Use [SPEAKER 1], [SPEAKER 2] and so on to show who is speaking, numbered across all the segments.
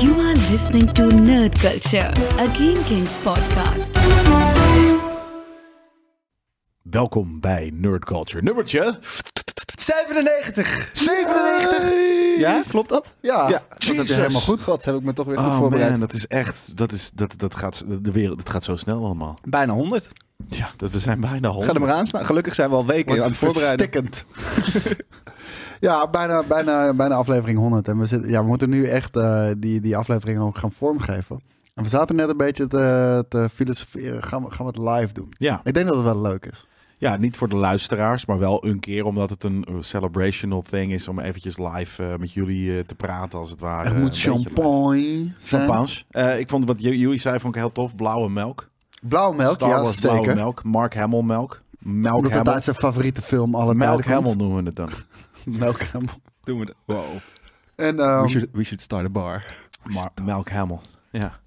[SPEAKER 1] You are listening to Nerd Culture, a Game Kings podcast.
[SPEAKER 2] Welkom bij Nerd Culture nummertje
[SPEAKER 3] 97!
[SPEAKER 2] 97.
[SPEAKER 3] Ja, klopt dat?
[SPEAKER 2] Ja.
[SPEAKER 3] klopt, dat is
[SPEAKER 2] Jezus.
[SPEAKER 3] helemaal goed. Wat heb ik me toch weer goed
[SPEAKER 2] Oh
[SPEAKER 3] voorbereid.
[SPEAKER 2] man, dat is echt, dat, is, dat, dat, gaat, de wereld, dat gaat zo snel allemaal.
[SPEAKER 3] Bijna 100.
[SPEAKER 2] Ja, dat, we zijn bijna honderd.
[SPEAKER 3] Ga er maar aan staan. Gelukkig zijn we al weken aan het voorbereiden.
[SPEAKER 4] verstikkend. ja, bijna, bijna, bijna aflevering 100. En we, zitten, ja, we moeten nu echt eh, die, die aflevering ook gaan vormgeven. En we zaten net een beetje te, te filosoferen. Gaan we, gaan we het live doen?
[SPEAKER 2] Ja.
[SPEAKER 4] Ik denk dat het wel leuk is.
[SPEAKER 2] ja, niet voor de luisteraars, maar wel een keer omdat het een eh, celebrational thing is om eventjes live eh, met jullie eh, te praten als het ware.
[SPEAKER 4] Er
[SPEAKER 2] Een
[SPEAKER 4] moet
[SPEAKER 2] beetje
[SPEAKER 4] champagne
[SPEAKER 2] live.
[SPEAKER 4] zijn.
[SPEAKER 2] Champagnes. Eh, ik vond wat j- jullie zei, vond ik heel tof. Blauwe melk.
[SPEAKER 4] Blauwe melk,
[SPEAKER 2] Star
[SPEAKER 4] ja
[SPEAKER 2] Wars
[SPEAKER 4] zeker.
[SPEAKER 2] blauwe melk. Mark Hamill melk. Melk
[SPEAKER 4] Omdat het
[SPEAKER 2] Hamill.
[SPEAKER 4] uit zijn favoriete film alle
[SPEAKER 2] Melk
[SPEAKER 4] tijden
[SPEAKER 2] Hamill
[SPEAKER 4] komt.
[SPEAKER 2] noemen we het dan.
[SPEAKER 4] Melk Hamill.
[SPEAKER 3] Doen we dat. Wow.
[SPEAKER 4] En ehm,
[SPEAKER 3] we, should, we should start a bar.
[SPEAKER 2] Maar, melk Hamill. Ja.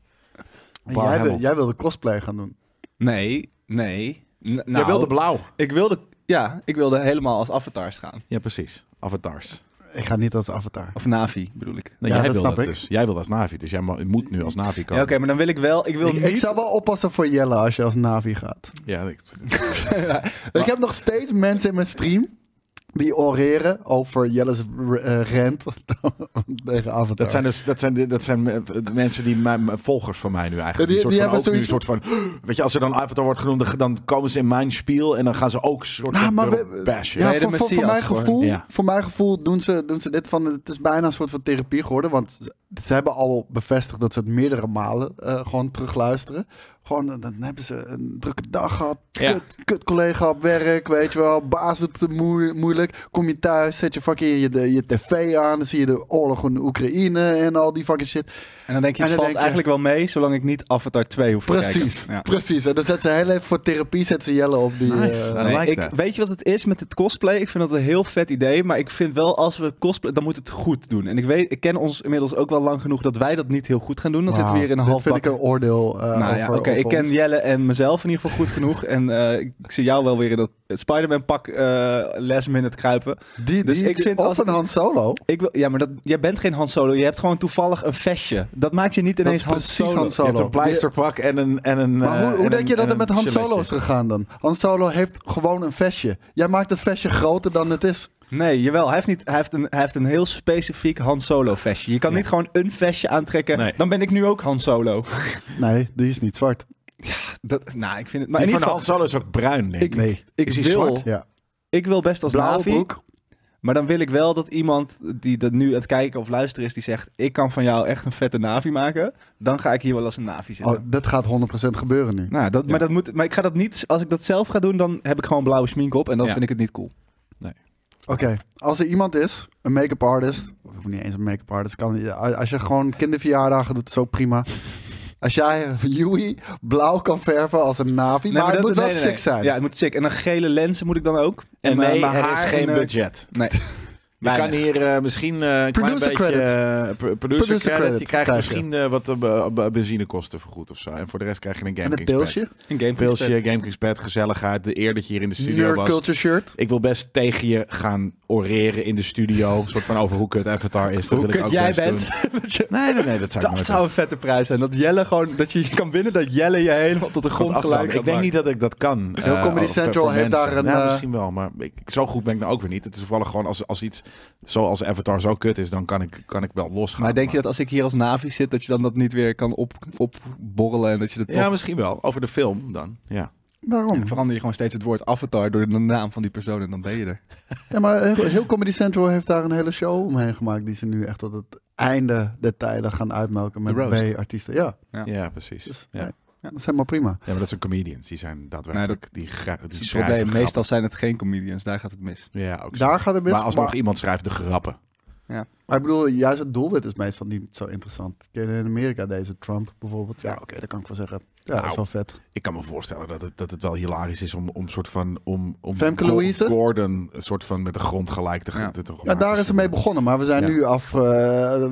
[SPEAKER 4] en
[SPEAKER 2] Paul
[SPEAKER 4] jij, wil-
[SPEAKER 2] Hamill.
[SPEAKER 4] jij wilde cosplay gaan doen.
[SPEAKER 3] Nee, nee. N- nou,
[SPEAKER 2] Jij wilde blauw.
[SPEAKER 3] ik wilde, ja, ik wilde helemaal als avatars gaan.
[SPEAKER 2] Ja, precies. Avatars.
[SPEAKER 4] Ik ga niet als avatar.
[SPEAKER 3] Of Navi, bedoel ik.
[SPEAKER 2] Nee,
[SPEAKER 4] Ja,
[SPEAKER 2] jij
[SPEAKER 4] dat
[SPEAKER 2] wil
[SPEAKER 4] snap
[SPEAKER 2] dat
[SPEAKER 4] ik.
[SPEAKER 2] dus. Jij wil als Navi, dus jij ma- moet nu als Navi
[SPEAKER 3] Ja,
[SPEAKER 2] komen.
[SPEAKER 3] Oké, maar dan wil ik wel... Ik wil
[SPEAKER 4] Ik,
[SPEAKER 3] niet...
[SPEAKER 4] ik zou wel oppassen voor Jelle als je als Navi gaat.
[SPEAKER 2] Ja, ik-
[SPEAKER 4] Ik heb nog steeds mensen in mijn stream die oreren over Jelle's eh, rent tegen Avatar.
[SPEAKER 2] dat, zijn dus, dat, zijn, de- dat zijn eh, de mensen die mijn, mijn volgers van mij nu eigenlijk.
[SPEAKER 4] Die-
[SPEAKER 2] Die, soort
[SPEAKER 4] die
[SPEAKER 2] van, ook
[SPEAKER 4] hebben
[SPEAKER 2] nu een soort van. Weet je, als er dan Avatar wordt genoemd, dan- dan komen ze in mijn spiel en dan gaan ze ook een soort
[SPEAKER 4] Nou,
[SPEAKER 2] van
[SPEAKER 4] maar
[SPEAKER 2] erop
[SPEAKER 4] we-
[SPEAKER 2] bashen.
[SPEAKER 4] ja,
[SPEAKER 3] Nee, de
[SPEAKER 4] voor, voor, voor
[SPEAKER 3] Messias
[SPEAKER 4] mijn
[SPEAKER 3] gewoon.
[SPEAKER 4] gevoel,
[SPEAKER 2] Ja.
[SPEAKER 4] voor mijn gevoel doen, ze, doen ze dit van. Het is bijna een soort van therapie geworden. Want ze, ze hebben al bevestigd dat ze het meerdere malen eh, gewoon terugluisteren. Gewoon, eh, dan hebben ze een drukke dag gehad.
[SPEAKER 2] Ja.
[SPEAKER 4] Kut, kut collega op werk, weet je wel. Baas doet het moe- moeilijk. Kom je thuis, zet je fucking je, de, je tv aan. Dan zie je de oorlog in Oekraïne en al die fucking shit.
[SPEAKER 3] En dan denk je,
[SPEAKER 4] En
[SPEAKER 3] het
[SPEAKER 4] dan
[SPEAKER 3] valt
[SPEAKER 4] denk je-
[SPEAKER 3] eigenlijk wel mee, zolang ik niet Avatar 2 hoef te kijken.
[SPEAKER 4] Precies,
[SPEAKER 3] Ja.
[SPEAKER 4] precies. En dan zet ze heel even voor therapie, zet ze Jelle op die...
[SPEAKER 2] Nice.
[SPEAKER 4] eh,
[SPEAKER 2] I
[SPEAKER 3] Nee,
[SPEAKER 2] like
[SPEAKER 3] ik,
[SPEAKER 2] that.
[SPEAKER 3] weet je wat het is met het cosplay? Ik vind dat een heel vet idee. Maar ik vind wel, als we cosplay, dan moet het goed doen. En ik, weet, ik ken ons inmiddels ook wel lang genoeg dat wij dat niet heel goed gaan doen. Dan zitten we hier in een
[SPEAKER 4] dit
[SPEAKER 3] half
[SPEAKER 4] vind ik een oordeel eh
[SPEAKER 3] Nou ja,
[SPEAKER 4] over,
[SPEAKER 3] oké.
[SPEAKER 4] over
[SPEAKER 3] ik ken
[SPEAKER 4] ons.
[SPEAKER 3] Jelle en mezelf in ieder geval goed genoeg. en eh, ik, ik zie jou wel weer in dat Spider-Man pak eh last minute kruipen.
[SPEAKER 4] Die,
[SPEAKER 3] dus
[SPEAKER 4] die-
[SPEAKER 3] ik vind
[SPEAKER 4] of
[SPEAKER 3] als-
[SPEAKER 4] een Han Solo.
[SPEAKER 3] Ik wil, ja, maar dat, jij bent geen Han Solo. Je hebt gewoon toevallig een vestje. Dat maakt je niet
[SPEAKER 4] Dat
[SPEAKER 3] ineens
[SPEAKER 4] is
[SPEAKER 3] Han
[SPEAKER 4] precies
[SPEAKER 3] Solo.
[SPEAKER 4] Han
[SPEAKER 2] Je
[SPEAKER 4] Solo.
[SPEAKER 2] hebt een pleisterpak en een. En een
[SPEAKER 4] Maar hoe,
[SPEAKER 2] eh,
[SPEAKER 4] hoe
[SPEAKER 2] en
[SPEAKER 4] denk
[SPEAKER 2] een-
[SPEAKER 4] je dat
[SPEAKER 2] en
[SPEAKER 4] het met Han
[SPEAKER 2] een
[SPEAKER 4] Solo is
[SPEAKER 2] chilletje.
[SPEAKER 4] gegaan dan? Han Solo heeft gewoon een vestje. Jij maakt het vestje groter dan het is.
[SPEAKER 3] Nee, jawel. Hij heeft, niet, hij, heeft een, hij heeft een heel specifiek Han Solo vestje. Je kan niet gewoon een vestje aantrekken.
[SPEAKER 2] Nee.
[SPEAKER 3] Dan ben ik nu ook Han Solo.
[SPEAKER 4] Nee, die is niet zwart.
[SPEAKER 3] Dat, nou, ik vind het... Maar in
[SPEAKER 2] Die
[SPEAKER 3] ieder
[SPEAKER 2] van Han
[SPEAKER 3] geval,
[SPEAKER 2] Solo is ook bruin, denk ik.
[SPEAKER 3] Ik-
[SPEAKER 4] Nee.
[SPEAKER 3] ik,
[SPEAKER 2] Is hij
[SPEAKER 3] wil,
[SPEAKER 2] zwart?
[SPEAKER 4] Ja.
[SPEAKER 3] ik wil best als
[SPEAKER 4] Blauwe
[SPEAKER 3] Navi.
[SPEAKER 4] broek.
[SPEAKER 3] Maar dan wil ik wel dat iemand die dat nu aan het kijken of luisteren is, die zegt: Ik kan van jou echt een vette Navi maken. Dan ga ik hier wel als een Navi zitten.
[SPEAKER 4] Oh, dat gaat 100% gebeuren nu.
[SPEAKER 3] Nou, dat, maar, dat moet, maar ik ga dat niet. Als ik dat zelf ga doen, dan heb ik gewoon blauwe smink op. En dan
[SPEAKER 2] Ja.
[SPEAKER 3] vind ik het niet cool.
[SPEAKER 4] Oké, als er iemand is, een make-up artist. Of niet eens een make-up artist. Kan, als je gewoon kinderverjaardagen doet, zo prima. Als jij Yui blauw kan verven als een Navi. maar,
[SPEAKER 3] dat-
[SPEAKER 4] het moet wel
[SPEAKER 3] nee, nee,
[SPEAKER 4] sick
[SPEAKER 3] nee.
[SPEAKER 4] zijn.
[SPEAKER 3] Ja, het moet sick. En dan gele lenzen moet ik dan ook.
[SPEAKER 2] En
[SPEAKER 3] mijn-
[SPEAKER 2] nee,
[SPEAKER 3] mijn
[SPEAKER 2] er is
[SPEAKER 3] haar
[SPEAKER 2] geen
[SPEAKER 3] en, eh,
[SPEAKER 2] budget.
[SPEAKER 3] Nee.
[SPEAKER 2] Je
[SPEAKER 3] Weinig.
[SPEAKER 2] kan hier eh, misschien eh, een klein
[SPEAKER 4] Producer
[SPEAKER 2] beetje
[SPEAKER 4] credit.
[SPEAKER 2] eh, pro- producer,
[SPEAKER 4] Producer
[SPEAKER 2] credit.
[SPEAKER 4] credit
[SPEAKER 2] Je krijgt
[SPEAKER 4] krijg je.
[SPEAKER 2] misschien eh, wat eh, be- be- benzinekosten vergoed of zo. En voor de rest krijg je een Game
[SPEAKER 4] en een
[SPEAKER 2] Kings badge.
[SPEAKER 4] deeltje.
[SPEAKER 3] Een game
[SPEAKER 2] Pilsje, Gamekings Pad, gezelligheid. De eer dat je hier in de studio
[SPEAKER 4] Nerd
[SPEAKER 2] was.
[SPEAKER 4] culture shirt.
[SPEAKER 2] Ik wil best tegen je gaan oreren in de studio. Een soort van over hoe kut Avatar is. Dat
[SPEAKER 3] Hoe
[SPEAKER 2] wil ik
[SPEAKER 3] kut
[SPEAKER 2] ook
[SPEAKER 3] jij
[SPEAKER 2] best
[SPEAKER 3] bent.
[SPEAKER 2] doen. Nee, nee, nee, dat zou ik
[SPEAKER 3] dat
[SPEAKER 2] nooit
[SPEAKER 3] zou
[SPEAKER 2] doen.
[SPEAKER 3] een vette prijs zijn. Dat Jelle gewoon, dat je je kan winnen, dat Jelle je helemaal tot de grond
[SPEAKER 2] Want
[SPEAKER 3] gelijk
[SPEAKER 2] afgelopen-
[SPEAKER 3] gaat
[SPEAKER 2] Ik denk
[SPEAKER 3] maken.
[SPEAKER 2] niet dat ik dat kan.
[SPEAKER 4] Heel
[SPEAKER 2] eh,
[SPEAKER 4] Comedy
[SPEAKER 2] of-
[SPEAKER 4] Central
[SPEAKER 2] voor
[SPEAKER 4] heeft
[SPEAKER 2] mensen.
[SPEAKER 4] daar een,
[SPEAKER 2] Nou,
[SPEAKER 4] eh,
[SPEAKER 2] misschien wel, maar ik, zo goed ben ik nou ook weer niet. Het is toevallig gewoon als, als iets zoals Avatar zo kut is, dan kan ik, kan ik wel losgaan.
[SPEAKER 3] Maar denk je dat als ik hier als Navi zit, dat je dan dat niet weer kan op, opborrelen en dat je dat
[SPEAKER 2] Ja,
[SPEAKER 3] toch...
[SPEAKER 2] misschien wel. Over de film dan. Ja.
[SPEAKER 4] Waarom?
[SPEAKER 3] Verander je gewoon steeds het woord avatar door de naam van die persoon en dan ben je er.
[SPEAKER 4] Ja, maar heel, heel Comedy Central heeft daar een hele show omheen gemaakt. Die ze nu echt tot het einde der tijden gaan uitmelken met
[SPEAKER 3] De roast.
[SPEAKER 4] B-artiesten. Ja,
[SPEAKER 2] Ja,
[SPEAKER 3] Ja.
[SPEAKER 2] precies.
[SPEAKER 4] dus,
[SPEAKER 2] ja.
[SPEAKER 4] nee, dat is helemaal prima.
[SPEAKER 2] ja, maar dat zijn comedians. Die zijn daadwerkelijk... die gra- die
[SPEAKER 3] Dat is het
[SPEAKER 2] schrijven
[SPEAKER 3] probleem.
[SPEAKER 2] grappen.
[SPEAKER 3] Meestal zijn het geen comedians, daar gaat het mis.
[SPEAKER 2] Ja, ook zo.
[SPEAKER 4] Daar gaat het mis.
[SPEAKER 2] Maar
[SPEAKER 4] Maar,
[SPEAKER 2] alsnog iemand schrijft de grappen.
[SPEAKER 4] maar ik bedoel, juist het doelwit is meestal niet zo interessant. Ken je In Amerika deze Trump bijvoorbeeld. Ja, oké, dat kan ik wel zeggen. Ja, dat
[SPEAKER 2] Nou.
[SPEAKER 4] is wel vet.
[SPEAKER 2] Ik kan me voorstellen dat het, dat het wel hilarisch is om, om soort van om, om
[SPEAKER 4] Femke
[SPEAKER 2] Go-
[SPEAKER 4] Louise?
[SPEAKER 2] Gordon een soort van met de grond gelijk te
[SPEAKER 3] Ja.
[SPEAKER 2] te- te-
[SPEAKER 4] Ja, daar is het mee begonnen. Maar we zijn,
[SPEAKER 2] Ja.
[SPEAKER 4] nu, af, eh,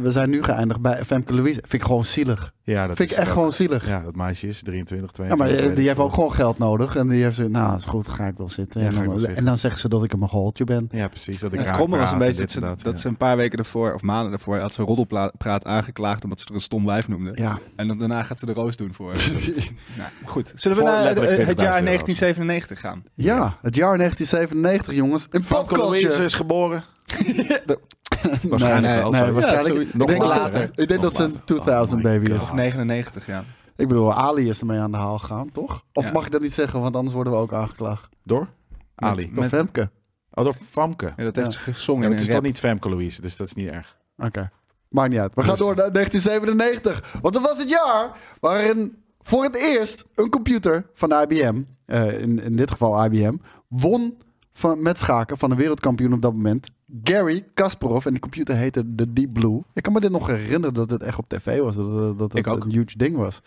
[SPEAKER 4] we zijn nu geëindigd bij Femke Louise. Vind ik gewoon zielig.
[SPEAKER 2] Ja, dat
[SPEAKER 4] Vind
[SPEAKER 2] is
[SPEAKER 4] ik echt
[SPEAKER 2] ook-
[SPEAKER 4] gewoon zielig.
[SPEAKER 2] Ja, dat meisje is 23, 22.
[SPEAKER 4] Ja, maar eh, die, die
[SPEAKER 2] weet
[SPEAKER 4] heeft
[SPEAKER 2] ik
[SPEAKER 4] ook
[SPEAKER 2] veel.
[SPEAKER 4] gewoon geld nodig. En die heeft zoiets, nou is goed, ga ik wel zitten.
[SPEAKER 2] Ja,
[SPEAKER 4] en,
[SPEAKER 2] ga ik
[SPEAKER 4] dan,
[SPEAKER 2] wel zitten.
[SPEAKER 4] en dan zeggen ze dat ik een mogoltje ben.
[SPEAKER 2] Ja, precies. Dat ik
[SPEAKER 3] Het
[SPEAKER 2] raak
[SPEAKER 3] kromme was een
[SPEAKER 2] praat en
[SPEAKER 3] beetje dat
[SPEAKER 2] dit
[SPEAKER 3] ze,
[SPEAKER 2] en
[SPEAKER 3] dat,
[SPEAKER 2] ja.
[SPEAKER 3] ze een paar weken daarvoor, of maanden daarvoor, had ze roddelpraat aangeklaagd omdat ze er een stom wijf noemde.
[SPEAKER 4] Ja.
[SPEAKER 3] En dan, daarna gaat ze de roos doen voor. nou, goed. Zullen we
[SPEAKER 2] Voor
[SPEAKER 3] naar de-
[SPEAKER 2] letterlijk
[SPEAKER 3] het jaar
[SPEAKER 2] 20.000 euro.
[SPEAKER 3] 1997 gaan?
[SPEAKER 4] Ja, het jaar 1997, jongens. Een
[SPEAKER 2] Franco Louise
[SPEAKER 4] popculture.
[SPEAKER 2] is geboren.
[SPEAKER 3] De-
[SPEAKER 2] Waarschijnlijk wel.
[SPEAKER 4] nee,
[SPEAKER 2] sorry.
[SPEAKER 4] waarschijnlijk.
[SPEAKER 3] Ja,
[SPEAKER 4] ik
[SPEAKER 3] sorry.
[SPEAKER 4] denk
[SPEAKER 3] Nog
[SPEAKER 4] dat
[SPEAKER 3] later,
[SPEAKER 4] ze-
[SPEAKER 3] hè?
[SPEAKER 4] Ik
[SPEAKER 2] Nog
[SPEAKER 4] denk dat ze een
[SPEAKER 2] later.
[SPEAKER 4] 2000
[SPEAKER 2] Oh my
[SPEAKER 4] baby
[SPEAKER 2] God.
[SPEAKER 4] is.
[SPEAKER 3] Of 99, ja.
[SPEAKER 4] Ik bedoel, Ali is ermee aan de haal gegaan, toch? Of
[SPEAKER 3] Ja.
[SPEAKER 4] mag ik dat niet zeggen, want anders worden we ook aangeklaagd.
[SPEAKER 2] Door? Ali.
[SPEAKER 4] Door
[SPEAKER 3] Met-
[SPEAKER 4] Femke.
[SPEAKER 2] Oh, door Famke.
[SPEAKER 3] Ja, dat heeft ze
[SPEAKER 4] Ja.
[SPEAKER 3] gezongen
[SPEAKER 2] Ja,
[SPEAKER 3] in
[SPEAKER 2] maar het
[SPEAKER 3] een
[SPEAKER 2] is toch
[SPEAKER 3] rap.
[SPEAKER 2] niet Famke Louise, dus dat is niet erg.
[SPEAKER 4] Oké. Maakt niet uit. We gaan door naar 1997. Want dat was het jaar waarin voor het eerst een computer van IBM, eh, in, in dit geval IBM, won van, met schaken van de wereldkampioen op dat moment, Gary Kasparov. En die computer heette de Deep Blue. Ik kan me dit nog herinneren dat het echt op tv was. Dat, dat, dat
[SPEAKER 2] Ik
[SPEAKER 4] het
[SPEAKER 2] ook.
[SPEAKER 4] een huge ding was.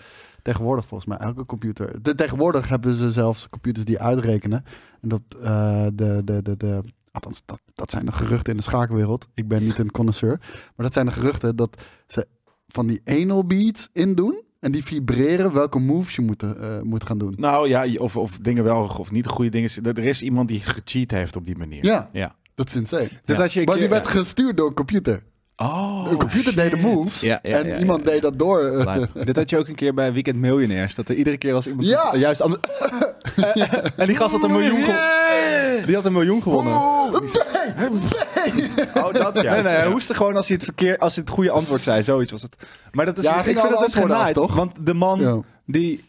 [SPEAKER 4] Tegenwoordig volgens mij elke computer. De, tegenwoordig hebben ze zelfs computers die uitrekenen. En dat eh, de, de, de, de, Althans, dat, dat zijn de geruchten in de schaakwereld. Ik ben niet een connoisseur. Maar dat zijn de geruchten dat ze van die anal beats in doen. En die vibreren welke moves je moet, eh, moet gaan doen.
[SPEAKER 2] Nou ja, je- of, of dingen wel of niet de goede dingen. Er er is iemand die gecheat heeft op die manier.
[SPEAKER 4] Ja.
[SPEAKER 2] ja. eh,
[SPEAKER 4] Dat is insane.
[SPEAKER 3] Dat
[SPEAKER 2] Ja.
[SPEAKER 3] had je een
[SPEAKER 4] Maar die
[SPEAKER 3] keer-
[SPEAKER 4] werd gestuurd door een computer.
[SPEAKER 2] Oh,
[SPEAKER 4] een computer deed de moves.
[SPEAKER 2] Ja, ja,
[SPEAKER 4] en
[SPEAKER 2] ja,
[SPEAKER 4] iemand
[SPEAKER 2] ja, ja.
[SPEAKER 4] deed dat door. eh,
[SPEAKER 2] Lijp.
[SPEAKER 3] Dit had je ook een keer bij Weekend Miljonairs. Dat er iedere keer als iemand...
[SPEAKER 4] Ja!
[SPEAKER 3] Juist anders... en die gast had een miljoen gewonnen. Die had een miljoen gewonnen.
[SPEAKER 2] Oh, dat ja.
[SPEAKER 3] Nee, nee, hij hoestte gewoon als hij het verkeer, als hij het goede antwoord zei. Zoiets was het. Maar dat is,
[SPEAKER 4] Ja, hij
[SPEAKER 3] ik
[SPEAKER 4] ging
[SPEAKER 3] vind
[SPEAKER 4] alle
[SPEAKER 3] dat dus
[SPEAKER 4] antwoorden
[SPEAKER 3] genaaid,
[SPEAKER 4] af, toch?
[SPEAKER 3] Want de man
[SPEAKER 4] Ja.
[SPEAKER 3] die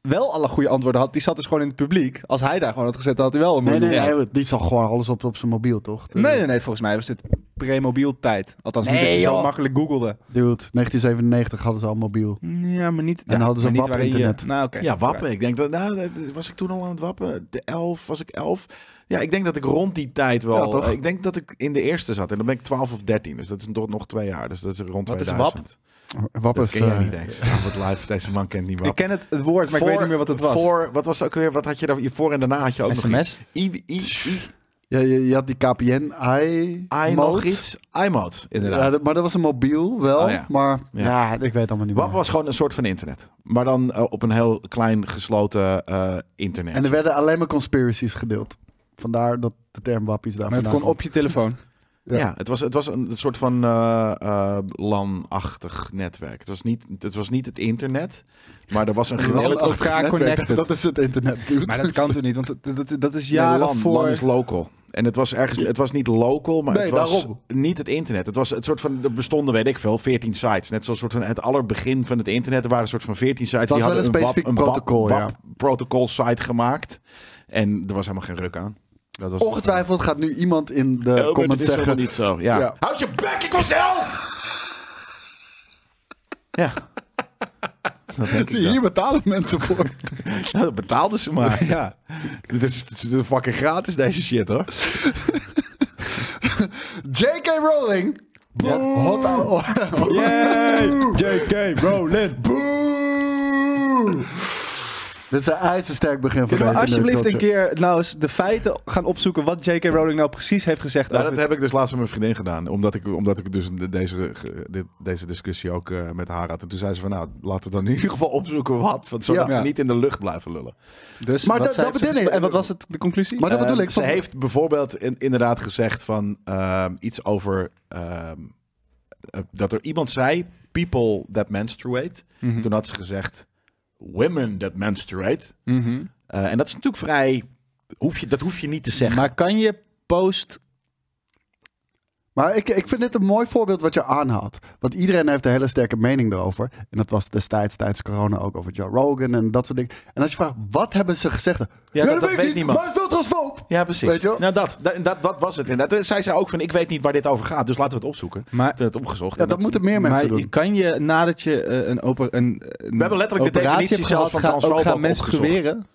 [SPEAKER 3] wel alle goede antwoorden had, die zat dus gewoon in het publiek. Als hij daar gewoon had gezet, dan had hij wel een
[SPEAKER 4] Nee,
[SPEAKER 3] miljoen.
[SPEAKER 4] nee,
[SPEAKER 3] gehad.
[SPEAKER 4] nee. Die zag gewoon alles op, op zijn mobiel, toch?
[SPEAKER 3] nee, nee, nee, volgens mij was dit pre-mobiel tijd. Althans, niet
[SPEAKER 4] Nee,
[SPEAKER 3] dat je zo
[SPEAKER 4] joh.
[SPEAKER 3] makkelijk googelde.
[SPEAKER 4] Dude, 1997 hadden ze al mobiel.
[SPEAKER 3] Ja, maar niet...
[SPEAKER 4] En dan hadden ze
[SPEAKER 3] maar niet
[SPEAKER 4] WAP
[SPEAKER 3] waarin je-
[SPEAKER 4] internet.
[SPEAKER 3] Nou, oké.
[SPEAKER 2] Ja, wappen. Ik denk dat, nou, dat- was ik toen al aan het wappen? De elf, was ik elf? Ja, ik denk dat ik rond die tijd wel.
[SPEAKER 4] Ja, toch?
[SPEAKER 2] eh, ik denk dat ik in de eerste zat. En dan ben ik 12 of 13. Dus dat is toch nog twee jaar. Dus dat is rond
[SPEAKER 3] Wat is
[SPEAKER 2] 2000.
[SPEAKER 4] Wat
[SPEAKER 2] Dat
[SPEAKER 4] is...
[SPEAKER 2] ken jij
[SPEAKER 4] eh,
[SPEAKER 2] niet eens. Ja, Wat live, deze man kent niet
[SPEAKER 3] Ik
[SPEAKER 2] WAP.
[SPEAKER 3] ken het, het woord, maar ik weet niet meer wat het was.
[SPEAKER 2] Voor, wat was ook weer? Wat had je daar? je Voor en daarna had je ook nog
[SPEAKER 3] SMS?
[SPEAKER 2] iets. I, I, I,
[SPEAKER 4] ja, je, je had die KPN, I...
[SPEAKER 2] I nog
[SPEAKER 4] mode.
[SPEAKER 2] iets. iMode, inderdaad.
[SPEAKER 4] Ja, dat- maar dat was een mobiel wel.
[SPEAKER 2] Oh, ja.
[SPEAKER 4] Maar
[SPEAKER 2] Ja.
[SPEAKER 4] ja. ik weet allemaal niet
[SPEAKER 2] WAP
[SPEAKER 4] meer.
[SPEAKER 2] was gewoon een soort van internet. Maar dan eh, op een heel klein gesloten eh, internet.
[SPEAKER 4] En er werden alleen maar conspiracies gedeeld. Vandaar dat de term wappies daar
[SPEAKER 3] Maar het kon
[SPEAKER 4] vandaan
[SPEAKER 3] op je telefoon.
[SPEAKER 2] Ja,
[SPEAKER 4] Ja.
[SPEAKER 2] het, was, het was een soort van eh, eh, LAN-achtig netwerk. Het was, niet, het was niet het internet, maar er was een
[SPEAKER 4] komt.
[SPEAKER 3] was
[SPEAKER 2] geweldig...
[SPEAKER 3] met elkaar
[SPEAKER 4] Landachtig netwerk,
[SPEAKER 3] connected.
[SPEAKER 4] Dat is het internet, dude.
[SPEAKER 3] Maar dat kan toen niet, want dat, dat, dat is
[SPEAKER 2] Nee,
[SPEAKER 3] jaren
[SPEAKER 2] LAN,
[SPEAKER 3] voor...
[SPEAKER 2] LAN is local. En het was, ergens, het was niet local, maar
[SPEAKER 4] Nee,
[SPEAKER 2] het was
[SPEAKER 4] daarom.
[SPEAKER 2] niet het internet. Het was het soort van, er bestonden, weet ik veel, 14 sites. Net zoals soort van het allerbegin van het internet. Er waren een soort van 14 sites. die
[SPEAKER 4] was wel
[SPEAKER 2] hadden
[SPEAKER 4] een specifiek
[SPEAKER 2] WAP, WAP,
[SPEAKER 4] protocol, ja.
[SPEAKER 2] WAP protocol site gemaakt. En er was helemaal geen ruk aan. Dat was
[SPEAKER 4] Ongetwijfeld gaat nu iemand in de
[SPEAKER 2] Ja, maar
[SPEAKER 4] comments
[SPEAKER 2] dit is
[SPEAKER 4] zeggen...
[SPEAKER 2] helemaal niet zo. Ja.
[SPEAKER 4] Ja.
[SPEAKER 2] Houd je bek, ik was elf! ja. Dat denk
[SPEAKER 4] Zie
[SPEAKER 2] ik
[SPEAKER 4] je,
[SPEAKER 2] dan.
[SPEAKER 4] hier betalen mensen voor.
[SPEAKER 2] Nou, dat betaalden ze maar.
[SPEAKER 3] Ja.
[SPEAKER 2] Dit is, dit is fucking gratis, deze shit, hoor.
[SPEAKER 4] J.K. Rowling. Hot ouwe-
[SPEAKER 3] J.K. Rowling.
[SPEAKER 4] Dit is een ijzersterk begin van
[SPEAKER 3] Kunnen
[SPEAKER 4] deze
[SPEAKER 3] we alsjeblieft een
[SPEAKER 4] nerdculture.
[SPEAKER 3] keer nou eens de feiten gaan opzoeken wat J.K. Rowling nou precies heeft gezegd?
[SPEAKER 2] Nou,
[SPEAKER 3] over
[SPEAKER 2] dat heb ik dus laatst met mijn vriendin gedaan. Omdat ik, omdat ik dus deze, ge- dit- deze discussie ook eh, met haar had. En toen zei ze van, nou, laten we dan in ieder geval opzoeken wat. Want zodat
[SPEAKER 4] Ja.
[SPEAKER 2] we niet in de lucht blijven lullen.
[SPEAKER 3] het. Dus
[SPEAKER 4] maar
[SPEAKER 3] wat
[SPEAKER 4] dat-
[SPEAKER 3] zij
[SPEAKER 4] dat
[SPEAKER 3] heeft
[SPEAKER 4] bedoel
[SPEAKER 3] gezegd-
[SPEAKER 4] ik.
[SPEAKER 3] En wat was het, de conclusie?
[SPEAKER 4] Maar dat bedoel
[SPEAKER 2] Ehm,
[SPEAKER 4] ik.
[SPEAKER 2] Ze
[SPEAKER 4] van-
[SPEAKER 2] heeft bijvoorbeeld in- inderdaad gezegd van ehm, iets over ehm, eh, dat er iemand zei: people that menstruate.
[SPEAKER 4] Mhm.
[SPEAKER 2] Toen had ze gezegd: women that menstruate.
[SPEAKER 4] Mhm.
[SPEAKER 2] Eh, en dat is natuurlijk vrij. Hoef je, dat hoef je niet te zeggen.
[SPEAKER 3] maar kan je post...
[SPEAKER 4] Maar ik, ik vind dit een mooi voorbeeld wat je aanhaalt. Want iedereen heeft een hele sterke mening erover. En dat was destijds tijdens corona ook over Joe Rogan en dat soort dingen. En als je vraagt, wat hebben ze gezegd? Ja,
[SPEAKER 2] dat- dat weet niemand.
[SPEAKER 4] Maar het is wel transfoob.
[SPEAKER 2] ja, precies.
[SPEAKER 4] Weet je wel?
[SPEAKER 2] Nou, dat, dat, dat, dat was het. En dat zei ze ook van: ik weet niet waar dit over gaat, dus laten we het opzoeken.
[SPEAKER 3] Maar-
[SPEAKER 2] Toen het opgezocht.
[SPEAKER 4] Ja,
[SPEAKER 2] en
[SPEAKER 4] dat moeten meer mensen
[SPEAKER 3] Maar
[SPEAKER 4] doen.
[SPEAKER 3] kan je nadat je eh, een, oper, een, een
[SPEAKER 2] We hebben letterlijk de
[SPEAKER 3] operatie
[SPEAKER 2] definitie
[SPEAKER 3] hebt
[SPEAKER 2] zelf
[SPEAKER 3] gehad,
[SPEAKER 2] van
[SPEAKER 3] ga- ook
[SPEAKER 2] transfoob
[SPEAKER 3] gaan
[SPEAKER 2] ook opgezocht.
[SPEAKER 3] menstrueren?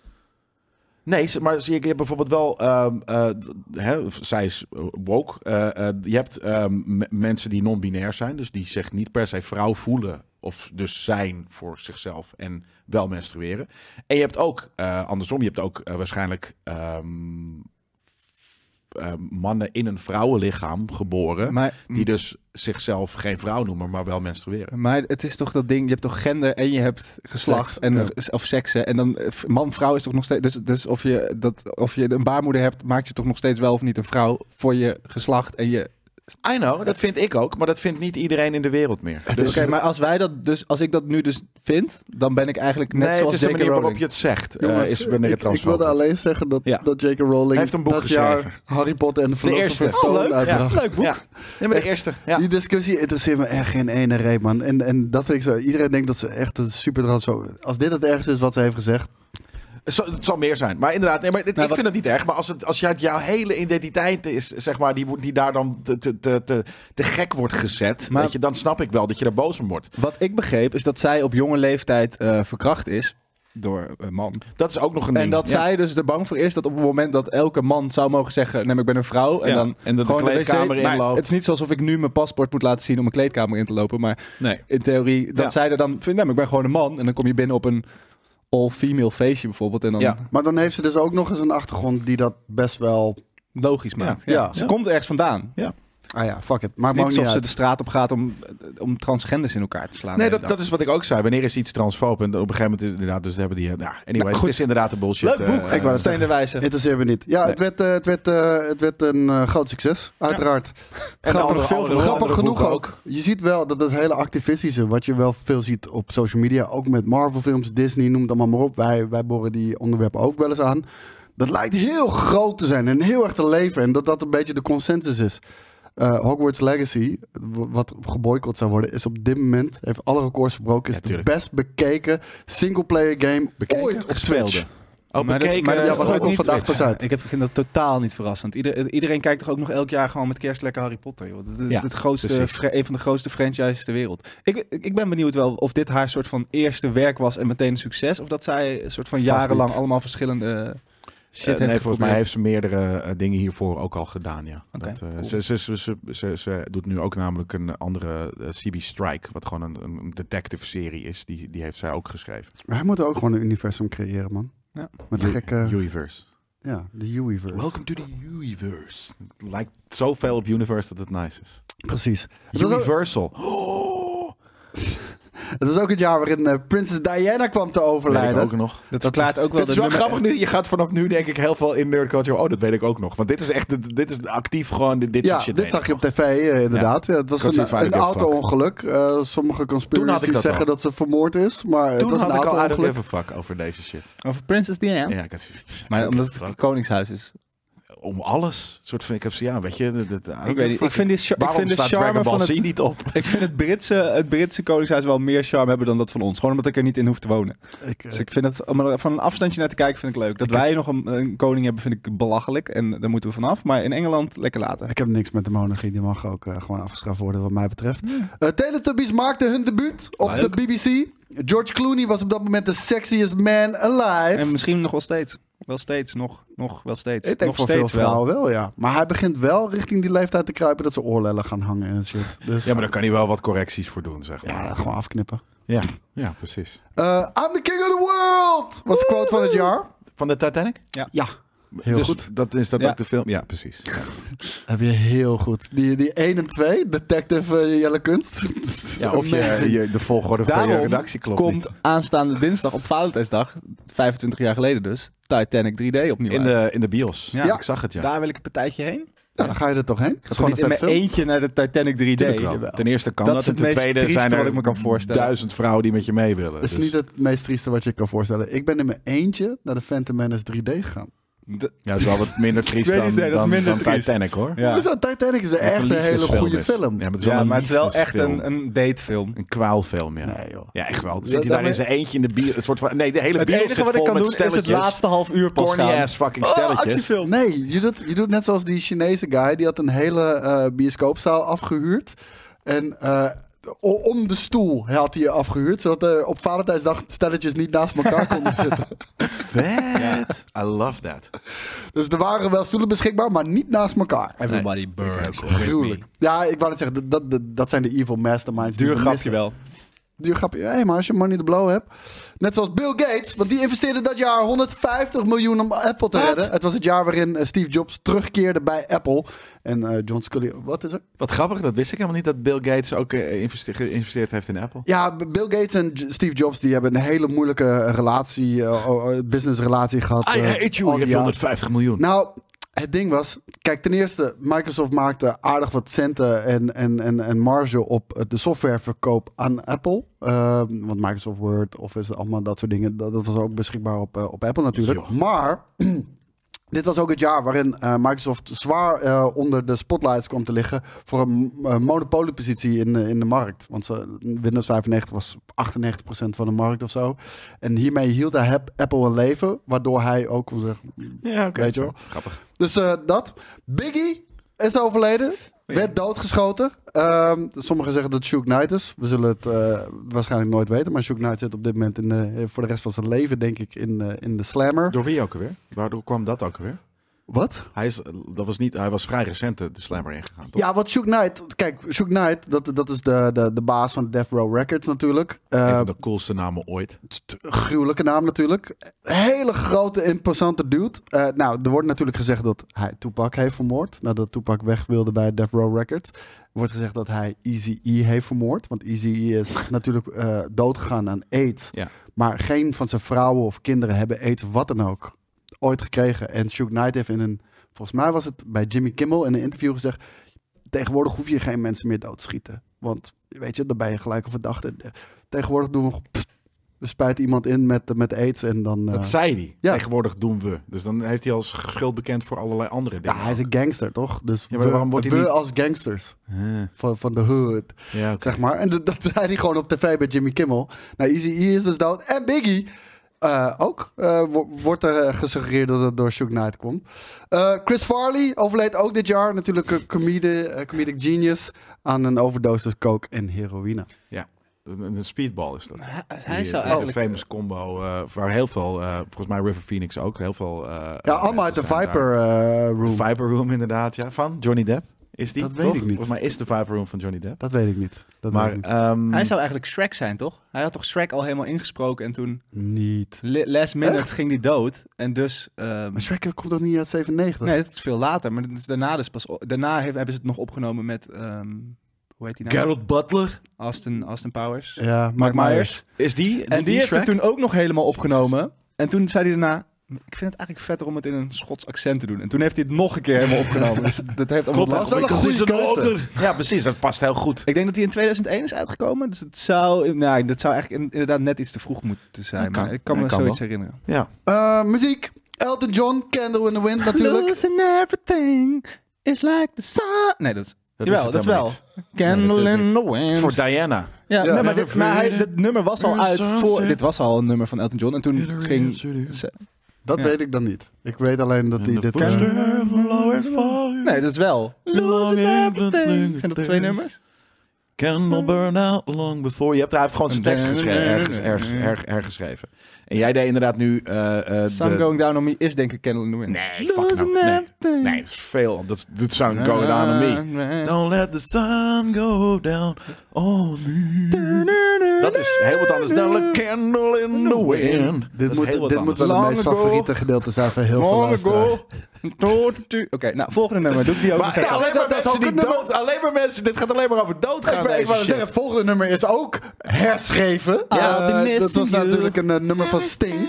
[SPEAKER 2] Nee, ze- maar zie ik, je hebt bijvoorbeeld wel, ehm, eh, d- hè, zij is eh, woke. Eh, eh, je hebt ehm, m- mensen die non-binair zijn, dus die zich niet per se vrouw voelen of dus zijn voor zichzelf en wel menstrueren. En je hebt ook eh, andersom, je hebt ook eh, waarschijnlijk ehm, eh, mannen in een vrouwenlichaam geboren.
[SPEAKER 3] Maar,
[SPEAKER 2] Die dus zichzelf geen vrouw noemen, maar wel menstrueren.
[SPEAKER 3] maar het is toch dat ding, je hebt toch gender en je hebt geslacht
[SPEAKER 4] Seks,
[SPEAKER 3] en,
[SPEAKER 4] ja.
[SPEAKER 3] of seksen. En dan eh, man, vrouw is toch nog steeds... Dus, dus of, je dat, of je een baarmoeder hebt, maakt je toch nog steeds wel of niet een vrouw voor je geslacht en je
[SPEAKER 2] I know, dat vind ik ook, maar dat vindt niet iedereen in de wereld meer.
[SPEAKER 3] Dus, Oké, maar als wij dat dus, als ik dat nu dus vind, dan ben ik eigenlijk net
[SPEAKER 2] nee, het
[SPEAKER 3] zoals
[SPEAKER 2] is de
[SPEAKER 3] J.K.
[SPEAKER 2] manier waarop
[SPEAKER 3] Rowling.
[SPEAKER 2] je het zegt. eh,
[SPEAKER 4] Jongens,
[SPEAKER 2] is wanneer het
[SPEAKER 4] ik, ik wilde alleen zeggen dat,
[SPEAKER 2] Ja.
[SPEAKER 4] dat J.K. Rowling
[SPEAKER 2] Heeft een boek
[SPEAKER 4] dat jaar
[SPEAKER 2] geschreven.
[SPEAKER 4] Harry Potter en de
[SPEAKER 2] eerste.
[SPEAKER 4] Philosopher's
[SPEAKER 2] Oh,
[SPEAKER 4] Stone
[SPEAKER 2] leuk, ja.
[SPEAKER 4] uitbracht.
[SPEAKER 3] Leuk boek.
[SPEAKER 2] Ja. Nee, maar de eerste. Ja.
[SPEAKER 4] Die discussie interesseert me echt geen ene reet, man. En, en dat vind ik zo. Iedereen denkt dat ze echt een super zo. Als dit het ergste is wat ze heeft gezegd.
[SPEAKER 2] Het zal- het zal meer zijn. Maar inderdaad, nee, maar dit-
[SPEAKER 3] Nou,
[SPEAKER 2] ik
[SPEAKER 3] wat-
[SPEAKER 2] vind het niet erg. Maar als, het, als jij- jouw hele identiteit is, zeg maar, die, wo- die daar dan te, te, te, te, te gek wordt gezet,
[SPEAKER 3] Maar-
[SPEAKER 2] weet je, dan snap ik wel dat je daar boos om wordt.
[SPEAKER 3] Wat ik begreep is dat zij op jonge leeftijd eh, verkracht is door een man.
[SPEAKER 2] Dat is ook nog een ding.
[SPEAKER 3] En dat
[SPEAKER 2] Ja.
[SPEAKER 3] zij dus er bang voor is dat op het moment dat elke man zou mogen zeggen, nee, maar ik ben een vrouw. En
[SPEAKER 2] Ja,
[SPEAKER 3] dan
[SPEAKER 2] en dat de
[SPEAKER 3] gewoon
[SPEAKER 2] kleedkamer
[SPEAKER 3] wc maar
[SPEAKER 2] inloopt.
[SPEAKER 3] Het is niet alsof ik nu mijn paspoort moet laten zien om een kleedkamer in te lopen. Maar
[SPEAKER 2] Nee.
[SPEAKER 3] in theorie, dat
[SPEAKER 2] Ja.
[SPEAKER 3] zij er dan vindt, nee, maar ik ben gewoon een man. En dan kom je binnen op een all-female feestje bijvoorbeeld. En dan
[SPEAKER 2] Ja.
[SPEAKER 4] Maar dan heeft ze dus ook nog eens een achtergrond die dat best wel.
[SPEAKER 3] logisch maakt.
[SPEAKER 4] Ja. Ja.
[SPEAKER 3] Ze
[SPEAKER 2] Ja.
[SPEAKER 3] komt ergens vandaan.
[SPEAKER 4] Ah ja, fuck it.
[SPEAKER 3] Het is
[SPEAKER 4] Maar maakt
[SPEAKER 3] niet
[SPEAKER 4] niet
[SPEAKER 3] alsof ze
[SPEAKER 4] uit.
[SPEAKER 3] de straat op gaat om, om transgenders in elkaar te slaan.
[SPEAKER 2] Nee,
[SPEAKER 3] de hele
[SPEAKER 2] dat, dat
[SPEAKER 3] dag.
[SPEAKER 2] is wat ik ook zei. Wanneer is iets transfoob? En op een gegeven moment is het inderdaad, dus hebben die... Nou, anyway,
[SPEAKER 3] Nou, goed.
[SPEAKER 2] het is inderdaad een bullshit.
[SPEAKER 3] Leuk boek.
[SPEAKER 2] eh,
[SPEAKER 4] Ik wou dat
[SPEAKER 3] Steen de Wijze.
[SPEAKER 4] Interesseert me niet. Ja, het, werd, eh, het, werd, eh, het werd een eh, groot succes, uiteraard.
[SPEAKER 2] en
[SPEAKER 4] Grappig,
[SPEAKER 2] andere-
[SPEAKER 3] veel-
[SPEAKER 2] andere-
[SPEAKER 4] Grappig
[SPEAKER 2] andere
[SPEAKER 4] genoeg
[SPEAKER 2] boeken
[SPEAKER 4] ook. Je ziet wel dat het hele activistische, wat je wel veel ziet op social media, ook met Marvel-films, Disney, noem het allemaal maar op. Wij, wij boren die onderwerpen ook wel eens aan. Dat lijkt heel groot te zijn en heel erg te leven. En dat dat een beetje de consensus is. Eh, Hogwarts Legacy, w- wat geboycott zou worden, is op dit moment, heeft alle records verbroken, is
[SPEAKER 2] Ja,
[SPEAKER 4] de
[SPEAKER 2] tuurlijk.
[SPEAKER 4] best bekeken singleplayer game
[SPEAKER 2] Bekeken
[SPEAKER 4] ooit op
[SPEAKER 2] gespeelde.
[SPEAKER 4] Twitch.
[SPEAKER 2] Oh,
[SPEAKER 3] Maar dat-
[SPEAKER 2] bekeken.
[SPEAKER 3] maar dat
[SPEAKER 2] eh,
[SPEAKER 3] is
[SPEAKER 4] Ja, maar
[SPEAKER 3] toch
[SPEAKER 4] ook
[SPEAKER 3] niet-
[SPEAKER 4] op vandaag pas uit.
[SPEAKER 3] Ik heb, vind dat totaal niet verrassend. Ieder- iedereen kijkt toch ook nog elk jaar gewoon met kerst lekker Harry Potter. Joh. Dat is
[SPEAKER 2] Ja,
[SPEAKER 3] het grootste,
[SPEAKER 2] precies.
[SPEAKER 3] fra- een van de grootste franchises ter wereld. Ik, ik ben benieuwd wel of dit haar soort van eerste werk was en meteen een succes. Of dat zij een soort van
[SPEAKER 4] Vast
[SPEAKER 3] jarenlang
[SPEAKER 4] niet.
[SPEAKER 3] allemaal verschillende shit
[SPEAKER 2] Eh,
[SPEAKER 3] heeft
[SPEAKER 2] nee, volgens mij
[SPEAKER 3] geprobeerd.
[SPEAKER 2] heeft ze meerdere eh, dingen hiervoor ook al gedaan, ja.
[SPEAKER 3] Oké,
[SPEAKER 2] Dat, eh,
[SPEAKER 3] cool.
[SPEAKER 2] ze, ze, ze, ze, ze- ze doet nu ook namelijk een andere eh, CB Strike, wat gewoon een, een detective-serie is. Die, die heeft zij ook geschreven.
[SPEAKER 4] Wij moeten ook gewoon een universum creëren, man.
[SPEAKER 3] Ja.
[SPEAKER 4] Met gekke...
[SPEAKER 2] Universe.
[SPEAKER 4] Ja, de Hueyverse.
[SPEAKER 2] Welcome to the Universe. Het lijkt zoveel op Universe dat het nice is.
[SPEAKER 4] Precies. Het was, ook,
[SPEAKER 2] Universal. Oh,
[SPEAKER 4] het was ook het jaar waarin eh, Prinses Diana kwam te
[SPEAKER 2] weet ik
[SPEAKER 4] overlijden.
[SPEAKER 2] ook nog.
[SPEAKER 3] Dat verklaart ook wel
[SPEAKER 2] Het is
[SPEAKER 3] de
[SPEAKER 2] wel
[SPEAKER 3] nummer-
[SPEAKER 2] grappig nu. Je gaat vanaf nu denk ik heel veel in nerd culture. Oh, dat weet ik ook nog. Want dit is echt, dit- dit is actief gewoon, dit, dit
[SPEAKER 4] ja,
[SPEAKER 2] soort shit.
[SPEAKER 4] dit
[SPEAKER 2] weet
[SPEAKER 4] zag
[SPEAKER 2] ik
[SPEAKER 4] je op tv eh, inderdaad. Ja. het was
[SPEAKER 2] Ik had zo'n
[SPEAKER 4] een,
[SPEAKER 2] vader
[SPEAKER 4] een
[SPEAKER 2] die
[SPEAKER 4] auto-ongeluk. Eh, sommige
[SPEAKER 2] Toen had ik
[SPEAKER 4] conspiracies
[SPEAKER 2] dat
[SPEAKER 4] zeggen
[SPEAKER 2] al.
[SPEAKER 4] dat ze vermoord is, maar het
[SPEAKER 2] Toen
[SPEAKER 4] was een
[SPEAKER 2] had ik al uit
[SPEAKER 4] auto-ongeluk.
[SPEAKER 2] de fuck over deze shit.
[SPEAKER 3] Over Princess Diana.
[SPEAKER 2] Ja, ik had,
[SPEAKER 3] Maar
[SPEAKER 2] ik
[SPEAKER 3] omdat
[SPEAKER 2] had
[SPEAKER 3] het een koningshuis is.
[SPEAKER 2] om alles. Soort van, ik heb ze, ja, weet je, dat, dat-
[SPEAKER 3] Ik, weet niet, ik vind, die, char- ik
[SPEAKER 2] Waarom
[SPEAKER 3] vind de
[SPEAKER 2] staat
[SPEAKER 3] charme
[SPEAKER 2] Dragon Ball
[SPEAKER 3] van
[SPEAKER 2] Z
[SPEAKER 3] het,
[SPEAKER 2] niet op?
[SPEAKER 3] ik vind het Britse, het Britse koningshuis wel meer charme hebben dan dat van ons. Gewoon omdat ik er niet in hoef te wonen.
[SPEAKER 4] Ik, eh,
[SPEAKER 3] Dus ik vind het, om er van een afstandje naar te kijken, vind ik leuk. Dat wij nog een, een koning hebben, vind ik belachelijk. En daar moeten we vanaf. Maar in Engeland, lekker laten.
[SPEAKER 4] ik heb niks met de monarchie, die mag ook eh, gewoon afgeschaft worden wat mij betreft. Eh, Teletubbies maakte hun debuut op de
[SPEAKER 3] Leuk.
[SPEAKER 4] BBC. George Clooney was op dat moment de sexiest man alive.
[SPEAKER 3] En misschien nog wel steeds. Wel steeds, nog, nog, wel steeds.
[SPEAKER 4] Ik
[SPEAKER 3] nog
[SPEAKER 4] denk voor
[SPEAKER 3] steeds
[SPEAKER 4] veel vrouwen wel. ja. Maar hij begint wel richting die leeftijd te kruipen dat ze oorlellen gaan hangen en shit. Dus
[SPEAKER 2] Ja, maar daar kan hij wel wat correcties voor doen, zeg maar.
[SPEAKER 4] ja, gewoon afknippen.
[SPEAKER 2] Ja, ja precies.
[SPEAKER 4] Eh, I'm the king of the world! Was de quote van het jaar.
[SPEAKER 2] Van de Titanic?
[SPEAKER 4] Ja, heel
[SPEAKER 2] Dus
[SPEAKER 4] goed.
[SPEAKER 2] Dat is dat
[SPEAKER 3] Ja.
[SPEAKER 2] ook de film? Ja, precies. Ja.
[SPEAKER 4] Heb je heel goed. Die, die 1 en 2, Detective eh, Jelle Kunst.
[SPEAKER 2] Ja, of je,
[SPEAKER 4] Amazing.
[SPEAKER 2] je- de volgorde van je
[SPEAKER 3] Daarom
[SPEAKER 2] redactie klopt
[SPEAKER 3] komt
[SPEAKER 2] niet.
[SPEAKER 3] aanstaande dinsdag op Valentijnsdag, 25 jaar geleden dus, Titanic 3D opnieuw
[SPEAKER 2] In
[SPEAKER 3] uit.
[SPEAKER 2] de, in de bios.
[SPEAKER 3] Ja.
[SPEAKER 2] Ja.
[SPEAKER 4] Ja.
[SPEAKER 2] Ik zag het, ja.
[SPEAKER 3] Daar wil ik een partijtje heen. Ik
[SPEAKER 4] Ja, Nou, dan ga je er toch heen. Het
[SPEAKER 3] ga toch
[SPEAKER 4] is gewoon een
[SPEAKER 3] niet in
[SPEAKER 4] vet
[SPEAKER 3] mijn
[SPEAKER 4] film.
[SPEAKER 3] eentje naar de Titanic 3D.
[SPEAKER 2] Tuurlijk wel.
[SPEAKER 3] Jawel.
[SPEAKER 2] Ten eerste kan
[SPEAKER 3] Dat
[SPEAKER 2] dat.
[SPEAKER 3] is
[SPEAKER 2] en
[SPEAKER 3] het
[SPEAKER 2] ten
[SPEAKER 3] meest
[SPEAKER 2] tweede
[SPEAKER 3] trieste
[SPEAKER 2] zijn er
[SPEAKER 3] wat ik me kan voorstellen.
[SPEAKER 2] duizend vrouwen die met je mee willen.
[SPEAKER 4] Dat is
[SPEAKER 2] dus.
[SPEAKER 4] niet het meest trieste wat je kan voorstellen. Ik ben in mijn eentje naar de Phantom Menace 3D gegaan.
[SPEAKER 3] De-
[SPEAKER 2] Ja, het is wel wat minder triest
[SPEAKER 3] weet
[SPEAKER 2] dan,
[SPEAKER 3] niet, nee, dat is
[SPEAKER 2] dan,
[SPEAKER 3] minder
[SPEAKER 2] dan
[SPEAKER 3] triest.
[SPEAKER 2] Titanic, hoor.
[SPEAKER 3] Ja.
[SPEAKER 4] Dus, ja, Titanic is
[SPEAKER 2] Wat
[SPEAKER 4] echt een hele
[SPEAKER 2] liefdesfilm
[SPEAKER 4] goede
[SPEAKER 2] is.
[SPEAKER 4] film.
[SPEAKER 2] Ja, maar het is wel,
[SPEAKER 3] Ja,
[SPEAKER 2] een
[SPEAKER 3] maar het is wel echt
[SPEAKER 2] liefdesfilm.
[SPEAKER 3] een, een datefilm.
[SPEAKER 2] Een kwaalfilm, ja.
[SPEAKER 4] Nee, joh.
[SPEAKER 2] Ja, echt wel. Dan
[SPEAKER 4] Ja,
[SPEAKER 2] Zit hij daar
[SPEAKER 4] daarmee-
[SPEAKER 2] in zijn eentje in de bier? Een soort van, nee, de hele
[SPEAKER 3] Het
[SPEAKER 2] bier
[SPEAKER 3] enige wat ik kan doen is het laatste half uur pas
[SPEAKER 2] corny
[SPEAKER 3] gaan.
[SPEAKER 2] ass fucking
[SPEAKER 3] Oh,
[SPEAKER 2] stelletjes.
[SPEAKER 3] actiefilm.
[SPEAKER 4] Nee, je doet, je doet net zoals die Chinese guy. Die had een hele eh, bioscoopzaal afgehuurd. En eh, o- om de stoel had hij afgehuurd. Zodat er op Valentijnsdag stelletjes niet naast elkaar konden zitten.
[SPEAKER 2] Vet. I love that.
[SPEAKER 4] Dus er waren wel stoelen beschikbaar, maar niet naast elkaar.
[SPEAKER 3] Everybody burns.
[SPEAKER 2] Gruwelijk.
[SPEAKER 4] Ja, ik wou net zeggen, dat, dat, dat zijn de evil masterminds. die
[SPEAKER 3] Duur
[SPEAKER 4] we
[SPEAKER 3] grapje
[SPEAKER 4] missen.
[SPEAKER 3] wel.
[SPEAKER 4] Duur grapje. Hé, maar als je money the blow hebt. Net zoals Bill Gates, want die investeerde dat jaar 150 miljoen om Apple te redden. Het was het jaar waarin eh, Steve Jobs terugkeerde bij Apple. En eh, John Scully, wat is er?
[SPEAKER 2] Wat grappig, dat wist ik helemaal niet dat Bill Gates ook eh, investe- geïnvesteerd heeft in Apple.
[SPEAKER 4] Ja, B- Bill Gates en J- Steve Jobs die hebben een hele moeilijke eh, relatie, eh, o- o- businessrelatie gehad.
[SPEAKER 3] Ah,
[SPEAKER 4] eh, al
[SPEAKER 2] Je
[SPEAKER 4] die
[SPEAKER 2] hebt
[SPEAKER 4] jaren.
[SPEAKER 2] 150 miljoen.
[SPEAKER 4] Nou, het ding was, kijk, ten eerste, Microsoft maakte aardig wat centen en, en, en, en marge op eh, de softwareverkoop aan Apple. Ehm, want Microsoft Word, Office, allemaal dat soort dingen, dat, dat was ook beschikbaar op, eh, op Apple natuurlijk.
[SPEAKER 2] Joh.
[SPEAKER 4] Maar dit was ook het jaar waarin eh, Microsoft zwaar eh, onder de spotlights kwam te liggen voor een eh, monopoliepositie in, de- in de markt. Want ze, Windows 95 was 98% van de markt of zo. En hiermee hield hij Hap- Apple een leven, waardoor hij ook, hoe zeg,
[SPEAKER 2] ja, oké.
[SPEAKER 4] weet je wel.
[SPEAKER 2] Grappig.
[SPEAKER 4] Dus eh, dat. Biggie is overleden. Werd doodgeschoten. Ehm, sommigen zeggen dat het Shook Knight is. We zullen het eh, waarschijnlijk nooit weten. Maar Shook Knight zit op dit moment in de, eh, voor de rest van zijn leven, denk ik, in, eh, in de slammer.
[SPEAKER 2] Door wie ook alweer? Waardoor kwam dat ook alweer?
[SPEAKER 4] Wat?
[SPEAKER 2] Hij, is, dat was, niet, hij was vrij recent de de Slammer ingegaan, toch?
[SPEAKER 4] Ja, wat Shook Knight... Kijk, Shook Knight, dat, dat is de, de, de baas van Death Row Records natuurlijk. Eh,
[SPEAKER 2] Een van de coolste namen ooit.
[SPEAKER 4] t- gruwelijke naam natuurlijk. Hele grote, imposante dude. Eh, nou, er wordt natuurlijk gezegd dat hij Tupac heeft vermoord. Nadat Tupac weg wilde bij Death Row Records. Wordt gezegd dat hij Eazy-E heeft vermoord. Want Eazy-E is natuurlijk eh, doodgegaan aan AIDS.
[SPEAKER 2] Ja.
[SPEAKER 4] Maar geen van zijn vrouwen of kinderen hebben AIDS, of wat dan ook, ooit gekregen. En Shook Knight heeft in een... Volgens mij was het bij Jimmy Kimmel in een interview gezegd... Tegenwoordig hoef je geen mensen meer dood te schieten. Want, weet je, dan ben je gelijk een verdachte. Tegenwoordig doen we... pff, we spuiten iemand in met, met AIDS en dan... eh,
[SPEAKER 2] Dat zei hij.
[SPEAKER 4] Ja.
[SPEAKER 2] Tegenwoordig doen we. Dus dan heeft hij als schuld bekend voor allerlei andere dingen.
[SPEAKER 4] ja, hij is een gangster, toch? Dus
[SPEAKER 2] Ja, maar
[SPEAKER 4] we,
[SPEAKER 2] waarom wordt hij
[SPEAKER 4] we
[SPEAKER 2] niet-
[SPEAKER 4] als gangsters
[SPEAKER 2] Huh.
[SPEAKER 4] van, van de hood,
[SPEAKER 2] Ja, oké.
[SPEAKER 4] zeg maar. En dat, dat zei hij gewoon op tv bij Jimmy Kimmel. Nou, Easy E is dus dood. En Biggie eh, ook. eh, wo- wordt er eh, gesuggereerd dat het door Shook Knight komt. Eh, Chris Farley overleed ook dit jaar. Natuurlijk een comedi- eh, comedic genius aan een overdosis coke en heroïne.
[SPEAKER 2] Ja. Een, een speedball is dat.
[SPEAKER 3] Hij,
[SPEAKER 2] Die,
[SPEAKER 3] zou
[SPEAKER 2] eh,
[SPEAKER 3] eigenlijk...
[SPEAKER 2] Een famous combo eh, waar heel veel, eh, volgens mij River Phoenix ook, heel veel... eh,
[SPEAKER 4] Ja,
[SPEAKER 2] eh,
[SPEAKER 4] allemaal uit de
[SPEAKER 2] mensen zijn daar.
[SPEAKER 4] Viper eh, Room.
[SPEAKER 2] De Viper Room inderdaad, ja. Van Johnny Depp is die,
[SPEAKER 4] Dat weet
[SPEAKER 2] toch?
[SPEAKER 4] ik niet.
[SPEAKER 2] Volgens mij is de Viper Room van Johnny Depp.
[SPEAKER 4] dat weet ik niet. Dat
[SPEAKER 2] maar
[SPEAKER 4] weet ik
[SPEAKER 2] ehm,
[SPEAKER 3] Hij zou eigenlijk Shrek zijn, toch? Hij had toch Shrek al helemaal ingesproken en toen
[SPEAKER 4] niet. Niet.
[SPEAKER 3] li- last minute ging hij dood. En dus... ehm,
[SPEAKER 4] Maar Shrek komt toch niet uit 97?
[SPEAKER 3] nee, dat is veel later. Maar dat is daarna dus pas... o- Daarna heeft- hebben ze het nog opgenomen met... ehm, hoe heet die nou?
[SPEAKER 2] Gerald Butler,
[SPEAKER 3] Austin, Austin Powers.
[SPEAKER 4] Ja, Mike Myers.
[SPEAKER 2] is die?
[SPEAKER 3] En die heeft
[SPEAKER 2] Shrek?
[SPEAKER 3] het toen ook nog helemaal opgenomen. En toen zei hij daarna... Ik vind het eigenlijk vetter om het in een Schots accent te doen. En toen heeft hij het nog een keer helemaal opgenomen. Dus dat heeft allemaal
[SPEAKER 2] Klopt, dat is wel een
[SPEAKER 4] goede
[SPEAKER 2] goede
[SPEAKER 4] keuze.
[SPEAKER 2] oker. Ja, precies, dat past heel goed.
[SPEAKER 3] Ik denk dat hij in 2001 is uitgekomen. Dus het zou, nou, dat zou eigenlijk in- inderdaad net iets te vroeg moeten zijn.
[SPEAKER 2] Dat kan.
[SPEAKER 3] maar ik kan me
[SPEAKER 2] Dat kan
[SPEAKER 3] zoiets herinneren.
[SPEAKER 2] Ja.
[SPEAKER 4] Eh, muziek. Elton John, Candle in the Wind natuurlijk.
[SPEAKER 3] Losing everything is like the sun. Nee, dat is...
[SPEAKER 2] Dat
[SPEAKER 3] jawel,
[SPEAKER 2] is het
[SPEAKER 3] dat is
[SPEAKER 2] helemaal
[SPEAKER 3] wel. Candle
[SPEAKER 2] natuurlijk
[SPEAKER 3] in the
[SPEAKER 2] Het
[SPEAKER 3] wind.
[SPEAKER 2] is voor Diana.
[SPEAKER 3] ja,
[SPEAKER 4] Ja.
[SPEAKER 3] nee, maar, dit,
[SPEAKER 2] Never
[SPEAKER 3] maar hij,
[SPEAKER 2] forget
[SPEAKER 3] dit nummer was al uit
[SPEAKER 2] Your
[SPEAKER 3] voor...
[SPEAKER 2] sunset.
[SPEAKER 3] Dit was al een nummer van Elton John. En toen ging... ze-
[SPEAKER 4] Dat
[SPEAKER 3] Ja.
[SPEAKER 4] weet ik dan niet. Ik weet alleen dat hij dit... eh,
[SPEAKER 3] Nee, dat is wel. Losing everything. Zijn dat twee nummers?
[SPEAKER 2] Candle burn out long before. Je hebt, hij heeft gewoon zijn tekst geschreven, ergens, ergens, erg- hergeschreven. En jij deed inderdaad nu eh, eh,
[SPEAKER 3] Sun
[SPEAKER 2] de-
[SPEAKER 3] Going Down On Me is denk ik Candle in the Wind.
[SPEAKER 2] Nee, fuck no. Nee, nee dat is veel. Dat is dat is Sun Go Down on Me. Don't let the sun go down on me. Dat is heel wat anders dan een candle in the wind. Dat
[SPEAKER 4] Dit
[SPEAKER 2] is
[SPEAKER 4] moet,
[SPEAKER 2] heel wat
[SPEAKER 4] dit moet
[SPEAKER 2] anders.
[SPEAKER 4] wel het
[SPEAKER 3] Long
[SPEAKER 4] meest
[SPEAKER 3] ago.
[SPEAKER 4] favoriete gedeelte zijn van heel veel
[SPEAKER 3] Long
[SPEAKER 4] luisteraars.
[SPEAKER 3] ago. Tot- Oké, nou, volgende nummer. Doe ik die ook nog
[SPEAKER 2] Maar
[SPEAKER 3] even.
[SPEAKER 2] alleen maar
[SPEAKER 4] dat is
[SPEAKER 2] mensen
[SPEAKER 4] ook
[SPEAKER 2] die
[SPEAKER 4] een nummer.
[SPEAKER 2] dood... Alleen maar mensen... Dit gaat alleen maar over doodgaan,
[SPEAKER 4] Ik wou- Ik
[SPEAKER 2] deze
[SPEAKER 4] wou
[SPEAKER 2] shit.
[SPEAKER 4] zeggen, het volgende nummer is ook herschreven.
[SPEAKER 3] Ja,
[SPEAKER 4] Eh,
[SPEAKER 3] I'll be
[SPEAKER 4] dat was
[SPEAKER 3] missing you.
[SPEAKER 4] natuurlijk een eh, nummer van Sting.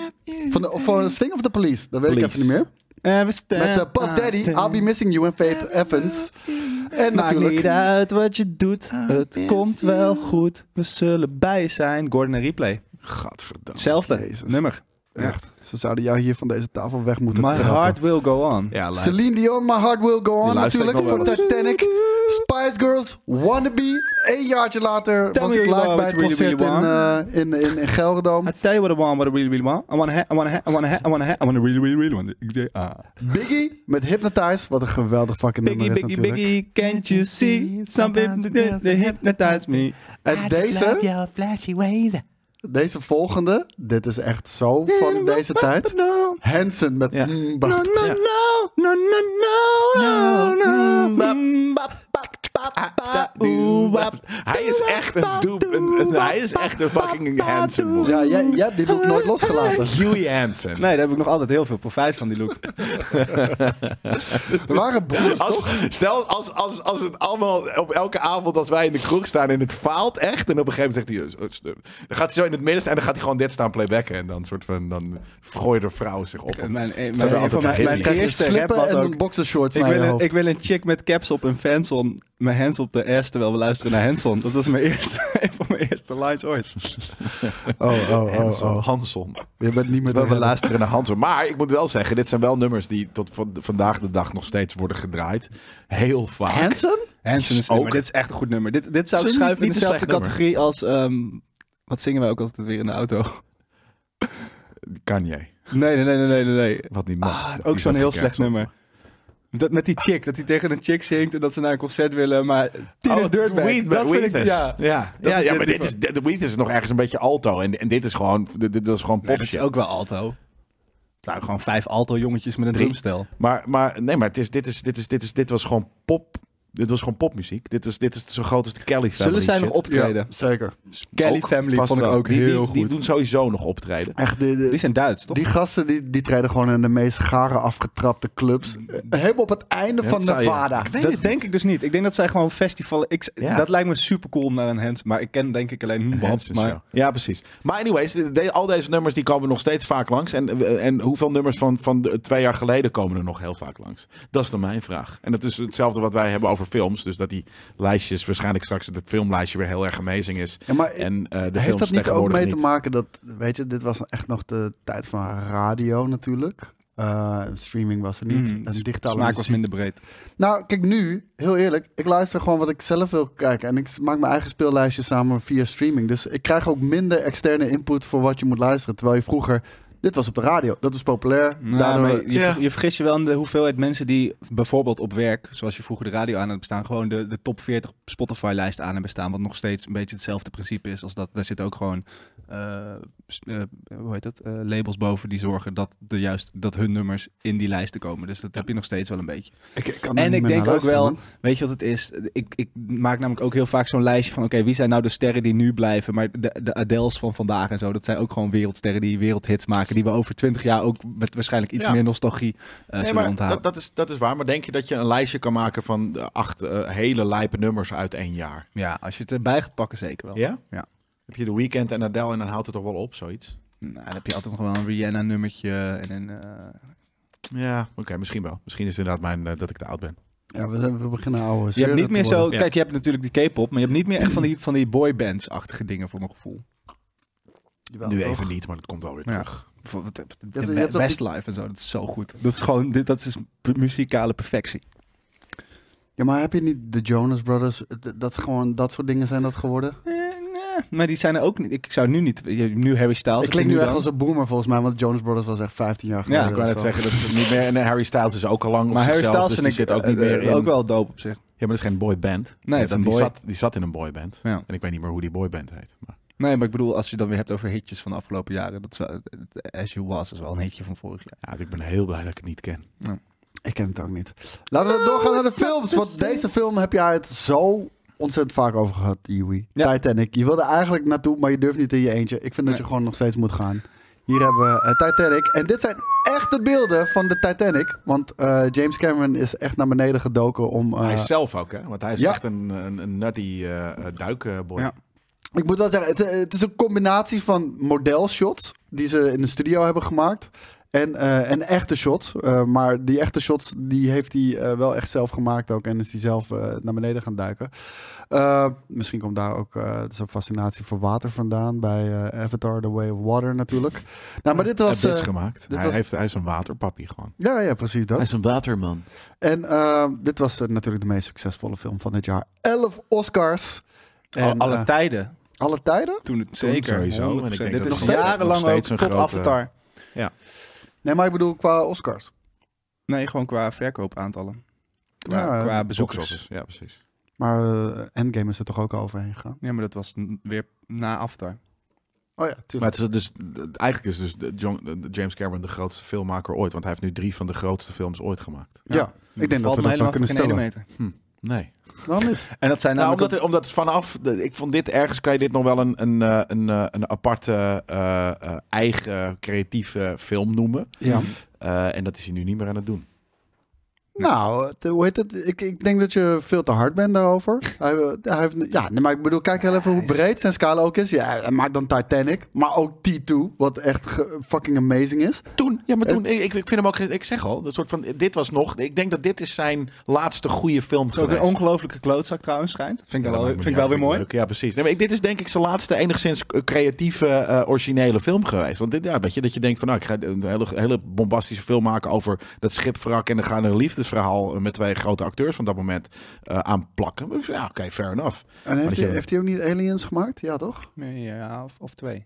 [SPEAKER 4] Van de, van Sting of de Police? Dat weet ik
[SPEAKER 2] Police.
[SPEAKER 4] even niet meer.
[SPEAKER 3] Eh, we staan
[SPEAKER 4] Met de Puff Daddy, I'll Be Missing You en Faith Evans. En
[SPEAKER 3] Maakt niet
[SPEAKER 4] natuurlijk...
[SPEAKER 3] uit wat je doet, het komt wel goed. We zullen bij je zijn. Gordon en Replay.
[SPEAKER 2] Gadverdamme.
[SPEAKER 3] Hetzelfde
[SPEAKER 4] Jezus.
[SPEAKER 3] nummer.
[SPEAKER 4] Echt, ze zouden jou hier van deze tafel weg moeten
[SPEAKER 3] My
[SPEAKER 4] trappen.
[SPEAKER 3] heart will go on.
[SPEAKER 2] Ja, luister.
[SPEAKER 4] Celine Dion, My Heart Will Go On
[SPEAKER 2] luister ik
[SPEAKER 4] natuurlijk
[SPEAKER 2] nog
[SPEAKER 4] voor
[SPEAKER 2] wel eens.
[SPEAKER 4] Titanic. Spice Girls, Wannabe. Eén jaartje later
[SPEAKER 3] Tell
[SPEAKER 4] was
[SPEAKER 3] me
[SPEAKER 4] ik
[SPEAKER 3] what
[SPEAKER 4] live
[SPEAKER 3] you
[SPEAKER 4] bij het
[SPEAKER 3] really,
[SPEAKER 4] concert in,
[SPEAKER 3] really
[SPEAKER 4] eh, in, in, in Gelredome.
[SPEAKER 3] I tell you what I want, what I really, really want. I want a hat, I want a hat, I want a hat, I want a hat, I want a really, really, really want. Ik zei, ah.
[SPEAKER 4] Biggie met Hypnotize. Wat een geweldig fucking
[SPEAKER 3] Biggie,
[SPEAKER 4] nummer is
[SPEAKER 3] biggie,
[SPEAKER 4] natuurlijk.
[SPEAKER 3] biggie, can't you see? Some people, they, they hypnotize me.
[SPEAKER 4] En deze, deze volgende. Dit is echt zo van deze tijd.
[SPEAKER 3] No,
[SPEAKER 4] Hanson met...
[SPEAKER 2] Ja.
[SPEAKER 4] Mm,
[SPEAKER 3] no,
[SPEAKER 4] bah.
[SPEAKER 3] no, no, no, no, no, no, no. Mm, bap, bap, bap,
[SPEAKER 2] Ah, Hij is echt een doep. Een, een- hij is echt een fucking Hansen. boy.
[SPEAKER 4] Ja, jij, jij hebt die doek nooit losgelaten.
[SPEAKER 2] Huey Hansen.
[SPEAKER 3] Nee, daar heb ik nog altijd heel veel profijt van, die look.
[SPEAKER 4] We waren broers,
[SPEAKER 2] Als,
[SPEAKER 4] toch?
[SPEAKER 2] stel, als, als, als het allemaal op elke avond als wij in de kroeg staan en het faalt echt. En op een gegeven moment zegt hij. eh, eh, eh, Dan gaat hij zo in het midden staan en dan gaat hij gewoon dit staan playbacken. En dan, soort van, dan gooit de vrouw zich op.
[SPEAKER 3] Mijn, mijn,
[SPEAKER 2] Zou er
[SPEAKER 3] een van
[SPEAKER 2] altijd
[SPEAKER 3] mijn, mijn
[SPEAKER 2] heen.
[SPEAKER 4] Krijg je
[SPEAKER 3] eerste rap
[SPEAKER 4] slippen
[SPEAKER 3] was
[SPEAKER 4] en een
[SPEAKER 3] ook...
[SPEAKER 4] boxershorts
[SPEAKER 3] Ik
[SPEAKER 4] naar je
[SPEAKER 3] wil, een,
[SPEAKER 4] hoofd.
[SPEAKER 3] ik wil een chick met caps op en fans om mijn hands op de ass terwijl we luisteren naar Hanson. Dat was mijn eerste, een van mijn eerste lines ooit.
[SPEAKER 4] Oh, oh, oh,
[SPEAKER 2] Hanson.
[SPEAKER 4] oh.
[SPEAKER 2] Hanson.
[SPEAKER 4] Je bent niet meer
[SPEAKER 2] We,
[SPEAKER 4] te
[SPEAKER 2] we
[SPEAKER 4] redden.
[SPEAKER 2] luisteren naar Hansen. Maar ik moet wel zeggen, dit zijn wel nummers die tot van, vandaag de dag nog steeds worden gedraaid. Heel vaak.
[SPEAKER 4] Hanson?
[SPEAKER 3] Hanson
[SPEAKER 2] is
[SPEAKER 3] is
[SPEAKER 2] ook-
[SPEAKER 3] ook. dit is echt een goed nummer. Dit, dit zou ik
[SPEAKER 2] Het is
[SPEAKER 3] schuiven in
[SPEAKER 2] niet een
[SPEAKER 3] dezelfde
[SPEAKER 2] slecht nummer.
[SPEAKER 3] categorie als... ehm, wat zingen wij ook altijd weer in de auto?
[SPEAKER 2] Kanye.
[SPEAKER 3] Nee, nee, nee, nee, nee, nee, nee.
[SPEAKER 2] Wat niet mag.
[SPEAKER 3] Ah,
[SPEAKER 2] Die
[SPEAKER 3] ook
[SPEAKER 2] is
[SPEAKER 3] zo'n heel slecht
[SPEAKER 2] gecanceld.
[SPEAKER 3] nummer. Dat, met die chick, dat hij tegen een chick zingt en dat ze naar een concert willen, maar Tina's
[SPEAKER 2] Oh,
[SPEAKER 3] Dirtbag.
[SPEAKER 2] Weed-
[SPEAKER 3] dat vind ik,
[SPEAKER 2] Weedness.
[SPEAKER 3] ja.
[SPEAKER 2] ja, ja,
[SPEAKER 3] Dat
[SPEAKER 2] ja,
[SPEAKER 3] is dit
[SPEAKER 2] maar dit
[SPEAKER 3] niveau.
[SPEAKER 2] is, dit- de Weed is nog ergens een beetje alto. En, en dit is gewoon, dit, dit was gewoon
[SPEAKER 3] Nee,
[SPEAKER 2] popshit.
[SPEAKER 3] dat is ook wel alto. Het waren gewoon vijf alto jongetjes met een drumstel.
[SPEAKER 2] Maar, maar nee, maar het is, dit, is, dit, is, dit, is, dit was gewoon pop. Dit was gewoon popmuziek. Dit, was, dit is zo groot als de Kelly Family.
[SPEAKER 3] Zullen zij nog
[SPEAKER 2] shit.
[SPEAKER 3] optreden?
[SPEAKER 4] Ja, zeker.
[SPEAKER 3] Kelly
[SPEAKER 2] Ook
[SPEAKER 3] Family
[SPEAKER 2] vast
[SPEAKER 3] vond ik
[SPEAKER 2] wel.
[SPEAKER 3] ook
[SPEAKER 2] Die- die-
[SPEAKER 3] heel goed.
[SPEAKER 2] Die doen sowieso nog optreden.
[SPEAKER 4] Echt, de, de-
[SPEAKER 3] die zijn Duits, toch?
[SPEAKER 4] die gasten die, die treden gewoon in de meest gare afgetrapte clubs. Eh, Helemaal op het einde
[SPEAKER 2] Dat
[SPEAKER 4] van
[SPEAKER 2] zou je-
[SPEAKER 4] Nevada.
[SPEAKER 2] Ik weet
[SPEAKER 3] dat
[SPEAKER 2] het
[SPEAKER 3] denk ik dus niet. Ik denk dat zij gewoon festivalen... Ik,
[SPEAKER 2] Ja.
[SPEAKER 3] Dat lijkt me super cool om naar een Hans... Maar ik ken denk ik alleen niemand.
[SPEAKER 2] Hansen's,
[SPEAKER 3] Maar
[SPEAKER 2] ja. Ja, precies. Maar anyways, de- de- al deze nummers die komen nog steeds vaak langs. En, eh, en hoeveel nummers van, van de- twee jaar geleden komen er nog heel vaak langs? Dat is dan mijn vraag. En dat is hetzelfde wat wij hebben over films. Dus dat die lijstjes waarschijnlijk straks het filmlijstje weer heel erg amazing is.
[SPEAKER 4] Ja, maar
[SPEAKER 2] En eh, de
[SPEAKER 4] heeft
[SPEAKER 2] films
[SPEAKER 4] dat niet ook
[SPEAKER 2] tegenwoordig
[SPEAKER 4] mee
[SPEAKER 2] niet.
[SPEAKER 4] te maken dat, weet je, dit was echt nog de tijd van radio natuurlijk. Eh, streaming was er niet.
[SPEAKER 3] Mm,
[SPEAKER 4] en digitale
[SPEAKER 3] smaak was
[SPEAKER 4] muziek.
[SPEAKER 3] minder breed.
[SPEAKER 4] Nou, kijk nu, heel eerlijk, ik luister gewoon wat ik zelf wil kijken. En ik maak mijn eigen speellijstje samen via streaming. Dus ik krijg ook minder externe input voor wat je moet luisteren. Terwijl je vroeger, dit was op de radio, dat is populair.
[SPEAKER 3] Nou,
[SPEAKER 4] daardoor...
[SPEAKER 3] maar je,
[SPEAKER 2] Ja.
[SPEAKER 3] ver- je vergis je wel in de hoeveelheid mensen die bijvoorbeeld op werk, zoals je vroeger de radio aan hebt bestaan, gewoon de, de top 40 Spotify-lijst aan hebben staan. Wat nog steeds een beetje hetzelfde principe is als dat. Daar zitten ook gewoon eh, s- eh, hoe heet dat? Eh, labels boven die zorgen dat, de juist, dat hun nummers in die lijsten komen. Dus dat heb je nog steeds wel een beetje.
[SPEAKER 4] Ik, ik kan er
[SPEAKER 3] En
[SPEAKER 4] niet
[SPEAKER 3] ik
[SPEAKER 4] meer
[SPEAKER 3] denk
[SPEAKER 4] naar
[SPEAKER 3] ook
[SPEAKER 4] luisteren,
[SPEAKER 3] wel,
[SPEAKER 4] man.
[SPEAKER 3] weet je wat het is? Ik, ik maak namelijk ook heel vaak zo'n lijstje van: oké, wie zijn nou de sterren die nu blijven? Maar de, de Adels van vandaag en zo, dat zijn ook gewoon wereldsterren die wereldhits maken. Die we over twintig jaar ook met waarschijnlijk iets
[SPEAKER 2] Ja.
[SPEAKER 3] meer nostalgie eh
[SPEAKER 2] Nee,
[SPEAKER 3] zullen
[SPEAKER 2] maar
[SPEAKER 3] onthouden.
[SPEAKER 2] dat, dat, is, dat is waar. Maar denk je dat je een lijstje kan maken van de acht eh, hele lijpe nummers uit één jaar?
[SPEAKER 3] Ja, als je het erbij gaat pakken, zeker wel.
[SPEAKER 2] Ja?
[SPEAKER 3] Ja.
[SPEAKER 2] Heb je The Weeknd en Adele en dan houdt het toch wel op, zoiets?
[SPEAKER 3] Nou, dan heb je altijd nog wel een Rihanna-nummertje en een. eh,
[SPEAKER 2] Ja, oké, misschien wel. Misschien is het inderdaad mijn, eh, dat ik te oud ben.
[SPEAKER 4] Ja, we, zijn- we beginnen oude
[SPEAKER 3] je hebt niet meer zo.
[SPEAKER 2] Ja.
[SPEAKER 3] Kijk, je hebt natuurlijk die K-pop, maar je hebt niet meer echt van die, van die boybands-achtige dingen voor mijn gevoel.
[SPEAKER 2] nu even niet, maar dat komt wel weer
[SPEAKER 3] Ja.
[SPEAKER 2] terug.
[SPEAKER 3] Bijvoorbeeld, eh,
[SPEAKER 4] hebt- je hebt ook
[SPEAKER 3] Westlife en zo, dat is zo goed. Dat is gewoon, dit, dat is muzikale perfectie.
[SPEAKER 4] Ja, maar heb je niet de Jonas Brothers, d- dat gewoon dat soort dingen zijn dat geworden?
[SPEAKER 3] Eh, nee, maar die zijn er ook niet. Ik zou nu niet. je- Nu Harry Styles.
[SPEAKER 4] ik
[SPEAKER 3] heb je
[SPEAKER 4] klink nu echt
[SPEAKER 3] dan.
[SPEAKER 4] als een boomer volgens mij, want Jonas Brothers was echt 15 jaar geleden.
[SPEAKER 3] Ja,
[SPEAKER 2] Ik wou net
[SPEAKER 4] of zo.
[SPEAKER 2] zeggen dat is het niet meer. En eh, Harry Styles is ook al lang op
[SPEAKER 3] Maar Harry
[SPEAKER 2] zichzelf,
[SPEAKER 3] Styles
[SPEAKER 2] dus
[SPEAKER 3] vind ik eh,
[SPEAKER 2] die zit ook niet meer in.
[SPEAKER 3] ook wel dope op zich.
[SPEAKER 2] Ja, maar dat is geen boyband.
[SPEAKER 3] Nee, het is
[SPEAKER 2] dat,
[SPEAKER 3] een
[SPEAKER 2] die,
[SPEAKER 3] boy.
[SPEAKER 2] zat, die zat in een boyband.
[SPEAKER 3] Ja.
[SPEAKER 2] En ik weet niet meer hoe die boyband heet. Maar...
[SPEAKER 3] Nee, maar ik bedoel, als je dan weer hebt over hitjes van de afgelopen jaren. Dat is wel, het As You Was is wel een hitje van vorig jaar.
[SPEAKER 2] Ja, ik ben heel blij dat ik het niet ken.
[SPEAKER 4] Ik ken het ook niet. Laten we doorgaan naar de films. Want deze film heb jij het zo ontzettend vaak over gehad, Iwi.
[SPEAKER 3] Ja.
[SPEAKER 4] Titanic. Je wilde eigenlijk naartoe, maar je durft niet in je eentje. Ik vind dat je
[SPEAKER 3] Nee.
[SPEAKER 4] gewoon nog steeds moet gaan. Hier hebben we eh, Titanic. En dit zijn echte beelden van de Titanic. Want eh, James Cameron is echt naar beneden gedoken om... eh,
[SPEAKER 2] hij zelf ook, hè? Want hij is
[SPEAKER 4] ja.
[SPEAKER 2] echt een, een, een nutty eh, eh, duikboy.
[SPEAKER 3] Ja.
[SPEAKER 4] Ik moet wel zeggen, het, eh, het is een combinatie van modelshots die ze in de studio hebben gemaakt. En, eh, en echte shots. Eh, maar die echte shots die heeft hij eh, wel echt zelf gemaakt ook. En is hij zelf eh, naar beneden gaan duiken. Eh, misschien komt daar ook eh, zo'n fascinatie voor water vandaan. Bij eh, Avatar, The Way of Water natuurlijk. Nou, maar dit was...
[SPEAKER 2] Abyss
[SPEAKER 4] eh,
[SPEAKER 2] gemaakt.
[SPEAKER 4] dit
[SPEAKER 2] Hij,
[SPEAKER 4] was-
[SPEAKER 2] heeft, hij is een waterpappie gewoon.
[SPEAKER 4] ja, ja, precies dat.
[SPEAKER 2] is een waterman.
[SPEAKER 4] En eh, dit was eh, natuurlijk de meest succesvolle film van dit jaar. Elf Oscars. En,
[SPEAKER 3] alle
[SPEAKER 4] eh,
[SPEAKER 3] tijden.
[SPEAKER 4] alle tijden?
[SPEAKER 3] Toen het
[SPEAKER 2] toen
[SPEAKER 3] zeker.
[SPEAKER 2] sowieso, en ik
[SPEAKER 3] 100%.
[SPEAKER 2] denk dat
[SPEAKER 3] dit is
[SPEAKER 2] het nog steeds-
[SPEAKER 3] jarenlang
[SPEAKER 2] nog
[SPEAKER 3] ook
[SPEAKER 2] steeds
[SPEAKER 3] tot
[SPEAKER 2] een grote-
[SPEAKER 3] Avatar.
[SPEAKER 4] Nee, maar ik bedoel qua Oscars.
[SPEAKER 3] Nee, gewoon qua verkoopaantallen. Qua,
[SPEAKER 2] Nou,
[SPEAKER 4] Ja,
[SPEAKER 3] qua
[SPEAKER 2] Bezoekers.
[SPEAKER 3] bezoekers.
[SPEAKER 2] Ja, precies.
[SPEAKER 4] Maar eh, Endgame is er toch ook al overheen gegaan?
[SPEAKER 3] Ja, maar dat was n- weer na Avatar.
[SPEAKER 4] Oh ja, tuurlijk.
[SPEAKER 2] Maar het is dus, eigenlijk is dus de John, de James Cameron de grootste filmmaker ooit. Want hij heeft nu drie van de grootste films ooit gemaakt.
[SPEAKER 4] ja, ik denk dat
[SPEAKER 3] Valt
[SPEAKER 4] we
[SPEAKER 3] me
[SPEAKER 4] dat wel
[SPEAKER 3] helemaal
[SPEAKER 4] kunnen
[SPEAKER 3] geen ene
[SPEAKER 4] stellen.
[SPEAKER 3] meter.
[SPEAKER 2] Nee.
[SPEAKER 4] Waarom niet?
[SPEAKER 3] En dat zijn
[SPEAKER 2] Nou,
[SPEAKER 3] namelijk...
[SPEAKER 2] omdat, omdat vanaf, de- ik vond dit ergens, kan je dit nog wel een, een, eh, een, eh, een aparte eh, eh, eigen creatieve film noemen.
[SPEAKER 4] Ja.
[SPEAKER 2] Eh, en dat is hij nu niet meer aan het doen.
[SPEAKER 4] Nou, het- hoe heet het? Ik, ik denk dat je veel te hard bent daarover. Hij, eh, hij heeft, ja, nee, maar ik bedoel, kijk heel even hoe breed zijn scala ook is. Ja, hij maakt dan Titanic, maar ook T2, wat echt ge- fucking amazing is.
[SPEAKER 2] Toen, ja, maar toen, ik, ik vind hem ook, ik zeg al, dat soort van, dit was nog, ik denk dat dit is zijn laatste goede film
[SPEAKER 3] Het is ook
[SPEAKER 2] geweest.
[SPEAKER 3] een ongelofelijke klootzak trouwens, schijnt. Vind ik,
[SPEAKER 2] Ja, dat
[SPEAKER 3] wel,
[SPEAKER 2] maakt me
[SPEAKER 3] vind
[SPEAKER 2] niet
[SPEAKER 3] ik wel
[SPEAKER 2] uit,
[SPEAKER 3] weer mooi.
[SPEAKER 2] leuk. Ja, precies. Nee, maar ik, dit is denk ik zijn laatste enigszins creatieve, eh, originele film geweest. Want dit, ja, weet je, dat je denkt van, nou, ik ga een hele, hele bombastische film maken over dat schipwrak en dan gaan er een liefdesverhaal eh, met twee grote acteurs van dat moment eh aan plakken. Maar ik zei, Ja, oké, fair enough.
[SPEAKER 4] En
[SPEAKER 2] dat
[SPEAKER 4] heeft, hij,
[SPEAKER 2] je-
[SPEAKER 4] heeft hij ook niet Aliens gemaakt? Ja, toch?
[SPEAKER 3] Ja, of, of twee.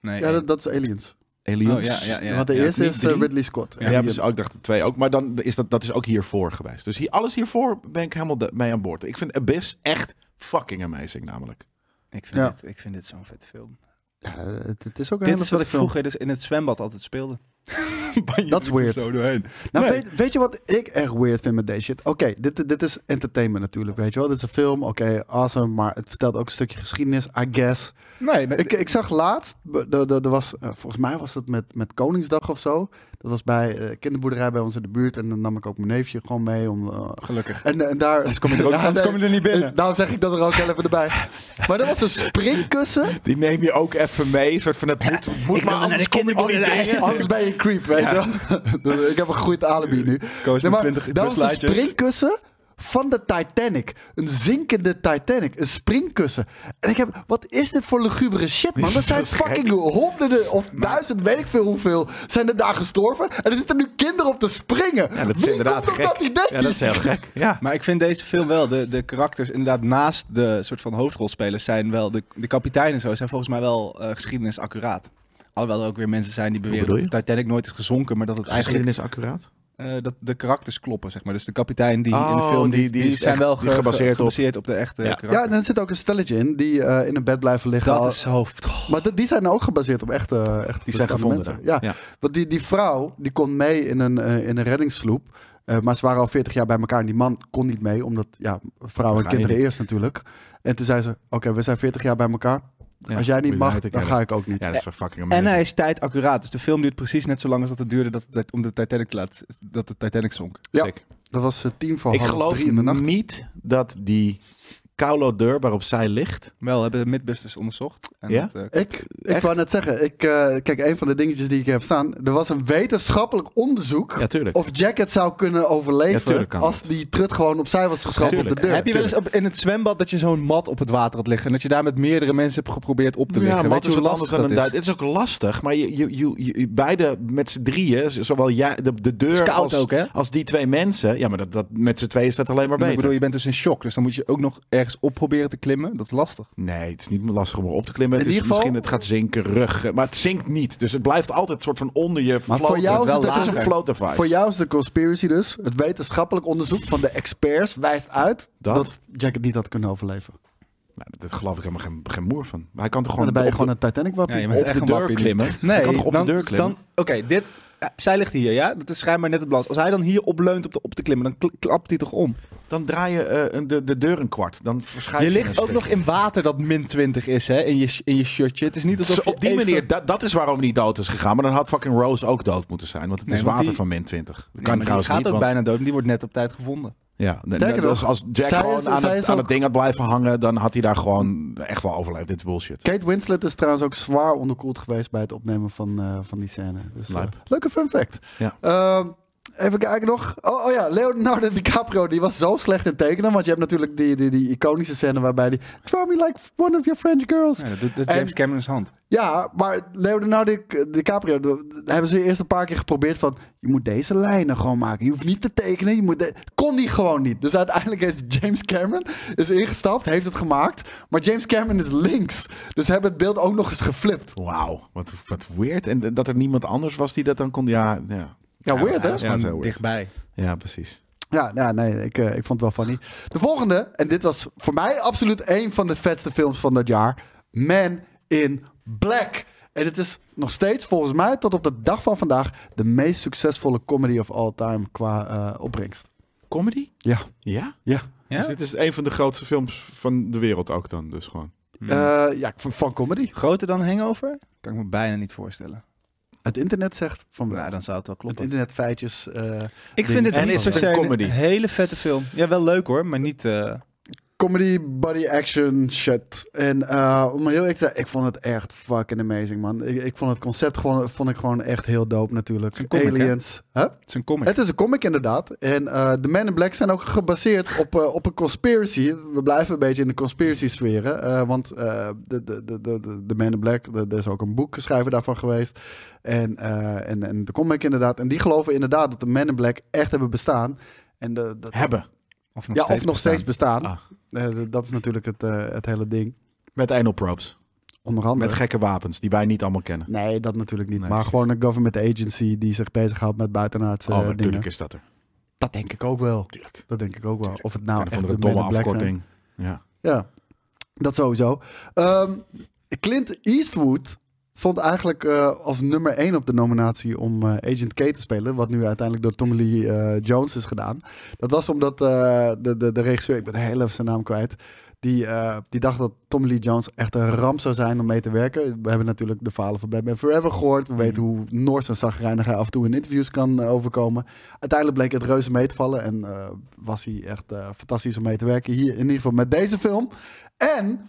[SPEAKER 3] Nee,
[SPEAKER 4] Ja, dat, dat is Aliens.
[SPEAKER 2] Aliens.
[SPEAKER 3] Oh, ja, ja, ja.
[SPEAKER 4] Want de
[SPEAKER 3] Ja,
[SPEAKER 4] eerste
[SPEAKER 3] niet
[SPEAKER 4] is eh,
[SPEAKER 3] drie.
[SPEAKER 4] Ridley Scott.
[SPEAKER 2] Ja, dus ook dacht de twee ook. Maar dan is dat, dat is ook hiervoor geweest. Dus hier, alles hiervoor ben ik helemaal de- mee aan boord. Ik vind Abyss echt fucking amazing namelijk.
[SPEAKER 3] Ik vind,
[SPEAKER 4] Ja.
[SPEAKER 3] dit, ik vind dit zo'n vet film.
[SPEAKER 4] Ja, eh, het, het is ook een
[SPEAKER 3] Dit
[SPEAKER 4] hele
[SPEAKER 3] is wat
[SPEAKER 4] vette
[SPEAKER 3] ik
[SPEAKER 4] film.
[SPEAKER 3] vroeger dus in het zwembad altijd speelde. Banjo
[SPEAKER 4] That's
[SPEAKER 3] doet er
[SPEAKER 4] weird.
[SPEAKER 3] Zo doorheen.
[SPEAKER 4] Nou,
[SPEAKER 3] Nee.
[SPEAKER 4] weet, weet je wat ik echt weird vind met deze shit? Oké, dit, dit is entertainment natuurlijk, weet je wel. Dit is een film, oké, awesome, maar het vertelt ook een stukje geschiedenis, I guess.
[SPEAKER 3] Nee, maar-
[SPEAKER 4] Ik, ik zag laatst, b- er- er er was, eh, volgens mij was dat met, met Koningsdag of zo. Dat was bij eh, kinderboerderij bij ons in de buurt en dan nam ik ook mijn neefje gewoon mee om... eh,
[SPEAKER 3] gelukkig.
[SPEAKER 4] en, en daar... Anders kom je
[SPEAKER 3] er ook- anders kom je er niet binnen.
[SPEAKER 4] Daarom zeg ik dat er ook heel even erbij. Maar dat was een springkussen
[SPEAKER 2] Die neem je ook even mee. Een soort van, het moet, moet maar anders kom ik niet binnen.
[SPEAKER 4] Anders ben je een creep, weet je wel. Dus ik heb een goed alibi nu.
[SPEAKER 3] met
[SPEAKER 4] maar
[SPEAKER 3] 20
[SPEAKER 4] dat was een
[SPEAKER 3] buslijntjes.
[SPEAKER 4] springkussen van de Titanic. Een zinkende Titanic. Een springkussen. En ik heb... Wat is dit voor lugubere shit, man? Er zijn
[SPEAKER 2] Dat is gek.
[SPEAKER 4] fucking honderden of duizend, weet ik veel hoeveel, zijn er daar gestorven. En er zitten nu kinderen op te springen.
[SPEAKER 2] Ja, dat is
[SPEAKER 4] Wie
[SPEAKER 2] inderdaad
[SPEAKER 4] komt op
[SPEAKER 2] gek.
[SPEAKER 4] dat idee?
[SPEAKER 2] Ja, dat is heel gek. Ja.
[SPEAKER 3] Maar ik vind deze film wel, de, de karakters inderdaad naast de soort van hoofdrolspelers zijn wel, de, de kapitein en zo, zijn volgens mij wel eh, geschiedenis accuraat. Alhoewel er ook weer mensen zijn die beweren
[SPEAKER 2] bedoel
[SPEAKER 3] dat de Titanic nooit is gezonken, maar dat het eigenlijk
[SPEAKER 2] Geschiedenis accuraat?
[SPEAKER 3] eh, dat de karakters kloppen, zeg maar. Dus de kapitein die in de
[SPEAKER 2] Oh,
[SPEAKER 3] film, die,
[SPEAKER 2] die-
[SPEAKER 3] die,
[SPEAKER 2] die is
[SPEAKER 3] zijn
[SPEAKER 2] echt-
[SPEAKER 3] wel
[SPEAKER 2] die
[SPEAKER 3] ge-
[SPEAKER 2] gebaseerd op-
[SPEAKER 3] gebaseerd op, de echte
[SPEAKER 2] Ja.
[SPEAKER 3] karakters.
[SPEAKER 4] Ja, en er zit ook een stelletje in die eh, in een bed blijven liggen.
[SPEAKER 3] dat
[SPEAKER 4] al-
[SPEAKER 3] is hoofd. Goh,
[SPEAKER 4] Maar dat- die zijn ook gebaseerd op echte, echte
[SPEAKER 2] Die zijn
[SPEAKER 4] bestaande
[SPEAKER 2] gevonden
[SPEAKER 4] mensen.
[SPEAKER 2] daar.
[SPEAKER 4] Ja.
[SPEAKER 2] Ja.
[SPEAKER 4] Want die, die vrouw die kon mee in een, eh, in een reddingssloep. Eh, maar ze waren al 40 jaar bij elkaar en die man kon niet mee, omdat ja, vrouwen en
[SPEAKER 2] Ga je
[SPEAKER 4] kinderen
[SPEAKER 2] niet.
[SPEAKER 4] eerst natuurlijk. En toen zei ze: Oké, we zijn 40 jaar bij elkaar.
[SPEAKER 2] Ja,
[SPEAKER 4] Als jij niet
[SPEAKER 2] moet je
[SPEAKER 4] mag,
[SPEAKER 2] uit
[SPEAKER 4] dan
[SPEAKER 2] elkaar.
[SPEAKER 4] ga ik ook niet.
[SPEAKER 2] Ja, dat Eh, is wel fucking amazing.
[SPEAKER 3] En hij is tijd accuraat. Dus de film duurt precies net zo lang als dat het duurde dat, het- om de Titanic te laten, dat de Titanic zonk.
[SPEAKER 4] Ja.
[SPEAKER 2] Sick.
[SPEAKER 4] Dat was eh, tien voor
[SPEAKER 2] Ik
[SPEAKER 4] half
[SPEAKER 2] geloof
[SPEAKER 4] drie in de nacht.
[SPEAKER 2] niet dat die koude deur waarop zij ligt...
[SPEAKER 3] Wel, hebben Midbusters onderzocht. En
[SPEAKER 2] Ja?
[SPEAKER 3] dat, eh,
[SPEAKER 4] Ik, ik
[SPEAKER 2] Echt?
[SPEAKER 4] wou net zeggen, ik, eh, kijk, een van de dingetjes die ik heb staan. Er was een wetenschappelijk onderzoek
[SPEAKER 2] Ja, tuurlijk.
[SPEAKER 4] of Jack het zou kunnen overleven
[SPEAKER 2] tuurlijk kan
[SPEAKER 4] als die trut gewoon opzij was geschoven
[SPEAKER 2] Ja,
[SPEAKER 4] op de
[SPEAKER 2] tuurlijk.
[SPEAKER 4] deur.
[SPEAKER 3] Heb je wel eens op, in het zwembad dat je zo'n mat op het water had liggen en dat je daar met meerdere mensen hebt geprobeerd op te liggen?
[SPEAKER 2] Ja,
[SPEAKER 3] Weet
[SPEAKER 2] maar
[SPEAKER 3] je
[SPEAKER 2] is
[SPEAKER 3] hoe
[SPEAKER 2] wat anders
[SPEAKER 3] lastig
[SPEAKER 2] dan een
[SPEAKER 3] dat
[SPEAKER 2] duit. Het is ook lastig, maar je, je, je, je- beide met z'n drieën, z- zowel jij, de, de
[SPEAKER 3] Het
[SPEAKER 2] deur
[SPEAKER 3] is koud
[SPEAKER 2] als,
[SPEAKER 3] ook, hè?
[SPEAKER 2] als die twee mensen. Ja, maar dat, dat, met z'n tweeën is dat alleen maar
[SPEAKER 3] Maar ik
[SPEAKER 2] beter.
[SPEAKER 3] bedoel, je bent dus in shock, dus dan moet je ook nog ergens op proberen te klimmen. Dat is lastig.
[SPEAKER 2] Nee, het is niet lastig om erop te klimmen.
[SPEAKER 4] In
[SPEAKER 2] het is
[SPEAKER 4] ieder geval-
[SPEAKER 2] misschien het gaat zinken, rug. eh, Maar het zinkt niet. Dus het blijft altijd soort van onder je.
[SPEAKER 4] Maar voor
[SPEAKER 2] floten.
[SPEAKER 4] jou is
[SPEAKER 2] Wel
[SPEAKER 4] het- het is
[SPEAKER 2] lager.
[SPEAKER 4] een
[SPEAKER 2] floater vice.
[SPEAKER 4] Voor jou is de conspiracy dus. Het wetenschappelijk onderzoek van de experts wijst uit dat,
[SPEAKER 2] Dat?
[SPEAKER 4] Jack het niet had kunnen overleven.
[SPEAKER 2] Nou, dat, dat geloof ik helemaal geen, geen moer van. Maar hij kan toch
[SPEAKER 4] en
[SPEAKER 2] gewoon,
[SPEAKER 4] Nou, dan ben je
[SPEAKER 2] op
[SPEAKER 4] gewoon
[SPEAKER 2] de-
[SPEAKER 4] een Titanic wappie.
[SPEAKER 3] je
[SPEAKER 2] bent op echt de een deur wappie nu. klimmen.
[SPEAKER 3] Nee,
[SPEAKER 2] Je kan toch op de
[SPEAKER 3] dan-
[SPEAKER 2] deur klimmen?
[SPEAKER 3] dan- Oké, dit. ja, zij ligt hier, ja? Dat is schijnbaar net het balans. Als hij dan hier opleunt op de op te klimmen, dan kl- klapt hij toch om?
[SPEAKER 2] dan draai je eh, een- de, de deur een kwart. Dan verschuif
[SPEAKER 3] Je
[SPEAKER 2] je
[SPEAKER 3] ligt
[SPEAKER 2] een
[SPEAKER 3] ook
[SPEAKER 2] stuk.
[SPEAKER 3] nog in water dat min 20 is, hè? In je, sh- in je shirtje. Het is niet alsof
[SPEAKER 2] Zo,
[SPEAKER 3] je
[SPEAKER 2] Dus op die
[SPEAKER 3] Dus even-
[SPEAKER 2] manier, dat, dat is waarom hij niet dood is gegaan. Maar dan had fucking Rose ook dood moeten zijn. Want het
[SPEAKER 3] Nee,
[SPEAKER 2] is
[SPEAKER 3] want
[SPEAKER 2] water
[SPEAKER 3] die-
[SPEAKER 2] van min 20. Dat kan
[SPEAKER 3] Ja, maar die
[SPEAKER 2] trouwens
[SPEAKER 3] gaat
[SPEAKER 2] niet,
[SPEAKER 3] ook
[SPEAKER 2] want-
[SPEAKER 3] bijna dood, maar die wordt net op tijd gevonden.
[SPEAKER 2] Ja, nee,
[SPEAKER 4] Sterker
[SPEAKER 2] dus
[SPEAKER 4] nog,
[SPEAKER 2] als Jack
[SPEAKER 4] zij
[SPEAKER 2] gewoon
[SPEAKER 4] is-
[SPEAKER 2] aan,
[SPEAKER 4] zij
[SPEAKER 2] het,
[SPEAKER 4] is
[SPEAKER 2] aan
[SPEAKER 4] ook-
[SPEAKER 2] het ding had blijven hangen, dan had hij daar gewoon echt wel overleefd. Dit is bullshit.
[SPEAKER 4] Kate Winslet is trouwens ook zwaar onderkoeld geweest bij het opnemen van, eh, van die scène. Dus, eh,
[SPEAKER 2] Lijp.
[SPEAKER 4] leuke fun fact.
[SPEAKER 2] Ja.
[SPEAKER 4] Ehm, even kijken nog. Oh, oh ja, Leonardo DiCaprio die was zo slecht in tekenen. Want je hebt natuurlijk die, die, die iconische scène waarbij die... Draw me like one of your French girls.
[SPEAKER 3] Ja, dat doet dat
[SPEAKER 4] En-
[SPEAKER 3] is James Cameron's hand.
[SPEAKER 4] Ja, maar Leonardo Di- DiCaprio, dat hebben ze eerst een paar keer geprobeerd van... je moet deze lijnen gewoon maken. Je hoeft niet te tekenen. Je moet de- Kon die gewoon niet. Dus uiteindelijk is James Cameron is ingestapt, heeft het gemaakt. Maar James Cameron is links. Dus ze hebben het beeld ook nog eens geflipt.
[SPEAKER 2] Wauw, wat, wat weird. En dat er niemand anders was die dat dan kon. Ja, ja,
[SPEAKER 4] Ja, weird hè?
[SPEAKER 3] dat is
[SPEAKER 2] Ja, dat is heel
[SPEAKER 3] gewoon
[SPEAKER 2] weird.
[SPEAKER 3] dichtbij.
[SPEAKER 2] ja precies.
[SPEAKER 4] Ja, ja nee, ik, eh, ik vond het wel funny. De volgende, en dit was voor mij absoluut één van de vetste films van dat jaar. Man in Black. En het is nog steeds volgens mij tot op de dag van vandaag de meest succesvolle comedy of all time qua eh, opbrengst.
[SPEAKER 2] Comedy?
[SPEAKER 4] Ja,
[SPEAKER 2] Ja?
[SPEAKER 4] ja.
[SPEAKER 3] Ja?
[SPEAKER 2] Dus dit is een van de grootste films van de wereld ook dan, dus gewoon.
[SPEAKER 3] Hmm.
[SPEAKER 4] Eh, ja, van, van comedy.
[SPEAKER 3] Groter dan Hangover? Kan ik me bijna niet voorstellen.
[SPEAKER 4] Het internet zegt van wel.
[SPEAKER 3] Nou, dan zou het wel
[SPEAKER 4] het
[SPEAKER 3] kloppen.
[SPEAKER 4] internet feitjes. eh,
[SPEAKER 3] Ik
[SPEAKER 4] ding
[SPEAKER 3] vind
[SPEAKER 4] is
[SPEAKER 3] het
[SPEAKER 4] en
[SPEAKER 3] niet
[SPEAKER 4] is het
[SPEAKER 3] per se
[SPEAKER 2] een
[SPEAKER 3] een
[SPEAKER 2] comedy?
[SPEAKER 3] hele vette film. Ja, wel leuk hoor, maar niet... eh,
[SPEAKER 4] comedy, body action, shit. En eh, om heel eerlijk te zijn, ik vond het echt fucking amazing, man. Ik, ik vond het concept gewoon, vond ik gewoon echt heel dope natuurlijk.
[SPEAKER 3] Het is een comic, hè?
[SPEAKER 4] Aliens. Huh?
[SPEAKER 3] het is een comic.
[SPEAKER 4] Het is een comic inderdaad. En eh, de Men in Black zijn ook gebaseerd op, eh, op een conspiracy. We blijven een beetje in de conspiracy sferen. eh, want eh, de, de, de, de, de- de Men in Black, de- er is ook een boekschrijver daarvan geweest. En, eh, en, en de comic inderdaad. En die geloven inderdaad dat de Men in Black echt hebben bestaan. En de, dat,
[SPEAKER 2] Hebben.
[SPEAKER 3] Of nog
[SPEAKER 4] ja,
[SPEAKER 3] steeds
[SPEAKER 4] of nog steeds
[SPEAKER 3] bestaan.
[SPEAKER 4] bestaan.
[SPEAKER 2] Ah.
[SPEAKER 4] Eh, d- dat is natuurlijk het, eh, het hele ding.
[SPEAKER 2] Met anal probes.
[SPEAKER 4] Onder andere.
[SPEAKER 2] Met gekke wapens, die wij niet allemaal kennen.
[SPEAKER 4] nee, dat natuurlijk niet.
[SPEAKER 2] Nee,
[SPEAKER 4] maar
[SPEAKER 2] precies.
[SPEAKER 4] gewoon een government agency die zich bezighoudt met buitenaardse
[SPEAKER 2] oh,
[SPEAKER 4] eh, dingen.
[SPEAKER 2] natuurlijk is dat er.
[SPEAKER 4] Dat denk ik ook wel.
[SPEAKER 2] Tuurlijk.
[SPEAKER 4] Dat denk ik ook wel. Of het
[SPEAKER 2] Nou,
[SPEAKER 4] nou
[SPEAKER 2] een of
[SPEAKER 4] echt
[SPEAKER 2] andere
[SPEAKER 4] de
[SPEAKER 2] domme
[SPEAKER 4] Men in Black zijn.
[SPEAKER 2] afkorting. Ja.
[SPEAKER 4] Ja, dat sowieso. Ehm, Clint Eastwood stond eigenlijk eh, als nummer één op de nominatie om eh, Agent K te spelen. Wat nu uiteindelijk door Tommy Lee eh, Jones is gedaan. Dat was omdat eh, de, de, de regisseur, ik ben heel even zijn naam kwijt. Die, eh, die dacht dat Tommy Lee Jones echt een ramp zou zijn om mee te werken. We hebben natuurlijk de verhalen van Batman Forever gehoord. We weten hoe Noors en zagrijnig hij af en toe in interviews kan eh, overkomen. Uiteindelijk bleek het reuze mee te vallen. En eh, was hij echt eh, fantastisch om mee te werken. Hier in ieder geval met deze film. En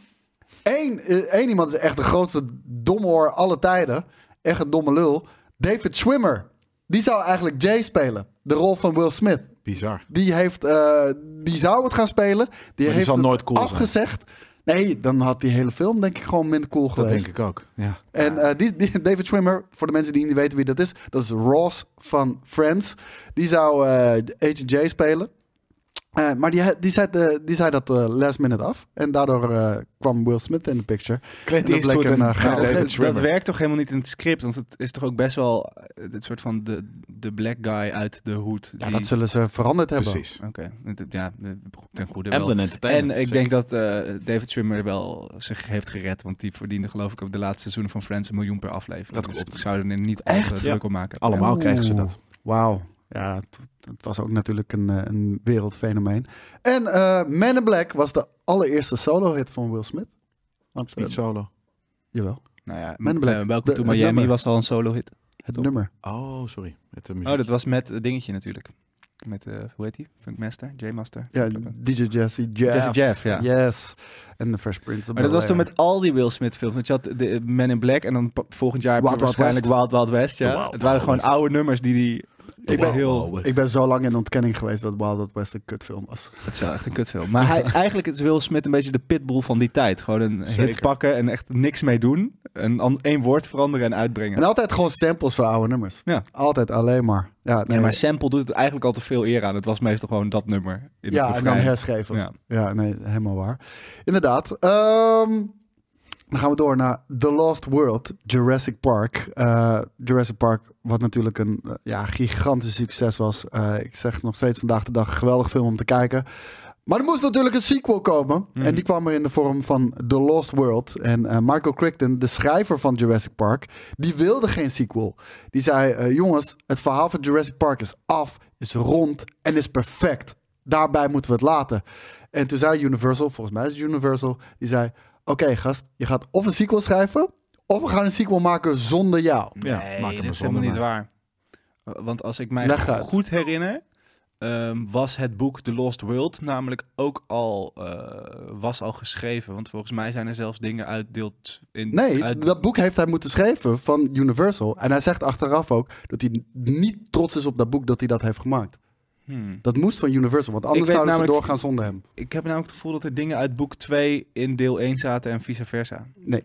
[SPEAKER 4] één, eh, één iemand is echt de grootste domhoor alle tijden. Echt een domme lul. David Schwimmer. Die zou eigenlijk Jay spelen. De rol van Will Smith.
[SPEAKER 2] Bizar.
[SPEAKER 4] Die, heeft, eh, die zou het gaan spelen. Die,
[SPEAKER 2] die
[SPEAKER 4] heeft
[SPEAKER 2] zal
[SPEAKER 4] het
[SPEAKER 2] nooit cool zijn.
[SPEAKER 4] afgezegd. Nee, dan had die hele film denk ik gewoon minder cool
[SPEAKER 2] Dat
[SPEAKER 4] geweest.
[SPEAKER 2] denk ik ook. Ja.
[SPEAKER 4] En eh, die, die- David Schwimmer, voor de mensen die niet weten wie dat is, dat is Ross van Friends. Die zou eh Agent J spelen. Eh, maar die, die, zei, de- die zei dat eh, last minute af. En daardoor eh, kwam Will Smith in de picture.
[SPEAKER 2] Clint
[SPEAKER 4] En dat bleek
[SPEAKER 2] Eastwood en
[SPEAKER 4] een, eh,
[SPEAKER 2] David
[SPEAKER 4] gouden-
[SPEAKER 3] Nou, dat, dat
[SPEAKER 2] Schwimmer.
[SPEAKER 3] werkt toch helemaal niet in het script? Want het is toch ook best wel eh, dit soort van de, de black guy uit de hoed.
[SPEAKER 4] Ja,
[SPEAKER 3] die-
[SPEAKER 4] dat zullen ze veranderd hebben.
[SPEAKER 2] Precies.
[SPEAKER 3] Oké, het- ja, ten goede wel.
[SPEAKER 2] Emblem
[SPEAKER 3] En
[SPEAKER 2] Entertainment.
[SPEAKER 3] ik denk dat eh, David Schwimmer wel zich heeft gered. Want die verdiende geloof ik op de laatste seizoenen van Friends een miljoen per aflevering.
[SPEAKER 2] Dat
[SPEAKER 3] dus
[SPEAKER 2] klopt.
[SPEAKER 3] ik zou er niet echt
[SPEAKER 4] Echt?
[SPEAKER 3] druk om maken.
[SPEAKER 2] Allemaal
[SPEAKER 4] Oeh.
[SPEAKER 2] kregen ze dat.
[SPEAKER 4] Wauw. Ja, het, het was ook natuurlijk een, eh, een wereldfenomeen. En eh Man in Black was de allereerste solo-hit van Will Smith. Want,
[SPEAKER 2] Niet
[SPEAKER 4] eh,
[SPEAKER 2] solo.
[SPEAKER 4] jawel,
[SPEAKER 3] Nou ja,
[SPEAKER 4] Men in Black.
[SPEAKER 3] eh, Welcome
[SPEAKER 4] De-
[SPEAKER 3] to
[SPEAKER 4] het
[SPEAKER 3] Miami
[SPEAKER 4] nummer.
[SPEAKER 3] was al een solo hit.
[SPEAKER 4] het
[SPEAKER 3] Top.
[SPEAKER 4] nummer.
[SPEAKER 2] Oh, sorry. Met de muziek.
[SPEAKER 3] Oh, dat was met het dingetje natuurlijk. Met, eh, hoe heet die? Funk Master? J-Master?
[SPEAKER 4] Ja, DJ Jesse Jeff.
[SPEAKER 3] Jesse Jeff, ja.
[SPEAKER 4] Yes. En The Fresh Prince of
[SPEAKER 3] Maar dat was toen
[SPEAKER 4] Bel-Air.
[SPEAKER 3] met al die Wild Smith films. Want je had de Men in Black en dan pa- volgend jaar heb je
[SPEAKER 4] Wild Wild
[SPEAKER 3] waarschijnlijk
[SPEAKER 4] West.
[SPEAKER 3] Wild Wild West. Ja.
[SPEAKER 2] De Wild
[SPEAKER 3] het waren
[SPEAKER 2] Wild
[SPEAKER 3] gewoon
[SPEAKER 2] West.
[SPEAKER 3] oude nummers die die...
[SPEAKER 4] Ik ben-
[SPEAKER 3] heel...
[SPEAKER 4] Ik ben zo lang in ontkenning geweest dat Wild Wild West een kutfilm was.
[SPEAKER 3] Het is wel echt een kutfilm. Maar hij, eigenlijk is Will Smith een beetje de pitbull van die tijd. Gewoon een hit
[SPEAKER 2] Zeker.
[SPEAKER 3] pakken en echt niks mee doen. En an- één woord veranderen en uitbrengen.
[SPEAKER 4] En altijd gewoon samples van oude nummers.
[SPEAKER 3] Ja.
[SPEAKER 4] Altijd alleen maar. Ja, nee,
[SPEAKER 3] ja, maar Sample doet het eigenlijk al te veel eer aan. Het was meestal gewoon dat nummer. In
[SPEAKER 4] ja,
[SPEAKER 3] het
[SPEAKER 4] en dan
[SPEAKER 3] refrein.
[SPEAKER 4] herschreven. Ja.
[SPEAKER 3] Ja.
[SPEAKER 4] nee, helemaal waar. Inderdaad. Ehm, dan gaan we door naar The Lost World, Jurassic Park. Eh, Jurassic Park, wat natuurlijk een eh, ja, gigantisch succes was. Eh, ik zeg nog steeds vandaag de dag, geweldig film om te kijken. Maar er moest natuurlijk een sequel komen.
[SPEAKER 3] Mm.
[SPEAKER 4] En die kwam er in de vorm van The Lost World. En eh, Michael Crichton, de schrijver van Jurassic Park, die wilde geen sequel. Die zei, eh, jongens, het verhaal van Jurassic Park is af, is rond en is perfect. Daarbij moeten we het laten. En toen zei Universal, volgens mij is het Universal, die zei, oké gast, je gaat of een sequel schrijven, of we gaan een sequel maken zonder jou.
[SPEAKER 2] Ja,
[SPEAKER 3] Nee,
[SPEAKER 2] maak hem
[SPEAKER 3] dit
[SPEAKER 2] er
[SPEAKER 3] is helemaal niet
[SPEAKER 2] zonder
[SPEAKER 3] waar. Eh, Want als ik mij
[SPEAKER 4] Leg uit.
[SPEAKER 3] goed herinner, ehm, was het boek The Lost World namelijk ook al, eh, was al geschreven. Want volgens mij zijn er zelfs dingen uit deel... t- In,
[SPEAKER 4] Nee,
[SPEAKER 3] uit-
[SPEAKER 4] dat boek heeft hij moeten schrijven van Universal. En hij zegt achteraf ook dat hij niet trots is op dat boek dat hij dat heeft gemaakt.
[SPEAKER 3] Hmm.
[SPEAKER 4] Dat moest van Universal, want anders
[SPEAKER 3] weet
[SPEAKER 4] zouden ze
[SPEAKER 3] namelijk-
[SPEAKER 4] doorgaan zonder hem.
[SPEAKER 3] Ik heb namelijk het gevoel dat er dingen uit boek 2 in deel 1 zaten en vice versa.
[SPEAKER 4] Nee,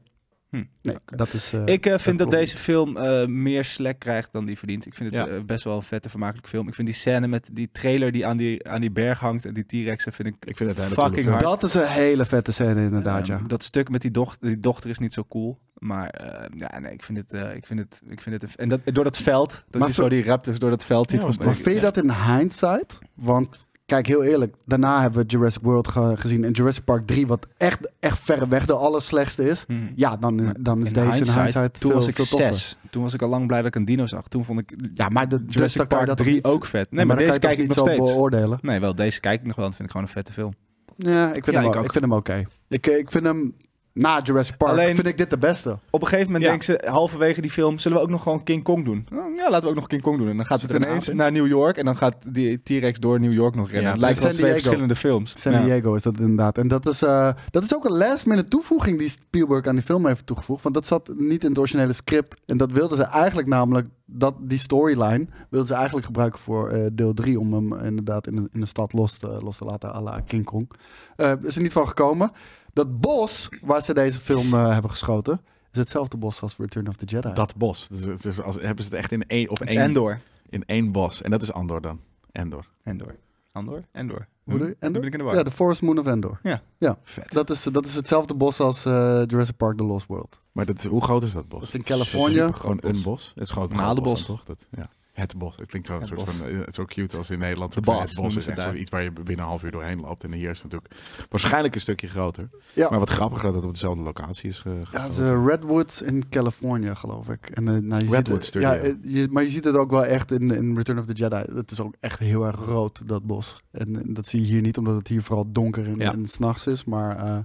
[SPEAKER 3] Hm.
[SPEAKER 4] nee
[SPEAKER 3] Oké.
[SPEAKER 4] dat is... eh,
[SPEAKER 3] Ik eh, vind dat,
[SPEAKER 4] klopt.
[SPEAKER 3] deze film eh, meer slack krijgt dan die verdient. Ik vind het
[SPEAKER 2] Ja.
[SPEAKER 3] eh, best wel een vette, vermakelijke film. Ik vind die scène met die trailer die aan die, aan die berg hangt en die T-Rexen vind ik...
[SPEAKER 2] Ik vind het een hele
[SPEAKER 3] Fucking
[SPEAKER 2] coole film.
[SPEAKER 3] hard.
[SPEAKER 4] Dat is een hele vette scène inderdaad,
[SPEAKER 3] Ehm,
[SPEAKER 4] ja.
[SPEAKER 3] Dat stuk met die dochter, die dochter is niet zo cool. Maar eh, ja, nee, ik vind het, eh, ik vind het, ik vind het, een- en dat, door dat veld, dat
[SPEAKER 4] Maar
[SPEAKER 3] je
[SPEAKER 4] zo-
[SPEAKER 3] zo die raptors door dat veld ziet.
[SPEAKER 2] Ja,
[SPEAKER 3] van-
[SPEAKER 2] was
[SPEAKER 4] Maar vind je dat in hindsight? Want Kijk, heel eerlijk, daarna hebben we Jurassic World ge- gezien en Jurassic Park 3, wat echt, echt verreweg de allerslechtste is. Ja, dan, dan is
[SPEAKER 3] In
[SPEAKER 4] deze
[SPEAKER 3] Hmm. hindsight,
[SPEAKER 4] in hindsight
[SPEAKER 3] toen
[SPEAKER 4] veel,
[SPEAKER 3] was ik
[SPEAKER 4] veel toffer.
[SPEAKER 3] zes. Toen was ik al lang blij dat ik een dino zag. Toen vond ik
[SPEAKER 4] Ja, maar de dus
[SPEAKER 3] Jurassic
[SPEAKER 4] dan kan je
[SPEAKER 3] Park
[SPEAKER 4] dat toch
[SPEAKER 3] 3
[SPEAKER 4] niet-
[SPEAKER 3] ook vet. Nee, maar,
[SPEAKER 4] Ja, dan
[SPEAKER 3] deze
[SPEAKER 4] kan
[SPEAKER 3] kijk
[SPEAKER 4] je
[SPEAKER 3] ik
[SPEAKER 4] toch
[SPEAKER 3] nog
[SPEAKER 4] niet
[SPEAKER 3] steeds.
[SPEAKER 4] zo beoordelen.
[SPEAKER 3] Nee, wel, deze kijk ik nog wel. Dat vind ik gewoon een vette film.
[SPEAKER 4] Ja, ik vind
[SPEAKER 2] Ja,
[SPEAKER 4] hem,
[SPEAKER 2] ik
[SPEAKER 4] wel-
[SPEAKER 2] ook.
[SPEAKER 4] ik vind hem oké. Ik, ik vind hem, na Jurassic Park,
[SPEAKER 3] Alleen-
[SPEAKER 4] vind ik dit de beste.
[SPEAKER 3] Op een gegeven moment
[SPEAKER 2] Ja.
[SPEAKER 3] denken ze, halverwege die film, zullen we ook nog gewoon King Kong doen? Nou, Ja, laten we ook nog King Kong doen. En dan gaat
[SPEAKER 2] Zit
[SPEAKER 3] het
[SPEAKER 2] er een
[SPEAKER 3] ineens
[SPEAKER 2] aap in?
[SPEAKER 3] naar New York en dan gaat die T-Rex door New York nog rennen.
[SPEAKER 2] Ja,
[SPEAKER 3] het lijkt
[SPEAKER 4] San
[SPEAKER 3] wel twee
[SPEAKER 4] Diego.
[SPEAKER 3] verschillende films.
[SPEAKER 4] San
[SPEAKER 3] Ja.
[SPEAKER 4] Diego is dat inderdaad. En dat is, eh, dat is ook een last minute toevoeging die Spielberg aan die film heeft toegevoegd. Want dat zat niet in het originele script. En dat wilden ze eigenlijk namelijk, dat, die storyline, wilden ze eigenlijk gebruiken voor eh, deel 3. Om hem inderdaad in de, in de stad los te, los te laten à la King Kong. Eh, is er niet van gekomen. Dat bos waar ze deze film eh, hebben geschoten, is hetzelfde bos als Return of the Jedi.
[SPEAKER 2] Dat bos. Dus, het is als, hebben ze het echt in één, op
[SPEAKER 3] Het is
[SPEAKER 2] één,
[SPEAKER 3] Endor.
[SPEAKER 2] in één bos. En dat is Andor dan. Endor.
[SPEAKER 3] Endor. Andor? Endor.
[SPEAKER 4] Hoe doe je?
[SPEAKER 3] Dan
[SPEAKER 4] Endor?
[SPEAKER 3] ben ik in de war.
[SPEAKER 4] Ja, The Forest Moon of Endor.
[SPEAKER 3] Ja.
[SPEAKER 4] ja.
[SPEAKER 2] Vet.
[SPEAKER 4] Dat, is, dat is hetzelfde bos als eh, Jurassic Park The Lost World.
[SPEAKER 2] Maar dat, hoe groot is dat bos?
[SPEAKER 4] Dat is in Californië.
[SPEAKER 2] Het is Gewoon een bos. Het is gewoon het
[SPEAKER 3] Een
[SPEAKER 2] grote
[SPEAKER 3] halenbos.
[SPEAKER 2] dan, toch? Dat, ja. Het bos. Het klinkt zo, een
[SPEAKER 3] Het
[SPEAKER 2] soort
[SPEAKER 3] bos.
[SPEAKER 2] van, eh, het is zo cute als in Nederland.
[SPEAKER 3] De
[SPEAKER 2] Soort van,
[SPEAKER 3] bas,
[SPEAKER 2] Het bos
[SPEAKER 3] noemen
[SPEAKER 2] is
[SPEAKER 3] ze het
[SPEAKER 2] echt
[SPEAKER 3] daar.
[SPEAKER 2] wel iets waar je binnen een half uur doorheen loopt. En hier is het natuurlijk waarschijnlijk een stukje groter.
[SPEAKER 4] Ja.
[SPEAKER 2] Maar wat grappiger dat het op dezelfde locatie is ge-
[SPEAKER 4] Ja, het is
[SPEAKER 2] gegoten.
[SPEAKER 4] eh, Redwoods in Californië, geloof ik. En, eh, nou, je
[SPEAKER 2] Redwood
[SPEAKER 4] ziet, het-
[SPEAKER 2] Studio.
[SPEAKER 4] Ja, eh, je, maar je ziet het ook wel echt in, in Return of the Jedi. Het is ook echt heel erg rood, dat bos. En, eh, dat zie je hier niet, omdat het hier vooral donker en,
[SPEAKER 2] Ja.
[SPEAKER 4] en 's s'nachts is. Maar eh,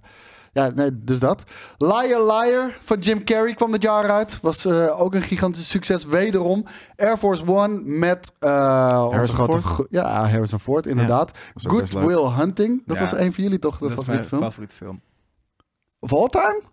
[SPEAKER 4] ja, nee, dus dat. Liar Liar van Jim Carrey kwam dit jaar uit. Was eh, ook een gigantisch succes, wederom. Air Force One met... eh, onze grote,
[SPEAKER 2] Ford?
[SPEAKER 4] go- Ja, Harrison Ford, inderdaad.
[SPEAKER 2] Dat is ook
[SPEAKER 4] Good
[SPEAKER 2] best leuk.
[SPEAKER 4] Will Hunting. Dat
[SPEAKER 3] Ja.
[SPEAKER 4] was een van jullie toch, de
[SPEAKER 3] Dat is mijn
[SPEAKER 4] favoriete film?
[SPEAKER 3] favoriete film.
[SPEAKER 4] Of all time?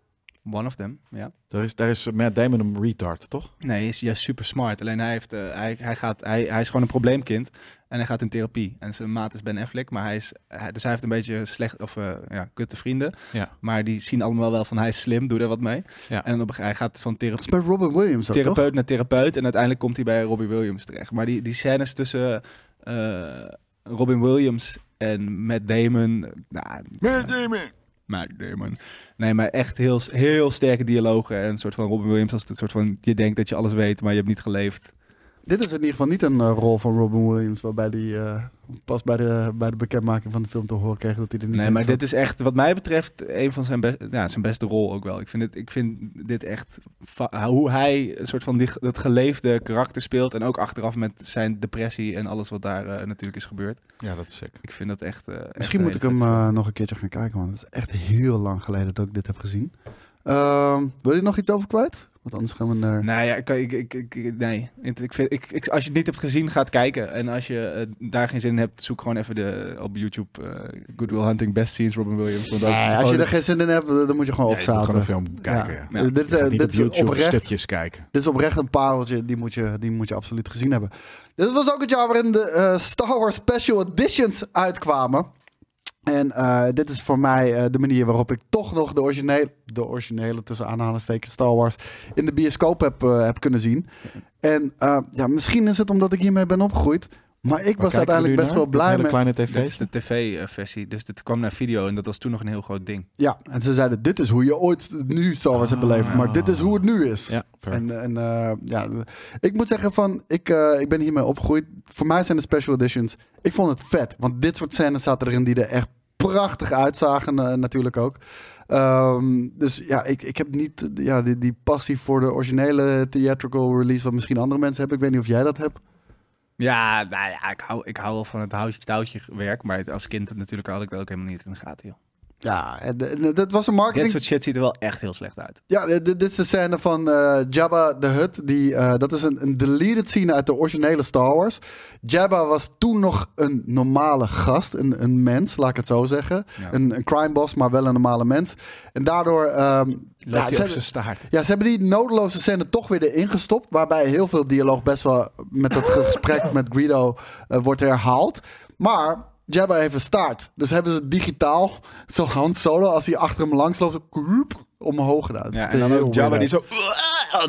[SPEAKER 3] One of them, ja.
[SPEAKER 2] Daar is, daar is Matt Damon een retard, toch?
[SPEAKER 3] Nee, hij is juist super smart. Alleen hij, heeft, eh, hij, hij, gaat, hij, hij is gewoon een probleemkind. En hij gaat in therapie. En zijn maat is Ben Affleck. Maar hij is, hij- dus hij heeft een beetje slecht of eh, ja, kutte vrienden.
[SPEAKER 2] Ja.
[SPEAKER 3] Maar die zien allemaal wel van hij is slim, doe daar wat mee.
[SPEAKER 2] Ja.
[SPEAKER 3] En op, een gege- hij gaat van
[SPEAKER 4] Dat
[SPEAKER 3] thera-
[SPEAKER 4] is bij Robin Williams ook, toch?
[SPEAKER 3] therapeut naar therapeut. En uiteindelijk komt hij bij Robbie Williams terecht. Maar die, die scènes tussen eh, Robin Williams en Matt Damon. eh, nou,
[SPEAKER 2] Matt Damon!
[SPEAKER 3] maar Damon. Nee, maar echt heel, heel sterke dialogen. En een soort van Robin Williams als het soort van... Je denkt dat je alles weet, maar je hebt niet geleefd.
[SPEAKER 4] Dit is in ieder geval niet een eh, rol van Robin Williams, waarbij die eh, pas bij de, bij de bekendmaking van de film te horen kreeg dat hij er niet
[SPEAKER 3] Nee,
[SPEAKER 4] in
[SPEAKER 3] maar
[SPEAKER 4] zat.
[SPEAKER 3] dit is echt, wat mij betreft, een van zijn, best, ja, zijn beste rol ook wel. Ik vind dit, ik vind dit echt, fa- hoe hij een soort van die, dat geleefde karakter speelt. En ook achteraf met zijn depressie en alles wat daar eh, natuurlijk is gebeurd.
[SPEAKER 2] Ja, dat is sick.
[SPEAKER 3] Ik vind dat echt... eh, echt
[SPEAKER 4] Misschien
[SPEAKER 3] een
[SPEAKER 4] moet ik
[SPEAKER 3] hele
[SPEAKER 4] hem
[SPEAKER 3] vette film.
[SPEAKER 4] eh, nog een keertje gaan kijken, want het is echt heel lang geleden dat ik dit heb gezien. Ehm, wil je er nog iets over kwijt? Want anders gaan we naar...
[SPEAKER 3] Nou ja, ik, ik, ik, ik- ik- nee. Het- Ik vind, ik, ik- als je het niet hebt gezien, ga het kijken. En als je eh, daar geen zin in hebt, zoek gewoon even de, op YouTube eh, Good Will Hunting Best Scenes Robin Williams. Want dat-
[SPEAKER 4] Nee, als je er geen zin in hebt, dan moet je gewoon
[SPEAKER 2] Ja, je moet
[SPEAKER 4] opzaten.
[SPEAKER 2] gewoon een film kijken, ja.
[SPEAKER 4] Ja. Eh, Dit,
[SPEAKER 2] Je
[SPEAKER 4] eh,
[SPEAKER 2] gaat niet
[SPEAKER 4] dit,
[SPEAKER 2] op
[SPEAKER 4] is
[SPEAKER 2] YouTube
[SPEAKER 4] oprecht,
[SPEAKER 2] stukjes kijken.
[SPEAKER 4] dit is oprecht een pareltje, die moet, je, die moet je absoluut gezien hebben. Dit was ook het jaar waarin de eh, Star Wars Special Editions uitkwamen. En eh, dit is voor mij eh, de manier waarop ik toch nog de originele, de originele tussen aanhalingstekens Star Wars in de bioscoop heb, eh, heb kunnen zien. En eh, ja, misschien is het omdat ik hiermee ben opgegroeid. Maar ik was uiteindelijk best wel blij
[SPEAKER 2] met...
[SPEAKER 4] mee.
[SPEAKER 2] kleine
[SPEAKER 3] Dit is
[SPEAKER 2] tv's.
[SPEAKER 3] de tv-versie, dus dit kwam naar video en dat was toen nog een heel groot ding.
[SPEAKER 4] Ja, en ze zeiden: Dit is hoe je ooit nu Star Wars hebt beleefd. Maar dit is hoe het nu is.
[SPEAKER 2] Ah. Ja, fair.
[SPEAKER 4] En, en eh, ja, ik moet zeggen van, ik, eh, ik ben hiermee opgegroeid. Voor mij zijn de special editions, ik vond het vet. Want dit soort scènes zaten erin die er echt prachtig uitzagen eh, natuurlijk ook. Ehm, dus ja, ik, ik heb niet eh, ja, die, die passie voor de originele theatrical release... wat misschien andere mensen hebben. Ik weet niet of jij dat hebt.
[SPEAKER 3] Ja, nou ja, ik hou, ik hou wel van het houtje-touwtje werk, maar als kind natuurlijk had ik dat ook helemaal niet in de gaten, joh.
[SPEAKER 4] Ja, en, eh, dat was een
[SPEAKER 3] Dit
[SPEAKER 4] marketing...
[SPEAKER 3] soort shit ziet er wel echt heel slecht uit.
[SPEAKER 4] Ja, dit, dit is de scène van eh, Jabba the Hutt. Die, eh, dat is een, een deleted scene uit de originele Star Wars. Jabba was toen nog een normale gast, een, een mens, laat ik het zo zeggen.
[SPEAKER 3] Ja.
[SPEAKER 4] Een, een crime boss, maar wel een normale mens. En daardoor... ehm,
[SPEAKER 3] Loopt hij
[SPEAKER 4] ze
[SPEAKER 3] op
[SPEAKER 4] hebben-
[SPEAKER 3] zijn staart.
[SPEAKER 4] ja, ze hebben die nodeloze scène toch weer erin gestopt. Waarbij heel veel dialoog best wel met dat gesprek met Greedo eh, wordt herhaald. Maar Jabba heeft een staart. Dus hebben ze digitaal, zo Han Solo, als hij achter hem langs loopt, zo kroep, omhoog gedaan. Het is
[SPEAKER 3] Ja, en dan
[SPEAKER 4] heel
[SPEAKER 3] ook Jabba
[SPEAKER 4] weird.
[SPEAKER 3] die zo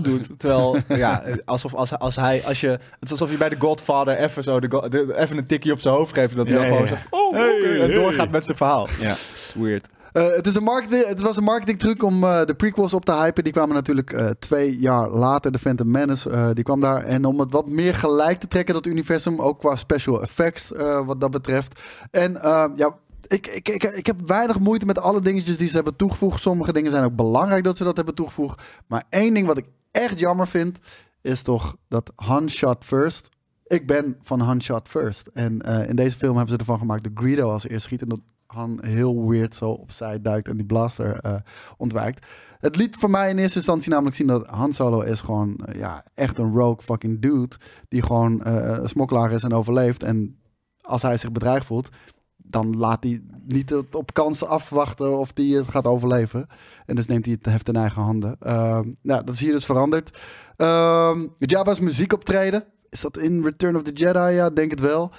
[SPEAKER 3] doet. Terwijl, ja, alsof als, hij- als hij, als je, het is alsof je bij de Godfather even zo, de, go- de- even een tikje op zijn hoofd geeft. en Dat hij
[SPEAKER 2] Ja,
[SPEAKER 3] dan gewoon
[SPEAKER 2] ja, ja.
[SPEAKER 3] zo, oh, oké,
[SPEAKER 2] Hey,
[SPEAKER 3] en
[SPEAKER 2] hey.
[SPEAKER 3] doorgaat met zijn verhaal.
[SPEAKER 2] Ja.
[SPEAKER 3] Weird.
[SPEAKER 4] Eh, het, is een marketing, het was een marketingtruc om eh, de prequels op te hypen. Die kwamen natuurlijk eh, twee jaar later, de Phantom Menace. eh, die kwam daar. En om het wat meer gelijk te trekken, dat universum. Ook qua special effects, eh, wat dat betreft. En eh, ja, ik, ik, ik, ik heb weinig moeite met alle dingetjes die ze hebben toegevoegd. Sommige dingen zijn ook belangrijk dat ze dat hebben toegevoegd. Maar één ding wat ik echt jammer vind, is toch dat Han shot first. Ik ben van Han shot first. En eh, in deze film hebben ze ervan gemaakt dat Greedo als eerst schiet. En dat Han heel weird zo opzij duikt en die blaster eh, ontwijkt. Het liet voor mij in eerste instantie namelijk zien dat Han Solo is gewoon eh, ja, echt een rogue fucking dude. Die gewoon eh, een smokkelaar is en overleeft. En als hij zich bedreigd voelt, dan laat hij niet het op kansen afwachten of hij het gaat overleven. En dus neemt hij het heft in eigen handen. Ehm, nou, dat is hier dus veranderd. Ehm Jabba's muziek optreden. Is dat in Return of the Jedi? Ja, denk het wel.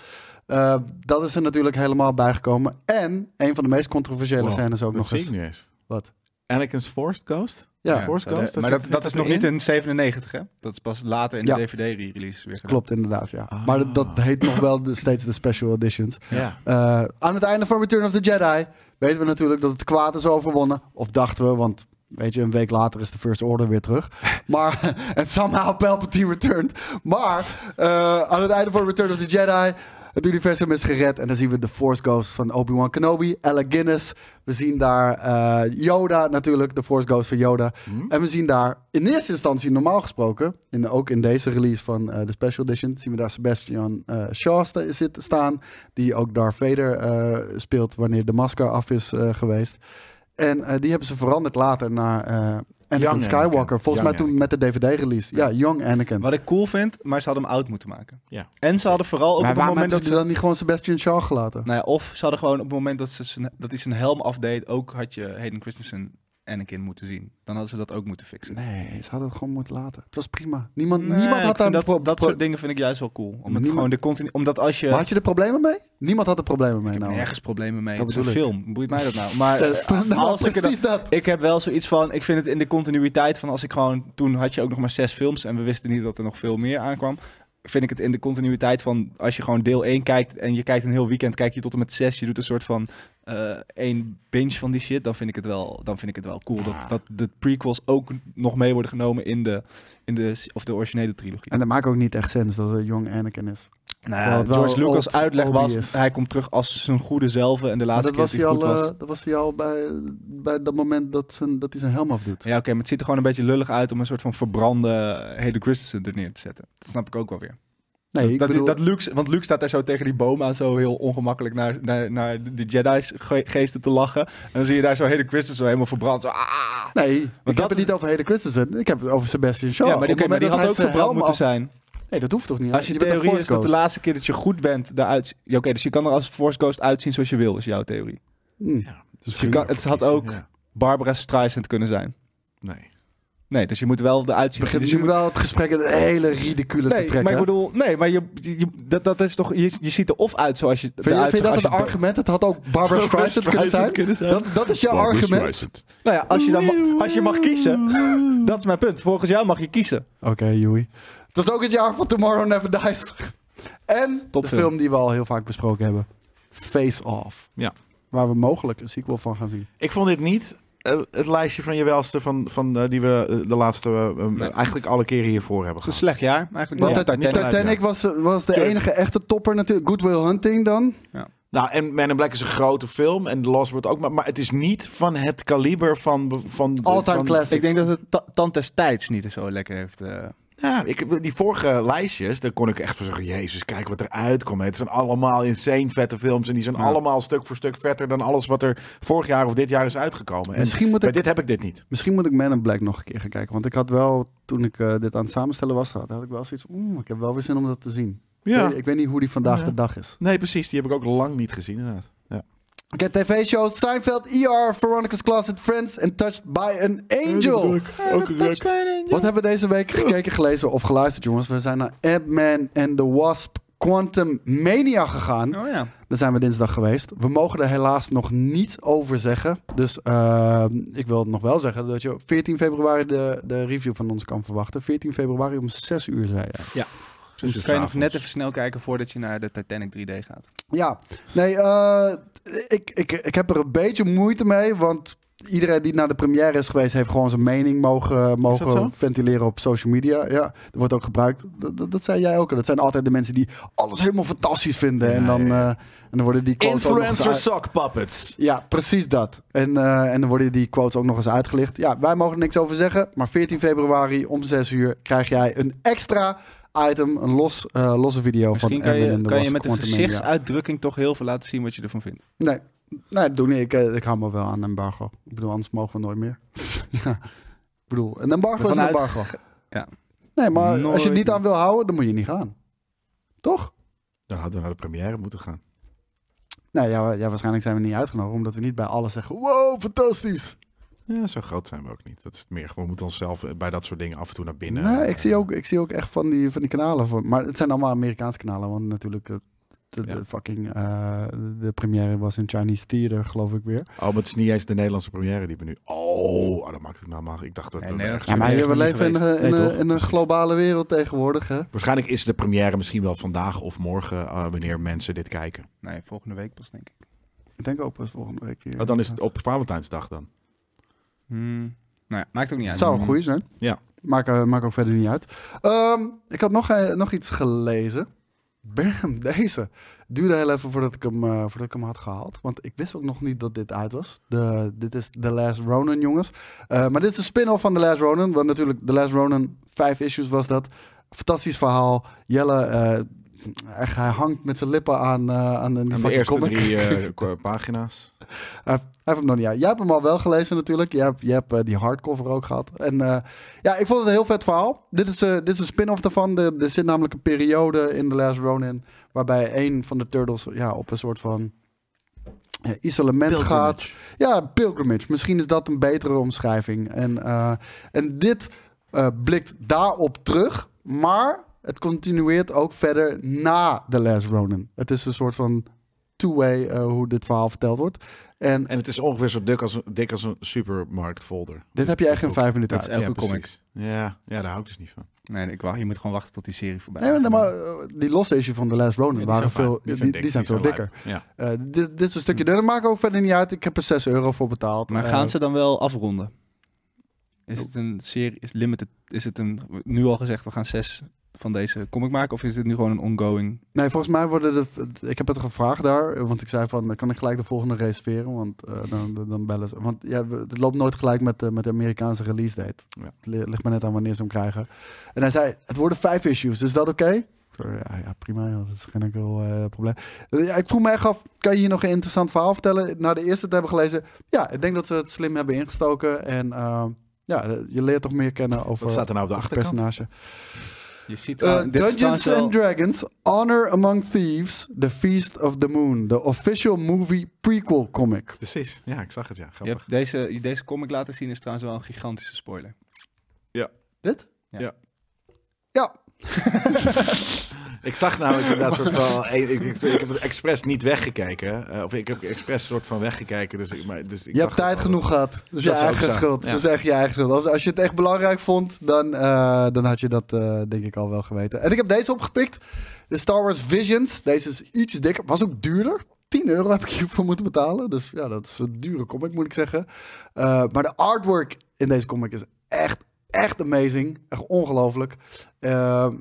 [SPEAKER 4] Ehm, dat is er natuurlijk helemaal bijgekomen. En een van de meest controversiële
[SPEAKER 2] Wow,
[SPEAKER 4] scènes ook nog
[SPEAKER 2] zie ik
[SPEAKER 4] eens.
[SPEAKER 2] nu eens.
[SPEAKER 4] Wat?
[SPEAKER 2] Anakin's Forest Ghost?
[SPEAKER 4] Ja,
[SPEAKER 2] Force
[SPEAKER 3] maar
[SPEAKER 2] Ghost, dat
[SPEAKER 3] dat, Eh, maar
[SPEAKER 2] zit-
[SPEAKER 3] dat, dat is
[SPEAKER 2] zit
[SPEAKER 3] nog
[SPEAKER 2] erin?
[SPEAKER 3] niet in 97, hè? Dat is pas later in
[SPEAKER 4] Ja.
[SPEAKER 3] de DVD-release weer gedaan.
[SPEAKER 4] klopt inderdaad, ja.
[SPEAKER 2] Ah.
[SPEAKER 4] Maar dat, dat heet nog wel de, steeds de special editions.
[SPEAKER 2] Ja.
[SPEAKER 4] Eh, aan het einde van Return of the Jedi weten we natuurlijk dat het kwaad is overwonnen. Of dachten we, want weet je, een week later is de First Order weer terug. Maar, en somehow Palpatine returned. Maar eh, aan het einde van Return of the Jedi, het universum is gered. En dan zien we de Force Ghost van Obi-Wan Kenobi, Ella Guinness. We zien daar eh, Yoda natuurlijk, de Force Ghost van Yoda.
[SPEAKER 3] Mhm.
[SPEAKER 4] En we zien daar in eerste instantie, normaal gesproken, in, ook in deze release van eh, de Special Edition, zien we daar Sebastian eh, Shaw sta- zit, staan. Die ook Darth Vader eh, speelt wanneer de masker af is eh, geweest. En eh, die hebben ze veranderd later naar eh Anakin
[SPEAKER 2] Young
[SPEAKER 4] Skywalker.
[SPEAKER 2] Anakin.
[SPEAKER 4] Volgens
[SPEAKER 2] Young
[SPEAKER 4] mij toen met de DVD-release. Ja, Young Anakin.
[SPEAKER 3] Wat ik cool vind, maar ze hadden hem oud moeten maken.
[SPEAKER 2] Ja.
[SPEAKER 3] En ze hadden vooral ook
[SPEAKER 4] maar
[SPEAKER 3] op het
[SPEAKER 4] waarom
[SPEAKER 3] moment
[SPEAKER 4] hebben
[SPEAKER 3] dat
[SPEAKER 4] ze
[SPEAKER 3] ze...
[SPEAKER 4] dan niet gewoon Sebastian Shaw gelaten?
[SPEAKER 3] Nou ja, of ze hadden gewoon op het moment dat, ze zijn, dat hij zijn helm afdeed... ook had je Hayden Christensen Anakin moeten zien. Dan hadden ze dat ook moeten fixen.
[SPEAKER 4] Nee, ze hadden het gewoon moeten laten. Het was prima. Niemand,
[SPEAKER 3] Nee,
[SPEAKER 4] niemand
[SPEAKER 3] ik vind
[SPEAKER 4] had daar
[SPEAKER 3] dat,
[SPEAKER 4] pro-
[SPEAKER 3] dat
[SPEAKER 4] pro-
[SPEAKER 3] soort dingen vind ik juist wel cool. Omdat,
[SPEAKER 4] Niemand-
[SPEAKER 3] gewoon de continu, omdat als je...
[SPEAKER 4] Maar had je er problemen mee? Niemand had er problemen mee.
[SPEAKER 3] Ik heb
[SPEAKER 4] Nou.
[SPEAKER 3] nergens problemen mee.
[SPEAKER 4] Dat
[SPEAKER 3] Dat het is een
[SPEAKER 4] bedoel
[SPEAKER 3] film. Boeit mij dat nou? Maar
[SPEAKER 4] Eh,
[SPEAKER 3] eh,
[SPEAKER 4] nou,
[SPEAKER 3] als ik, er dan-
[SPEAKER 4] precies dat.
[SPEAKER 3] ik heb wel zoiets van... Ik vind het in de continuïteit van als ik gewoon... Toen had je ook nog maar zes films en we wisten niet dat er nog veel meer aankwam. Vind ik het in de continuïteit van als je gewoon deel 1 kijkt en je kijkt een heel weekend, kijk je tot en met 6, je doet een soort van eh één binge van die shit, dan vind ik het wel, dan vind ik het wel cool
[SPEAKER 4] Ah.
[SPEAKER 3] dat, dat de prequels ook nog mee worden genomen in de, in de, of de originele trilogie.
[SPEAKER 4] En dat maakt ook niet echt sens dat het Young Anakin is.
[SPEAKER 3] Nou
[SPEAKER 4] Terwijl
[SPEAKER 3] ja,
[SPEAKER 4] het wel
[SPEAKER 3] George Lucas'
[SPEAKER 4] old
[SPEAKER 3] uitleg
[SPEAKER 4] Obi
[SPEAKER 3] was,
[SPEAKER 4] is.
[SPEAKER 3] hij komt terug als zijn goede zelf en de
[SPEAKER 4] Maar
[SPEAKER 3] laatste
[SPEAKER 4] dat, was
[SPEAKER 3] keer
[SPEAKER 4] hij
[SPEAKER 3] dat hij
[SPEAKER 4] al,
[SPEAKER 3] goed was.
[SPEAKER 4] eh, dat was hij al bij, bij dat moment dat, zijn, dat hij zijn helm afdoet.
[SPEAKER 3] Ja, oké, maar het ziet er gewoon een beetje lullig uit om een soort van verbrande Hayden Christensen er neer te zetten. Dat snap ik ook wel weer.
[SPEAKER 4] Nee, ik
[SPEAKER 3] dat,
[SPEAKER 4] bedoel,
[SPEAKER 3] dat Luke, want Luke staat daar zo tegen die boom aan, zo heel ongemakkelijk naar, naar, naar de Jedi's ge- geesten te lachen. En dan zie je daar zo Hayden Christensen zo helemaal verbrand. Zo, ah!
[SPEAKER 4] nee ik heb
[SPEAKER 3] dat
[SPEAKER 4] het
[SPEAKER 3] is-
[SPEAKER 4] niet over Hayden Christensen. Ik heb het over Sebastian Shaw.
[SPEAKER 3] ja, maar die,
[SPEAKER 4] Op
[SPEAKER 3] oké,
[SPEAKER 4] het
[SPEAKER 3] maar die
[SPEAKER 4] moment
[SPEAKER 3] had
[SPEAKER 4] dat hij
[SPEAKER 3] ook
[SPEAKER 4] zijn
[SPEAKER 3] verbrand
[SPEAKER 4] helm
[SPEAKER 3] moeten
[SPEAKER 4] af-
[SPEAKER 3] zijn.
[SPEAKER 4] Nee, dat hoeft toch niet?
[SPEAKER 3] Als je,
[SPEAKER 4] bent een
[SPEAKER 3] theorie
[SPEAKER 4] Force
[SPEAKER 3] is dat de
[SPEAKER 4] Ghost.
[SPEAKER 3] laatste keer dat je goed bent, daaruit... Ja, oké, dus je kan er als Force Ghost uitzien zoals je wil, is jouw theorie.
[SPEAKER 4] Hm.
[SPEAKER 2] Ja,
[SPEAKER 3] Dus je kan, het had ook
[SPEAKER 2] Ja.
[SPEAKER 3] Barbara Streisand kunnen zijn.
[SPEAKER 2] Nee.
[SPEAKER 3] Nee, dus je moet wel eruit zien.
[SPEAKER 4] begint
[SPEAKER 3] dus je
[SPEAKER 4] nu
[SPEAKER 3] moet-
[SPEAKER 4] wel het gesprek in een hele ridicule te
[SPEAKER 3] Nee,
[SPEAKER 4] trekken.
[SPEAKER 3] maar ik bedoel, nee, maar je, je- dat, dat is toch, je, je ziet er of uit zoals je
[SPEAKER 4] vind, je,
[SPEAKER 3] eruit
[SPEAKER 4] vind je
[SPEAKER 3] zag
[SPEAKER 4] dat
[SPEAKER 3] als
[SPEAKER 4] het
[SPEAKER 3] je
[SPEAKER 4] argument? Het had ook Barbara Streisand kunnen zijn. Dat, dat is jouw argument?
[SPEAKER 3] dood- Nou ja, als je, dan, ma- als je mag kiezen, dat is mijn punt. Volgens jou mag je kiezen.
[SPEAKER 4] Oké, Joey. Het was ook het jaar van Tomorrow Never Dies. En de
[SPEAKER 3] Topfilm.
[SPEAKER 4] film die we al heel vaak besproken hebben. Face Off.
[SPEAKER 2] Ja.
[SPEAKER 4] Waar we mogelijk een sequel van gaan zien.
[SPEAKER 2] Ik vond dit niet eh, het lijstje van je welste van, van eh, die we eh, de laatste eh, eh,
[SPEAKER 3] Nee.
[SPEAKER 2] eigenlijk alle keren hiervoor hebben
[SPEAKER 3] Het is een
[SPEAKER 2] gehad.
[SPEAKER 3] slecht jaar, eigenlijk.
[SPEAKER 4] Want
[SPEAKER 3] Ja,
[SPEAKER 4] het- Titanic,
[SPEAKER 2] Titanic,
[SPEAKER 4] was, was de
[SPEAKER 2] Tuurlijk.
[SPEAKER 4] enige echte topper natuurlijk. Good Will Hunting dan.
[SPEAKER 2] Nou, en Man in Black is een grote film en The Lost wordt ook, maar, maar het is niet van het kaliber van... van
[SPEAKER 4] All-time
[SPEAKER 2] van-
[SPEAKER 4] classics.
[SPEAKER 3] Ik denk dat het ta tand destijds niet zo lekker heeft. eh.
[SPEAKER 2] Ja, ik, die vorige lijstjes, daar kon ik echt van zeggen, jezus, kijk wat eruit komt. Het zijn allemaal insane vette films en die zijn
[SPEAKER 3] Ja.
[SPEAKER 2] allemaal stuk voor stuk vetter dan alles wat er vorig jaar of dit jaar is uitgekomen. En
[SPEAKER 4] Misschien moet
[SPEAKER 2] bij
[SPEAKER 4] ik
[SPEAKER 2] dit heb ik dit niet.
[SPEAKER 4] Misschien moet ik Man in Black nog een keer gaan kijken. Want ik had wel, toen ik eh, dit aan het samenstellen was, had, had ik wel zoiets oeh, ik heb wel weer zin om dat te zien. Ik,
[SPEAKER 2] Ja,
[SPEAKER 4] weet, ik weet niet hoe die vandaag
[SPEAKER 2] Ja.
[SPEAKER 4] de dag is.
[SPEAKER 2] nee precies, die heb ik ook lang niet gezien inderdaad.
[SPEAKER 4] Oké, tv-shows, Seinfeld, ER, Veronica's Closet, Friends en Touched by an Angel.
[SPEAKER 2] Ook een druk.
[SPEAKER 4] Wat hebben we deze week gekeken, gelezen of geluisterd, jongens? We zijn naar Ant-Man and the Wasp Quantum Mania gegaan.
[SPEAKER 3] Oh ja.
[SPEAKER 4] Daar zijn we dinsdag geweest. We mogen er helaas nog niets over zeggen. Dus eh, ik wil nog wel zeggen dat je op 14 februari de, de review van ons kan verwachten. 14 februari om 6 uur, zei je.
[SPEAKER 2] Ja.
[SPEAKER 3] Soms
[SPEAKER 2] Dus
[SPEAKER 3] kan je nog
[SPEAKER 2] s'avonds.
[SPEAKER 3] net even snel kijken voordat je naar de Titanic 3D gaat.
[SPEAKER 4] Ja, nee, eh, ik, ik, ik heb er een beetje moeite mee, want iedereen die naar de première is geweest, heeft gewoon zijn mening mogen,
[SPEAKER 2] zo?
[SPEAKER 4] mogen ventileren op social media. Ja, dat wordt ook gebruikt. Dat, dat, dat zei jij ook. al. Dat zijn altijd de mensen die alles helemaal fantastisch vinden. en, dan, eh, en dan worden die quotes ook nog eens
[SPEAKER 2] Influencer
[SPEAKER 4] uit-
[SPEAKER 2] sock puppets.
[SPEAKER 4] Ja, precies dat. En, eh, en dan worden die quotes ook nog eens uitgelicht. Ja, wij mogen er niks over zeggen. Maar 14 februari om 6 uur krijg jij een extra item, een los, eh, losse video
[SPEAKER 3] Misschien
[SPEAKER 4] van
[SPEAKER 3] kan
[SPEAKER 4] Erwin
[SPEAKER 3] je,
[SPEAKER 4] en de
[SPEAKER 3] kan je
[SPEAKER 4] losse
[SPEAKER 3] met een
[SPEAKER 4] Quantum Mania.
[SPEAKER 3] gezichtsuitdrukking toch heel veel laten zien wat je ervan vindt.
[SPEAKER 4] Nee, nee dat doe ik niet. Ik, eh, ik hou me wel aan embargo. Ik bedoel, anders mogen we nooit meer. ja. Ik bedoel, een embargo is een
[SPEAKER 3] Vanuit-
[SPEAKER 4] embargo.
[SPEAKER 3] Ja.
[SPEAKER 4] Nee, maar als je
[SPEAKER 3] Nooit
[SPEAKER 4] het niet
[SPEAKER 3] meer.
[SPEAKER 4] aan wil houden, dan moet je niet gaan. Toch?
[SPEAKER 2] Dan hadden we naar de première moeten gaan.
[SPEAKER 4] Nee, ja, wa- ja, waarschijnlijk zijn we niet uitgenodigd, omdat we niet bij alles zeggen, wow, fantastisch.
[SPEAKER 2] Ja, zo groot zijn we ook niet. Dat is het meer. We moeten onszelf eh, bij dat soort dingen af en toe naar binnen.
[SPEAKER 4] nee, ik
[SPEAKER 2] eh,
[SPEAKER 4] zie ook, ik zie ook echt van die, van die kanalen, voor, maar het zijn allemaal Amerikaanse kanalen, want natuurlijk... eh, De, de
[SPEAKER 2] Ja.
[SPEAKER 4] fucking eh, de première was in Chinese Theater, geloof ik weer.
[SPEAKER 2] Oh, maar het is niet eens de Nederlandse première die we nu. Oh, oh, dat maakt het nou maar. Ik dacht dat.
[SPEAKER 3] Nee,
[SPEAKER 2] we
[SPEAKER 3] Nederlandse
[SPEAKER 2] echt-
[SPEAKER 4] Ja, maar
[SPEAKER 3] Première is
[SPEAKER 4] Eh,
[SPEAKER 3] nog
[SPEAKER 4] we
[SPEAKER 3] niet
[SPEAKER 4] leven in,
[SPEAKER 3] geweest.
[SPEAKER 4] een- in,
[SPEAKER 2] Nee,
[SPEAKER 4] een-
[SPEAKER 2] toch?
[SPEAKER 4] in een globale wereld tegenwoordig. Hè?
[SPEAKER 2] Waarschijnlijk is de première misschien wel vandaag of morgen eh, wanneer mensen dit kijken.
[SPEAKER 3] Nee, volgende week pas denk ik.
[SPEAKER 4] Ik denk ook pas volgende week hier.
[SPEAKER 2] Oh, dan is het op Valentijnsdag dan.
[SPEAKER 3] Hmm. Nou ja, maakt ook niet uit.
[SPEAKER 4] Zou een goeie zijn.
[SPEAKER 2] Ja.
[SPEAKER 4] Maakt, eh, maakt ook verder niet uit. Ehm, ik had nog, eh, nog iets gelezen. Bam, deze. Duurde heel even voordat ik, hem, eh, voordat ik hem had gehaald. Want ik wist ook nog niet dat dit uit was. De, dit is The Last Ronin, jongens. Eh, maar dit is een spin-off van The Last Ronin. Want natuurlijk, The Last Ronin, vijf issues was dat. Fantastisch verhaal. Jelle, eh, echt, hij hangt met zijn lippen aan, eh, aan, die
[SPEAKER 2] En de
[SPEAKER 4] fucking
[SPEAKER 2] eerste
[SPEAKER 4] comic.
[SPEAKER 2] drie eh, ko- pagina's.
[SPEAKER 4] Hij heeft, hij heeft hem nog niet uit. Jij hebt hem al wel gelezen natuurlijk. Jij hebt, jij hebt eh, die hardcover ook gehad. En eh, ja, ik vond het een heel vet verhaal. Dit is, eh, dit is een spin-off daarvan. Er, er zit namelijk een periode in The Last Ronin... waarbij een van de turtles ja, op een soort van eh, isolement gaat. Ja, pilgrimage. Misschien is dat een betere omschrijving. En, eh, en dit eh, blikt daarop terug, maar het continueert ook verder na The Last Ronin. Het is een soort van two-way eh, hoe dit verhaal verteld wordt. En
[SPEAKER 2] En het is ongeveer zo dik als een, dik als een supermarktfolder.
[SPEAKER 4] dit heb je echt in vijf minuten
[SPEAKER 3] Dat is
[SPEAKER 4] uit.
[SPEAKER 3] elke
[SPEAKER 2] ja, precies.
[SPEAKER 3] comic.
[SPEAKER 2] Ja, ja, daar hou ik dus niet van.
[SPEAKER 3] Nee, ik wacht, je moet gewoon wachten tot die serie voorbij
[SPEAKER 4] Nee,
[SPEAKER 3] is.
[SPEAKER 4] maar, maar eh, die losse issue van The Last Ronin
[SPEAKER 2] Ja, die
[SPEAKER 4] waren
[SPEAKER 2] zijn fijn.
[SPEAKER 4] veel, die, die zijn,
[SPEAKER 2] dik, die
[SPEAKER 4] veel dikker.
[SPEAKER 2] lijp. Ja.
[SPEAKER 4] Eh, dit, dit is een stukje dunner. Maakt ook verder niet uit. Ik heb er 6 euro voor betaald.
[SPEAKER 3] Maar
[SPEAKER 4] Eh,
[SPEAKER 3] gaan ze dan wel afronden? Is het een serie, is limited, is het een, nu al gezegd, we gaan zes van deze comic maken? Of is dit nu gewoon een ongoing?
[SPEAKER 4] Nee, volgens mij worden de. Ik heb het gevraagd daar, want ik zei van, dan kan ik gelijk de volgende reserveren, want eh, dan, dan- dan bellen ze. Want ja, we- het loopt nooit gelijk met, de- met de Amerikaanse release date.
[SPEAKER 2] Ja.
[SPEAKER 4] Het li- ligt maar net aan wanneer ze hem krijgen. En hij zei, het worden vijf issues, is dat oké? Ik zei, Ja, ja, prima, joh, dat is geen enkel eh, probleem. Eh, Ja, ik vroeg me echt af, kan je hier nog een interessant verhaal vertellen? Na de eerste te hebben gelezen, ja, ik denk dat ze het slim hebben ingestoken. En ehm, ja, je leert toch meer kennen over
[SPEAKER 2] Wat staat er nou op de
[SPEAKER 4] over het
[SPEAKER 2] achterkant?
[SPEAKER 4] personage.
[SPEAKER 3] Je
[SPEAKER 2] Eh,
[SPEAKER 3] ziet
[SPEAKER 4] Uh, Dungeons and Dragons: Honor Among Thieves, The Feast of the Moon, de official movie prequel comic.
[SPEAKER 2] Precies. Ja, ik zag het. Ja, grappig.
[SPEAKER 3] Je hebt deze, deze comic laten zien is trouwens wel een gigantische spoiler.
[SPEAKER 4] Dit?
[SPEAKER 3] Ja.
[SPEAKER 2] Ja.
[SPEAKER 4] Ja.
[SPEAKER 2] Ik zag namelijk inderdaad soort van. Ik, ik, ik, ik heb het expres niet weggekeken. eh, of ik heb expres soort van weggekeken. Dus ik, maar, dus ik
[SPEAKER 4] je
[SPEAKER 2] dacht
[SPEAKER 4] hebt tijd
[SPEAKER 2] wel-
[SPEAKER 4] genoeg gehad. Dus je
[SPEAKER 2] Dat is ook
[SPEAKER 4] eigen
[SPEAKER 2] zo,
[SPEAKER 4] schuld.
[SPEAKER 2] ja.
[SPEAKER 4] Dus echt je eigen schuld. Als, als je het echt belangrijk vond, dan, eh, dan had je dat eh, denk ik al wel geweten. En ik heb deze opgepikt. De Star Wars Visions. Deze is iets dikker. Was ook duurder. 10 euro heb ik hiervoor moeten betalen. Dus ja, dat is een dure comic, moet ik zeggen. Eh, maar de artwork in deze comic is echt, echt amazing. Echt ongelooflijk. Ehm,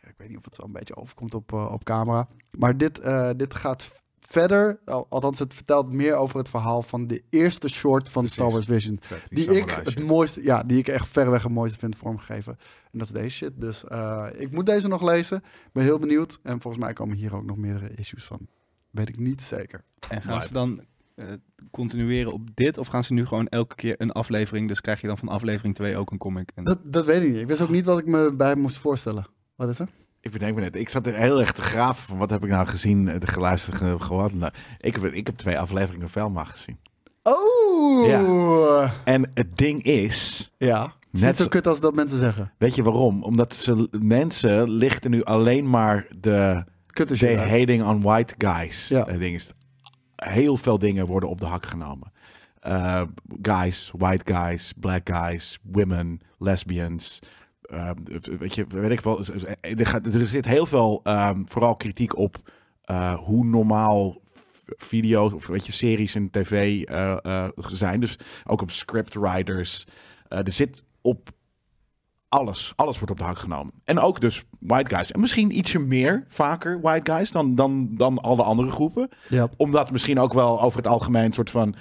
[SPEAKER 4] ik weet niet of het zo een beetje overkomt op, eh, op camera. Maar dit, eh, dit gaat v- verder. Al- Althans, het vertelt meer over het verhaal van de eerste short van Star Wars Vision.
[SPEAKER 2] Vet,
[SPEAKER 4] Die, ik
[SPEAKER 2] samurai
[SPEAKER 4] het
[SPEAKER 2] shit.
[SPEAKER 4] mooiste, ja, die ik echt verreweg het mooiste vind vormgegeven. En dat is deze shit. Dus eh, ik moet deze nog lezen. Ik ben heel benieuwd. En volgens mij komen hier ook nog meerdere issues van. Weet ik niet zeker.
[SPEAKER 3] En gaan ze dan eh, continueren op dit? Of gaan ze nu gewoon elke keer een aflevering? Dus krijg je dan van aflevering 2 ook een comic? En...
[SPEAKER 4] Dat, dat weet ik niet. Ik wist ook niet wat ik me bij moest voorstellen. Wat is er?
[SPEAKER 2] Ik bedenk me net. Ik zat er heel erg te graven van wat heb ik nou gezien, eh, de geluisterd, ge- gehoord. Nou, ik, heb, ik heb twee afleveringen Velma gezien.
[SPEAKER 4] Oh! Ja.
[SPEAKER 2] En het ding is,
[SPEAKER 4] Het is
[SPEAKER 2] Net
[SPEAKER 4] niet zo
[SPEAKER 2] zo-
[SPEAKER 4] kut als dat mensen zeggen.
[SPEAKER 2] weet je waarom? Omdat ze, mensen lichten nu alleen maar de
[SPEAKER 4] Kut is
[SPEAKER 2] de
[SPEAKER 4] je.
[SPEAKER 2] hating on white guys.
[SPEAKER 4] Ja.
[SPEAKER 2] Het ding is, heel veel dingen worden op de hak genomen. Eh, guys, white guys, black guys, women, lesbians, ehm, weet je, weet ik wel. dus, eh, Er, gaat- er zit heel veel, ehm, vooral kritiek op eh, hoe normaal video's of weet je, series en tv eh, eh, zijn. Dus ook op scriptwriters. Eh, er zit op alles. Alles wordt op de hak genomen. En ook dus white guys. En misschien ietsje meer, vaker white guys dan, dan, dan alle andere groepen
[SPEAKER 4] Ja.
[SPEAKER 2] omdat misschien ook wel over het algemeen een soort van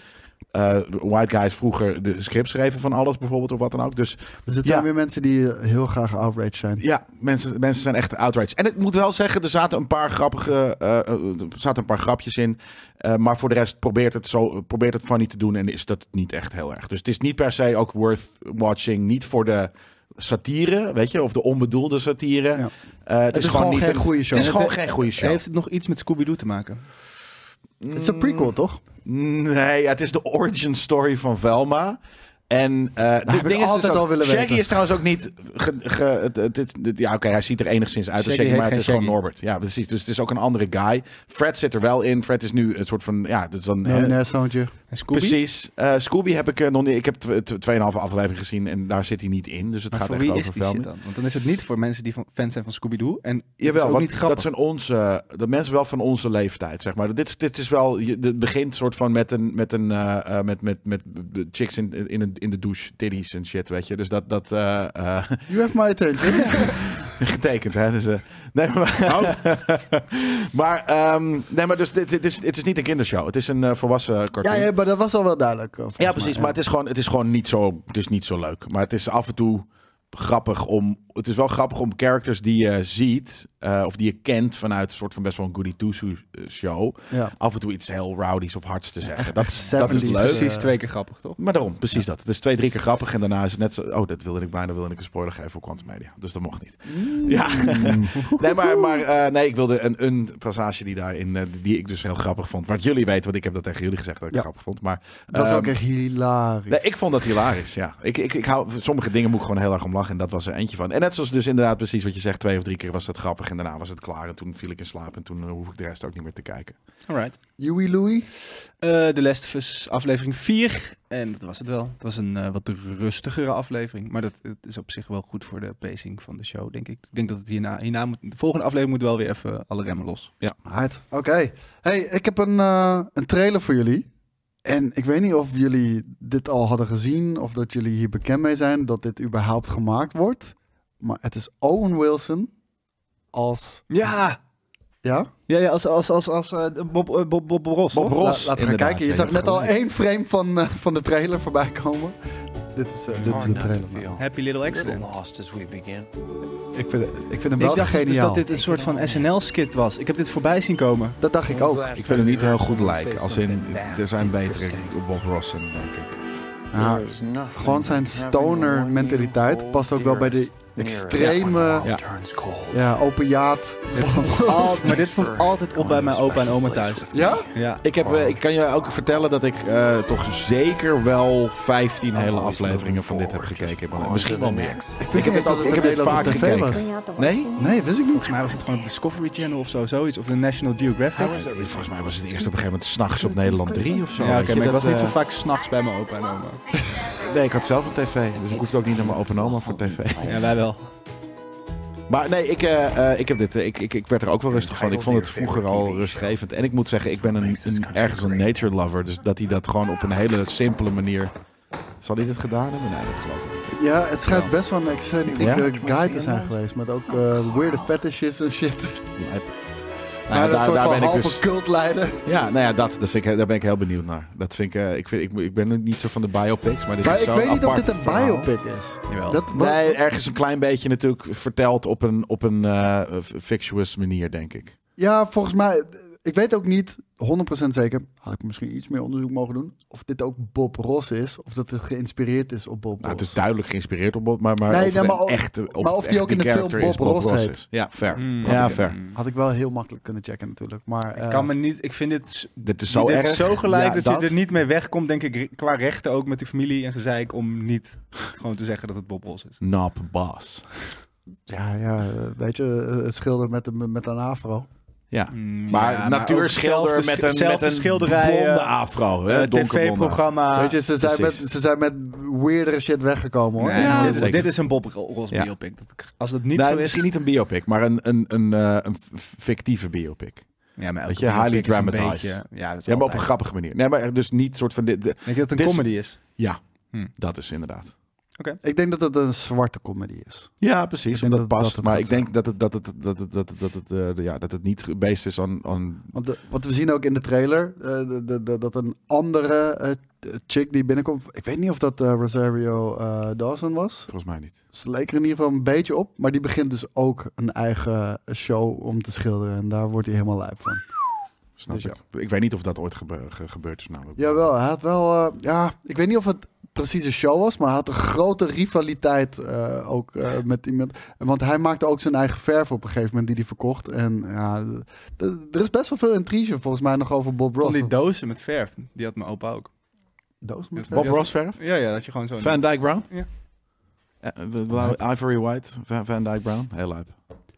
[SPEAKER 2] eh, white guys vroeger de scripts schreven van alles bijvoorbeeld of wat dan ook. Dus
[SPEAKER 4] Dus het
[SPEAKER 2] Ja.
[SPEAKER 4] zijn weer mensen die eh, heel graag outraged zijn.
[SPEAKER 2] ja, mensen, mensen zijn echt outraged. En ik moet wel zeggen, er zaten een paar grappige, eh, eh, er zaten een paar grapjes in. Eh, maar voor de rest probeert het, zo, probeert het funny te doen en is dat niet echt heel erg. Dus het is niet per se ook worth watching. Niet voor de satire, weet je, of de onbedoelde satire.
[SPEAKER 4] Ja.
[SPEAKER 2] Eh, het, is gewoon, niet
[SPEAKER 4] geen
[SPEAKER 2] een-
[SPEAKER 4] goede show.
[SPEAKER 2] Het is gewoon
[SPEAKER 3] Het-
[SPEAKER 2] geen goede show.
[SPEAKER 3] Heeft het nog iets met Scooby-Doo te maken?
[SPEAKER 4] Het is een prequel, toch?
[SPEAKER 2] Nee, ja, het is de origin story van Velma. En eh dit
[SPEAKER 4] ik
[SPEAKER 2] ding is
[SPEAKER 4] altijd
[SPEAKER 2] dus ook-
[SPEAKER 4] al willen
[SPEAKER 2] Shaggy
[SPEAKER 4] weten.
[SPEAKER 2] is trouwens ook niet. Ge, ge- het- het- dit- dit- ja, oké, hij ziet er enigszins uit als
[SPEAKER 3] Shaggy
[SPEAKER 2] Shaggy, maar
[SPEAKER 3] heet
[SPEAKER 2] het is
[SPEAKER 3] geen
[SPEAKER 2] gewoon Norbert. Ja, precies. Dus het is ook een andere guy. Fred zit er wel in. Fred is nu een soort van. Ja, dat is dan. eh,
[SPEAKER 4] Miljonair zoontje.
[SPEAKER 3] En Scooby?
[SPEAKER 2] precies. Eh, Scooby heb ik eh, nog niet. Ik heb tw- tw- 2,5 aflevering gezien en daar zit hij niet in. Dus het
[SPEAKER 3] Maar
[SPEAKER 2] gaat
[SPEAKER 3] voor
[SPEAKER 2] echt
[SPEAKER 3] wie
[SPEAKER 2] over
[SPEAKER 3] is die
[SPEAKER 2] Velma.
[SPEAKER 3] shit dan? Want dan is het niet voor mensen die van, fans zijn van Scooby-Doo. En het is
[SPEAKER 2] Jawel,
[SPEAKER 3] ook
[SPEAKER 2] want
[SPEAKER 3] niet grappig.
[SPEAKER 2] dat zijn onze, dat mensen wel van onze leeftijd, zeg maar. Dit, is- dit is wel, je- het begint soort van met een, met een, eh, eh, met, met, met de chicks in, in, een- in de douche, titties en shit, weet je. Dus dat, dat, eh, eh,
[SPEAKER 4] You have my attention.
[SPEAKER 2] getekend, hè. Dus, eh, nee, maar,
[SPEAKER 3] Oh.
[SPEAKER 2] maar, ehm, nee, maar dus dit, dit is, het is niet een kindershow. Het is een eh, volwassen
[SPEAKER 4] ja,
[SPEAKER 2] cartoon.
[SPEAKER 4] ja, maar dat was al wel duidelijk. eh, volgens
[SPEAKER 2] Ja,
[SPEAKER 4] mij,
[SPEAKER 2] precies. Maar het is gewoon, het is gewoon niet, zo, het is niet zo leuk. Maar het is af en toe grappig om. Het is wel grappig om characters die je ziet. eh, of die je kent vanuit een soort van best wel een goody two show.
[SPEAKER 4] Ja.
[SPEAKER 2] af en toe iets heel rowdies of hards te zeggen. Dat, is- dat is het
[SPEAKER 4] 70s,
[SPEAKER 3] Leuk.
[SPEAKER 2] leuk.
[SPEAKER 4] eh,
[SPEAKER 3] Precies twee keer grappig, toch?
[SPEAKER 2] Maar daarom, precies dat. Het is twee, drie keer grappig en daarna is het net zo... Oh, dat wilde ik bijna, wilde ik een spoiler geven voor Quantum Media. Dus dat mocht niet. Ja. nee, maar, maar eh, nee, ik wilde een, een passage die daarin... eh, die ik dus heel grappig vond. Wat jullie weten, want ik heb dat tegen jullie gezegd dat ik
[SPEAKER 4] Ja.
[SPEAKER 2] het grappig vond. Maar,
[SPEAKER 4] Dat is
[SPEAKER 2] ehm,
[SPEAKER 4] ook echt hilarisch.
[SPEAKER 2] Nee, ik vond dat hilarisch, ja. Ik, ik, ik hou, sommige dingen moet ik gewoon heel erg om lachen en dat was er eentje van. En net zoals dus inderdaad precies wat je zegt, twee of drie keer was dat grappig en daarna was het klaar. En toen viel ik in slaap en toen eh, hoef ik de rest ook niet meer te kijken.
[SPEAKER 3] Alright.
[SPEAKER 4] Huey Louis?
[SPEAKER 3] Eh The Last of Us aflevering 4. En dat was het wel. Het was een eh, wat rustigere aflevering. Maar dat, het is op zich wel goed voor de pacing van de show, denk ik. Ik denk dat het hierna, hierna moet, de volgende aflevering moet wel weer even alle remmen los.
[SPEAKER 4] Hard. Oké. Hey, ik heb een, eh, een trailer voor jullie. En ik weet niet of jullie dit al hadden gezien of dat jullie hier bekend mee zijn dat dit überhaupt gemaakt wordt. Maar het is Owen Wilson als...
[SPEAKER 3] Ja!
[SPEAKER 4] Ja?
[SPEAKER 3] Ja, ja als, als, als, als eh, Bob, eh, Bob, Bob, Ross.
[SPEAKER 2] Bob
[SPEAKER 3] toch?
[SPEAKER 2] Ross.
[SPEAKER 4] La- laten we gaan
[SPEAKER 2] inderdaad,
[SPEAKER 4] kijken. Je
[SPEAKER 2] ja,
[SPEAKER 4] zag
[SPEAKER 2] je hebt
[SPEAKER 4] net al
[SPEAKER 2] gelijk.
[SPEAKER 4] één frame van, eh, van de trailer voorbij komen. Dit is, eh, dit is de trailer.
[SPEAKER 3] Happy Little Accident.
[SPEAKER 5] lost as we begin.
[SPEAKER 4] Ik vind, ik vind hem wel
[SPEAKER 3] Ik dacht dus
[SPEAKER 4] geniaal.
[SPEAKER 3] dat dit een soort van SNL-skit was. Ik heb dit voorbij zien komen.
[SPEAKER 4] Dat dacht ik ook.
[SPEAKER 2] Ik vind hem niet heel goed lijken. Als in, er zijn betere Bob Rossen, denk ik.
[SPEAKER 4] Ja, gewoon zijn stoner mentaliteit past ook wel bij de extreme eh,
[SPEAKER 2] Ja.
[SPEAKER 4] ja, opiaat.
[SPEAKER 3] Dit stond al, maar dit stond altijd op bij mijn opa en oma thuis.
[SPEAKER 4] Ja?
[SPEAKER 3] Ja.
[SPEAKER 2] Ik, heb, eh, ik kan je ook vertellen dat ik eh, toch zeker wel 15 hele afleveringen van dit heb gekeken. Maar Misschien wel meer.
[SPEAKER 4] Ik wist
[SPEAKER 2] heb
[SPEAKER 4] niet
[SPEAKER 2] dit
[SPEAKER 4] dat
[SPEAKER 2] ook-
[SPEAKER 4] het
[SPEAKER 2] ik
[SPEAKER 4] in
[SPEAKER 2] heb dit
[SPEAKER 4] Nederland op
[SPEAKER 2] vaak
[SPEAKER 4] tv
[SPEAKER 2] gekeken.
[SPEAKER 4] was.
[SPEAKER 2] Nee?
[SPEAKER 4] Nee, wist ik niet.
[SPEAKER 3] Volgens mij was het gewoon op Discovery Channel of zo, zoiets. Of de National Geographic.
[SPEAKER 2] Eh, Volgens mij was het eerst op een gegeven moment s'nachts op Nederland 3 of zo.
[SPEAKER 3] Ja, oké,
[SPEAKER 2] weet je,
[SPEAKER 3] maar ik
[SPEAKER 2] dat,
[SPEAKER 3] was niet zo
[SPEAKER 2] eh,
[SPEAKER 3] vaak s'nachts bij mijn opa en oma.
[SPEAKER 2] Nee, ik had zelf een tv. Dus ik hoefde ook niet naar mijn open oma voor tv.
[SPEAKER 3] Ja, wij wel.
[SPEAKER 2] Maar nee, ik, eh, eh, ik, heb dit, eh, ik, ik, ik werd er ook wel rustig van. Ik vond het vroeger al rustgevend. En ik moet zeggen, ik ben een, een- ergens een nature lover. Dus dat hij dat gewoon op een hele simpele manier... Zal hij dit gedaan hebben? Nee, dat geloof ik niet.
[SPEAKER 4] Ja, het schijnt best wel een excentrieke
[SPEAKER 2] Ja?
[SPEAKER 4] guy te zijn geweest. Met ook eh weirde fetishes en shit.
[SPEAKER 2] Lijp.
[SPEAKER 4] Maar
[SPEAKER 2] Nou ja, Nou,
[SPEAKER 4] een
[SPEAKER 2] daar,
[SPEAKER 4] soort
[SPEAKER 2] daar
[SPEAKER 4] van
[SPEAKER 2] ben ik
[SPEAKER 4] halve
[SPEAKER 2] dus.
[SPEAKER 4] cultleider.
[SPEAKER 2] Ja, nou ja, dat, dat vind ik, daar ben ik heel benieuwd naar. Dat vind ik, eh, ik, vind, ik, ik ben niet zo van de biopics, maar dit
[SPEAKER 4] Maar
[SPEAKER 2] is
[SPEAKER 4] ik
[SPEAKER 2] zo'n
[SPEAKER 4] weet niet of
[SPEAKER 2] apart
[SPEAKER 4] dit een
[SPEAKER 2] verhaal.
[SPEAKER 4] biopic is.
[SPEAKER 3] Jawel.
[SPEAKER 4] Dat, wat-
[SPEAKER 2] Nee, ergens een klein beetje natuurlijk verteld op een, op een eh, fictitious manier, denk ik.
[SPEAKER 4] Ja, volgens mij. Ik weet ook niet 100% zeker. Had ik misschien iets meer onderzoek mogen doen. Of dit ook Bob Ross is. Of dat het geïnspireerd is op Bob
[SPEAKER 2] Nou, het
[SPEAKER 4] Ross.
[SPEAKER 2] is duidelijk geïnspireerd op Bob, maar, nou, maar
[SPEAKER 4] Nee,
[SPEAKER 2] of,
[SPEAKER 4] nee,
[SPEAKER 2] het
[SPEAKER 4] maar
[SPEAKER 2] een
[SPEAKER 4] ook-
[SPEAKER 2] echte, of,
[SPEAKER 4] maar of
[SPEAKER 2] het
[SPEAKER 4] die
[SPEAKER 2] echt
[SPEAKER 4] ook
[SPEAKER 2] de
[SPEAKER 4] in de film
[SPEAKER 2] character is
[SPEAKER 4] Bob Ross heet.
[SPEAKER 2] is. Ja, fair.
[SPEAKER 3] Hmm.
[SPEAKER 2] ja, fair. Eh,
[SPEAKER 4] Had ik wel heel makkelijk kunnen checken natuurlijk. Maar
[SPEAKER 3] Ik
[SPEAKER 4] eh,
[SPEAKER 3] kan me niet... Ik vind dit s-
[SPEAKER 2] Dit is zo
[SPEAKER 3] dit
[SPEAKER 2] erg.
[SPEAKER 3] is zo gelijk
[SPEAKER 2] Ja,
[SPEAKER 3] dat, je er niet mee wegkomt, denk ik, re- qua rechten ook met die familie en gezeik, om niet gewoon te zeggen dat het Bob Ross is.
[SPEAKER 2] Nap Bas.
[SPEAKER 4] ja, ja, eh, weet je, eh, het schilder met, een- met een afro.
[SPEAKER 2] Hmm. Ja.
[SPEAKER 3] Mm,
[SPEAKER 2] Maar
[SPEAKER 3] ja,
[SPEAKER 2] natuurschilder
[SPEAKER 3] ook zelf de
[SPEAKER 2] met een,
[SPEAKER 3] sch- zelf
[SPEAKER 2] met
[SPEAKER 3] de
[SPEAKER 2] een
[SPEAKER 3] schilderijen,
[SPEAKER 2] blonde afro. hè,
[SPEAKER 3] eh,
[SPEAKER 2] donkerblonde.
[SPEAKER 3] tv-programma.
[SPEAKER 4] Weet je, ze zijn, met,
[SPEAKER 2] precies.
[SPEAKER 4] ze zijn met weirdere shit weggekomen hoor.
[SPEAKER 3] Nee,
[SPEAKER 2] Ja,
[SPEAKER 3] dit, is,
[SPEAKER 2] zeker.
[SPEAKER 3] dit is een Bob Ro- Ross
[SPEAKER 2] Ja.
[SPEAKER 3] biopic. Als dat niet
[SPEAKER 2] Nee,
[SPEAKER 3] zo is...
[SPEAKER 2] misschien niet een biopic, maar een, een, een, eh, een f- fictieve biopic.
[SPEAKER 3] Ja, maar elke
[SPEAKER 2] Weet je, highly
[SPEAKER 3] biopic is een
[SPEAKER 2] dramatized.
[SPEAKER 3] beetje- Ja, dat is
[SPEAKER 2] Ja, maar op een
[SPEAKER 3] altijd.
[SPEAKER 2] grappige manier. Nee, maar dus niet soort van dit. de-
[SPEAKER 3] Denk je dat het een
[SPEAKER 2] Dit is-
[SPEAKER 3] comedy is?
[SPEAKER 2] ja,
[SPEAKER 3] Hm.
[SPEAKER 2] dat is inderdaad.
[SPEAKER 4] Ik denk dat het een zwarte comedy is.
[SPEAKER 2] Ja, precies.
[SPEAKER 4] Ik
[SPEAKER 2] Omdat
[SPEAKER 4] denk
[SPEAKER 2] het
[SPEAKER 4] dat-
[SPEAKER 2] past.
[SPEAKER 4] dat het
[SPEAKER 2] maar
[SPEAKER 4] gaat
[SPEAKER 2] ik denk dat het, dat, het, dat, het, dat, het, dat, het, eh, ja, dat het niet gebaseerd is aan. aan
[SPEAKER 4] Want de- wat we zien ook in de trailer, eh, de- de- de- dat een andere eh, t- chick die binnenkomt. Ik weet niet of dat eh, Rosario eh, Dawson was.
[SPEAKER 2] volgens mij niet.
[SPEAKER 4] Ze leek er in ieder geval een beetje op. Maar die begint dus ook een eigen show om te schilderen. En daar wordt hij helemaal lijp van.
[SPEAKER 2] Snap
[SPEAKER 4] Dus ja.
[SPEAKER 2] ik. Ik weet niet of dat ooit gebe- ge- gebeurd is. Namelijk.
[SPEAKER 4] Jawel, hij had wel... eh, ja, ik weet niet of het precies een show was, maar hij had een grote rivaliteit eh, ook eh, met iemand. Want hij maakte ook zijn eigen verf op een gegeven moment die hij verkocht. En ja, d- d- er is best wel veel intrige volgens mij nog over Bob
[SPEAKER 3] Van
[SPEAKER 4] Ross.
[SPEAKER 3] die dozen met verf. Die had mijn opa ook.
[SPEAKER 4] doos met
[SPEAKER 2] Bob
[SPEAKER 4] verf?
[SPEAKER 3] Ja.
[SPEAKER 2] Ross verf?
[SPEAKER 3] Ja, ja, dat je gewoon zo...
[SPEAKER 2] Van Dyke Brown?
[SPEAKER 3] Ja.
[SPEAKER 2] Eh, eh, blauw- Ivory White, Van, Van Dyke Brown, heel lijp.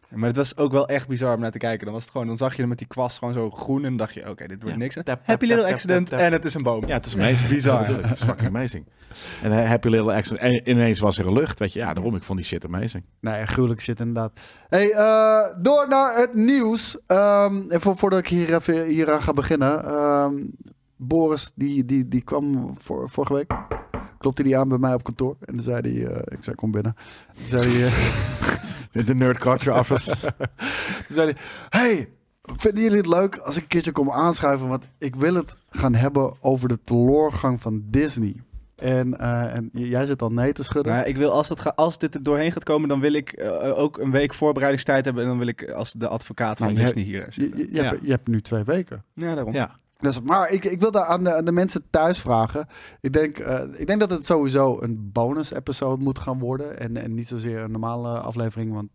[SPEAKER 3] Maar het was ook wel echt bizar om naar te kijken. Dan was het gewoon, dan zag je hem met die kwast gewoon zo groen en dan dacht je, oké, dit
[SPEAKER 2] Ja.
[SPEAKER 3] wordt niks.
[SPEAKER 2] Tap, tap,
[SPEAKER 3] Happy
[SPEAKER 2] tap,
[SPEAKER 3] little
[SPEAKER 2] tap,
[SPEAKER 3] accident
[SPEAKER 2] tap, tap.
[SPEAKER 3] en het is een boom.
[SPEAKER 2] Ja, het is amazing.
[SPEAKER 3] Bizar.
[SPEAKER 2] Ja, bedoel ik. Het is fucking amazing. En eh, Happy Little Accident. En ineens was er een lucht, weet je. Ja, daarom, ik vond die shit amazing.
[SPEAKER 4] Nee, gruwelijk shit inderdaad. Hey, eh, door naar het nieuws. Ehm, en voor, voordat ik hier even hieraan ga beginnen. ehm, Boris, die, die, die kwam voor, vorige week. Klopte die aan bij mij op kantoor. En toen zei hij, eh, ik zei kom binnen. Toen zei hij, eh,
[SPEAKER 2] De de Nerd Culture Office.
[SPEAKER 4] toen zei hij, hey, vinden jullie het leuk als ik een keertje kom aanschuiven? Want ik wil het gaan hebben over de teleurgang van Disney. En, eh, en j- jij zit al nee te schudden.
[SPEAKER 3] Maar ik wil, als, dat ga, als dit er doorheen gaat komen, dan wil ik eh, ook een week voorbereidingstijd hebben. En dan wil ik eh, als de advocaat van
[SPEAKER 4] Nou, je-
[SPEAKER 3] Disney hier
[SPEAKER 4] Je,
[SPEAKER 3] zitten.
[SPEAKER 4] je, je hebt, je hebt nu twee weken.
[SPEAKER 3] Ja, daarom.
[SPEAKER 2] ja.
[SPEAKER 4] Dus, maar ik, ik wil daar aan de, aan de mensen thuis vragen. Ik denk, eh, ik denk dat het sowieso een bonus-episode moet gaan worden. En, en niet zozeer een normale aflevering, want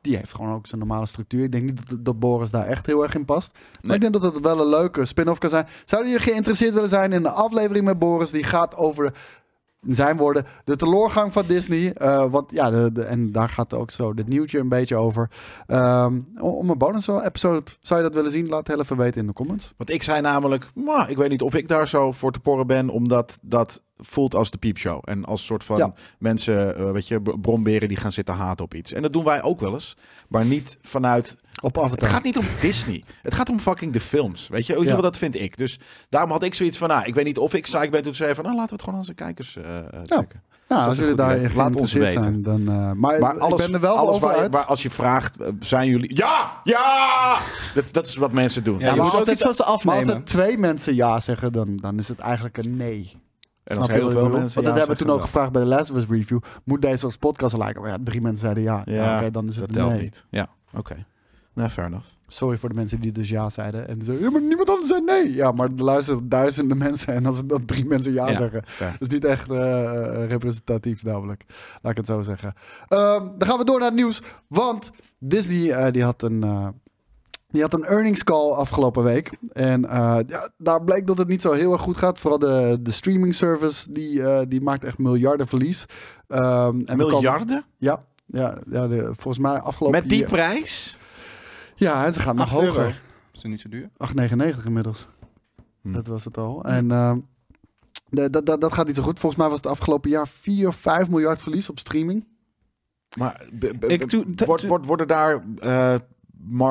[SPEAKER 4] die heeft gewoon ook zijn normale structuur. Ik denk niet dat, dat Boris daar echt heel erg in past. Maar
[SPEAKER 2] Nee.
[SPEAKER 4] ik denk dat het wel een leuke spin-off kan zijn. Zouden jullie geïnteresseerd willen zijn in een aflevering met Boris die gaat over. Zijn woorden, de teleurgang van Disney. eh, want ja, de, de- en daar gaat ook zo dit nieuwtje een beetje over. Ehm, om een bonus-episode, zou je dat willen zien? Laat het even weten in de comments.
[SPEAKER 2] Want ik zei namelijk, "Maar ik weet niet of ik daar zo voor te porren ben, omdat dat voelt als de piepshow. En als soort van
[SPEAKER 4] Ja.
[SPEAKER 2] mensen, eh, weet je, b- bromberen die gaan zitten haten op iets. En dat doen wij ook wel eens, maar niet vanuit...
[SPEAKER 4] Op
[SPEAKER 2] Het
[SPEAKER 4] Avatar.
[SPEAKER 2] gaat niet om Disney. Het gaat om fucking de films, weet je.
[SPEAKER 4] Ja.
[SPEAKER 2] wel Dat vind ik. Dus daarom had ik zoiets van, nou, ik weet niet of ik saai ben. Toen zei ik van, nou, laten we het gewoon aan onze kijkers eh, eh, checken.
[SPEAKER 4] Nou,
[SPEAKER 2] dat
[SPEAKER 4] als
[SPEAKER 2] een
[SPEAKER 4] jullie
[SPEAKER 2] goed
[SPEAKER 4] daarin
[SPEAKER 2] idee? Laat ons
[SPEAKER 4] geïnteresseerd
[SPEAKER 2] weten.
[SPEAKER 4] zijn, dan... eh, maar
[SPEAKER 2] Maar alles,
[SPEAKER 4] ik ben er wel
[SPEAKER 2] alles
[SPEAKER 4] over
[SPEAKER 2] waar,
[SPEAKER 4] uit.
[SPEAKER 2] waar als je vraagt, eh, zijn jullie... Ja! Ja! Dat, dat is wat mensen doen.
[SPEAKER 3] Ja,
[SPEAKER 2] En
[SPEAKER 3] maar
[SPEAKER 2] dus-
[SPEAKER 3] moet ook iets van ze
[SPEAKER 4] maar
[SPEAKER 3] afnemen.
[SPEAKER 4] als er twee mensen ja zeggen, dan, dan is het eigenlijk een nee.
[SPEAKER 2] en
[SPEAKER 4] Snap
[SPEAKER 2] als
[SPEAKER 4] je
[SPEAKER 2] heel veel
[SPEAKER 4] wat ik
[SPEAKER 2] mensen
[SPEAKER 4] bedoel? Want dat
[SPEAKER 2] ja
[SPEAKER 4] hebben we toen ook
[SPEAKER 2] zeggen,
[SPEAKER 4] gevraagd bij de Last of Us review. Moet deze als podcast liken? Maar ja, drie mensen zeiden ja.
[SPEAKER 2] dan-
[SPEAKER 4] Ja, oké, dan is het
[SPEAKER 2] dat
[SPEAKER 4] een
[SPEAKER 2] telt
[SPEAKER 4] nee.
[SPEAKER 2] niet. Ja, oké. Nou, fair enough.
[SPEAKER 4] Sorry voor de mensen die dus ja zeiden. En zeiden, ja, maar niemand anders zei nee. Ja, maar er luisteren duizenden mensen. En als er dan drie mensen ja,
[SPEAKER 2] Ja. Dus-
[SPEAKER 4] zeggen,
[SPEAKER 2] Fair.
[SPEAKER 4] Dat is niet echt eh, representatief, namelijk. Laat ik het zo zeggen. Ehm, dan gaan we door naar het nieuws. Want Disney eh, die had een. eh, die had een earnings call afgelopen week. En eh, ja, daar bleek dat het niet zo heel erg goed gaat. Vooral de, de streaming service, die, eh, die maakt echt miljarden verlies. Ehm, en we komen-
[SPEAKER 2] Miljarden?
[SPEAKER 4] ja, ja, ja de- volgens mij afgelopen
[SPEAKER 2] Met die
[SPEAKER 4] jaar-
[SPEAKER 2] prijs?
[SPEAKER 4] Ja, en ze gaan nog
[SPEAKER 3] Acht
[SPEAKER 4] hoger.
[SPEAKER 3] euro. Is het niet zo duur?
[SPEAKER 4] 8,99 inmiddels.
[SPEAKER 2] Hmm.
[SPEAKER 4] Dat was het al. En ehm, de- dat, dat, dat gaat niet zo goed. Volgens mij was het afgelopen jaar 4 of 5 miljard verlies op streaming.
[SPEAKER 2] Maar be- be-
[SPEAKER 3] Ik doe-
[SPEAKER 2] be- Eh, wordt- wordt- worden daar eh,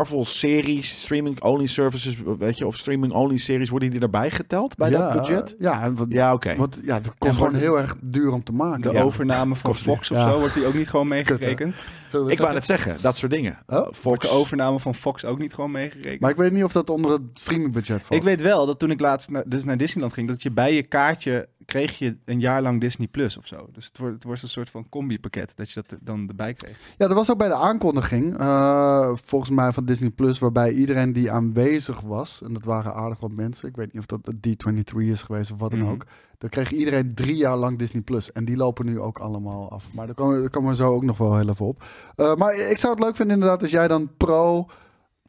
[SPEAKER 2] Marvel-series, streaming-only services, weet je, of streaming-only series, worden die erbij geteld bij
[SPEAKER 4] ja,
[SPEAKER 2] dat budget?
[SPEAKER 4] Ja, en wat,
[SPEAKER 2] Ja, oké.
[SPEAKER 4] want ja, dat
[SPEAKER 3] En
[SPEAKER 4] kost gewoon
[SPEAKER 3] wordt-
[SPEAKER 4] heel erg duur om te maken.
[SPEAKER 3] De
[SPEAKER 2] Ja.
[SPEAKER 3] overname van
[SPEAKER 2] Kost
[SPEAKER 3] Fox of
[SPEAKER 4] Ja.
[SPEAKER 3] zo, wordt die ook niet gewoon meegerekend?
[SPEAKER 4] Zullen we
[SPEAKER 2] Ik wou
[SPEAKER 4] zeggen?
[SPEAKER 2] net zeggen, dat soort dingen.
[SPEAKER 4] Oh,
[SPEAKER 3] Wordt de
[SPEAKER 2] Fox,
[SPEAKER 3] overname van Fox ook niet gewoon meegerekend?
[SPEAKER 4] Maar ik weet niet of dat onder het streamingbudget valt.
[SPEAKER 3] Ik weet wel dat toen ik laatst naar, dus naar Disneyland ging, dat je bij je kaartje kreeg je een jaar lang Disney Plus of zo. Dus het wordt, het wordt een soort van combi-pakket dat je dat er dan erbij kreeg.
[SPEAKER 4] Ja, dat was ook bij de aankondiging, eh, volgens mij van Disney Plus, waarbij iedereen die aanwezig was, en dat waren aardig wat mensen, ik weet niet of dat de D23 is geweest of wat dan
[SPEAKER 3] Mhm.
[SPEAKER 4] ook, dan kreeg iedereen drie jaar lang Disney Plus. En die lopen nu ook allemaal af. Maar daar komen, daar komen we zo ook nog wel heel even op. Eh, maar ik zou het leuk vinden inderdaad als jij dan pro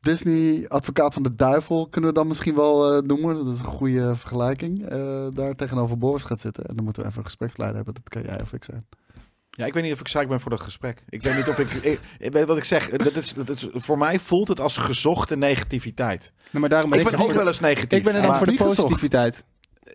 [SPEAKER 4] Disney, advocaat van de duivel, kunnen we dan misschien wel eh, noemen. Dat is een goede vergelijking. eh, daar tegenover Boris gaat zitten. En dan moeten we even een gespreksleider hebben. Dat kan jij of ik zijn.
[SPEAKER 2] Ja, ik weet niet of ik zaak ben voor dat gesprek. Ik weet niet of ik... ik, ik weet wat ik zeg. Dat is, dat is, voor mij voelt het als gezochte negativiteit.
[SPEAKER 3] Nee, Nou, maar daarom
[SPEAKER 2] ik
[SPEAKER 3] ik,
[SPEAKER 2] ben ook wel eens negatief.
[SPEAKER 3] ik ben er dan
[SPEAKER 2] maar-
[SPEAKER 3] voor de
[SPEAKER 4] niet gezocht.
[SPEAKER 3] positiviteit.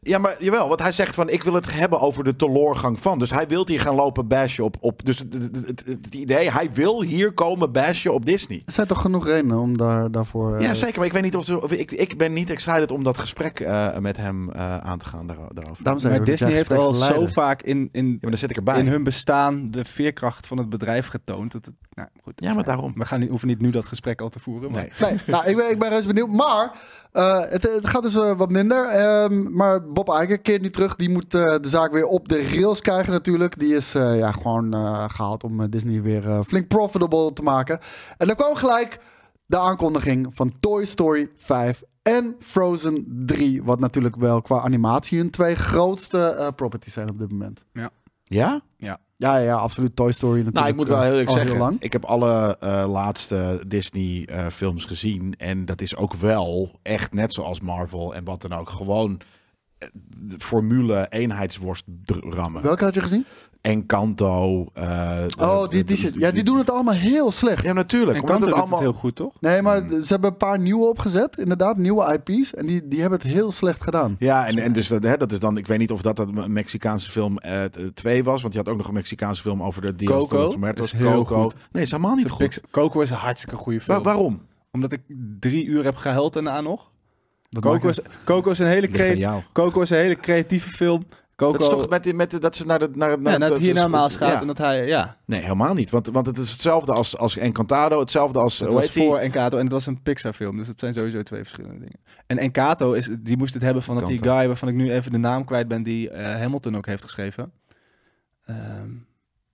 [SPEAKER 2] Ja, maar jawel, want hij zegt van ik wil het hebben over de teloorgang van. Dus hij wil hier gaan lopen bashen op. op dus het, het- het- het idee, hij wil hier komen bashen op Disney.
[SPEAKER 4] Er zijn toch genoeg redenen om daar, daarvoor... eh,
[SPEAKER 2] Ja, zeker. Maar ik weet niet of, of ik, ik ben niet excited om dat gesprek eh, met hem eh, aan te gaan daar- daarover.
[SPEAKER 4] Daarom zeg
[SPEAKER 3] Maar
[SPEAKER 4] ik ook dat jij
[SPEAKER 3] Disney heeft al
[SPEAKER 4] gespreksleider.
[SPEAKER 3] zo vaak in, in,
[SPEAKER 2] Ja, maar dan zit ik erbij.
[SPEAKER 3] in hun bestaan de veerkracht van het bedrijf getoond. Dat het, nou, goed,
[SPEAKER 2] Ja, maar daarom.
[SPEAKER 3] We gaan niet, hoeven niet nu dat gesprek al te voeren. Maar
[SPEAKER 2] Nee.
[SPEAKER 4] Nee, nou, ik ben, ik ben reuze benieuwd. Maar eh, het, het gaat dus eh, wat minder. Ehm, maar Bob Iger keert nu terug. Die moet eh, de zaak weer op de rails krijgen natuurlijk. Die is eh, ja, gewoon eh, gehaald om eh, Disney weer eh, flink profitable te maken. En dan kwam gelijk de aankondiging van Toy Story 5 en Frozen 3. Wat natuurlijk wel qua animatie hun twee grootste eh, properties zijn op dit moment.
[SPEAKER 2] Ja?
[SPEAKER 4] Ja, ja, ja, absoluut. Toy Story natuurlijk.
[SPEAKER 2] Nou, ik moet wel
[SPEAKER 4] eh,
[SPEAKER 2] heel eerlijk
[SPEAKER 4] al
[SPEAKER 2] zeggen.
[SPEAKER 4] Heel lang.
[SPEAKER 2] Ik heb alle eh, laatste Disney-films gezien. En dat is ook wel echt net zoals Marvel en wat dan ook. Gewoon eh, de formule eenheidsworst dr- rammen.
[SPEAKER 4] Welke had je gezien?
[SPEAKER 2] Encanto. eh
[SPEAKER 4] Oh, die, die, shit. Ja, die doen het allemaal heel slecht.
[SPEAKER 2] Ja, natuurlijk.
[SPEAKER 3] en
[SPEAKER 2] Omdat
[SPEAKER 3] kan
[SPEAKER 2] het
[SPEAKER 3] het
[SPEAKER 2] allemaal...
[SPEAKER 3] heel goed, toch?
[SPEAKER 4] Nee, maar
[SPEAKER 2] Hmm.
[SPEAKER 4] ze hebben een paar nieuwe opgezet. Inderdaad, nieuwe IP's. En die, die hebben het heel slecht gedaan.
[SPEAKER 2] Ja, en, en dus dat, hè, dat is dan... Ik weet niet of dat een Mexicaanse film 2 was. Want je had ook nog een Mexicaanse film over de... Diaz de
[SPEAKER 3] Coco
[SPEAKER 2] los Muertos.
[SPEAKER 3] is heel
[SPEAKER 2] Coco.
[SPEAKER 3] goed.
[SPEAKER 2] Nee, is helemaal niet goed.
[SPEAKER 3] Coco is een hartstikke goede film.
[SPEAKER 2] Wa- waarom?
[SPEAKER 3] Omdat ik drie uur heb gehuild en daarna nog.
[SPEAKER 4] Dat
[SPEAKER 3] Coco is, Coco is een hele
[SPEAKER 2] Ligt aan
[SPEAKER 3] creatieve...
[SPEAKER 2] jou.
[SPEAKER 3] Coco is een hele creatieve film. Coco,
[SPEAKER 2] Dat is toch met, die- met, die- dat ze naar de... Naar, het-
[SPEAKER 3] ja, dat
[SPEAKER 2] het-
[SPEAKER 3] hier naar Maas gaat
[SPEAKER 2] Ja.
[SPEAKER 3] en dat hij... Ja,
[SPEAKER 2] Nee, helemaal niet. Want, want het is hetzelfde als, als Encantado. Hetzelfde als...
[SPEAKER 3] dat
[SPEAKER 2] hoe
[SPEAKER 3] was
[SPEAKER 2] heet die?
[SPEAKER 3] voor Enkato en het was een Pixar film. Dus dat zijn sowieso twee verschillende dingen. En Enkato, is, die moest het hebben van dat die
[SPEAKER 2] Encanto.
[SPEAKER 3] guy waarvan ik nu even de naam kwijt ben... die eh, Hamilton ook heeft geschreven. Ehm,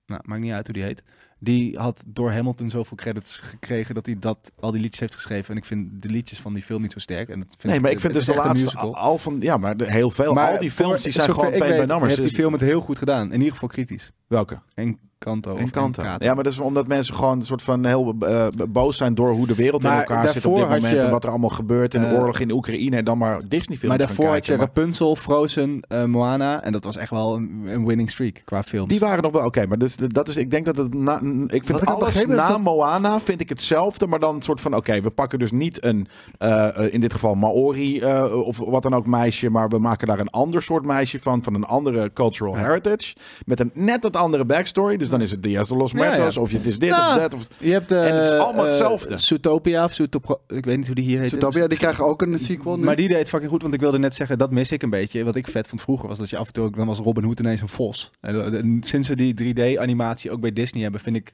[SPEAKER 3] nou, maakt niet uit hoe die heet. Die had door Hamilton zoveel credits gekregen dat hij dat, al die liedjes heeft geschreven. En ik vind de liedjes van die film niet zo sterk. En dat vind
[SPEAKER 2] Nee, maar ik
[SPEAKER 3] het
[SPEAKER 2] vind dus
[SPEAKER 3] is
[SPEAKER 2] de
[SPEAKER 3] echt een
[SPEAKER 2] laatste
[SPEAKER 3] musical.
[SPEAKER 2] al, al van... Ja, maar de- heel veel. al die films
[SPEAKER 3] voor-
[SPEAKER 2] die zijn
[SPEAKER 3] zover
[SPEAKER 2] gewoon
[SPEAKER 3] ik
[SPEAKER 2] paid by
[SPEAKER 3] weet,
[SPEAKER 2] numbers.
[SPEAKER 3] Heeft die film het heel goed gedaan. In ieder geval kritisch.
[SPEAKER 2] Welke?
[SPEAKER 3] En Kanto.
[SPEAKER 2] En kanten. Ja, maar dat is omdat mensen gewoon een soort van heel eh, boos zijn door hoe de wereld in
[SPEAKER 3] Maar
[SPEAKER 2] elkaar zit op
[SPEAKER 3] daarvoor
[SPEAKER 2] dit
[SPEAKER 3] had
[SPEAKER 2] moment.
[SPEAKER 3] je-
[SPEAKER 2] en wat er allemaal gebeurt in de
[SPEAKER 3] Eh,
[SPEAKER 2] oorlog in Oekraïne. En dan maar Disney films
[SPEAKER 3] maar daarvoor
[SPEAKER 2] gaan
[SPEAKER 3] had je
[SPEAKER 2] kijken. Maar
[SPEAKER 3] Rapunzel, Frozen, eh, Moana. En dat was echt wel een, een winning streak qua film.
[SPEAKER 2] die waren nog wel oké, maar dus de- dat is, ik denk dat het na, n- ik
[SPEAKER 4] Wat
[SPEAKER 2] vind
[SPEAKER 4] ik had
[SPEAKER 2] alles
[SPEAKER 4] begrepen is
[SPEAKER 2] na
[SPEAKER 4] dat-
[SPEAKER 2] Moana vind ik hetzelfde, maar dan een soort van oké, we pakken dus niet een eh, eh, in dit geval Maori eh, of wat dan ook meisje, maar we maken daar een ander soort meisje van, van een andere cultural heritage met een net wat andere backstory. Dus dan is het Diaz de los
[SPEAKER 3] Ja, ja.
[SPEAKER 2] Muertos of je het is dit
[SPEAKER 3] Ja.
[SPEAKER 2] of dat of
[SPEAKER 3] je hebt, eh,
[SPEAKER 2] En het is allemaal
[SPEAKER 3] eh,
[SPEAKER 2] hetzelfde.
[SPEAKER 3] Zootopia of Zootopia, ik weet niet hoe die hier heet.
[SPEAKER 4] Zootopia, die krijgen ook een sequel nu.
[SPEAKER 3] Maar die deed fucking goed, want ik wilde net zeggen, dat mis ik een beetje. Wat ik vet vond vroeger was dat je af en toe, ook- dan was Robin Hood ineens een vos. En, eh, en sinds we die 3D-animatie ook bij Disney hebben, vind ik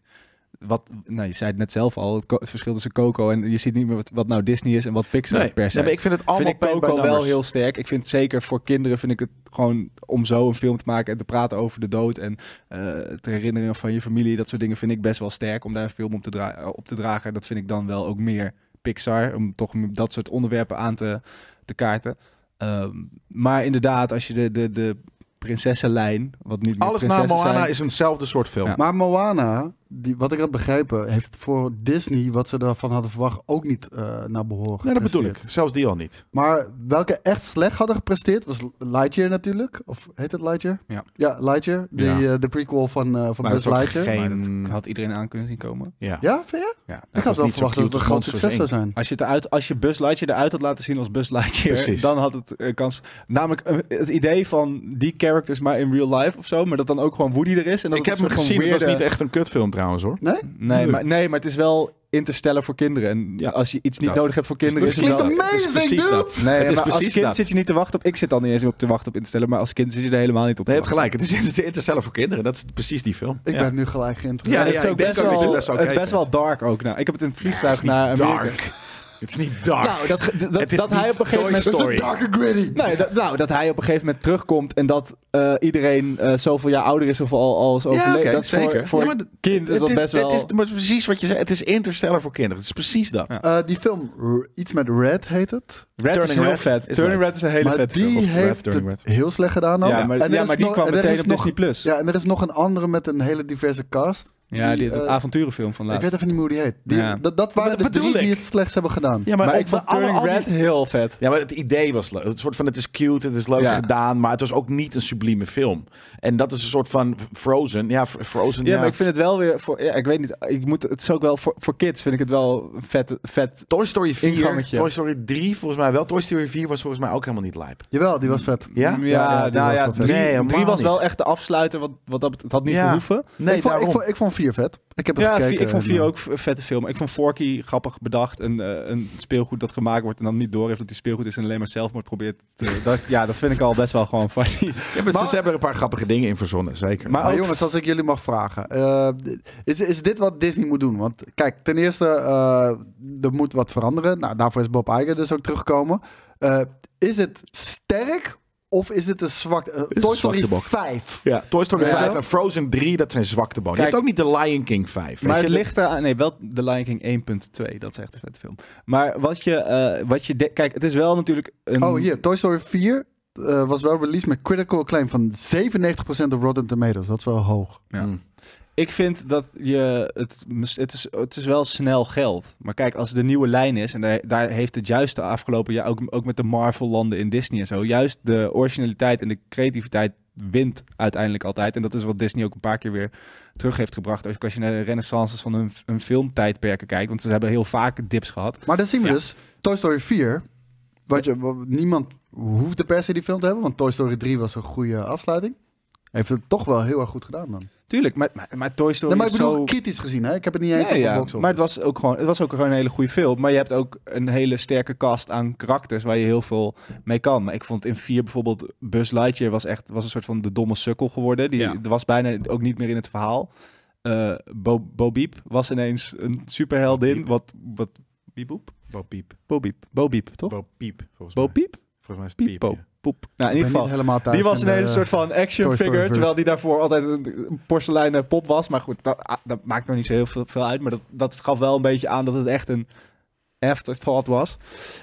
[SPEAKER 3] wat, nou je zei het net zelf al, het, ko- het verschil tussen Coco en je ziet niet meer wat, wat nou Disney is en wat Pixar
[SPEAKER 2] Nee,
[SPEAKER 3] per se.
[SPEAKER 2] nee, maar ik vind het allemaal
[SPEAKER 3] vind ik
[SPEAKER 2] paid by
[SPEAKER 3] Coco wel
[SPEAKER 2] numbers.
[SPEAKER 3] heel sterk. Ik vind zeker voor kinderen vind ik het gewoon om zo een film te maken en te praten over de dood en eh te herinneren van je familie, dat soort dingen vind ik best wel sterk om daar een film op te, dra- eh, op te dragen. Dat vind ik dan wel ook meer Pixar om toch dat soort onderwerpen aan te, te kaarten. Ehm, maar inderdaad, als je de, de, de prinsessenlijn, wat niet meer
[SPEAKER 2] Alles na
[SPEAKER 3] prinsessen
[SPEAKER 2] Moana
[SPEAKER 3] zijn-
[SPEAKER 2] is eenzelfde soort film.
[SPEAKER 3] Ja.
[SPEAKER 4] Maar Moana, die, wat ik heb begrepen, heeft voor Disney, wat ze daarvan hadden verwacht, ook niet eh, naar behoren
[SPEAKER 2] Nee, dat bedoel ik.
[SPEAKER 4] gepresteerd.
[SPEAKER 2] Zelfs die al niet.
[SPEAKER 4] Maar welke echt slecht hadden gepresteerd, was Lightyear natuurlijk. Of heet het Lightyear?
[SPEAKER 3] Ja.
[SPEAKER 4] Ja, Lightyear. De,
[SPEAKER 2] Ja.
[SPEAKER 4] eh, de prequel van, eh van
[SPEAKER 2] Maar dat
[SPEAKER 4] Buzz
[SPEAKER 2] is ook
[SPEAKER 4] Lightyear.
[SPEAKER 2] geen-
[SPEAKER 3] Maar dat had iedereen aan kunnen zien komen.
[SPEAKER 2] Ja.
[SPEAKER 4] Ja, vind je?
[SPEAKER 3] Ja.
[SPEAKER 4] ik had
[SPEAKER 2] was
[SPEAKER 4] wel
[SPEAKER 2] niet zo
[SPEAKER 4] verwacht dat het
[SPEAKER 2] cute
[SPEAKER 4] een
[SPEAKER 2] als
[SPEAKER 4] groot
[SPEAKER 2] Monsters,
[SPEAKER 4] succes zou
[SPEAKER 2] Inc.
[SPEAKER 4] zijn.
[SPEAKER 3] Als je, het eruit, als je Buzz Lightyear eruit had laten zien als Buzz Lightyear,
[SPEAKER 2] Precies.
[SPEAKER 3] dan had het eh, kans. Namelijk eh, het idee van die characters maar in real life of zo, maar dat dan ook gewoon Woody er is. En dat
[SPEAKER 2] Ik heb hem
[SPEAKER 3] het een soort van
[SPEAKER 2] gezien. Het was niet
[SPEAKER 3] weirde-
[SPEAKER 2] echt een kutfilm trouwens hoor.
[SPEAKER 4] Nee?
[SPEAKER 3] Nee, maar, nee, maar het is wel interstellen voor kinderen. En
[SPEAKER 2] Ja,
[SPEAKER 3] als je iets niet
[SPEAKER 2] dat.
[SPEAKER 3] nodig hebt voor kinderen,
[SPEAKER 4] Dat
[SPEAKER 3] is het
[SPEAKER 4] klinkt
[SPEAKER 3] wel...
[SPEAKER 2] dan- het is
[SPEAKER 4] amazing,
[SPEAKER 2] precies
[SPEAKER 4] dude!
[SPEAKER 2] dat.
[SPEAKER 3] Nee,
[SPEAKER 2] Het is
[SPEAKER 3] maar als
[SPEAKER 2] precies
[SPEAKER 3] kind
[SPEAKER 2] dat.
[SPEAKER 3] zit je niet te wachten op... Ik zit al niet eens op te wachten op instellen, maar als kind zit je er helemaal niet op te
[SPEAKER 2] Nee, het
[SPEAKER 3] wachten.
[SPEAKER 2] gelijk. Het is inter- Interstellar voor kinderen. Dat is precies die film.
[SPEAKER 4] Ik
[SPEAKER 2] Ja.
[SPEAKER 4] ben nu gelijk geïnteresseerd.
[SPEAKER 2] Ja,
[SPEAKER 3] En het
[SPEAKER 2] ja,
[SPEAKER 3] is
[SPEAKER 2] ik
[SPEAKER 3] ook
[SPEAKER 2] denk
[SPEAKER 3] best
[SPEAKER 2] ook dat je
[SPEAKER 3] wel,
[SPEAKER 2] het best wel
[SPEAKER 3] het is
[SPEAKER 2] oké
[SPEAKER 3] best wel dark ook. Nou, ik heb het in het
[SPEAKER 2] Het
[SPEAKER 3] vliegtuig
[SPEAKER 2] is niet
[SPEAKER 3] naar Amerika...
[SPEAKER 2] dark. Het is niet dark.
[SPEAKER 3] Nou, dat, ge- dat,
[SPEAKER 2] Het is
[SPEAKER 3] dat hij op
[SPEAKER 2] niet
[SPEAKER 3] een gegeven
[SPEAKER 2] Toy
[SPEAKER 3] moment...
[SPEAKER 4] Dat is
[SPEAKER 2] Story.
[SPEAKER 4] een dark and gritty.
[SPEAKER 3] Nee, dat, nou, dat hij op een gegeven moment terugkomt en dat eh, iedereen eh, zoveel jaar ouder is of al, al is overleden.
[SPEAKER 2] oké,
[SPEAKER 3] dat is voor- Voor,
[SPEAKER 2] Ja, maar
[SPEAKER 3] een
[SPEAKER 2] d-
[SPEAKER 3] kind is
[SPEAKER 2] het
[SPEAKER 3] dat best wel...
[SPEAKER 2] Het is maar precies wat je zei. Het is Interstellar voor kinderen. Het is precies dat.
[SPEAKER 3] Ja.
[SPEAKER 4] Eh, die film, R- iets met Red heet het.
[SPEAKER 3] Red is
[SPEAKER 2] Turning
[SPEAKER 3] heel
[SPEAKER 2] Red
[SPEAKER 3] vet.
[SPEAKER 2] is
[SPEAKER 3] Turning
[SPEAKER 2] leuk.
[SPEAKER 3] Red is een hele
[SPEAKER 4] maar
[SPEAKER 3] vet
[SPEAKER 4] die
[SPEAKER 2] Of Red,
[SPEAKER 4] heeft
[SPEAKER 2] Turning
[SPEAKER 4] het
[SPEAKER 2] Red.
[SPEAKER 4] heel slecht gedaan ook.
[SPEAKER 3] Ja, maar,
[SPEAKER 4] En er
[SPEAKER 3] ja,
[SPEAKER 4] is
[SPEAKER 3] maar die
[SPEAKER 4] nog-
[SPEAKER 3] kwam
[SPEAKER 4] en er
[SPEAKER 3] meteen
[SPEAKER 4] is
[SPEAKER 3] op
[SPEAKER 4] nog-
[SPEAKER 3] Disney+. Plus.
[SPEAKER 4] Ja, en er is nog een andere met een hele diverse cast.
[SPEAKER 3] Ja, die, dat
[SPEAKER 4] eh,
[SPEAKER 3] avonturenfilm van
[SPEAKER 4] Ik
[SPEAKER 3] laatst.
[SPEAKER 4] weet even niet meer hoe die heet. Die,
[SPEAKER 3] Ja.
[SPEAKER 4] dat, dat waren
[SPEAKER 2] Dat
[SPEAKER 4] de
[SPEAKER 2] bedoel
[SPEAKER 4] drie die
[SPEAKER 2] ik.
[SPEAKER 4] het slechts hebben gedaan.
[SPEAKER 2] Ja,
[SPEAKER 3] maar
[SPEAKER 2] ook
[SPEAKER 3] ik
[SPEAKER 2] van
[SPEAKER 3] vond
[SPEAKER 2] alle-
[SPEAKER 3] Turning
[SPEAKER 2] al die-
[SPEAKER 3] Red heel vet.
[SPEAKER 2] Ja, maar het idee was leuk. Het soort van, het is cute, het is leuk
[SPEAKER 3] Ja.
[SPEAKER 2] gedaan, maar het was ook niet een sublieme film. En dat is een soort van Frozen. Ja, F- Frozen.
[SPEAKER 3] Ja, maar ik vind het wel weer voor. Ja, ik weet niet. Ik moet, het is ook wel voor, voor kids. Vind ik het wel een vet. vet
[SPEAKER 2] Toy Story 4,
[SPEAKER 3] Ingangetje.
[SPEAKER 2] Toy Story 3 volgens mij wel. Toy Story 4 was volgens mij ook helemaal niet lijp.
[SPEAKER 4] Jawel, die was vet.
[SPEAKER 2] Ja?
[SPEAKER 3] ja,
[SPEAKER 4] ja, die
[SPEAKER 3] nou
[SPEAKER 4] was
[SPEAKER 3] ja,
[SPEAKER 4] wel vet.
[SPEAKER 3] drie,
[SPEAKER 2] Nee, helemaal
[SPEAKER 3] drie was
[SPEAKER 2] niet.
[SPEAKER 3] wel echt de afsluiter. Wat, wat dat bet- het had niet
[SPEAKER 2] Ja.
[SPEAKER 3] gehoeven.
[SPEAKER 2] Nee,
[SPEAKER 4] ik, vond, ik,
[SPEAKER 2] daarom.
[SPEAKER 4] vond, ik vond vier vet. Ik heb het
[SPEAKER 3] Ja,
[SPEAKER 4] gekeken.
[SPEAKER 3] vier- ik vond
[SPEAKER 4] en,
[SPEAKER 3] vier
[SPEAKER 4] eh,
[SPEAKER 3] ook een vette film. Ik vond Forky grappig bedacht. Een, eh, een speelgoed dat gemaakt wordt en dan niet door heeft dat die speelgoed is en alleen maar zelfmoord probeert. Te, dat, ja, dat vind ik al best wel gewoon funny.
[SPEAKER 2] Ja, maar,
[SPEAKER 4] dus
[SPEAKER 2] ze hebben er een paar grappige dingen in verzonnen, zeker.
[SPEAKER 3] Maar
[SPEAKER 4] Maar
[SPEAKER 3] ook-
[SPEAKER 4] jongens, als ik jullie mag vragen. eh, is, is dit wat Disney moet doen? Want kijk, ten eerste, eh, er moet wat veranderen. Nou, daarvoor is Bob Iger dus ook teruggekomen. Eh, is het sterk of is dit een zwak... eh, Toy
[SPEAKER 2] een zwakte
[SPEAKER 4] Story
[SPEAKER 2] bocht.
[SPEAKER 4] 5.
[SPEAKER 2] ja, Toy Story
[SPEAKER 3] Ja.
[SPEAKER 2] 5 en Frozen 3, dat zijn zwakte bonen.
[SPEAKER 3] Kijk-
[SPEAKER 2] je hebt ook niet de Lion King 5.
[SPEAKER 3] Maar
[SPEAKER 2] weet
[SPEAKER 3] het
[SPEAKER 2] je?
[SPEAKER 3] ligt eraan... Nee, wel The Lion King 1.2. Dat is echt een vette film. Maar wat je... eh, wat je de- kijk, het is wel natuurlijk een...
[SPEAKER 4] Oh, hier. Toy Story 4 eh, was wel released met critical acclaim van 97% op Rotten Tomatoes. Dat is wel hoog.
[SPEAKER 3] Ja.
[SPEAKER 2] Hmm.
[SPEAKER 3] Ik vind dat je... Het, mis- het, is, het is wel snel geld. Maar kijk, als de nieuwe lijn is... En daar, daar heeft het juist de afgelopen jaar... Ook, ook met de Marvel-landen in Disney en zo... Juist de originaliteit en de creativiteit wint uiteindelijk altijd. En dat is wat Disney ook een paar keer weer terug heeft gebracht. Ook als je naar de renaissances van hun, hun filmtijdperken kijkt. Want ze hebben heel vaak dips gehad.
[SPEAKER 4] Maar dan zien we
[SPEAKER 3] Ja.
[SPEAKER 4] dus Toy Story 4. Wat je, wat- niemand hoefde per se die film te hebben, want Toy Story 3 was een goede afsluiting. Heeft het toch wel heel erg goed gedaan dan.
[SPEAKER 3] Tuurlijk, maar, maar, maar Toy Story
[SPEAKER 4] Nee, maar
[SPEAKER 3] is
[SPEAKER 4] ik bedoel,
[SPEAKER 3] zo...
[SPEAKER 4] kritisch gezien, hè? Ik heb het niet eens
[SPEAKER 3] Ja,
[SPEAKER 4] over
[SPEAKER 3] ja,
[SPEAKER 4] box office.
[SPEAKER 3] maar het was, ook gewoon, het was ook gewoon een hele goede film. Maar je hebt ook een hele sterke cast aan karakters waar je heel veel mee kan. Maar ik vond in 4 bijvoorbeeld Buzz Lightyear was echt was een soort van de domme sukkel geworden. Die
[SPEAKER 2] Ja.
[SPEAKER 3] was bijna ook niet meer in het verhaal. Eh Bo, Bo Biep was ineens een superheldin.
[SPEAKER 2] Bo Peep.
[SPEAKER 3] Wat, wat, wie boep?
[SPEAKER 2] Bo Peep.
[SPEAKER 3] Bo Biep, Bo Biep, toch?
[SPEAKER 2] Bo Peep, volgens
[SPEAKER 3] Bo
[SPEAKER 2] mij.
[SPEAKER 3] Piep?
[SPEAKER 2] Volgens mij is het Peep.
[SPEAKER 3] Piep, Bo,
[SPEAKER 2] ja.
[SPEAKER 3] Poep. Nou, in
[SPEAKER 4] Ik
[SPEAKER 3] ieder
[SPEAKER 4] ben
[SPEAKER 3] geval,
[SPEAKER 4] niet helemaal thuis
[SPEAKER 3] die was
[SPEAKER 4] in
[SPEAKER 3] ineens
[SPEAKER 4] de-
[SPEAKER 3] een soort van action
[SPEAKER 4] eh, Toy Story
[SPEAKER 3] figure,
[SPEAKER 4] verse.
[SPEAKER 3] terwijl die daarvoor altijd een porseleinen pop was. Maar goed, dat, ah, dat maakt nog niet zo heel veel, veel uit. Maar dat, dat gaf wel een beetje aan dat het echt een afterthought was.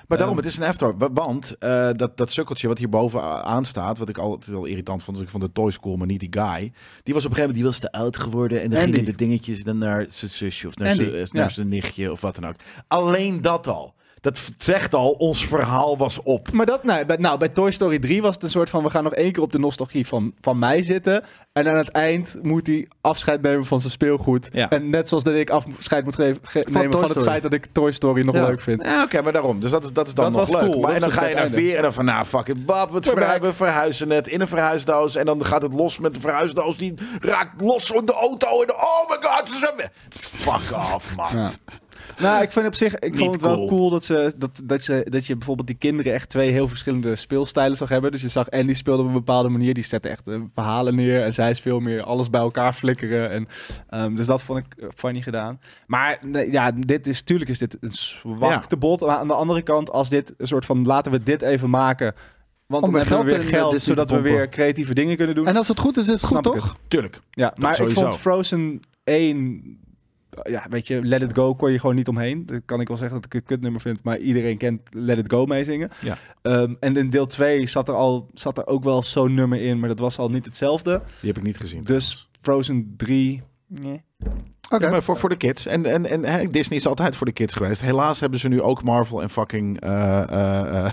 [SPEAKER 2] Maar daarom,
[SPEAKER 3] Ehm.
[SPEAKER 2] het is een after. wa- Want eh, dat, dat sukkeltje wat hierboven a- aan staat, wat ik altijd wel irritant vond, dus ik van de Toy School, maar niet die guy. Die was op een gegeven moment, die was te oud geworden en dan
[SPEAKER 4] Andy.
[SPEAKER 2] gingen de dingetjes dan naar zijn zusje of naar
[SPEAKER 3] Andy,
[SPEAKER 2] zijn eh,
[SPEAKER 3] ja.
[SPEAKER 2] naar zijn nichtje of wat dan ook. Alleen dat al. Dat v- zegt al, ons verhaal was op.
[SPEAKER 3] Maar dat, nou, bij, nou, bij Toy Story 3 was het een soort van... we gaan nog één keer op de nostalgie van, van mij zitten. En aan het eind moet hij afscheid nemen van zijn speelgoed.
[SPEAKER 2] Ja.
[SPEAKER 3] En net zoals dat ik afscheid moet ge- ge- nemen van
[SPEAKER 4] Toy
[SPEAKER 3] het
[SPEAKER 4] Story.
[SPEAKER 3] feit dat ik Toy Story nog
[SPEAKER 4] Ja.
[SPEAKER 3] leuk vind.
[SPEAKER 2] Ja, Oké, maar daarom. Dus dat is, dat is dan
[SPEAKER 3] Dat
[SPEAKER 2] nog
[SPEAKER 3] was
[SPEAKER 2] leuk.
[SPEAKER 3] cool.
[SPEAKER 2] Maar
[SPEAKER 3] Dat
[SPEAKER 2] en dan
[SPEAKER 3] is een
[SPEAKER 2] ga je
[SPEAKER 3] vet
[SPEAKER 2] naar
[SPEAKER 3] einde.
[SPEAKER 2] weer en dan van, nou, fuck it, bab, het
[SPEAKER 3] Maar
[SPEAKER 2] verhu-
[SPEAKER 3] bij-
[SPEAKER 2] we verhuizen het in een verhuisdoos. En dan gaat het los met de verhuisdoos. Die raakt los op de auto. En oh my god, ze zijn weg. Fuck off, man.
[SPEAKER 3] Ja. Nou, ik vind op zich, ik
[SPEAKER 2] Niet
[SPEAKER 3] vond het wel cool,
[SPEAKER 2] cool.
[SPEAKER 3] dat, ze, dat, dat, ze, dat je bijvoorbeeld die kinderen echt twee heel verschillende speelstijlen zag hebben. Dus je zag Andy speelde op een bepaalde manier, die zette echt eh, verhalen neer en zij is veel meer alles bij elkaar flikkeren. En, ehm, dus dat vond ik eh, funny gedaan. Maar nee, ja, dit is, tuurlijk is dit een zwakte bot. Maar aan de andere kant, als dit een soort van, laten we dit even maken, want
[SPEAKER 4] Om
[SPEAKER 3] dan
[SPEAKER 4] weer
[SPEAKER 3] hebben we
[SPEAKER 4] geld
[SPEAKER 3] weer
[SPEAKER 4] in, eh,
[SPEAKER 3] geld,
[SPEAKER 4] Disney te
[SPEAKER 3] zodat we
[SPEAKER 4] pompen.
[SPEAKER 3] weer creatieve dingen kunnen doen.
[SPEAKER 4] En als het goed is, is het goed,
[SPEAKER 3] Snap ik
[SPEAKER 4] toch?
[SPEAKER 2] Tuurlijk.
[SPEAKER 3] Ja, maar
[SPEAKER 2] sowieso.
[SPEAKER 3] ik vond Frozen 1... Ja, weet je, Let It Go kon je gewoon niet omheen. Dat kan ik wel zeggen dat ik een kutnummer vind, maar iedereen kent Let It Go meezingen.
[SPEAKER 2] Ja.
[SPEAKER 3] Ehm, en in deel 2 zat er, al, zat er ook wel zo'n nummer in, maar dat was al niet hetzelfde.
[SPEAKER 2] Die heb ik niet gezien.
[SPEAKER 3] Dus Frozen 3...
[SPEAKER 4] Oké.
[SPEAKER 2] Ja, maar voor, voor de kids. En, en, en hè, Disney is altijd voor de kids geweest. Helaas hebben ze nu ook Marvel en fucking eh, eh, eh,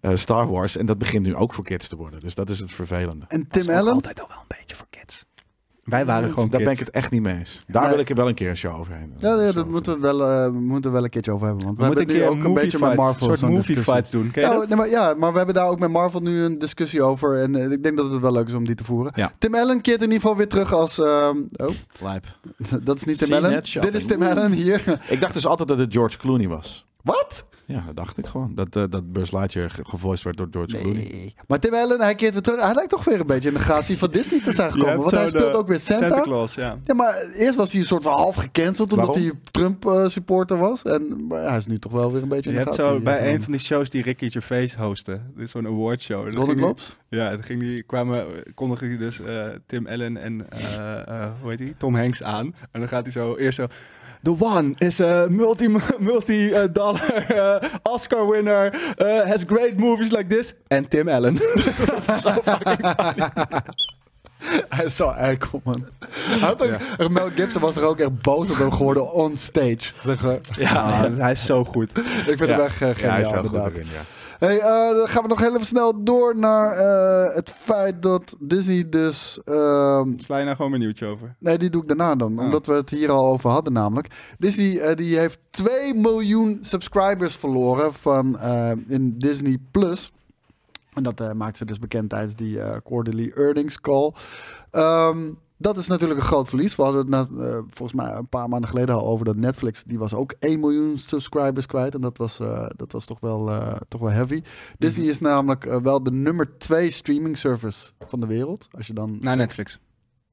[SPEAKER 2] eh, Star Wars. En dat begint nu ook voor kids te worden. Dus dat is het vervelende.
[SPEAKER 4] En
[SPEAKER 3] was
[SPEAKER 4] Tim
[SPEAKER 3] ook
[SPEAKER 4] Allen?
[SPEAKER 3] altijd al wel een beetje voor kids. Wij waren gewoon
[SPEAKER 2] Daar ben
[SPEAKER 3] kids.
[SPEAKER 2] ik het echt niet mee eens. Daar
[SPEAKER 4] Nee.
[SPEAKER 2] wil ik er wel een keer een show over heen.
[SPEAKER 4] Ja, ja, dat moeten we, wel, eh, moeten we wel een keertje over hebben. Want we,
[SPEAKER 3] We moeten een
[SPEAKER 4] hebben nu
[SPEAKER 3] keer
[SPEAKER 4] ook een beetje met Marvel
[SPEAKER 3] een soort
[SPEAKER 4] zo'n
[SPEAKER 3] movie
[SPEAKER 4] discussie.
[SPEAKER 3] fights doen. Ken je
[SPEAKER 4] Ja,
[SPEAKER 3] dat?
[SPEAKER 4] nee, maar, ja, maar we hebben daar ook met Marvel nu een discussie over. En eh, ik denk dat het wel leuk is om die te voeren.
[SPEAKER 2] Ja.
[SPEAKER 4] Tim Allen keert in ieder geval weer terug als... ehm, oh,
[SPEAKER 2] Lijp.
[SPEAKER 4] dat is niet Tim
[SPEAKER 2] See
[SPEAKER 4] Allen.
[SPEAKER 2] net shopping.
[SPEAKER 4] Dit is Tim
[SPEAKER 2] Oeh.
[SPEAKER 4] Allen hier.
[SPEAKER 2] Ik dacht dus altijd dat het George Clooney was.
[SPEAKER 4] Wat?
[SPEAKER 2] Ja, dat dacht ik gewoon. Dat, eh, dat Buzz Lightyear ge- gevoiced werd door George Clooney.
[SPEAKER 4] Maar Tim Allen, hij keert weer terug. Hij lijkt toch weer een beetje in de gratie van Disney te zijn gekomen.
[SPEAKER 3] hebt
[SPEAKER 4] Nou, Want
[SPEAKER 3] zo
[SPEAKER 4] hij speelt
[SPEAKER 3] de
[SPEAKER 4] ook weer
[SPEAKER 3] Santa
[SPEAKER 4] eh, Santa.
[SPEAKER 3] Claus, ja.
[SPEAKER 4] Ja, maar eerst was hij een soort van half gecanceld omdat
[SPEAKER 2] Waarom?
[SPEAKER 4] hij Trump-supporter was. En maar hij is nu toch wel weer een beetje
[SPEAKER 3] Je
[SPEAKER 4] in de
[SPEAKER 3] hebt
[SPEAKER 4] gaten.
[SPEAKER 3] zo bij een van die shows die Ricky Gervais hostte. Dit is zo'n awardshow. En dan
[SPEAKER 4] Golden
[SPEAKER 3] ging die-
[SPEAKER 4] Globes?
[SPEAKER 3] Ja, dan ging die, kwamen, kondigde hij dus eh, Tim Allen en eh, eh, hoe heet die? Tom Hanks aan. En dan gaat hij zo eerst zo... The one is a multi, multi-dollar Oscar winner, eh, has great movies like this, en Tim Allen. dat is zo fucking funny.
[SPEAKER 4] Hij is zo eikel, man. Hij had ook- Mel Gibson was er ook echt boos op hem geworden on stage. Zeg maar.
[SPEAKER 3] Ja, hij is zo goed.
[SPEAKER 4] Ik vind hem echt eh, geniaal,
[SPEAKER 2] hij is heel goed
[SPEAKER 4] inderdaad.
[SPEAKER 2] erin, ja.
[SPEAKER 4] Hey, eh, dan gaan we nog heel even snel door naar eh, het feit dat Disney dus... ehm,
[SPEAKER 3] Sla je nou gewoon mijn nieuwtje over?
[SPEAKER 4] nee, die doe ik daarna dan,
[SPEAKER 3] Oh.
[SPEAKER 4] omdat we het hier al over hadden namelijk. Disney eh, die heeft 2 miljoen subscribers verloren van, eh, in Disney+. Plus. En dat eh, maakt ze dus bekend tijdens die eh, quarterly earnings call. Ehm, dat is natuurlijk een groot verlies. We hadden het net, eh, volgens mij een paar maanden geleden al over dat Netflix. Die was ook 1 miljoen subscribers kwijt. En dat was, eh, dat was toch, wel, eh, toch wel heavy. Disney is namelijk eh, wel de nummer 2 streaming service van de wereld. Als je dan
[SPEAKER 3] Naar Netflix.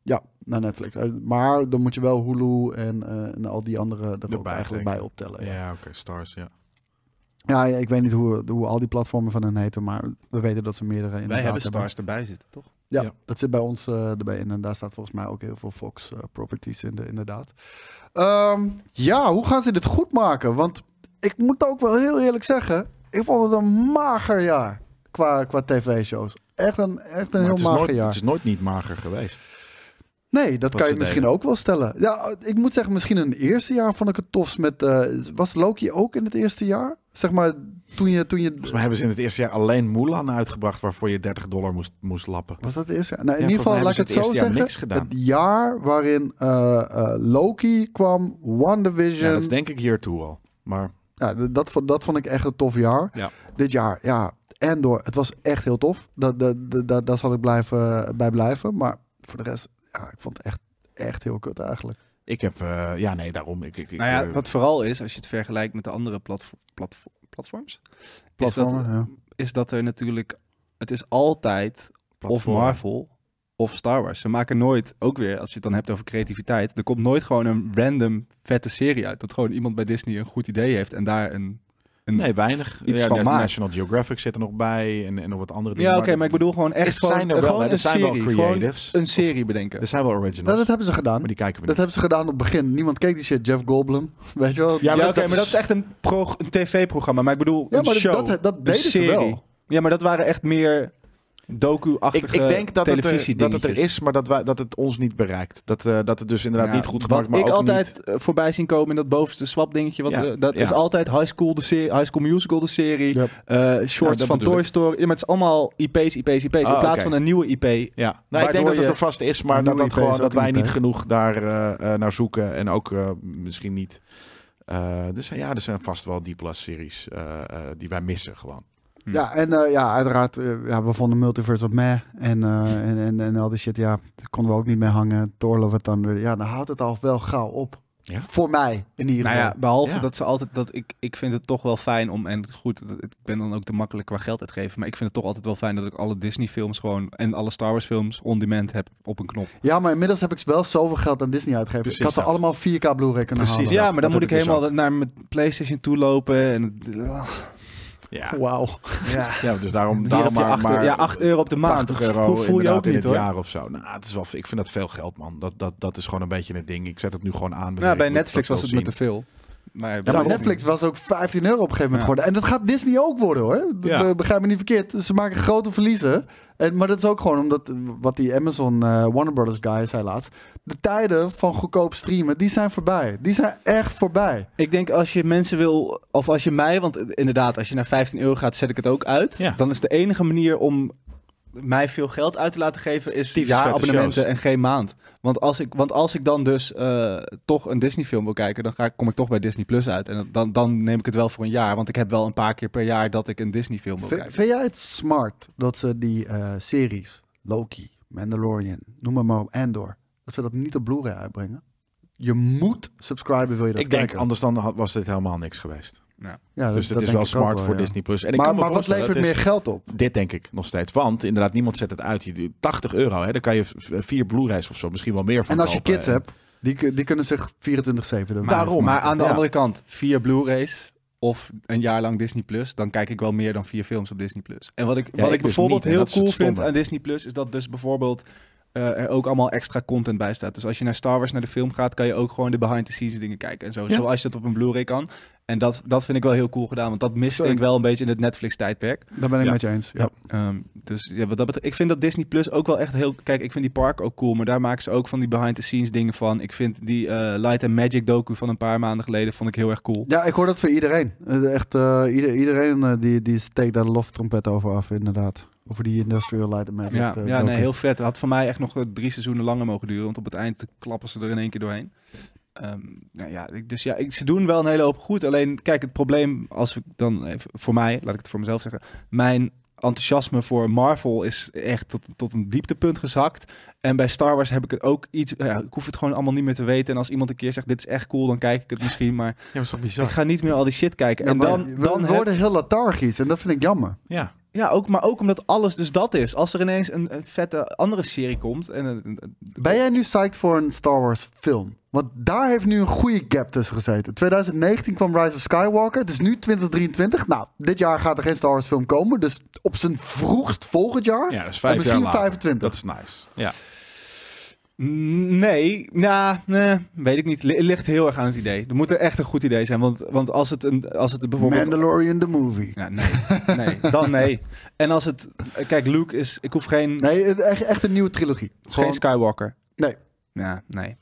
[SPEAKER 4] ja, naar Netflix. Eh, Maar dan moet je wel Hulu en, eh, en al die andere er ook
[SPEAKER 2] Erbij,
[SPEAKER 4] eigenlijk
[SPEAKER 2] denk
[SPEAKER 4] bij
[SPEAKER 2] ik.
[SPEAKER 4] optellen. Ja.
[SPEAKER 2] Ja, oké, Stars, ja.
[SPEAKER 4] Ja, ja, ik weet niet hoe, hoe al die platformen van hen heten, maar we weten dat ze meerdere inderdaad
[SPEAKER 3] Wij hebben Stars erbij zitten, toch?
[SPEAKER 4] Ja,
[SPEAKER 2] Ja.
[SPEAKER 4] dat zit bij ons eh, erbij in. En daar staat volgens mij ook heel veel Fox eh, properties in, de, inderdaad. Ehm, ja, hoe gaan ze dit goed maken? Want ik moet ook wel heel eerlijk zeggen, ik vond het een mager jaar qua, qua tv-shows. Echt een, echt
[SPEAKER 2] Maar
[SPEAKER 4] een heel
[SPEAKER 2] het, is
[SPEAKER 4] mager
[SPEAKER 2] nooit,
[SPEAKER 4] jaar.
[SPEAKER 2] het is nooit niet mager geweest.
[SPEAKER 4] Nee, dat kan je
[SPEAKER 2] ze
[SPEAKER 4] misschien
[SPEAKER 2] deden.
[SPEAKER 4] ook wel stellen. Ja, ik moet zeggen, misschien in het eerste jaar vond ik het tofs met... eh, was Loki ook in het eerste jaar? Zeg maar, toen je... Toen
[SPEAKER 2] Volgens
[SPEAKER 4] je
[SPEAKER 2] mij hebben ze in het eerste jaar alleen Mulan uitgebracht... waarvoor je 30 dollar moest, moest lappen.
[SPEAKER 4] was dat het eerste jaar? Nou, in
[SPEAKER 2] Ja,
[SPEAKER 4] ieder geval, laat ik
[SPEAKER 2] volgens mij
[SPEAKER 4] het, zo
[SPEAKER 2] hebben ze
[SPEAKER 4] zeggen.
[SPEAKER 2] het eerste jaar niks gedaan.
[SPEAKER 4] Het jaar waarin eh, eh, Loki kwam, WandaVision...
[SPEAKER 2] Ja,
[SPEAKER 3] Ehm,
[SPEAKER 2] dat is denk ik hier toe al. Maar
[SPEAKER 4] Ja, d- dat, vond- dat vond ik echt een tof jaar.
[SPEAKER 2] Ja.
[SPEAKER 4] Dit jaar, ja. En door, het was echt heel tof. Dat, dat, dat, dat, daar zal ik blijven, bij blijven. Maar voor de rest, ja, ik vond het echt, echt heel kut eigenlijk.
[SPEAKER 2] ik heb... eh, ja, nee, daarom. Ik, ik, ik,
[SPEAKER 3] nou ja,
[SPEAKER 2] eh,
[SPEAKER 3] wat vooral is, als je het vergelijkt met de andere platfo- platfo- platforms, is dat,
[SPEAKER 4] Platformen, ja.
[SPEAKER 3] is dat er natuurlijk, het is altijd
[SPEAKER 2] platform.
[SPEAKER 3] of Marvel of Star Wars. Ze maken nooit, ook weer als je het dan hebt over creativiteit, er komt nooit gewoon een random vette serie uit. Dat gewoon iemand bij Disney een goed idee heeft en daar een... een
[SPEAKER 2] Nee, weinig.
[SPEAKER 3] Iets
[SPEAKER 2] ja,
[SPEAKER 3] van
[SPEAKER 2] ja,
[SPEAKER 3] maakt.
[SPEAKER 2] National Geographic zit er nog bij en, en nog wat andere dingen.
[SPEAKER 3] ja, oké, maar ik bedoel gewoon echt
[SPEAKER 2] Er zijn
[SPEAKER 3] gewoon,
[SPEAKER 2] er wel,
[SPEAKER 3] gewoon
[SPEAKER 2] hè.
[SPEAKER 3] een
[SPEAKER 2] Er zijn wel
[SPEAKER 3] serie.
[SPEAKER 2] creatives. Dus-
[SPEAKER 3] Gewoon een serie bedenken.
[SPEAKER 2] Er zijn wel
[SPEAKER 4] Dat,
[SPEAKER 2] originals,
[SPEAKER 4] dat hebben ze gedaan.
[SPEAKER 2] maar die kijken we
[SPEAKER 4] Dat
[SPEAKER 2] niet.
[SPEAKER 4] hebben ze gedaan op het begin. Niemand keek die shit. Jeff Goldblum. Weet je wel?
[SPEAKER 3] Ja,
[SPEAKER 2] maar
[SPEAKER 3] oké,
[SPEAKER 2] dat
[SPEAKER 3] maar dat
[SPEAKER 2] is-
[SPEAKER 3] is echt een, pro- een tv-programma. Maar ik bedoel,
[SPEAKER 4] Ja,
[SPEAKER 3] een
[SPEAKER 4] maar dat-
[SPEAKER 3] show,
[SPEAKER 4] dat- dat
[SPEAKER 3] een
[SPEAKER 4] deden ze
[SPEAKER 3] serie.
[SPEAKER 4] wel.
[SPEAKER 3] Ja, maar dat waren echt meer
[SPEAKER 2] Ik,
[SPEAKER 3] docu-achtige
[SPEAKER 2] ik denk dat het, er, dat het er
[SPEAKER 3] televisiedingetjes.
[SPEAKER 2] is, maar dat, wij, dat het ons niet bereikt. Dat, eh, dat het dus inderdaad
[SPEAKER 3] Ja,
[SPEAKER 2] niet goed gemaakt,
[SPEAKER 3] wat
[SPEAKER 2] maar
[SPEAKER 3] ik
[SPEAKER 2] ook
[SPEAKER 3] altijd
[SPEAKER 2] niet...
[SPEAKER 3] eh, voorbij zien komen in dat bovenste swap dingetje. Wat,
[SPEAKER 2] Ja,
[SPEAKER 3] eh, dat
[SPEAKER 2] ja.
[SPEAKER 3] is altijd High School, de serie, High School Musical, de serie.
[SPEAKER 4] Yep.
[SPEAKER 3] eh, shorts
[SPEAKER 2] dat
[SPEAKER 3] van
[SPEAKER 2] bedoel
[SPEAKER 3] Toy
[SPEAKER 2] ik.
[SPEAKER 3] Story. Ja, maar het is allemaal IP's, IP's, IP's. in
[SPEAKER 2] Ah,
[SPEAKER 3] plaats
[SPEAKER 2] oké.
[SPEAKER 3] van een nieuwe IP.
[SPEAKER 2] Ja, nou, ik
[SPEAKER 3] Waardoor
[SPEAKER 2] denk dat het
[SPEAKER 3] je-
[SPEAKER 2] er vast is, maar
[SPEAKER 4] Een
[SPEAKER 2] dat, dat,
[SPEAKER 4] nieuwe IP
[SPEAKER 2] gewoon,
[SPEAKER 4] is ook
[SPEAKER 2] dat wij
[SPEAKER 4] een
[SPEAKER 2] niet
[SPEAKER 4] IP.
[SPEAKER 2] genoeg daar eh, eh, naar zoeken. En ook eh, misschien niet... eh, er zijn, ja, er zijn vast wel D-plus-series eh, die wij missen gewoon.
[SPEAKER 4] Ja, en eh, ja, uiteraard. eh, ja, we vonden Multiverse op meh. En, eh, en, en, en al die shit. Ja, daar konden we ook niet mee hangen. Thor Love and Thunder. Ja, dan houdt het al wel gauw op.
[SPEAKER 2] Ja.
[SPEAKER 4] Voor mij, in ieder
[SPEAKER 3] Nou
[SPEAKER 4] geval.
[SPEAKER 3] ja, behalve
[SPEAKER 2] Ja.
[SPEAKER 3] dat ze altijd dat ik, ik vind het toch wel fijn om en goed, dat- ik ben dan ook te makkelijk qua geld uitgeven, maar ik vind het toch altijd wel fijn dat ik alle Disney films gewoon en alle Star Wars films on demand heb op een knop.
[SPEAKER 4] Ja, maar inmiddels heb ik wel zoveel geld aan Disney uitgegeven.
[SPEAKER 2] Precies
[SPEAKER 4] ik had ze
[SPEAKER 2] dat.
[SPEAKER 4] allemaal 4K Blu-ray kunnen
[SPEAKER 2] Precies
[SPEAKER 4] halen.
[SPEAKER 2] dat.
[SPEAKER 3] ja, maar
[SPEAKER 2] dat
[SPEAKER 3] dan moet ik
[SPEAKER 2] heb ik dus
[SPEAKER 3] helemaal naar mijn PlayStation toe lopen en
[SPEAKER 2] Ja,
[SPEAKER 4] Wauw.
[SPEAKER 3] ja,
[SPEAKER 2] ja dus daarom,
[SPEAKER 3] Hier
[SPEAKER 2] daarom
[SPEAKER 3] heb je
[SPEAKER 2] maar,
[SPEAKER 3] acht,
[SPEAKER 2] maar
[SPEAKER 3] ja, 8 euro op de maand.
[SPEAKER 2] 80 euro
[SPEAKER 3] Hoe voel je
[SPEAKER 2] inderdaad
[SPEAKER 3] ook
[SPEAKER 2] in
[SPEAKER 3] niet
[SPEAKER 2] het
[SPEAKER 3] hoor.
[SPEAKER 2] jaar of zo. Nou, het is wel, ik vind dat veel geld, man. Dat, dat, dat is gewoon een beetje het ding. Ik zet het nu gewoon aan. wanneer
[SPEAKER 3] Nou, bij
[SPEAKER 2] ik moet-
[SPEAKER 3] Netflix
[SPEAKER 2] dat
[SPEAKER 3] was het
[SPEAKER 2] wil
[SPEAKER 3] me te
[SPEAKER 2] zien.
[SPEAKER 3] veel. Maar
[SPEAKER 4] Ja, maar Netflix was ook 15 euro op een gegeven moment
[SPEAKER 3] Ja.
[SPEAKER 4] geworden. En dat gaat Disney ook worden hoor. B-
[SPEAKER 2] Ja.
[SPEAKER 4] Begrijp me niet verkeerd. Ze maken grote verliezen. En, maar dat is ook gewoon omdat, eh, wat die Amazon eh, Warner Brothers guy zei laatst. De tijden van goedkoop streamen, die zijn voorbij. Die zijn echt voorbij.
[SPEAKER 3] Ik denk als je mensen wil, of als je mij, want eh, inderdaad, als je naar 15 euro gaat, zet ik het ook uit.
[SPEAKER 2] Ja.
[SPEAKER 3] Dan is de enige manier om mij veel geld uit te laten geven, is
[SPEAKER 2] Tyfus vette
[SPEAKER 3] jaarabonnementen
[SPEAKER 2] shows.
[SPEAKER 3] en geen maand. Want als ik, want als ik dan dus eh, toch een Disney film wil kijken, dan ga ik, kom ik toch bij Disney Plus uit. En dan, dan neem ik het wel voor een jaar, want ik heb wel een paar keer per jaar dat ik een Disney film wil
[SPEAKER 4] V-
[SPEAKER 3] kijken.
[SPEAKER 4] vind jij het smart dat ze die eh, series, Loki, Mandalorian, noem maar maar op, Andor, dat ze dat niet op Blu-ray uitbrengen? Je moet subscriben wil je dat
[SPEAKER 2] Ik denk,
[SPEAKER 4] kijken.
[SPEAKER 2] anders dan had- was dit helemaal niks geweest.
[SPEAKER 4] Ja, dat-
[SPEAKER 2] Dus het
[SPEAKER 4] dat
[SPEAKER 2] is
[SPEAKER 4] denk
[SPEAKER 2] wel
[SPEAKER 4] ik ook
[SPEAKER 2] smart voor
[SPEAKER 4] ja.
[SPEAKER 2] Disney+. Plus. En ik
[SPEAKER 4] Maar,
[SPEAKER 2] kan me
[SPEAKER 4] maar wat
[SPEAKER 2] voorstellen,
[SPEAKER 4] levert
[SPEAKER 2] het is-
[SPEAKER 4] meer geld op?
[SPEAKER 2] Dit denk ik nog steeds. Want inderdaad, niemand zet het uit. Die- 80 euro, hè, dan kan je v- vier Blu-rays of zo, misschien wel meer van
[SPEAKER 4] En als je
[SPEAKER 2] kopen.
[SPEAKER 4] kids hebt, die, kun- die kunnen zich 24-7 doen.
[SPEAKER 2] Daarom.
[SPEAKER 3] Maar aan de
[SPEAKER 2] Ja.
[SPEAKER 3] andere kant, vier Blu-rays of een jaar lang Disney Plus, dan kijk ik wel meer dan vier films op Disney Plus. En wat ik, wat
[SPEAKER 2] ik
[SPEAKER 3] ik,
[SPEAKER 2] dus
[SPEAKER 3] bijvoorbeeld
[SPEAKER 2] niet, en
[SPEAKER 3] heel
[SPEAKER 2] dat is het
[SPEAKER 3] cool vind
[SPEAKER 2] stomme.
[SPEAKER 3] aan Disney Plus, is dat dus bijvoorbeeld eh, er ook allemaal extra content bij staat. Dus als je naar Star Wars naar de film gaat, kan je ook gewoon de behind the scenes dingen kijken en zo.
[SPEAKER 2] Ja.
[SPEAKER 3] Zoals je dat op een Blu-ray kan. En dat, dat vind ik wel heel cool gedaan, want dat miste
[SPEAKER 4] Sorry.
[SPEAKER 3] ik wel een beetje in het Netflix-tijdperk.
[SPEAKER 4] Daar ben ik
[SPEAKER 2] Ja.
[SPEAKER 4] met je eens. Ja.
[SPEAKER 3] Ehm, dus ja, wat dat betreft, ik vind dat Disney Plus ook wel echt heel. Kijk, ik vind die park ook cool, maar daar maken ze ook van die behind-the-scenes dingen van. Ik vind die eh, Light and Magic docu van een paar maanden geleden vond ik heel erg cool.
[SPEAKER 4] Ja, ik hoor dat voor iedereen. Eh, Echt, eh, ieder- iedereen eh, die, die steekt daar de loftrompet over af, inderdaad. Over die Industrial Light and Magic.
[SPEAKER 3] Ja,
[SPEAKER 4] eh,
[SPEAKER 3] ja
[SPEAKER 4] docu.
[SPEAKER 3] nee, heel vet. Het had voor mij echt nog eh, drie seizoenen langer mogen duren, want op het eind klappen ze er in één keer doorheen. Ehm, nou ja, ik- dus ja, ik, ze doen wel een hele hoop goed. Alleen, kijk, het probleem, als ik dan even voor mij, laat ik het voor mezelf zeggen, mijn enthousiasme voor Marvel is echt tot, tot een dieptepunt gezakt. En bij Star Wars heb ik het ook iets, ja, ik hoef het gewoon allemaal niet meer te weten. En als iemand een keer zegt, dit is echt cool, dan kijk ik het misschien, maar
[SPEAKER 2] maar is toch
[SPEAKER 3] ik
[SPEAKER 2] bizar?
[SPEAKER 3] ga niet meer al die shit kijken.
[SPEAKER 4] Ja,
[SPEAKER 3] en
[SPEAKER 4] maar
[SPEAKER 3] dan,
[SPEAKER 4] we
[SPEAKER 3] dan
[SPEAKER 4] we
[SPEAKER 3] heb-
[SPEAKER 4] worden heel lethargisch en dat vind ik jammer.
[SPEAKER 2] Ja.
[SPEAKER 3] ja, ook, maar ook omdat alles dus dat is. Als er ineens een, een vette andere serie komt en een- een,
[SPEAKER 4] Ben jij nu psyched voor een Star Wars film? Want daar heeft nu een goede gap tussen gezeten. 2019 kwam Rise of Skywalker. Het is nu 2023. Nou, dit jaar gaat er geen Star Wars film komen. Dus op zijn vroegst volgend jaar.
[SPEAKER 2] ja, dat is vijf
[SPEAKER 4] en misschien
[SPEAKER 2] jaar later.
[SPEAKER 4] 25.
[SPEAKER 2] Dat is nice. Ja.
[SPEAKER 3] Nee, nou, nee, weet ik niet. Het ligt heel erg aan het idee. Er moet er echt een goed idee zijn. Want, want als het, een, als het bijvoorbeeld...
[SPEAKER 4] Mandalorian the movie.
[SPEAKER 3] Ja, nee, nee, dan nee. En als het... Kijk, Luke is... Ik hoef geen... het
[SPEAKER 4] Nee, het- echt, echt een nieuwe trilogie.
[SPEAKER 3] is
[SPEAKER 4] Gewoon-
[SPEAKER 3] geen Skywalker.
[SPEAKER 4] Nee.
[SPEAKER 3] Ja, nee.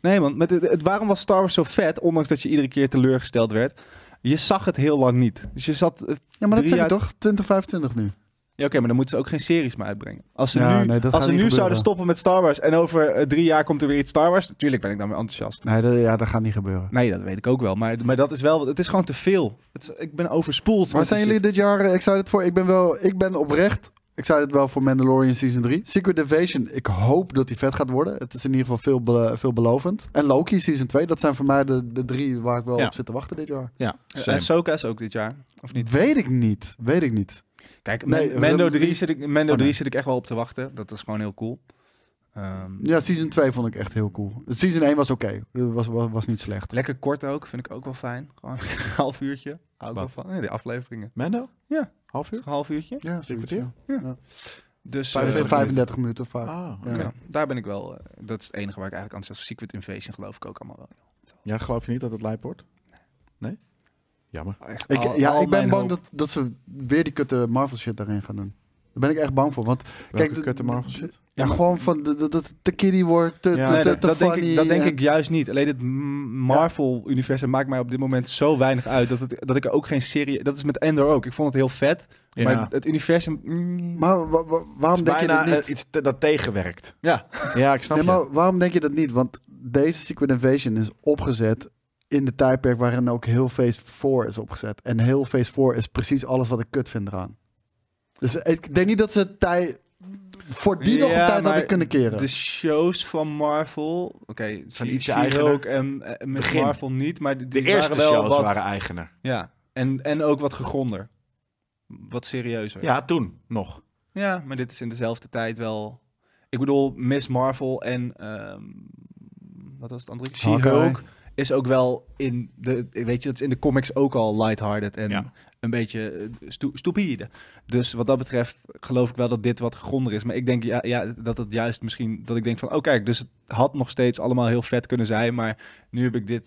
[SPEAKER 3] Nee, want met het, het- waarom was Star Wars zo vet? Ondanks dat je iedere keer teleurgesteld werd. Je zag het heel lang niet. Dus je zat... eh,
[SPEAKER 4] Ja, maar dat
[SPEAKER 3] Drie
[SPEAKER 4] zeg je
[SPEAKER 3] uit-
[SPEAKER 4] toch? 2025 nu.
[SPEAKER 3] Ja, oké, maar dan moeten ze ook geen series meer uitbrengen. Als ze
[SPEAKER 4] Ja,
[SPEAKER 3] nu,
[SPEAKER 4] nee, dat
[SPEAKER 3] als
[SPEAKER 4] gaat
[SPEAKER 3] ze
[SPEAKER 4] niet
[SPEAKER 3] nu
[SPEAKER 4] gebeuren.
[SPEAKER 3] zouden stoppen met Star Wars... en over eh, drie jaar komt er weer iets Star Wars... natuurlijk ben ik dan weer enthousiast.
[SPEAKER 4] Nee, dat, ja, dat gaat niet gebeuren.
[SPEAKER 3] Nee, dat weet ik ook wel. Maar, maar dat is wel, het is gewoon te veel. Het is- ik ben overspoeld.
[SPEAKER 4] Maar
[SPEAKER 3] met
[SPEAKER 4] zijn
[SPEAKER 3] die
[SPEAKER 4] jullie
[SPEAKER 3] shit.
[SPEAKER 4] dit jaar eh, excited voor? Ik ben wel, ik ben oprecht excited wel voor Mandalorian Season 3. Secret Invasion, ik hoop dat die vet gaat worden. Het is in ieder geval veel be- veelbelovend. En Loki Season 2, dat zijn voor mij de, de drie waar ik wel
[SPEAKER 2] Ja.
[SPEAKER 4] op zit te wachten dit jaar.
[SPEAKER 2] Ja.
[SPEAKER 3] Eh,
[SPEAKER 2] same.
[SPEAKER 3] Ahsoka is ook dit jaar, of niet?
[SPEAKER 4] Weet ik niet, weet ik niet.
[SPEAKER 3] Kijk,
[SPEAKER 4] Nee,
[SPEAKER 3] Man- Mando,
[SPEAKER 4] Rebel
[SPEAKER 3] 3
[SPEAKER 4] Fleet-
[SPEAKER 3] zit, ik, Mando
[SPEAKER 4] Oh, nee.
[SPEAKER 3] 3 zit ik echt wel op te wachten. Dat is gewoon heel cool. Ehm,
[SPEAKER 4] Ja, Season 2 vond ik echt heel cool. Season 1 was oké, was, was, was niet slecht.
[SPEAKER 3] Lekker kort ook, vind ik ook wel fijn. Gewoon een half uurtje. Hou ik wel van. Nee, die afleveringen.
[SPEAKER 2] Mando?
[SPEAKER 3] Ja.
[SPEAKER 2] Half uur?
[SPEAKER 3] Een half uurtje.
[SPEAKER 4] Ja, zoiets, ja.
[SPEAKER 3] Dus eh,
[SPEAKER 4] 35, minuten vaak.
[SPEAKER 2] Ah, oké.
[SPEAKER 3] ja,
[SPEAKER 4] ja.
[SPEAKER 3] daar ben ik wel. eh, dat is het enige waar ik eigenlijk aan zit. Secret Invasion geloof ik ook allemaal wel.
[SPEAKER 2] Ja, geloof je niet dat het lijp wordt? Nee? Jammer.
[SPEAKER 4] Ik,
[SPEAKER 3] Al-
[SPEAKER 4] ja,
[SPEAKER 3] al
[SPEAKER 4] ik ben
[SPEAKER 3] mijn
[SPEAKER 4] bang
[SPEAKER 3] hoop.
[SPEAKER 4] dat, dat ze weer die kutte Marvel shit daarin gaan doen. Daar ben ik echt bang voor. Want
[SPEAKER 2] Welke
[SPEAKER 4] de-
[SPEAKER 2] kut de Marvel shit?
[SPEAKER 4] Ja,
[SPEAKER 3] Ja, maar-
[SPEAKER 4] gewoon van dat het te, kiddie wordt, te,
[SPEAKER 2] Ja,
[SPEAKER 4] te,
[SPEAKER 3] Nee,
[SPEAKER 4] te,
[SPEAKER 3] dat,
[SPEAKER 4] te
[SPEAKER 3] dat denk ik,
[SPEAKER 4] funny
[SPEAKER 3] dat denk
[SPEAKER 4] en-
[SPEAKER 3] ik juist niet. Alleen het M- Marvel-universum maakt mij op dit moment zo weinig uit dat, het, dat ik er ook geen serie. Dat is met Endor ook. Ik vond het heel vet.
[SPEAKER 2] Ja.
[SPEAKER 3] Maar het universum. mm,
[SPEAKER 4] Maar wa- wa-
[SPEAKER 2] Het
[SPEAKER 4] waarom
[SPEAKER 2] is
[SPEAKER 4] denk je dat
[SPEAKER 2] bijna,
[SPEAKER 4] niet?
[SPEAKER 2] eh, iets te- dat tegenwerkt.
[SPEAKER 3] ja.
[SPEAKER 2] Ja, ik snap
[SPEAKER 4] Nee,
[SPEAKER 2] je.
[SPEAKER 4] maar waarom denk je dat niet? Want deze Secret Invasion is opgezet in de tijdperk waarin ook heel Phase 4 is opgezet. En heel Phase 4 is precies alles wat ik kut vind eraan. Dus ik denk niet dat ze tij, voor die nog een
[SPEAKER 3] Ja,
[SPEAKER 4] tijd
[SPEAKER 3] maar
[SPEAKER 4] hadden kunnen keren.
[SPEAKER 3] De shows van Marvel. Oké, zijn
[SPEAKER 2] ietsje
[SPEAKER 3] ietsje eigen
[SPEAKER 2] eigener.
[SPEAKER 3] ook en eh, met
[SPEAKER 2] Begin.
[SPEAKER 3] Marvel niet, maar die,
[SPEAKER 2] De
[SPEAKER 3] die
[SPEAKER 2] eerste
[SPEAKER 3] waren wel
[SPEAKER 2] shows
[SPEAKER 3] wat,
[SPEAKER 2] waren eigener.
[SPEAKER 3] Ja, en, en ook wat gegronder, wat serieuzer.
[SPEAKER 2] Ja, toen nog.
[SPEAKER 3] Ja, maar dit is in dezelfde tijd wel. Ik bedoel, Miss Marvel en ehm, wat was het andere?
[SPEAKER 4] Hawkeye.
[SPEAKER 3] She-Hulk is ook wel in de, weet je, dat is in de comics ook al lighthearted en
[SPEAKER 2] Ja.
[SPEAKER 3] een beetje eh, sto- stupide. Dus wat dat betreft geloof ik wel dat dit wat gegronder is. Maar ik denk ja, ja, dat het juist misschien dat ik denk van, oh kijk, dus het had nog steeds allemaal heel vet kunnen zijn, maar nu heb ik dit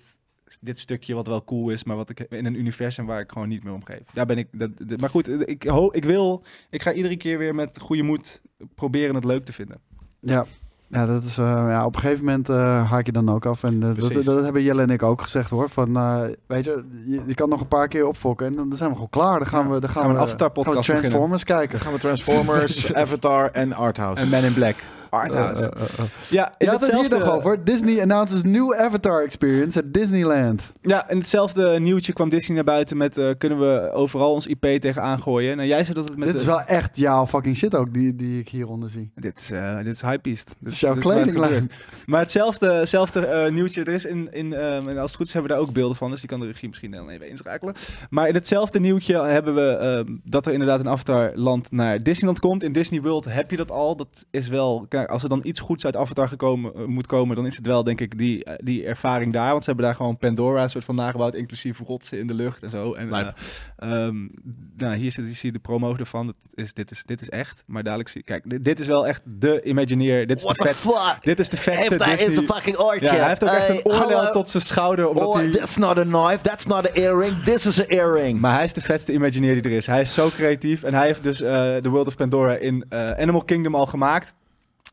[SPEAKER 3] dit stukje wat wel cool is, maar wat ik in een universum waar ik gewoon niet meer omgeef. Daar ben ik. Dat, dat- maar goed, ik, ho, ik wil. Ik ga iedere keer weer met goede moed proberen het leuk te vinden.
[SPEAKER 4] Ja. Ja, dat is, eh, ja, op een gegeven moment eh, haak je dan ook af. En eh, dat,
[SPEAKER 2] Precies.
[SPEAKER 4] dat hebben Jelle en ik ook gezegd hoor. Van, eh, weet je, je, je kan nog een paar keer opfokken en dan dan zijn we gewoon klaar. Dan gaan
[SPEAKER 3] Ja.
[SPEAKER 4] we, dan gaan
[SPEAKER 3] Gaan we
[SPEAKER 4] we, eh,
[SPEAKER 3] een Avatar-podcast
[SPEAKER 4] gaan we Transformers
[SPEAKER 2] Dan
[SPEAKER 4] kijken.
[SPEAKER 2] gaan we Transformers, Avatar en Arthouse.
[SPEAKER 3] En Men in Black.
[SPEAKER 4] Eh,
[SPEAKER 3] Arthouse.
[SPEAKER 4] eh, eh, eh.
[SPEAKER 3] ja, in
[SPEAKER 4] Je had het hier
[SPEAKER 3] hetzelfde-
[SPEAKER 4] nog over. Disney announces new Avatar experience at Disneyland.
[SPEAKER 3] Ja, in hetzelfde nieuwtje kwam Disney naar buiten met eh, kunnen we overal ons IP tegenaan gooien. Nou, jij zei dat het met
[SPEAKER 4] Dit is
[SPEAKER 3] de-
[SPEAKER 4] wel echt jouw fucking shit ook die, die ik hieronder zie.
[SPEAKER 3] Dit is, eh, dit is hypebeast. Dit
[SPEAKER 4] Dit is jouw
[SPEAKER 3] dit waar het
[SPEAKER 4] kledinglijn.
[SPEAKER 3] gebeurt. Maar hetzelfde, hetzelfde eh, nieuwtje. Er is in, in ehm, en als het goed is hebben we daar ook beelden van. Dus die kan de regie misschien dan even inschakelen. Maar in hetzelfde nieuwtje hebben we ehm, dat er inderdaad een Avatar land naar Disneyland komt. In Disney World heb je dat al. Dat is wel, nou, Avatar, als er dan iets goeds uit Avatar gekomen, eh, moet komen, dan is het wel denk ik die, eh, die ervaring daar. Want ze hebben daar gewoon Pandora soort van nagebouwd, inclusief rotsen in de lucht en zo. En,
[SPEAKER 2] Lijp.
[SPEAKER 3] eh, ehm, nou, hier zit, hier zie je de promo ervan. Dat is, dit, is, dit is echt. Maar dadelijk zie Kijk, dit, dit is wel echt de Imagineer. Dit is de vet.
[SPEAKER 5] fuck?
[SPEAKER 3] Dit is de vetste
[SPEAKER 5] Heeft hij in zijn
[SPEAKER 3] Disney.
[SPEAKER 5] fucking oortje?
[SPEAKER 3] Ja, hij heeft ook echt
[SPEAKER 5] Hey,
[SPEAKER 3] een oordeel
[SPEAKER 5] hallo.
[SPEAKER 3] tot zijn schouder. Omdat
[SPEAKER 5] Oor-
[SPEAKER 3] hij...
[SPEAKER 5] That's not a knife, that's not an earring, this is an earring.
[SPEAKER 3] Maar hij is de vetste Imagineer die er is. Hij is zo creatief. En hij heeft dus de World of Pandora in eh, Animal Kingdom al gemaakt.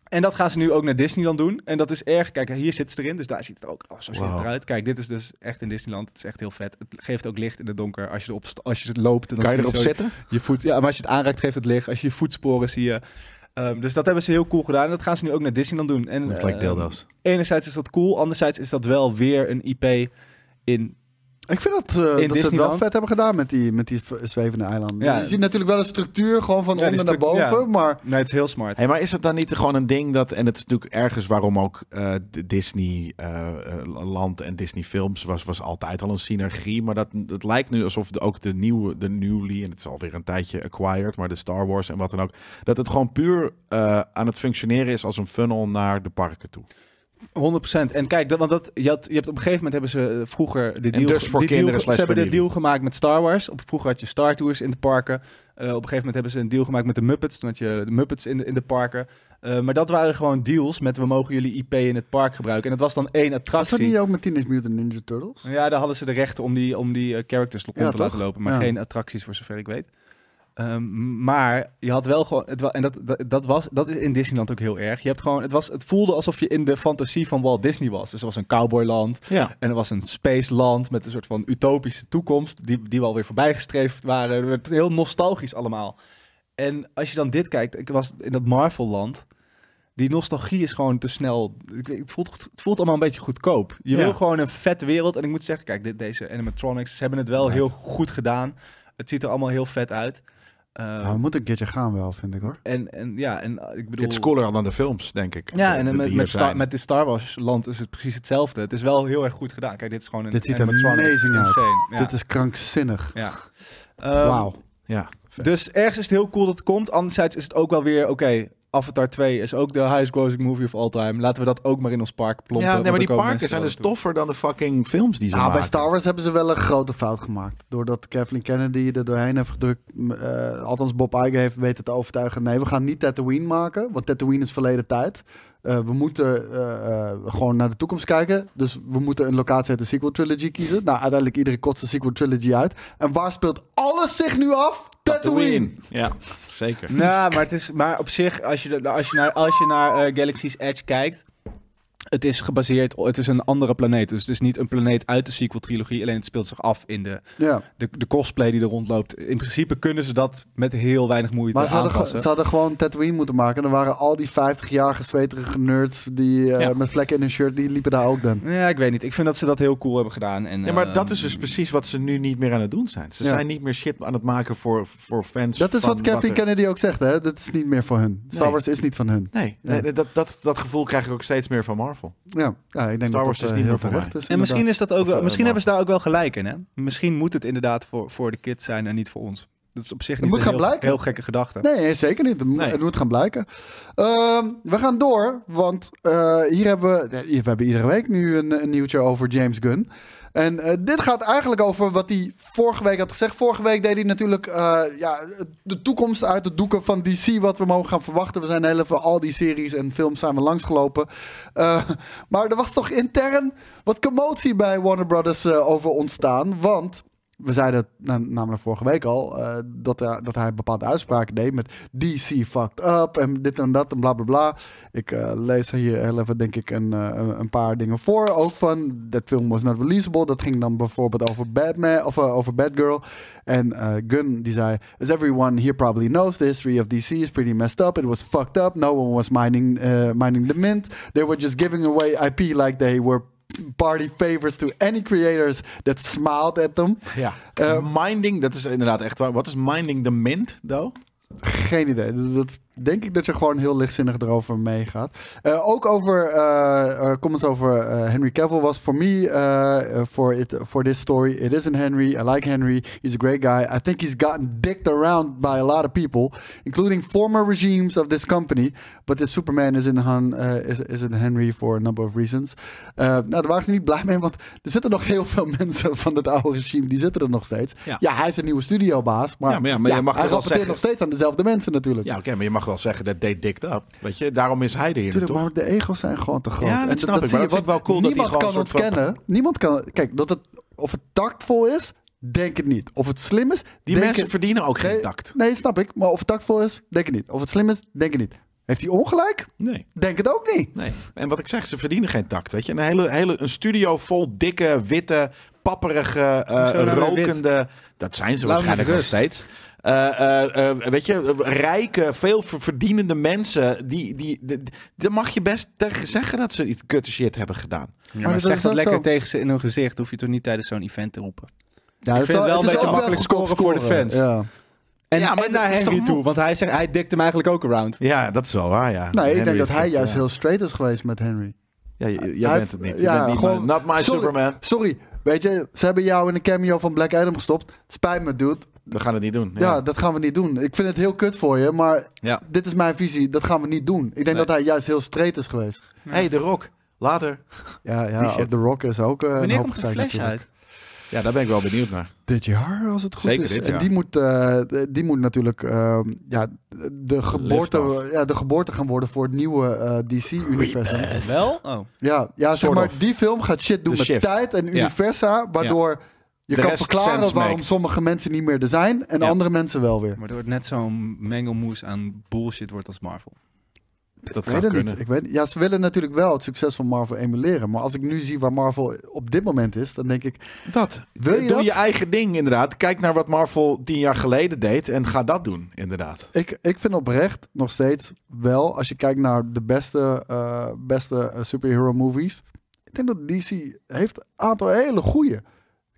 [SPEAKER 3] En dat gaan ze nu ook naar Disneyland doen. En dat is erg. Kijk, hier zit ze erin. Dus daar ziet het er ook. Oh, zo ziet het
[SPEAKER 2] Wauw.
[SPEAKER 3] eruit. Kijk, dit is dus echt in Disneyland. Het is echt heel vet. Het geeft ook licht in het donker. Als je, erop st- als je loopt. En dan
[SPEAKER 2] Kan je
[SPEAKER 3] zie
[SPEAKER 2] erop
[SPEAKER 3] zo-
[SPEAKER 2] zitten?
[SPEAKER 3] je voet, ja, maar als je het aanraakt, geeft het licht. Als je je voetsporen zie je. Ehm, dus dat hebben ze heel cool gedaan. En dat gaan ze nu ook naar Disneyland doen. En,
[SPEAKER 2] Het lijkt
[SPEAKER 3] ehm,
[SPEAKER 2] dildo's.
[SPEAKER 3] enerzijds is dat cool. Anderzijds is dat wel weer een IP in
[SPEAKER 4] Ik vind dat, eh, dat ze het wel
[SPEAKER 3] Disneyland?
[SPEAKER 4] vet hebben gedaan met die, met die v- zwevende eilanden.
[SPEAKER 3] Ja.
[SPEAKER 4] Je ziet natuurlijk wel een structuur gewoon van
[SPEAKER 3] Ja, die
[SPEAKER 4] onder naar
[SPEAKER 3] struc- ja.
[SPEAKER 4] boven, maar...
[SPEAKER 3] Nee, het is heel smart.
[SPEAKER 2] Hey, maar is het dan niet gewoon een ding dat, en het is natuurlijk ergens waarom ook eh, d- Disney eh, eh, land en Disney films was, was altijd al een synergie, maar dat, dat lijkt nu alsof de, ook de nieuwe, de newly, en het is alweer een tijdje acquired, maar de Star Wars en wat dan ook, dat het gewoon puur eh, aan het functioneren is als een funnel naar de parken toe.
[SPEAKER 3] 100%. En kijk, dat, want dat, je, had, je hebt op een gegeven moment hebben ze eh, vroeger de deal,
[SPEAKER 2] dus voor
[SPEAKER 3] die deal-
[SPEAKER 2] kinderen slash
[SPEAKER 3] ze hebben de
[SPEAKER 2] familie.
[SPEAKER 3] deal gemaakt met Star Wars. Op, vroeger had je Star Tours in de parken. Eh, op een gegeven moment hebben ze een deal gemaakt met de Muppets. Toen had je de Muppets in de, in de parken. Eh, maar dat waren gewoon deals met we mogen jullie IP in het park gebruiken. En dat was dan één
[SPEAKER 4] Was dat
[SPEAKER 3] attractie.
[SPEAKER 4] niet ook met Teenage Mutant Ninja Turtles?
[SPEAKER 3] Ja, daar hadden ze de rechten om die, om die eh, characters rond
[SPEAKER 4] Ja,
[SPEAKER 3] te laten
[SPEAKER 4] toch?
[SPEAKER 3] lopen. Maar
[SPEAKER 4] Ja.
[SPEAKER 3] geen attracties, voor zover ik weet. Ehm, maar je had wel gewoon... Het, wa- en dat, dat, dat, was, dat is in Disneyland ook heel erg. Je hebt gewoon, het, was, het voelde alsof je in de fantasie van Walt Disney was. Dus er was een cowboyland.
[SPEAKER 2] Ja.
[SPEAKER 3] En er was een spaceland met een soort van utopische toekomst. Die, die we alweer voorbijgestreefd waren. Het werd heel nostalgisch allemaal. En als je dan dit kijkt. Ik was in dat Marvel-land. Die nostalgie is gewoon te snel. Ik weet- Het voelt, het voelt allemaal een beetje goedkoop. Je
[SPEAKER 2] Ja.
[SPEAKER 3] wil gewoon een vette wereld. En ik moet zeggen, kijk, dit, deze animatronics ze hebben het wel
[SPEAKER 2] Ja.
[SPEAKER 3] heel goed gedaan. Het ziet er allemaal heel vet uit. Eh,
[SPEAKER 4] Nou, we moeten een keertje gaan wel, vind ik hoor.
[SPEAKER 3] en, en ja, en eh, ik bedoel...
[SPEAKER 2] Dit is cooler dan de films, denk ik.
[SPEAKER 3] Ja,
[SPEAKER 2] Die
[SPEAKER 3] en met,
[SPEAKER 2] hier
[SPEAKER 3] met, Star,
[SPEAKER 2] zijn.
[SPEAKER 3] met de Star Wars land is het precies hetzelfde. Het is wel heel erg goed gedaan. Kijk, dit is gewoon een
[SPEAKER 4] Dit ziet er
[SPEAKER 3] animatronic. Het is
[SPEAKER 4] amazing uit.
[SPEAKER 3] insane. Ja.
[SPEAKER 4] Dit is krankzinnig.
[SPEAKER 3] Ja. Ehm,
[SPEAKER 4] Wauw.
[SPEAKER 2] Ja, vet.
[SPEAKER 3] Dus ergens is het heel cool dat het komt. Anderzijds is het ook wel weer, oké, Avatar 2 is ook de highest grossing movie of all time. Laten we dat ook maar in ons park plompen.
[SPEAKER 2] ja, nee,
[SPEAKER 3] want
[SPEAKER 2] maar
[SPEAKER 3] dan
[SPEAKER 2] die
[SPEAKER 3] komen
[SPEAKER 2] parken
[SPEAKER 3] mensen
[SPEAKER 2] zijn
[SPEAKER 3] er
[SPEAKER 2] dus
[SPEAKER 3] naartoe.
[SPEAKER 2] toffer dan de fucking films die ze
[SPEAKER 4] Nou, bij
[SPEAKER 2] maken.
[SPEAKER 4] Star Wars hebben ze wel een grote fout gemaakt. Doordat Kathleen Kennedy er doorheen heeft gedrukt. m, eh, althans, Bob Iger heeft weten te overtuigen. Nee, we gaan niet Tatooine maken. Want Tatooine is verleden tijd. Eh, we moeten eh, eh, gewoon naar de toekomst kijken. Dus we moeten een locatie uit de sequel trilogy kiezen. Nou, uiteindelijk iedereen kotst de sequel trilogy uit. En waar speelt alles zich nu af? Tatooine!
[SPEAKER 2] Ja, zeker.
[SPEAKER 3] Nou, maar, het is, maar op zich, als je, de- als je naar, als je naar eh, Galaxy's Edge kijkt, het is gebaseerd, het is een andere planeet. Dus het is niet een planeet uit de sequel-trilogie, alleen het speelt zich af in de,
[SPEAKER 4] Ja,
[SPEAKER 3] de, de cosplay die er rondloopt. In principe kunnen ze dat met heel weinig moeite
[SPEAKER 4] maar ze hadden, ge-
[SPEAKER 3] aanpassen.
[SPEAKER 4] ze hadden gewoon Tatooine moeten maken. En dan waren al die 50-jarige zweterige nerds die, eh,
[SPEAKER 2] Ja.
[SPEAKER 4] met vlekken in hun shirt, die liepen daar ook dan.
[SPEAKER 3] Ja, ik weet niet. Ik vind dat ze dat heel cool hebben gedaan. En,
[SPEAKER 2] Ja, maar dat
[SPEAKER 3] ehm,
[SPEAKER 2] is dus precies wat ze nu niet meer aan het doen zijn. Ze
[SPEAKER 4] Ja.
[SPEAKER 2] zijn niet meer shit aan het maken voor, voor fans.
[SPEAKER 4] Dat is
[SPEAKER 2] van
[SPEAKER 4] wat Kathleen
[SPEAKER 2] er-
[SPEAKER 4] Kennedy ook zegt, hè? Dat is niet meer voor hun. Star
[SPEAKER 2] Nee.
[SPEAKER 4] Wars is niet van hun.
[SPEAKER 2] Nee, nee, nee, dat, dat, dat gevoel krijg ik ook steeds meer van Marvel.
[SPEAKER 4] Ja, ja ik
[SPEAKER 2] Star
[SPEAKER 4] denk dat
[SPEAKER 2] Wars is
[SPEAKER 4] dat, eh,
[SPEAKER 2] niet
[SPEAKER 4] heel
[SPEAKER 2] meer voor
[SPEAKER 4] terecht
[SPEAKER 2] mij.
[SPEAKER 4] is.
[SPEAKER 3] En misschien,
[SPEAKER 4] inderdaad.
[SPEAKER 3] is dat ook
[SPEAKER 2] Of,
[SPEAKER 3] wel,
[SPEAKER 2] eh,
[SPEAKER 3] misschien hebben
[SPEAKER 2] Marvel.
[SPEAKER 3] ze daar ook wel gelijk in, hè? Misschien moet het inderdaad voor, voor de kids zijn en niet voor ons. Dat is op zich
[SPEAKER 4] Dat
[SPEAKER 3] niet
[SPEAKER 4] moet
[SPEAKER 3] een
[SPEAKER 4] gaan
[SPEAKER 3] heel,
[SPEAKER 4] blijken.
[SPEAKER 3] heel gekke gedachte.
[SPEAKER 4] Nee, zeker niet. Het moet-
[SPEAKER 2] Nee.
[SPEAKER 4] Het moet gaan blijken. Ehm, we gaan door, want eh, hier hebben we... eh, We hebben iedere week nu een, een nieuwtje over James Gunn. En eh, dit gaat eigenlijk over wat hij vorige week had gezegd. Vorige week deed hij natuurlijk eh, ja, de toekomst uit de doeken van DC... wat we mogen gaan verwachten. We zijn heel even al die series en films zijn we langsgelopen. Eh, maar er was toch intern wat commotie bij Warner Brothers eh, over ontstaan. Want we zeiden het na- namelijk vorige week al eh, dat, hij- dat hij bepaalde uitspraken deed met DC fucked up en dit en dat en bla bla bla. Ik eh, lees hier heel even denk ik een, eh, een- een paar dingen voor. Ook van dat film was not releasable. Dat ging dan bijvoorbeeld over Batman of eh, over Batgirl. En eh, Gunn die zei, as everyone here probably knows, the history of DC is pretty messed up. It was fucked up. No one was mining, eh, mining the mint. They were just giving away IP like they were party favors to any creators that smiled at them.
[SPEAKER 2] Ja.
[SPEAKER 4] Ehm.
[SPEAKER 2] minding, dat is inderdaad echt waar. Wat is minding the mint, though?
[SPEAKER 4] Geen idee. Dat, dat denk ik dat je gewoon heel lichtzinnig erover meegaat. Eh, ook over eh, eh, comments over eh, Henry Cavill was for me eh, eh, for it for this story. It isn't Henry. I like Henry. He's a great guy. I think he's gotten dicked around by a lot of people, including former regimes of this company. But this Superman isn't Han, eh, is, isn't Henry for a number of reasons. Eh, nou, daar waren ze niet blij mee, want er zitten nog heel veel mensen van het oude regime die zitten er nog steeds. Ja,
[SPEAKER 2] Ja.
[SPEAKER 4] hij is een nieuwe studiobaas, maar,
[SPEAKER 2] Ja, maar ja, maar je mag toch wel
[SPEAKER 4] hij rapporteert
[SPEAKER 2] zeggen-
[SPEAKER 4] nog steeds aan dezelfde mensen natuurlijk.
[SPEAKER 2] Ja, oké, maar je mag wel zeggen dat they dicked up. Weet je, daarom is hij de heer,
[SPEAKER 4] Tuurlijk,
[SPEAKER 2] toch?
[SPEAKER 4] maar de ego's zijn gewoon te groot.
[SPEAKER 2] Ja, dat snap ik,
[SPEAKER 4] zie
[SPEAKER 2] maar
[SPEAKER 4] je,
[SPEAKER 2] dat vind
[SPEAKER 4] want
[SPEAKER 2] ik wel cool dat die
[SPEAKER 4] Niemand
[SPEAKER 2] gewoon
[SPEAKER 4] kan
[SPEAKER 2] een soort van-
[SPEAKER 4] ontkennen. Niemand kan. Kijk, dat het, of het tactvol is, denk het niet. Of het slim is,
[SPEAKER 2] Die
[SPEAKER 4] denk
[SPEAKER 2] mensen
[SPEAKER 4] het-
[SPEAKER 2] verdienen ook geen
[SPEAKER 4] nee,
[SPEAKER 2] tact.
[SPEAKER 4] Nee, snap ik. Maar of het tactvol is, denk het niet. Of het slim is, denk het niet. Heeft hij ongelijk?
[SPEAKER 2] Nee.
[SPEAKER 4] Denk het ook niet.
[SPEAKER 2] Nee. En wat ik zeg, ze verdienen geen tact. Weet je, een hele, hele een studio vol dikke, witte, papperige, eh,
[SPEAKER 3] Hoezo nou weer
[SPEAKER 2] rokende. Dat zijn ze
[SPEAKER 3] Laat me
[SPEAKER 2] waarschijnlijk nog
[SPEAKER 3] rust.
[SPEAKER 2] steeds. Eh, eh, eh, weet je, rijke, veel ver- verdienende mensen. Die, die, die, die mag je best tegen zeggen dat ze iets kutte shit hebben gedaan.
[SPEAKER 3] Ja, maar
[SPEAKER 4] dat
[SPEAKER 3] zeg
[SPEAKER 4] is
[SPEAKER 3] dat
[SPEAKER 4] ook
[SPEAKER 3] lekker
[SPEAKER 4] zo.
[SPEAKER 3] tegen ze in hun gezicht. Hoef je toch niet tijdens zo'n event te roepen.
[SPEAKER 4] Ja,
[SPEAKER 3] vind het wel een beetje makkelijk
[SPEAKER 4] goedkoop
[SPEAKER 3] scoren voor de fans.
[SPEAKER 4] Ja.
[SPEAKER 3] En,
[SPEAKER 2] Ja, maar
[SPEAKER 3] en
[SPEAKER 2] dat
[SPEAKER 3] naar
[SPEAKER 2] is toch
[SPEAKER 3] Henry
[SPEAKER 2] mo-
[SPEAKER 3] toe. Want hij, zegt, hij dikt hem eigenlijk ook around.
[SPEAKER 2] Ja, dat is wel waar, ja.
[SPEAKER 4] Nee, ik
[SPEAKER 2] Henry
[SPEAKER 4] denk dat
[SPEAKER 2] is
[SPEAKER 4] hij
[SPEAKER 2] goed,
[SPEAKER 4] juist
[SPEAKER 2] ja.
[SPEAKER 4] heel straight is geweest met Henry.
[SPEAKER 2] Ja, j- jij
[SPEAKER 4] Hij
[SPEAKER 2] bent het
[SPEAKER 4] heeft-
[SPEAKER 2] niet. Je bent niet
[SPEAKER 4] gewoon-
[SPEAKER 2] my- not my
[SPEAKER 4] sorry,
[SPEAKER 2] Superman.
[SPEAKER 4] Sorry, weet je, ze hebben jou in een cameo van Black Adam gestopt. Het spijt me, dude.
[SPEAKER 2] We gaan het niet doen.
[SPEAKER 4] Ja, dat gaan we niet doen. Ik vind het heel kut voor je, maar
[SPEAKER 2] Ja.
[SPEAKER 4] dit is mijn visie. Dat gaan we niet doen. Ik denk dat hij juist heel straight is geweest.
[SPEAKER 2] hey, The Rock. Later.
[SPEAKER 4] Ja,
[SPEAKER 2] Die
[SPEAKER 4] ja
[SPEAKER 2] shit.
[SPEAKER 4] The Rock is ook eh, een
[SPEAKER 3] Wanneer
[SPEAKER 4] hoop
[SPEAKER 3] komt de
[SPEAKER 4] gezeik
[SPEAKER 3] flash
[SPEAKER 4] natuurlijk.
[SPEAKER 3] uit?
[SPEAKER 2] Ja, daar ben ik wel benieuwd naar.
[SPEAKER 4] Dit jaar, als het goed
[SPEAKER 2] Zeker
[SPEAKER 4] is.
[SPEAKER 2] dit
[SPEAKER 4] en
[SPEAKER 2] jaar.
[SPEAKER 4] die moet, eh, die moet natuurlijk eh, ja, de, geboorte,
[SPEAKER 2] Liftoff.
[SPEAKER 4] ja, de geboorte gaan worden voor het nieuwe eh, DC-universum.
[SPEAKER 3] Wel? Oh.
[SPEAKER 4] Ja, ja zeg
[SPEAKER 2] Sort
[SPEAKER 4] maar,
[SPEAKER 2] of.
[SPEAKER 4] die film gaat shit doen
[SPEAKER 2] De
[SPEAKER 4] met
[SPEAKER 2] shift.
[SPEAKER 4] tijd en universa, waardoor je
[SPEAKER 2] De
[SPEAKER 4] kan
[SPEAKER 2] rest
[SPEAKER 4] verklaren
[SPEAKER 2] sense
[SPEAKER 4] waarom
[SPEAKER 2] maakt.
[SPEAKER 4] sommige mensen niet meer er zijn en
[SPEAKER 2] Ja.
[SPEAKER 4] andere mensen wel weer.
[SPEAKER 3] Maar er wordt net zo'n mengelmoes aan bullshit wordt als Marvel.
[SPEAKER 2] Dat
[SPEAKER 4] Ik
[SPEAKER 2] zou
[SPEAKER 4] weet het
[SPEAKER 2] kunnen.
[SPEAKER 4] niet. Ik weet, ja, ze willen natuurlijk wel het succes van Marvel emuleren. Maar als ik nu zie waar Marvel op dit moment is, dan denk ik...
[SPEAKER 2] Dat.
[SPEAKER 4] Wil je
[SPEAKER 2] Doe
[SPEAKER 4] dat?
[SPEAKER 2] je eigen ding, inderdaad. Kijk naar wat Marvel tien jaar geleden deed en ga dat doen, inderdaad.
[SPEAKER 4] Ik, ik vind oprecht nog steeds wel, als je kijkt naar de beste, eh, beste eh, superhero movies... Ik denk dat DC heeft een aantal hele goeie.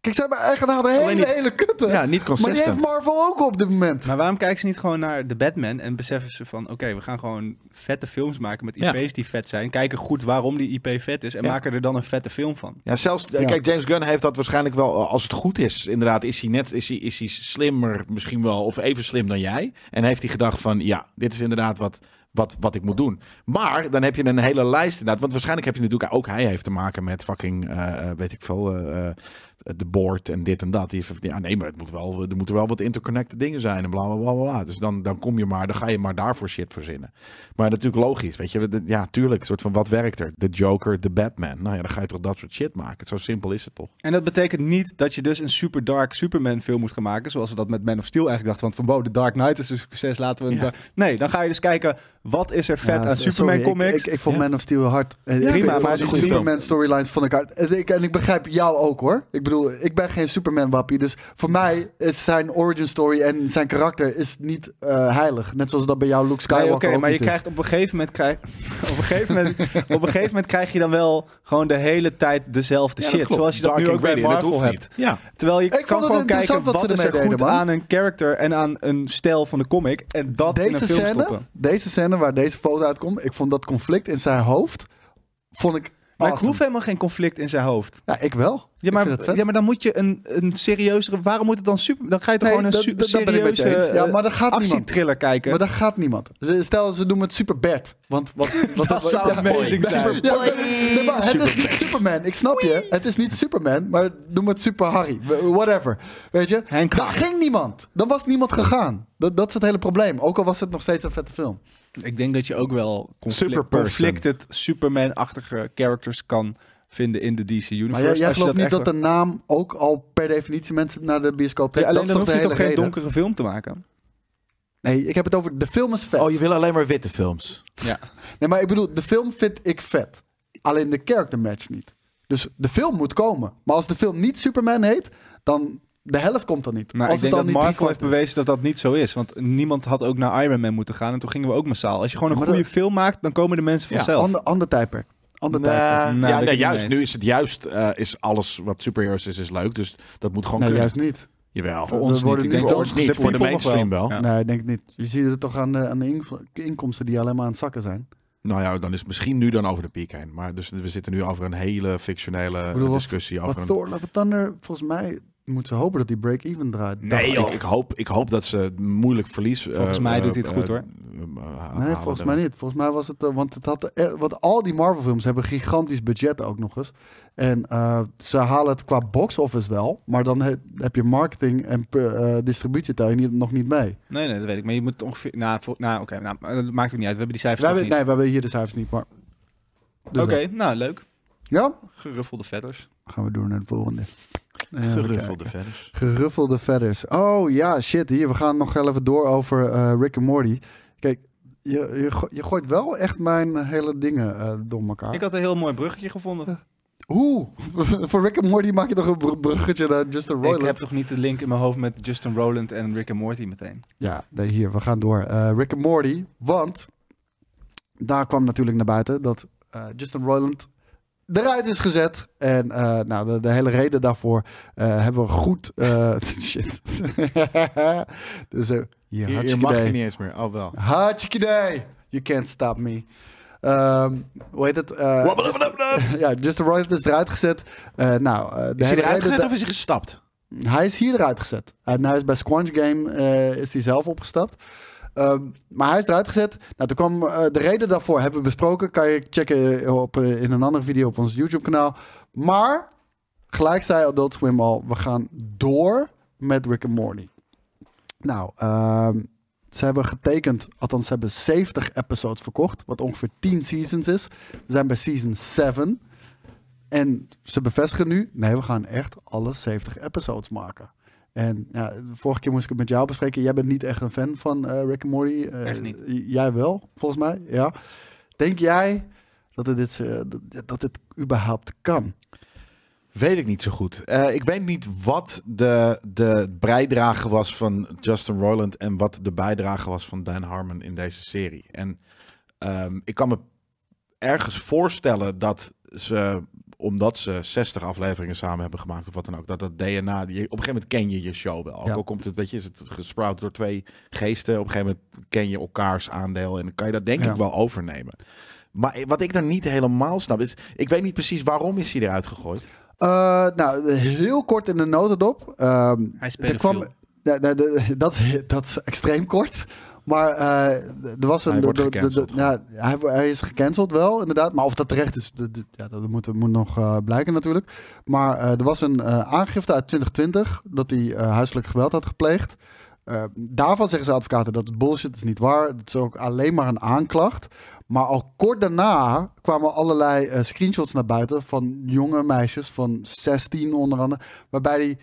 [SPEAKER 4] Kijk, ze hebben eigenlijk een aantal hele,
[SPEAKER 2] Alleen niet-
[SPEAKER 4] hele kutten.
[SPEAKER 2] Ja, niet
[SPEAKER 4] maar die heeft
[SPEAKER 2] consistent.
[SPEAKER 4] Marvel ook op dit moment.
[SPEAKER 3] Maar waarom kijken ze niet gewoon naar de Batman en beseffen ze van... Oké, we gaan gewoon vette films maken met
[SPEAKER 2] Ja.
[SPEAKER 3] IP's die vet zijn. Kijken goed waarom die IP vet is en
[SPEAKER 2] Ja.
[SPEAKER 3] maken er dan een vette film van.
[SPEAKER 2] Ja, zelfs, eh,
[SPEAKER 4] Ja.
[SPEAKER 2] kijk, James Gunn heeft dat waarschijnlijk wel, eh, als het goed is, inderdaad, is hij net, is hij, is hij slimmer misschien wel, of even slim dan jij. En heeft hij gedacht van, ja, dit is inderdaad wat, wat, wat ik moet doen. Maar dan heb je een hele lijst inderdaad, want waarschijnlijk heb je natuurlijk, ook hij heeft te maken met fucking, eh, weet ik veel, eh, eh, de board en dit en dat. Die heeft- ja, nee, maar het moet wel, er moeten wel wat interconnected dingen zijn en bla bla bla bla, bla. Dus dan, dan kom je maar, dan ga je maar daarvoor shit verzinnen. Maar natuurlijk logisch, weet je. we- de- Ja, tuurlijk. Een soort van wat werkt er? De Joker, de Batman. Nou ja, dan ga je toch dat soort shit maken. Zo simpel is het toch?
[SPEAKER 3] En dat betekent niet dat je dus een super dark Superman film moet gaan maken. Zoals we dat met Man of Steel eigenlijk dachten. Want van, wow, The Dark Knight is een succes, laten we... een
[SPEAKER 2] Ja.
[SPEAKER 3] dark- Nee, dan ga je dus kijken, wat is er vet
[SPEAKER 4] Ja,
[SPEAKER 3] aan
[SPEAKER 4] sorry,
[SPEAKER 3] Superman
[SPEAKER 4] ik-
[SPEAKER 3] comics?
[SPEAKER 4] Ik, ik, vond
[SPEAKER 2] Ja.
[SPEAKER 4] Man of Steel hard. Eh,
[SPEAKER 2] prima,
[SPEAKER 4] ik vind-
[SPEAKER 2] maar
[SPEAKER 4] vond
[SPEAKER 2] het is
[SPEAKER 4] die
[SPEAKER 2] een goede
[SPEAKER 4] Superman
[SPEAKER 2] film.
[SPEAKER 4] storylines vond ik hard. En ik, en ik begrijp jou ook hoor. Ik bedoel, ik ben geen Superman wappie. Dus voor mij is zijn origin story en zijn karakter is niet eh, heilig. Net zoals dat bij jou Luke Skywalker dus.
[SPEAKER 3] Nee,
[SPEAKER 4] nee,
[SPEAKER 3] oké, maar je krijgt op een gegeven moment krijg, op, een gegeven moment, op een gegeven moment krijg je dan wel gewoon de hele tijd dezelfde
[SPEAKER 2] Ja, dat
[SPEAKER 3] shit.
[SPEAKER 2] klopt.
[SPEAKER 3] Zoals je dat
[SPEAKER 2] Dark
[SPEAKER 3] nu ook
[SPEAKER 2] and
[SPEAKER 3] bij
[SPEAKER 2] gritty, dat
[SPEAKER 3] Marvel
[SPEAKER 2] hoeft
[SPEAKER 3] hebt.
[SPEAKER 2] niet. Ja.
[SPEAKER 3] Terwijl je
[SPEAKER 4] vond
[SPEAKER 3] kan
[SPEAKER 4] het
[SPEAKER 3] gewoon kijken
[SPEAKER 4] interessant
[SPEAKER 3] wat,
[SPEAKER 4] wat ze dus
[SPEAKER 3] is er
[SPEAKER 4] ermee
[SPEAKER 3] goed
[SPEAKER 4] deden, man.
[SPEAKER 3] aan een character en aan een stijl van de comic. En dat in
[SPEAKER 4] deze
[SPEAKER 3] een film
[SPEAKER 4] scène,
[SPEAKER 3] stoppen.
[SPEAKER 4] deze scène waar deze foto uitkomt, ik vond dat conflict in zijn hoofd, vond ik
[SPEAKER 3] Maar ik
[SPEAKER 4] awesome.
[SPEAKER 3] hoef helemaal geen conflict in zijn hoofd.
[SPEAKER 4] Ja, ik wel.
[SPEAKER 3] Ja,
[SPEAKER 4] ik vind het
[SPEAKER 3] maar,
[SPEAKER 4] vet.
[SPEAKER 3] ja, maar dan moet je een, een serieuzere... Waarom moet het dan super... Dan ga je toch
[SPEAKER 4] Nee,
[SPEAKER 3] gewoon een
[SPEAKER 4] dat-
[SPEAKER 3] super
[SPEAKER 4] dat- dat ben ik met je
[SPEAKER 3] serieuze
[SPEAKER 4] eens. Ja,
[SPEAKER 3] eh,
[SPEAKER 4] maar dat gaat niemand.
[SPEAKER 3] actietriller kijken.
[SPEAKER 4] Maar daar gaat niemand. Ze- Stel, ze doen het Super Bert. Want wat, wat,
[SPEAKER 3] Dat zou amazing
[SPEAKER 4] ja,
[SPEAKER 3] zijn.
[SPEAKER 4] Super- ja, maar- nee, maar het is niet Superman. Ik snap je. Het is niet Superman, maar noem het Super Harry. W- Whatever. Weet je?
[SPEAKER 3] Hank
[SPEAKER 4] daar
[SPEAKER 3] Harry.
[SPEAKER 4] ging niemand. Dan was niemand gegaan. Dat, dat is het hele probleem. Ook al was het nog steeds een vette film.
[SPEAKER 3] Ik denk dat je ook wel conflict,
[SPEAKER 2] Superperson.
[SPEAKER 3] conflicted Superman-achtige characters kan vinden in de DC Universe.
[SPEAKER 4] Maar jij, jij
[SPEAKER 3] Als je
[SPEAKER 4] gelooft niet
[SPEAKER 3] echt
[SPEAKER 4] dat de
[SPEAKER 3] wil-
[SPEAKER 4] naam ook al per definitie mensen naar de bioscoop
[SPEAKER 3] Ja,
[SPEAKER 4] trekt.
[SPEAKER 3] alleen
[SPEAKER 4] dat
[SPEAKER 3] dan
[SPEAKER 4] is
[SPEAKER 3] hoef
[SPEAKER 4] toch
[SPEAKER 3] je
[SPEAKER 4] de
[SPEAKER 3] toch
[SPEAKER 4] hele
[SPEAKER 3] geen
[SPEAKER 4] reden?
[SPEAKER 3] donkere film te maken?
[SPEAKER 4] Nee, ik heb het over de film is vet.
[SPEAKER 2] Oh, je wil alleen maar witte films.
[SPEAKER 3] Ja.
[SPEAKER 4] Nee, maar ik bedoel, de film vind ik vet. Alleen de character match niet. Dus de film moet komen. Maar als de film niet Superman heet, dan de helft komt dan niet.
[SPEAKER 3] Maar
[SPEAKER 4] als
[SPEAKER 3] Nou, ik denk dat
[SPEAKER 4] het dan niet
[SPEAKER 3] Marvel heeft
[SPEAKER 4] driekwart is.
[SPEAKER 3] bewezen dat dat niet zo is. Want niemand had ook naar Iron Man moeten gaan. En toen gingen we ook massaal. Als je gewoon een
[SPEAKER 4] Maar
[SPEAKER 3] goede
[SPEAKER 4] dat-
[SPEAKER 3] film maakt, dan komen de mensen
[SPEAKER 2] Ja,
[SPEAKER 3] vanzelf.
[SPEAKER 4] Ander, ander tijdperk. Ander tijdperk.
[SPEAKER 2] ja,
[SPEAKER 3] Nee, dat
[SPEAKER 2] nee,
[SPEAKER 3] kan
[SPEAKER 2] juist.
[SPEAKER 3] niet
[SPEAKER 2] Nu
[SPEAKER 3] eens.
[SPEAKER 2] is het juist, eh, is alles wat superheroes is, is leuk. Dus dat moet gewoon
[SPEAKER 4] Nee,
[SPEAKER 2] kunnen.
[SPEAKER 4] juist niet.
[SPEAKER 2] Jawel.
[SPEAKER 4] Voor
[SPEAKER 2] Voor
[SPEAKER 4] ons
[SPEAKER 2] ons
[SPEAKER 4] We worden
[SPEAKER 2] niet.
[SPEAKER 4] niet.
[SPEAKER 2] Ik
[SPEAKER 4] nu
[SPEAKER 2] denk
[SPEAKER 4] voor
[SPEAKER 2] voor ons niet.
[SPEAKER 4] ons gezet,
[SPEAKER 2] Voor de
[SPEAKER 4] people nog
[SPEAKER 2] mainstream wel.
[SPEAKER 3] Ja.
[SPEAKER 4] Nee, ik denk het niet. Je ziet het toch aan de, aan de in- inkomsten die alleen maar aan het zakken zijn.
[SPEAKER 2] Nou ja, dan is het misschien nu dan over de piek heen. Maar dus we zitten nu over een hele fictionele
[SPEAKER 4] bedoel, wat-
[SPEAKER 2] discussie.
[SPEAKER 4] Maar
[SPEAKER 2] over een...
[SPEAKER 4] Thor Love and Thunder, volgens mij moeten ze hopen dat die break-even draait.
[SPEAKER 2] Nee, Nou, ik, ik, hoop, ik hoop dat ze moeilijk verlies.
[SPEAKER 3] Volgens
[SPEAKER 2] eh,
[SPEAKER 3] mij
[SPEAKER 2] eh,
[SPEAKER 3] doet hij het
[SPEAKER 2] eh,
[SPEAKER 3] goed, hoor.
[SPEAKER 2] eh, eh,
[SPEAKER 4] Nee,
[SPEAKER 2] halen
[SPEAKER 4] volgens
[SPEAKER 2] dan.
[SPEAKER 4] mij niet. Volgens mij was het, eh, want het had, eh, want al die Marvel films hebben een gigantisch budget ook nog eens. En eh, ze halen het qua box office wel, maar dan he- heb je marketing en per- eh, distributie tel je niet, nog niet mee.
[SPEAKER 3] Nee, nee, dat weet ik. Maar je moet ongeveer... Nou, vol- nou oké. nou, maar dat maakt ook niet uit. We hebben die cijfers
[SPEAKER 4] Wij,
[SPEAKER 3] nog
[SPEAKER 4] hebben-
[SPEAKER 3] niet.
[SPEAKER 4] nee, we hebben hier de cijfers niet, maar... Dus
[SPEAKER 3] Oké,
[SPEAKER 4] dat.
[SPEAKER 3] nou, leuk.
[SPEAKER 4] Ja?
[SPEAKER 3] Geruffelde vetters.
[SPEAKER 4] Gaan we door naar de volgende. Even
[SPEAKER 2] Geruffelde
[SPEAKER 4] kijken.
[SPEAKER 2] verder.
[SPEAKER 4] Geruffelde verders. Oh ja, shit. Hier, we gaan nog even door over eh, Rick en Morty. Kijk, je, je, go- je gooit wel echt mijn hele dingen eh, door elkaar.
[SPEAKER 3] Ik had een heel mooi bruggetje gevonden.
[SPEAKER 4] Eh, Hoe? Voor Rick en Morty maak je toch een br- bruggetje naar Justin Roiland?
[SPEAKER 3] Ik heb toch niet de link in mijn hoofd met Justin Roland en Rick en Morty meteen.
[SPEAKER 4] Ja, nee, hier, we gaan door. Eh, Rick en Morty, want daar kwam natuurlijk naar buiten dat eh, Justin Roiland eruit is gezet. En eh, nou, de, de hele reden daarvoor eh, hebben we goed... eh, shit. dus, eh, hier,
[SPEAKER 2] Hier, hier
[SPEAKER 4] hartstikke
[SPEAKER 2] mag
[SPEAKER 4] idee.
[SPEAKER 2] je niet eens meer. Oh, wel.
[SPEAKER 4] Hartstikke idee. You can't stop me. Ehm, hoe heet het? Eh,
[SPEAKER 2] Wabbel,
[SPEAKER 4] Justin-
[SPEAKER 2] wabbel, wabbel.
[SPEAKER 4] ja, Justin Roiland is eruit gezet. Eh, nou, eh, de
[SPEAKER 2] Is hij
[SPEAKER 4] hele
[SPEAKER 2] eruit
[SPEAKER 4] reden
[SPEAKER 2] gezet
[SPEAKER 4] da-
[SPEAKER 2] of is hij gestapt?
[SPEAKER 4] hij is hier eruit gezet. En hij is bij Squanch Game eh, is hij zelf opgestapt. Ehm, maar hij is eruit gezet. Nou, toen kwam eh, de reden daarvoor hebben we besproken. Kan je checken op, eh, in een andere video op ons YouTube kanaal. Maar gelijk zei Adult Swim al, we gaan door met Rick and Morty. Nou, ehm, ze hebben getekend, althans ze hebben 70 episodes verkocht, wat ongeveer 10 seasons is. We zijn bij season 7. En ze bevestigen nu, nee, we gaan echt alle 70 episodes maken. En ja, de vorige keer moest ik het met jou bespreken. Jij bent niet echt een fan van eh, Rick and Morty. Eh,
[SPEAKER 3] Echt niet.
[SPEAKER 4] j- Jij wel, volgens mij, ja. Denk jij dat het dit, eh, dat, dat dit überhaupt kan?
[SPEAKER 2] Weet ik niet zo goed. Eh, ik weet niet wat de, de bijdrage was van Justin Roiland en wat de bijdrage was van Dan Harmon in deze serie. En ehm, ik kan me ergens voorstellen dat ze, omdat ze 60 afleveringen samen hebben gemaakt of wat dan ook, dat dat DNA, die- op een gegeven moment ken je je show wel. Ook
[SPEAKER 4] Ja.
[SPEAKER 2] al komt het, weet je, is het gesprout door twee geesten. Op een gegeven moment ken je elkaars aandeel en dan kan je dat denk
[SPEAKER 4] Ja.
[SPEAKER 2] ik wel overnemen. Maar eh, wat ik dan niet helemaal snap is, ik weet niet precies waarom is hij eruit gegooid.
[SPEAKER 4] Eh, nou, heel kort in de notendop. Ehm,
[SPEAKER 3] Hij is
[SPEAKER 4] er kwam,
[SPEAKER 3] pedofiel.
[SPEAKER 4] Ja, nou, de- dat, is, dat is extreem kort. Maar eh, er was een.
[SPEAKER 2] Hij wordt
[SPEAKER 4] de- de- de-
[SPEAKER 2] gecanceld gewoon.
[SPEAKER 4] ja, hij, wo- hij is gecanceld wel, inderdaad. Maar of dat terecht is, dat- dat- ja, dat moet, moet nog eh, blijken natuurlijk. Maar eh, er was een eh, aangifte uit 2020 dat hij eh, huiselijk geweld had gepleegd. Eh, daarvan zeggen ze advocaten dat het bullshit is niet waar. Het is ook alleen maar een aanklacht. Maar al kort daarna kwamen allerlei eh, screenshots naar buiten van jonge meisjes van 16 onder andere, waarbij hij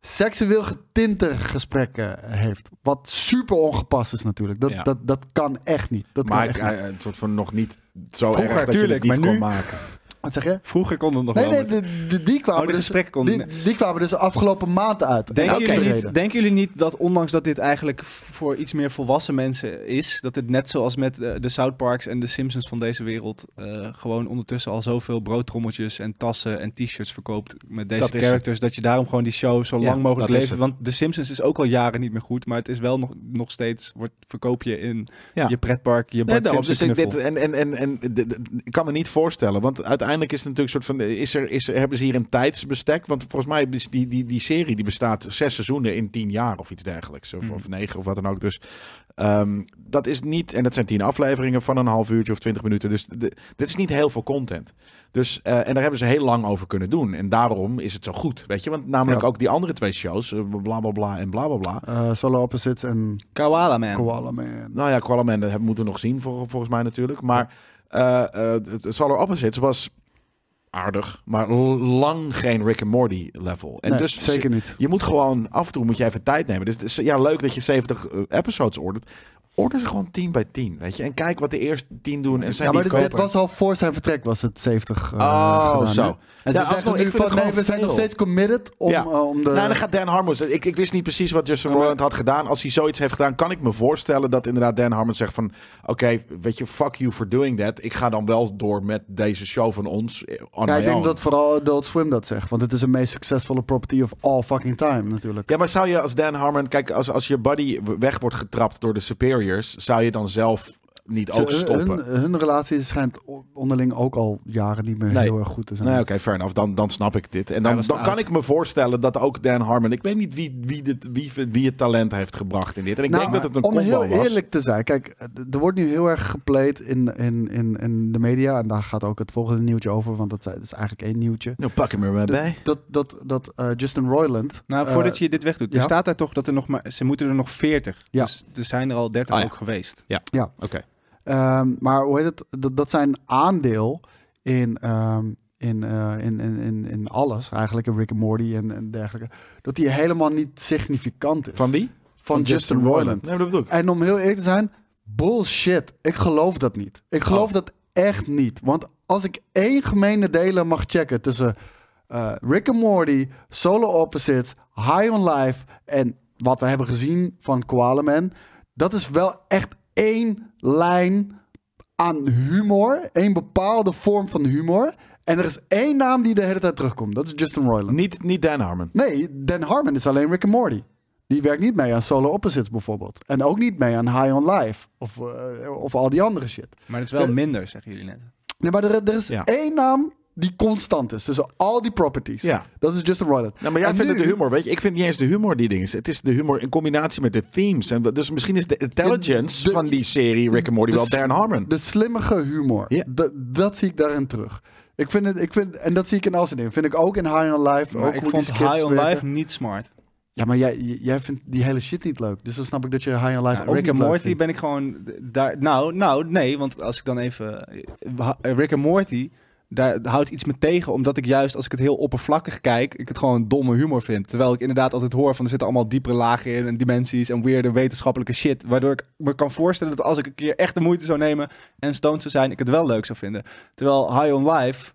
[SPEAKER 4] seksueel getinte gesprekken heeft. Wat super ongepast is natuurlijk. Dat,
[SPEAKER 2] Ja.
[SPEAKER 4] dat, dat kan echt niet. Dat kan
[SPEAKER 2] maar
[SPEAKER 4] echt
[SPEAKER 2] ik,
[SPEAKER 4] niet.
[SPEAKER 2] eh, het soort van nog niet zo
[SPEAKER 3] Vroeger,
[SPEAKER 2] erg dat
[SPEAKER 3] tuurlijk,
[SPEAKER 2] je het
[SPEAKER 3] maar
[SPEAKER 2] niet kon
[SPEAKER 3] nu-
[SPEAKER 2] maken.
[SPEAKER 4] Wat zeg je?
[SPEAKER 3] Vroeger kon het nog
[SPEAKER 4] Nee,
[SPEAKER 3] wel.
[SPEAKER 4] nee,
[SPEAKER 3] maar-
[SPEAKER 4] de- de- die, kwamen
[SPEAKER 3] Oh, de
[SPEAKER 4] dus,
[SPEAKER 3] gesprekken konden-
[SPEAKER 4] die, die kwamen dus de afgelopen maanden uit.
[SPEAKER 3] Denken,
[SPEAKER 4] En dat is de
[SPEAKER 3] jullie
[SPEAKER 4] reden.
[SPEAKER 3] niet, denken jullie niet dat ondanks dat dit eigenlijk voor iets meer volwassen mensen is, dat dit net zoals met eh, de South Parks en de Simpsons van deze wereld eh, gewoon ondertussen al zoveel broodtrommeltjes en tassen en t-shirts verkoopt met deze
[SPEAKER 2] Dat is
[SPEAKER 3] characters, dat je daarom gewoon die show zo
[SPEAKER 2] Ja,
[SPEAKER 3] lang mogelijk
[SPEAKER 2] dat is
[SPEAKER 3] leeft.
[SPEAKER 2] het.
[SPEAKER 3] Want de Simpsons is ook al jaren niet meer goed, maar het is wel nog, nog steeds, wordt, verkoop je in
[SPEAKER 2] Ja.
[SPEAKER 3] je pretpark, je
[SPEAKER 2] Nee,
[SPEAKER 3] Bart
[SPEAKER 2] daarom,
[SPEAKER 3] Simpson
[SPEAKER 2] dus ik, dit,
[SPEAKER 3] knuffel.
[SPEAKER 2] en, en, en, en dit- dit- ik kan me niet voorstellen, want uiteindelijk is het natuurlijk een soort van, eh, is er, is er, hebben ze hier een tijdsbestek? Want volgens mij is die, die, die serie die bestaat zes seizoenen in tien jaar of iets dergelijks, of,
[SPEAKER 3] Mhm.
[SPEAKER 2] of negen of wat dan ook. Dus ehm, dat is niet, en dat zijn tien afleveringen van een half uurtje of twintig minuten, dus de- dit is niet heel veel content. Dus, eh, en daar hebben ze heel lang over kunnen doen. En daarom is het zo goed, weet je? Want namelijk
[SPEAKER 4] Ja.
[SPEAKER 2] ook die andere twee shows, eh, bla bla bla en bla bla bla,
[SPEAKER 4] Eh, Solo Opposites en
[SPEAKER 3] Koala Man.
[SPEAKER 4] Koala Man.
[SPEAKER 2] Nou ja, Koala Man dat hebben- moeten we nog zien, vol- volgens mij natuurlijk. Maar eh eh het Solar Opposites was aardig, maar l- lang geen Rick and Morty level. En
[SPEAKER 4] Nee,
[SPEAKER 2] dus
[SPEAKER 4] zeker niet.
[SPEAKER 2] Je moet gewoon af en toe moet je even tijd nemen. Dus, het is, ja, leuk dat je 70 eh, episodes ordert. Order ze gewoon 10 bij 10, weet je. En kijk wat de eerste 10 doen. En zijn
[SPEAKER 4] ja, maar
[SPEAKER 2] die
[SPEAKER 4] dit, dit
[SPEAKER 2] koper.
[SPEAKER 4] was al voor zijn vertrek, was het 70. eh,
[SPEAKER 2] Oh,
[SPEAKER 4] gedaan, hè?
[SPEAKER 2] zo.
[SPEAKER 4] En
[SPEAKER 2] Ja,
[SPEAKER 4] ze zeggen
[SPEAKER 2] alsnog, ik
[SPEAKER 4] nu
[SPEAKER 2] vind het
[SPEAKER 4] van,
[SPEAKER 2] gewoon
[SPEAKER 4] nee, we zijn
[SPEAKER 2] veel.
[SPEAKER 4] nog steeds committed om,
[SPEAKER 2] Ja.
[SPEAKER 4] eh, om de...
[SPEAKER 2] Nou, dan gaat Dan Harmon. Ik, ik wist niet precies wat Justin Roiland had gedaan. Als hij zoiets heeft gedaan, kan ik me voorstellen dat inderdaad Dan Harmon zegt van... Oké, weet je, fuck you for doing that. Ik ga dan wel door met deze show van ons eh, on
[SPEAKER 4] ja,
[SPEAKER 2] my
[SPEAKER 4] ik denk
[SPEAKER 2] own.
[SPEAKER 4] dat vooral Adult Swim dat zegt. Want het is de meest succesvolle property of all fucking time, natuurlijk.
[SPEAKER 2] Ja, maar zou je als Dan Harmon... Kijk, als, als je buddy weg wordt getrapt door de superiors... zou je dan zelf niet
[SPEAKER 4] Ze-
[SPEAKER 2] ook stoppen?
[SPEAKER 4] Hun, hun relatie schijnt o- onderling ook al jaren niet meer
[SPEAKER 2] Nee.
[SPEAKER 4] heel erg goed te zijn.
[SPEAKER 2] Nee, oké, fair enough. Dan, dan snap ik dit. En
[SPEAKER 3] Ja,
[SPEAKER 2] dan,
[SPEAKER 3] dat is
[SPEAKER 2] dan
[SPEAKER 3] de
[SPEAKER 2] kan
[SPEAKER 3] oud-
[SPEAKER 2] ik me voorstellen dat ook Dan Harmon... Ik weet niet wie, wie, dit, wie, wie het talent heeft gebracht in dit. En ik
[SPEAKER 4] Nou,
[SPEAKER 2] denk dat het een
[SPEAKER 4] om
[SPEAKER 2] combo
[SPEAKER 4] heel
[SPEAKER 2] was.
[SPEAKER 4] eerlijk te zijn, kijk, d- er wordt nu heel erg gepleit in, in, in, in de media. En daar gaat ook het volgende nieuwtje over, want dat, zijn- dat is eigenlijk één nieuwtje.
[SPEAKER 2] Nou, pak hem er maar bij.
[SPEAKER 4] Dat, dat, dat eh, Justin Roiland...
[SPEAKER 3] Nou,
[SPEAKER 4] eh,
[SPEAKER 3] voordat je dit wegdoet, er
[SPEAKER 4] ja.
[SPEAKER 3] staat daar toch dat er nog maar, ze moeten er nog 40.
[SPEAKER 4] Ja.
[SPEAKER 3] Dus er zijn er al 30
[SPEAKER 2] Ah, ja.
[SPEAKER 3] ook geweest.
[SPEAKER 2] Oké.
[SPEAKER 4] Ehm, maar hoe heet het? Dat, dat zijn aandeel in, ehm, in, eh, in, in, in, in alles, eigenlijk in Rick and Morty en, en dergelijke. Dat die helemaal niet significant is.
[SPEAKER 2] Van wie?
[SPEAKER 4] Van Justin, Roiland.
[SPEAKER 2] Nee, maar dat bedoel ik.
[SPEAKER 4] En om heel eerlijk te zijn, bullshit. Ik geloof dat niet. Ik geloof
[SPEAKER 2] Oh.
[SPEAKER 4] dat echt niet. Want als ik één gemene delen mag checken tussen eh, Rick and Morty, Solo Opposites, High on Life en wat we hebben gezien van Koala Man, dat is wel echt één lijn aan humor, één bepaalde vorm van humor. En er is één naam die de hele tijd terugkomt. Dat is Justin Roiland.
[SPEAKER 2] Niet, niet Dan Harmon.
[SPEAKER 4] Nee, Dan Harmon is alleen Rick and Morty. Die werkt niet mee aan Solo Opposites bijvoorbeeld. En ook niet mee aan High on Life. Of, eh, of al die andere shit.
[SPEAKER 3] Maar het is wel minder, zeggen jullie net.
[SPEAKER 4] Nee, maar er, er is
[SPEAKER 2] Ja.
[SPEAKER 4] één naam die constant is. Tussen al die properties.
[SPEAKER 2] Ja.
[SPEAKER 4] Dat is Justin Roiland.
[SPEAKER 2] Nou, maar jij
[SPEAKER 4] En
[SPEAKER 2] vindt
[SPEAKER 4] nu-
[SPEAKER 2] het de humor, weet je? Ik vind niet eens de humor die ding is. Het is de humor in combinatie met de themes. En, dus misschien is de intelligence
[SPEAKER 4] De- de-
[SPEAKER 2] van die serie Rick and Morty
[SPEAKER 4] de
[SPEAKER 2] wel
[SPEAKER 4] s-
[SPEAKER 2] Dan Harmon.
[SPEAKER 4] De slimmige humor.
[SPEAKER 2] Ja.
[SPEAKER 4] Dat- dat zie ik daarin terug. Ik vind het, ik vind, en dat zie ik in al zijn dingen. Vind ik ook in High on Life.
[SPEAKER 3] Maar
[SPEAKER 4] ook
[SPEAKER 3] ik
[SPEAKER 4] hoe
[SPEAKER 3] vond
[SPEAKER 4] die scripts
[SPEAKER 3] High on
[SPEAKER 4] werken.
[SPEAKER 3] Life niet smart.
[SPEAKER 4] Ja, maar jij, jij vindt die hele shit niet leuk. Dus dan snap ik dat je High on Life
[SPEAKER 3] Ja,
[SPEAKER 4] ook
[SPEAKER 3] Nou, Rick
[SPEAKER 4] niet
[SPEAKER 3] and
[SPEAKER 4] leuk
[SPEAKER 3] Morty
[SPEAKER 4] vindt.
[SPEAKER 3] ben ik gewoon d- daar. Nou, nou, nee, want als ik dan even eh, Rick and Morty, daar houdt iets me tegen, omdat ik juist als ik het heel oppervlakkig kijk, ik het gewoon domme humor vind. Terwijl ik inderdaad altijd hoor van er zitten allemaal diepere lagen in en dimensies en weirde wetenschappelijke shit, waardoor ik me kan voorstellen dat als ik een keer echt de moeite zou nemen en stoned zou zijn, ik het wel leuk zou vinden. Terwijl High on Life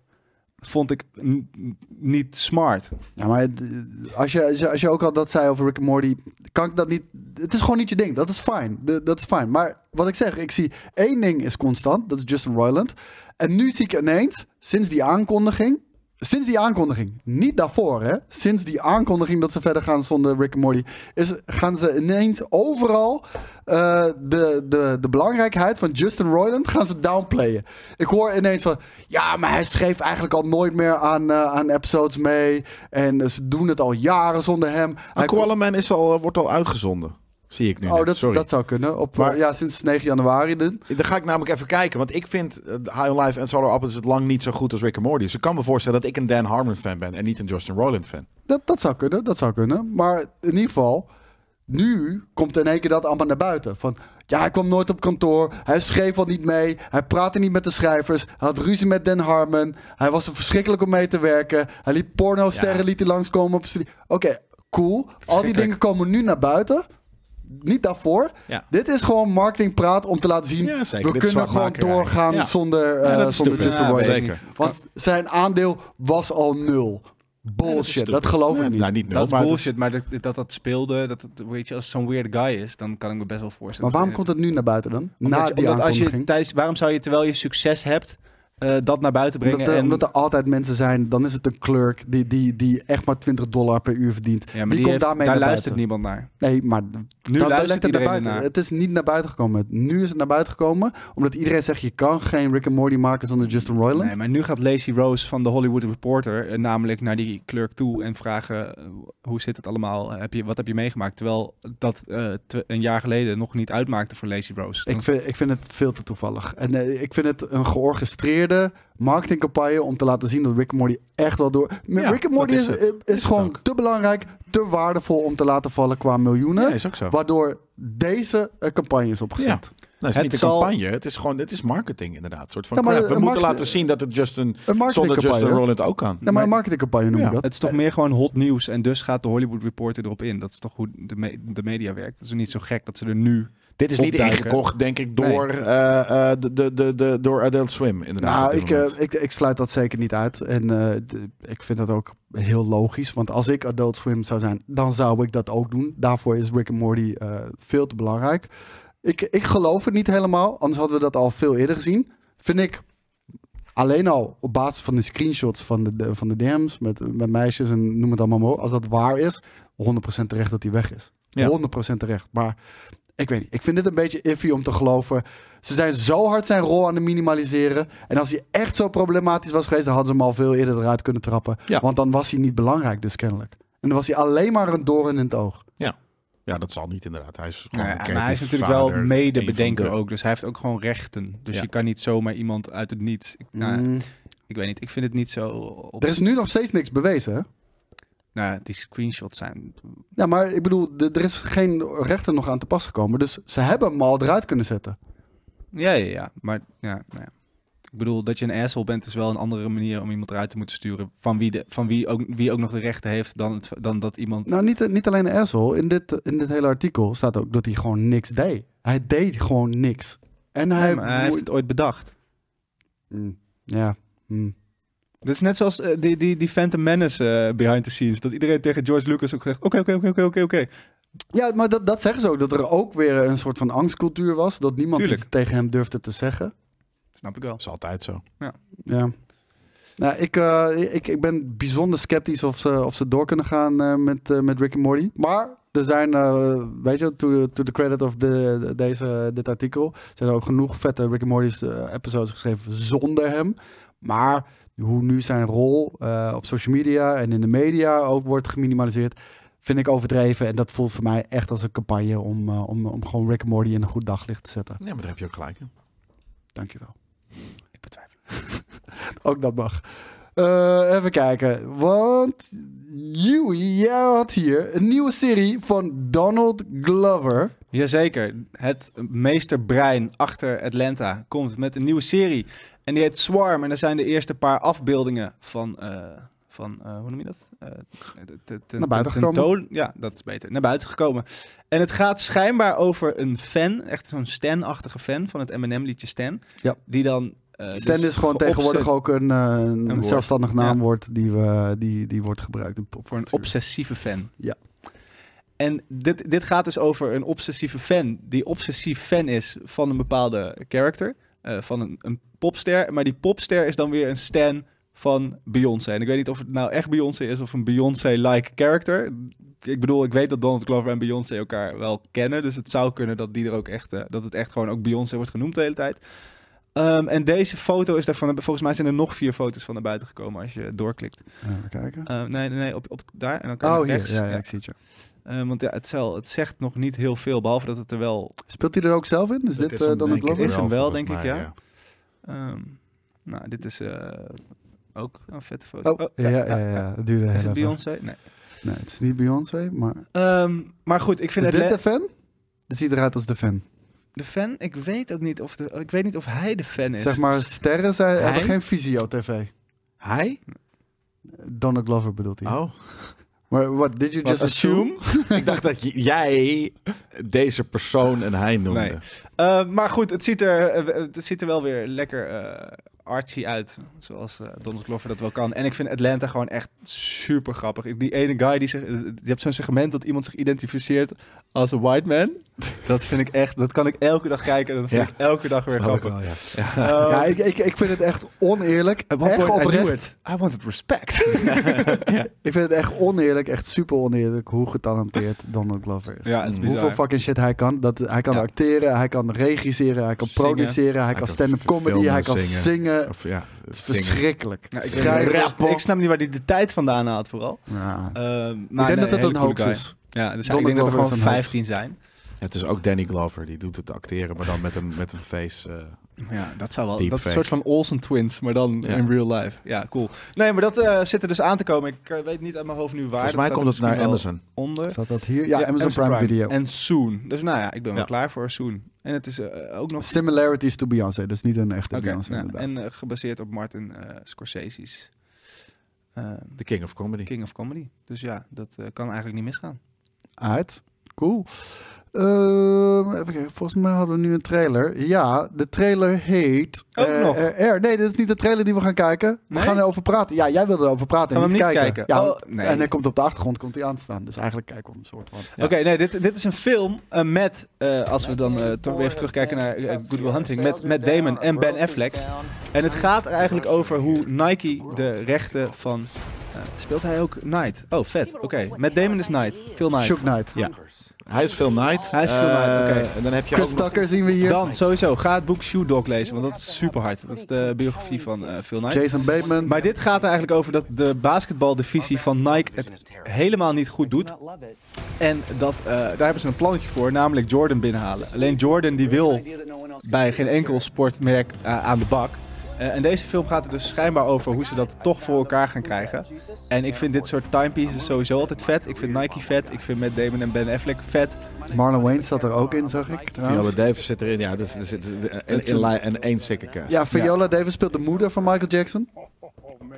[SPEAKER 3] vond ik n- n- niet smart.
[SPEAKER 4] Ja, maar het, eh, als je, als, je, als je ook al dat zei over Rick and Morty, kan ik dat niet... Het is gewoon niet je ding. Dat is fijn. De- Dat is fijn. Maar wat ik zeg, ik zie één ding is constant. Dat is Justin Roiland. En nu zie ik ineens, sinds die aankondiging... Sinds die aankondiging, niet daarvoor hè. Sinds die aankondiging dat ze verder gaan zonder Rick and Morty, is, gaan ze ineens overal eh, de, de, de belangrijkheid van Justin Roiland gaan ze downplayen. Ik hoor ineens van, ja, maar hij schreef eigenlijk al nooit meer aan, eh, aan episodes mee. En eh, ze doen het al jaren zonder hem. Hij
[SPEAKER 2] Maar Koala Man is al, eh, wordt al uitgezonden. Zie ik nu.
[SPEAKER 4] Oh,
[SPEAKER 2] net.
[SPEAKER 4] dat,
[SPEAKER 2] Sorry.
[SPEAKER 4] dat zou kunnen. Op, eh,
[SPEAKER 2] Maar-
[SPEAKER 4] ja, sinds 9 januari. De,
[SPEAKER 2] Dan ga ik namelijk even kijken. Want ik vind eh, High on Life en Solar Opposites het lang niet zo goed als Rick and Morty. Dus ik kan me voorstellen dat ik een Dan Harmon fan ben en niet een Justin Roiland fan.
[SPEAKER 4] dat, dat zou kunnen, dat zou kunnen. Maar in ieder geval, nu komt in één keer dat allemaal naar buiten. Van, ja, hij kwam nooit op kantoor. Hij schreef al niet mee. Hij praatte niet met de schrijvers. Hij had ruzie met Dan Harmon. Hij was er verschrikkelijk om mee te werken. Hij liet pornosterren
[SPEAKER 2] Ja.
[SPEAKER 4] liet hij langskomen op studie. Oké, cool. Al die dingen komen nu naar buiten. Niet daarvoor.
[SPEAKER 2] Ja.
[SPEAKER 4] Dit is gewoon marketingpraat om te laten zien.
[SPEAKER 2] Ja, zeker.
[SPEAKER 4] We
[SPEAKER 2] Dit is
[SPEAKER 4] kunnen gewoon
[SPEAKER 2] zwartmakerij.
[SPEAKER 4] doorgaan
[SPEAKER 2] Ja.
[SPEAKER 4] zonder, eh,
[SPEAKER 2] Ja, dat is
[SPEAKER 4] zonder
[SPEAKER 2] stupid.
[SPEAKER 4] Justin
[SPEAKER 2] Ja,
[SPEAKER 4] Roiland.
[SPEAKER 2] zeker.
[SPEAKER 4] Want zijn aandeel was al nul. Bullshit, dat, geloof ik
[SPEAKER 2] Nee,
[SPEAKER 4] niet.
[SPEAKER 2] Nou, niet nul,
[SPEAKER 3] dat is
[SPEAKER 2] maar
[SPEAKER 3] bullshit, maar dat dat, dat speelde, dat, het, weet je, als het zo'n weird guy is, dan kan ik me best wel voorstellen.
[SPEAKER 4] Maar waarom
[SPEAKER 3] dat-
[SPEAKER 4] komt het nu naar buiten dan?
[SPEAKER 3] Omdat
[SPEAKER 4] Na
[SPEAKER 3] je-
[SPEAKER 4] die
[SPEAKER 3] omdat als je
[SPEAKER 4] aankondiging?
[SPEAKER 3] tijdens, waarom zou je terwijl je succes hebt eh, dat naar buiten brengen?
[SPEAKER 4] Omdat er,
[SPEAKER 3] en,
[SPEAKER 4] omdat er altijd mensen zijn, dan is het een clerk die, die, die echt maar 20 dollar per uur verdient.
[SPEAKER 3] ja, maar
[SPEAKER 4] die,
[SPEAKER 3] die
[SPEAKER 4] komt
[SPEAKER 3] heeft-
[SPEAKER 4] daarmee
[SPEAKER 3] daar
[SPEAKER 4] naar
[SPEAKER 3] luistert
[SPEAKER 4] buiten.
[SPEAKER 3] niemand naar.
[SPEAKER 4] Nee, maar
[SPEAKER 3] Nu
[SPEAKER 4] dat- dat
[SPEAKER 3] luistert
[SPEAKER 4] legt het naar
[SPEAKER 3] iedereen
[SPEAKER 4] buiten.
[SPEAKER 3] ernaar.
[SPEAKER 4] Het is niet naar buiten gekomen. Nu is het naar buiten gekomen, omdat iedereen zegt, je kan geen Rick and Morty maken zonder Justin Roiland.
[SPEAKER 3] Nee, maar nu gaat Lacey Rose van de Hollywood Reporter eh, namelijk naar die clerk toe en vragen eh, hoe zit het allemaal? Heb je, wat heb je meegemaakt? Terwijl dat eh, tw- een jaar geleden nog niet uitmaakte voor Lacey Rose. Dan-
[SPEAKER 4] Ik vind, ik vind het veel te toevallig. En eh, ik vind het een georchestreerde marketingcampagne om te laten zien dat Rick and Morty echt wel door...
[SPEAKER 2] Ja,
[SPEAKER 4] Rick and Morty
[SPEAKER 2] dat
[SPEAKER 4] is, eh,
[SPEAKER 2] is
[SPEAKER 4] is,
[SPEAKER 2] het. Is het
[SPEAKER 4] gewoon
[SPEAKER 2] ook.
[SPEAKER 4] te belangrijk, te waardevol om te laten vallen qua miljoenen.
[SPEAKER 2] Nee, is ook zo.
[SPEAKER 4] Waardoor deze eh, campagne is
[SPEAKER 2] Ja.
[SPEAKER 4] opgezet.
[SPEAKER 2] Nou, het is
[SPEAKER 3] Het
[SPEAKER 2] niet een
[SPEAKER 3] zal-
[SPEAKER 2] campagne. Het is gewoon het is marketing inderdaad. Een soort van
[SPEAKER 4] Ja, maar
[SPEAKER 2] crap. We
[SPEAKER 4] een
[SPEAKER 2] moeten
[SPEAKER 4] market-
[SPEAKER 2] laten zien dat het Justin,
[SPEAKER 4] Een
[SPEAKER 2] zonder
[SPEAKER 4] marketingcampagne.
[SPEAKER 2] Justin Roiland ook kan.
[SPEAKER 4] Nee, maar een marketingcampagne noem je
[SPEAKER 2] Ja,
[SPEAKER 4] dat.
[SPEAKER 3] Het is toch meer gewoon hot nieuws en dus gaat de Hollywood Reporter erop in. Dat is toch hoe de, me- de media werkt. Het is niet zo gek dat ze er nu
[SPEAKER 2] Dit is niet
[SPEAKER 3] Opduiken.
[SPEAKER 2] ingekocht, denk ik, door, eh, eh, de, de, de, de, door Adult Swim. Inderdaad, op
[SPEAKER 4] Nou,
[SPEAKER 2] dit
[SPEAKER 4] ik,
[SPEAKER 2] moment.
[SPEAKER 4] eh, ik, ik sluit dat zeker niet uit. En eh, d- ik vind dat ook heel logisch. Want als ik Adult Swim zou zijn, dan zou ik dat ook doen. Daarvoor is Rick and Morty eh, veel te belangrijk. Ik, ik geloof het niet helemaal. Anders hadden we dat al veel eerder gezien. Vind ik alleen al op basis van de screenshots van de, de- van de DM's met, met meisjes en noem het allemaal maar op. Als dat waar is, 100% terecht dat hij weg is.
[SPEAKER 2] Ja.
[SPEAKER 4] 100% terecht. Maar ik weet niet. Ik vind dit een beetje iffy om te geloven. Ze zijn zo hard zijn rol aan het minimaliseren. En als hij echt zo problematisch was geweest, dan hadden ze hem al veel eerder eruit kunnen trappen.
[SPEAKER 2] Ja.
[SPEAKER 4] Want dan was hij niet belangrijk, dus kennelijk. En dan was hij alleen maar een doorn in het oog.
[SPEAKER 2] ja, dat zal niet inderdaad. Hij Oh, is gewoon
[SPEAKER 3] Nou ja,
[SPEAKER 2] een
[SPEAKER 3] en hij is
[SPEAKER 2] creatief
[SPEAKER 3] natuurlijk wel
[SPEAKER 2] vader, een van
[SPEAKER 3] medebedenker
[SPEAKER 2] de-
[SPEAKER 3] ook. Dus hij heeft ook gewoon rechten. Dus
[SPEAKER 2] Ja.
[SPEAKER 3] je kan niet zomaar iemand uit het niets. Ik, nou,
[SPEAKER 4] Mm.
[SPEAKER 3] ik weet niet. Ik vind het niet zo. Op,
[SPEAKER 4] Er is nu nog steeds niks bewezen. Hè?
[SPEAKER 3] nou, die screenshots zijn.
[SPEAKER 4] Ja, maar ik bedoel, d- er is geen rechter nog aan te pas gekomen. Dus ze hebben hem al eruit kunnen zetten.
[SPEAKER 3] Ja, ja, ja. Maar ja, nou ja. Ik bedoel, dat je een asshole bent is wel een andere manier om iemand eruit te moeten sturen. Van wie, de, van wie, ook, wie ook nog de rechten heeft dan, het, dan dat iemand...
[SPEAKER 4] Nou, niet, niet alleen een asshole. In dit, eh, in dit hele artikel staat ook dat hij gewoon niks deed. Hij deed gewoon niks. En
[SPEAKER 3] Nee,
[SPEAKER 4] hij...
[SPEAKER 3] maar hij heeft het ooit bedacht.
[SPEAKER 4] Mm, ja. mm.
[SPEAKER 3] Dat is net zoals eh, die, die, die Phantom Menace eh, behind the scenes. Dat iedereen tegen George Lucas ook zegt, oké, oké, oké, oké, oké, oké.
[SPEAKER 4] Ja, maar dat, dat zeggen ze ook. Dat er ook weer een soort van angstcultuur was. Dat niemand
[SPEAKER 3] Tuurlijk.
[SPEAKER 4] iets tegen hem durfde te zeggen.
[SPEAKER 3] Snap ik wel.
[SPEAKER 2] Dat is altijd zo.
[SPEAKER 4] Ja. Nou, ik, eh, ik, ik ben bijzonder sceptisch of ze, of ze door kunnen gaan eh, met, eh, met Rick en Morty. Maar er zijn, eh, weet je, to the, to the credit of de, de- deze, dit artikel... zijn er ook genoeg vette Rick en Morty's eh, episodes geschreven zonder hem. Maar hoe nu zijn rol eh, op social media en in de media ook wordt geminimaliseerd... vind ik overdreven. En dat voelt voor mij echt als een campagne om, eh, om, om gewoon Rick en Morty in een goed daglicht te zetten.
[SPEAKER 2] Ja, maar daar heb je ook gelijk in.
[SPEAKER 4] Dankjewel.
[SPEAKER 3] Ik betwijfel.
[SPEAKER 4] Ook dat mag. Eh, even kijken. Want Yui, jij had hier een nieuwe serie van Donald Glover.
[SPEAKER 3] Jazeker. Het meesterbrein achter Atlanta komt met een nieuwe serie. En die heet Swarm. En daar zijn de eerste paar afbeeldingen van... eh, van eh, hoe noem je dat? Eh, te- te- te-
[SPEAKER 4] Naar buiten
[SPEAKER 3] te-
[SPEAKER 4] gekomen.
[SPEAKER 3] tentoon- ja, dat is beter. Naar buiten gekomen. En het gaat schijnbaar over een fan. Echt zo'n Stan-achtige fan van het M&M-liedje Stan.
[SPEAKER 4] Ja.
[SPEAKER 3] Die dan... eh,
[SPEAKER 4] Stan
[SPEAKER 3] dus
[SPEAKER 4] is gewoon
[SPEAKER 3] geopzet-
[SPEAKER 4] tegenwoordig ook een, eh, een
[SPEAKER 3] woord.
[SPEAKER 4] zelfstandig naamwoord die, we, die, die wordt gebruikt in
[SPEAKER 3] Voor een
[SPEAKER 4] popcultuur.
[SPEAKER 3] obsessieve fan.
[SPEAKER 4] Ja.
[SPEAKER 3] En dit, dit gaat dus over een obsessieve fan die obsessief fan is van een bepaalde character, eh, van een, een popster. Maar die popster is dan weer een stan van Beyoncé. En ik weet niet of het nou echt Beyoncé is of een Beyoncé-like character. Ik bedoel, ik weet dat Donald Glover en Beyoncé elkaar wel kennen. Dus het zou kunnen dat die er ook echt, eh, dat het echt gewoon ook Beyoncé wordt genoemd de hele tijd. Ehm, en deze foto is daarvan, volgens mij zijn er nog vier fototos van naar buiten gekomen als je doorklikt.
[SPEAKER 4] Even kijken.
[SPEAKER 3] Eh, nee, nee, nee, op, op daar. En dan kan je
[SPEAKER 4] Oh,
[SPEAKER 3] naar
[SPEAKER 4] hier.
[SPEAKER 3] rechts.
[SPEAKER 4] Ja, ja,
[SPEAKER 3] Ja.
[SPEAKER 4] ik zie het je.
[SPEAKER 3] Eh, want ja, het, zal, het zegt nog niet heel veel, behalve dat het er wel...
[SPEAKER 4] Speelt hij er ook zelf
[SPEAKER 3] Dus
[SPEAKER 4] in? Is
[SPEAKER 2] Dat
[SPEAKER 4] dit
[SPEAKER 2] hem,
[SPEAKER 4] eh, Donald
[SPEAKER 2] denk ik,
[SPEAKER 4] Glover?
[SPEAKER 3] Is hem wel,
[SPEAKER 2] volgens
[SPEAKER 3] denk ik,
[SPEAKER 2] mij,
[SPEAKER 3] ja. ehm, nou, dit is eh, ook een vette foto.
[SPEAKER 4] Oh, ja, ja, ja, Het duurde heel
[SPEAKER 3] Is het
[SPEAKER 4] even.
[SPEAKER 3] Beyoncé? Nee.
[SPEAKER 4] Nee, het is niet Beyoncé, maar...
[SPEAKER 3] Ehm, maar goed, ik vind
[SPEAKER 4] Is
[SPEAKER 3] het...
[SPEAKER 4] Dus dit
[SPEAKER 3] le-
[SPEAKER 4] de fan? Het ziet eruit als de fan.
[SPEAKER 3] De fan, ik weet ook niet of, de, ik weet niet of hij de fan is.
[SPEAKER 4] Zeg maar, sterren zijn,
[SPEAKER 2] Hij?
[SPEAKER 4] hebben geen visio tv.
[SPEAKER 2] Hij?
[SPEAKER 4] Donald Glover bedoelt hij.
[SPEAKER 2] Oh.
[SPEAKER 4] Maar what, did you
[SPEAKER 3] Wat,
[SPEAKER 4] just assume?
[SPEAKER 2] ik dacht dat j- jij deze persoon en hij noemde.
[SPEAKER 3] Nee. Eh, maar goed, het ziet, er, eh, het ziet er wel weer lekker eh, artsy uit. Zoals eh, Donald Glover dat wel kan. En ik vind Atlanta gewoon echt super grappig. Ik- Die ene guy die zich. eh, Je hebt zo'n segment dat iemand zich identificeert als een white man. Dat vind ik echt. Dat kan ik elke dag kijken. En dat vind
[SPEAKER 2] Ja.
[SPEAKER 3] ik elke dag weer
[SPEAKER 2] Snap ik
[SPEAKER 3] grappig.
[SPEAKER 2] wel, ja.
[SPEAKER 3] Eh,
[SPEAKER 4] Ja, ik, ik, ik vind het echt oneerlijk.
[SPEAKER 3] at one
[SPEAKER 4] Echt
[SPEAKER 3] point I knew
[SPEAKER 4] oprecht.
[SPEAKER 3] it. I wanted respect.
[SPEAKER 4] Ik vind het echt oneerlijk, echt super oneerlijk hoe getalenteerd Donald Glover is.
[SPEAKER 3] ja, het is bizar.
[SPEAKER 4] Hoeveel fucking shit hij kan. Dat, hij kan
[SPEAKER 3] Ja.
[SPEAKER 4] acteren, hij kan regisseren, hij kan
[SPEAKER 3] Zingen.
[SPEAKER 4] produceren, hij, kan
[SPEAKER 2] kan
[SPEAKER 4] stand-up comedy,
[SPEAKER 2] filmen,
[SPEAKER 4] hij kan
[SPEAKER 2] zingen.
[SPEAKER 4] zingen.
[SPEAKER 2] Of ja,
[SPEAKER 4] Het is
[SPEAKER 2] zingen.
[SPEAKER 4] verschrikkelijk.
[SPEAKER 3] Ja, ik,
[SPEAKER 4] Schrijven.
[SPEAKER 3] ik, ik snap niet waar hij de tijd vandaan haalt vooral.
[SPEAKER 4] Ja.
[SPEAKER 3] Eh,
[SPEAKER 4] Ik
[SPEAKER 3] maar
[SPEAKER 4] denk dat
[SPEAKER 3] nee,
[SPEAKER 4] het een
[SPEAKER 3] hele coole
[SPEAKER 4] hoax
[SPEAKER 3] guy.
[SPEAKER 4] is.
[SPEAKER 3] Ja, dus ik
[SPEAKER 4] Donald
[SPEAKER 3] denk dat er
[SPEAKER 4] Glover is
[SPEAKER 3] gewoon
[SPEAKER 4] een hoax.
[SPEAKER 3] 15 zijn.
[SPEAKER 2] Het is ook Danny Glover, die doet het acteren, maar dan met een, met een face. eh,
[SPEAKER 3] Ja, dat zou wel.
[SPEAKER 2] Deepfake.
[SPEAKER 3] Dat is een soort van Olsen Twins, maar dan
[SPEAKER 2] Ja.
[SPEAKER 3] in real life. Ja, cool. Nee, maar dat eh, zit er dus aan te komen. Ik eh, weet niet uit mijn hoofd nu waar.
[SPEAKER 2] volgens mij
[SPEAKER 3] staat
[SPEAKER 2] komt
[SPEAKER 3] er
[SPEAKER 2] het naar
[SPEAKER 3] misschien wel
[SPEAKER 2] Amazon.
[SPEAKER 3] Onder.
[SPEAKER 4] Staat dat hier? Ja, Amazon, Prime, Video.
[SPEAKER 3] En Soon. Dus nou ja, ik ben wel
[SPEAKER 2] Ja.
[SPEAKER 3] klaar voor Soon. En het is eh, ook nog...
[SPEAKER 4] Similarities to Beyoncé, dus niet een echte
[SPEAKER 3] Oké,
[SPEAKER 4] Beyoncé
[SPEAKER 3] nou,
[SPEAKER 4] inderdaad.
[SPEAKER 3] en eh, gebaseerd op Martin eh, Scorsese's eh,
[SPEAKER 2] The King of Comedy.
[SPEAKER 3] King of Comedy. Dus ja, dat eh, kan eigenlijk niet misgaan.
[SPEAKER 4] Uit. Cool. Ehm, even kijken, volgens mij hadden we nu een trailer. Ja, de trailer heet...
[SPEAKER 3] Ook
[SPEAKER 4] eh,
[SPEAKER 3] nog?
[SPEAKER 4] eh, R. Nee, dit is niet de trailer die we gaan kijken. We
[SPEAKER 3] Nee?
[SPEAKER 4] gaan erover praten. Ja, jij wilde erover praten en
[SPEAKER 3] Gaan we
[SPEAKER 4] niet
[SPEAKER 3] hem niet
[SPEAKER 4] kijken.
[SPEAKER 3] kijken?
[SPEAKER 4] Ja,
[SPEAKER 3] Oh,
[SPEAKER 4] want-
[SPEAKER 3] nee.
[SPEAKER 4] En hij komt op de achtergrond komt hij aanstaan. Dus eigenlijk kijken we hem een soort van.
[SPEAKER 3] Oké, nee, dit, dit is een film eh, met, eh, als we dan eh, toch weer even terugkijken naar eh, Good Will Hunting, met Matt Damon en Ben Affleck. En het gaat er eigenlijk over hoe Nike de rechten van... eh, speelt hij ook Knight? Oh, vet. Oké, Matt Damon is Knight. Phil Knight.
[SPEAKER 4] Shook Knight.
[SPEAKER 2] Ja. Hij is Phil Knight.
[SPEAKER 3] Hij is Phil
[SPEAKER 2] Eh,
[SPEAKER 3] Knight, oké.
[SPEAKER 2] En dan heb je
[SPEAKER 4] Chris
[SPEAKER 2] ook nog-
[SPEAKER 4] Tucker zien we hier.
[SPEAKER 3] Dan sowieso, ga het boek Shoe Dog lezen, want dat is super hard. Dat is de biografie van eh, Phil Knight.
[SPEAKER 4] Jason Bateman.
[SPEAKER 3] Maar dit gaat er eigenlijk over dat de basketbaldivisie van Nike het helemaal niet goed doet. En dat, eh, daar hebben ze een plannetje voor, namelijk Jordan binnenhalen. Alleen Jordan die wil bij geen enkel sportmerk eh, aan de bak. Eh, en deze film gaat er dus schijnbaar over hoe ze dat toch voor elkaar gaan krijgen. En ik vind dit soort timepieces sowieso altijd vet. Ik vind Nike vet, ik vind Matt Damon en Ben Affleck vet.
[SPEAKER 4] Marlon Wayne zat er ook in, zag ik trouwens.
[SPEAKER 2] Viola Davis zit erin. Ja, dus, dus, dus, in, in, lijn- en één sikke cast.
[SPEAKER 4] Ja, Viola Davis speelt de moeder van Michael Jackson.
[SPEAKER 3] Oh,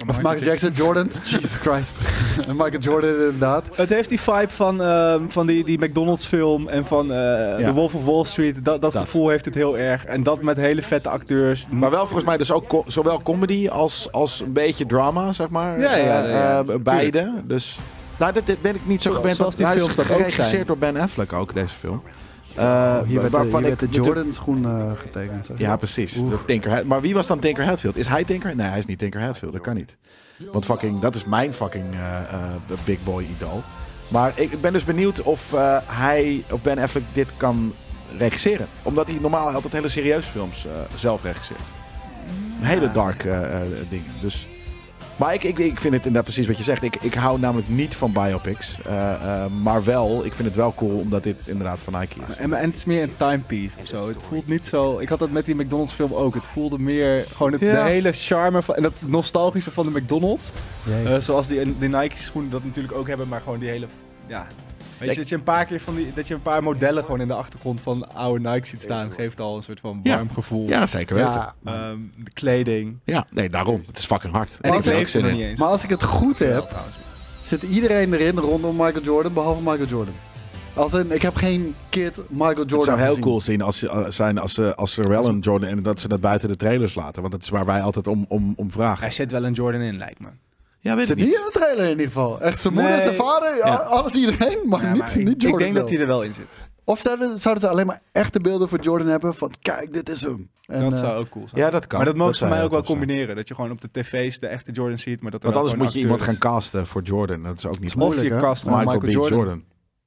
[SPEAKER 4] Of Michael Jackson, Jordan. Jesus Christ. En Michael Jordan inderdaad.
[SPEAKER 3] Het heeft die vibe van, ehm, van die, die McDonald's film en van eh, The Wolf of Wall Street. Dat, dat, gevoel heeft het heel erg. En dat met hele vette acteurs.
[SPEAKER 2] Maar wel volgens mij dus ook co- zowel comedy als, als een beetje drama, zeg maar.
[SPEAKER 3] Ja, ja, ja,
[SPEAKER 2] Eh,
[SPEAKER 3] ja.
[SPEAKER 2] eh, beide. Dus nou, dit, dit ben ik niet zo gewend.
[SPEAKER 3] zoals
[SPEAKER 2] want
[SPEAKER 3] die
[SPEAKER 2] hij is
[SPEAKER 3] films dat ook zijn.
[SPEAKER 2] geregisseerd door Ben Affleck ook, deze film. Eh,
[SPEAKER 4] Hier werd, de- hier
[SPEAKER 2] waarvan
[SPEAKER 4] werd de
[SPEAKER 2] ik natuurlijk-
[SPEAKER 4] Jordan schoen eh, getekend. zeg.
[SPEAKER 2] Ja, precies. Dat Tinker Hat- maar wie was dan Tinker Hatfield? Is hij Tinker? Nee, hij is niet Tinker Hatfield. Dat kan niet. Want fucking, dat is mijn fucking eh, eh, big boy idool. Maar ik ben dus benieuwd of eh, hij, of Ben Affleck, dit kan regisseren. Omdat hij normaal altijd hele serieuze films eh, zelf regisseert. Hele dark eh, eh, dingen. Dus... Maar ik, ik, ik vind het inderdaad precies wat je zegt. Ik, ik hou namelijk niet van biopics. Eh, eh, maar wel, ik vind het wel cool omdat dit inderdaad van Nike is.
[SPEAKER 3] En, en het is meer een timepiece of zo. Het voelt niet zo... Ik had dat met die McDonald's film ook. Het voelde meer gewoon het, de
[SPEAKER 2] Ja.
[SPEAKER 3] hele charme van, en dat nostalgische van de McDonald's.
[SPEAKER 4] Jezus.
[SPEAKER 3] Eh, zoals die, die Nike schoenen dat natuurlijk ook hebben, maar gewoon die hele... Ja. Weet je, dat je een paar keer van die, dat je een paar modellen gewoon in de achtergrond van oude Nike ziet staan, geeft al een soort van
[SPEAKER 2] Ja.
[SPEAKER 3] warm gevoel.
[SPEAKER 2] Ja, zeker weten.
[SPEAKER 4] Ja,
[SPEAKER 3] Ehm, de kleding.
[SPEAKER 2] Ja, nee, daarom. Het is fucking hard.
[SPEAKER 3] En ik
[SPEAKER 2] heb er ook
[SPEAKER 3] leef er
[SPEAKER 2] zin
[SPEAKER 3] nog
[SPEAKER 2] in.
[SPEAKER 3] niet eens.
[SPEAKER 4] maar als ik het goed
[SPEAKER 3] Wel,
[SPEAKER 4] heb,
[SPEAKER 3] trouwens.
[SPEAKER 4] zit iedereen erin rondom Michael Jordan, behalve Michael Jordan. Als in, ik heb geen kid Michael Jordan
[SPEAKER 2] Het zou heel
[SPEAKER 4] gezien.
[SPEAKER 2] cool zien als, ze- eh, zijn als, ze- als ze Rell en Jordan en dat ze dat buiten de trailers laten. Want dat is waar wij altijd om, om, om
[SPEAKER 3] Hij
[SPEAKER 2] vragen.
[SPEAKER 3] zit wel een Jordan in, lijkt me.
[SPEAKER 2] Ja, weet
[SPEAKER 4] Zit niet in de trailer in ieder geval. Echt, zijn moeder,
[SPEAKER 3] Nee.
[SPEAKER 4] zijn vader,
[SPEAKER 2] Ja.
[SPEAKER 4] alles iedereen, maar,
[SPEAKER 3] Ja,
[SPEAKER 4] niet,
[SPEAKER 3] maar ik,
[SPEAKER 4] niet Jordan
[SPEAKER 3] ik denk dat
[SPEAKER 4] zelf.
[SPEAKER 3] hij er wel in zit.
[SPEAKER 4] Of zouden, zouden ze alleen maar echte beelden voor Jordan hebben van, kijk, dit is hem. En,
[SPEAKER 3] dat
[SPEAKER 4] eh,
[SPEAKER 3] zou ook cool zijn.
[SPEAKER 2] Ja, dat kan.
[SPEAKER 3] Maar dat mogen
[SPEAKER 2] Dat
[SPEAKER 3] ze
[SPEAKER 2] zou
[SPEAKER 3] mij
[SPEAKER 2] heel
[SPEAKER 3] ook wel
[SPEAKER 2] tof zijn.
[SPEAKER 3] combineren. Dat je gewoon op de tv's de echte Jordan ziet, maar dat er
[SPEAKER 2] Want
[SPEAKER 3] wel
[SPEAKER 2] anders moet je
[SPEAKER 3] gewoon
[SPEAKER 2] iemand gaan
[SPEAKER 3] acteurs-
[SPEAKER 2] casten voor Jordan. Dat is ook niet
[SPEAKER 3] Of
[SPEAKER 2] moeilijk.
[SPEAKER 3] je
[SPEAKER 4] Moeilijk, hè?
[SPEAKER 3] cast gewoon
[SPEAKER 2] Michael,
[SPEAKER 3] Michael,
[SPEAKER 2] B. Jordan.
[SPEAKER 3] Jordan.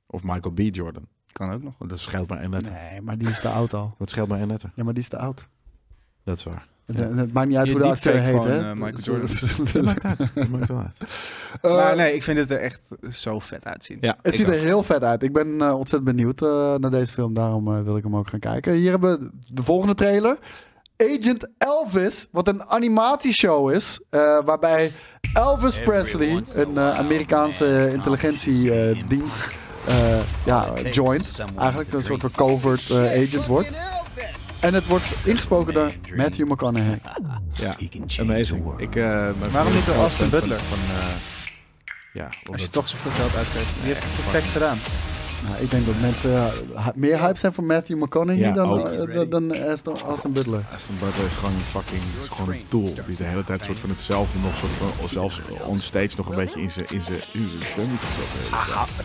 [SPEAKER 2] Of Michael B. Jordan.
[SPEAKER 3] Kan ook nog.
[SPEAKER 2] Want dat scheelt maar één letter.
[SPEAKER 4] Nee, maar die is te oud al.
[SPEAKER 2] Dat scheelt maar één letter.
[SPEAKER 4] Ja, maar die is te oud.
[SPEAKER 2] Dat is waar.
[SPEAKER 4] Het, het maakt niet uit
[SPEAKER 3] Je
[SPEAKER 4] hoe de acteur
[SPEAKER 3] deepfake
[SPEAKER 4] heet,
[SPEAKER 3] gewoon,
[SPEAKER 4] hè?
[SPEAKER 3] eh, Michael
[SPEAKER 2] Dat maakt uit. Dat maakt wel uit.
[SPEAKER 4] Eh,
[SPEAKER 3] maar nee, ik vind het er echt zo vet uitzien.
[SPEAKER 2] Ja,
[SPEAKER 4] Het
[SPEAKER 2] ik
[SPEAKER 4] ziet
[SPEAKER 2] ook.
[SPEAKER 4] er heel vet uit. Ik ben eh, ontzettend benieuwd eh, naar deze film. Daarom eh, wil ik hem ook gaan kijken. Hier hebben we de volgende trailer. Agent Elvis, wat een animatieshow is. eh, waarbij Elvis Presley, een eh, Amerikaanse intelligentiedienst, eh ja, joint. Eigenlijk een soort van covert eh, agent wordt. En het wordt ingesproken door Matthew McConaughey.
[SPEAKER 2] Ja, amazing. Ik, eh,
[SPEAKER 3] Waarom niet
[SPEAKER 2] de
[SPEAKER 3] door Austin Butler?
[SPEAKER 2] Van, eh, ja,
[SPEAKER 3] Als je
[SPEAKER 2] omdat-
[SPEAKER 3] toch zoveel geld uitgeeft. Die heeft het perfect gedaan.
[SPEAKER 4] Nou, ik denk dat mensen eh, meer hype zijn voor Matthew McConaughey
[SPEAKER 2] Ja,
[SPEAKER 4] dan,
[SPEAKER 2] ook.
[SPEAKER 4] eh, dan, dan Aston, Austin Butler.
[SPEAKER 2] Aston Butler is gewoon een fucking is gewoon een tool. Die de hele tijd soort van hetzelfde nog soort van, zelfs onstage nog een beetje in zijn in zijn in zijn stem moet
[SPEAKER 3] Ah,
[SPEAKER 2] zetten.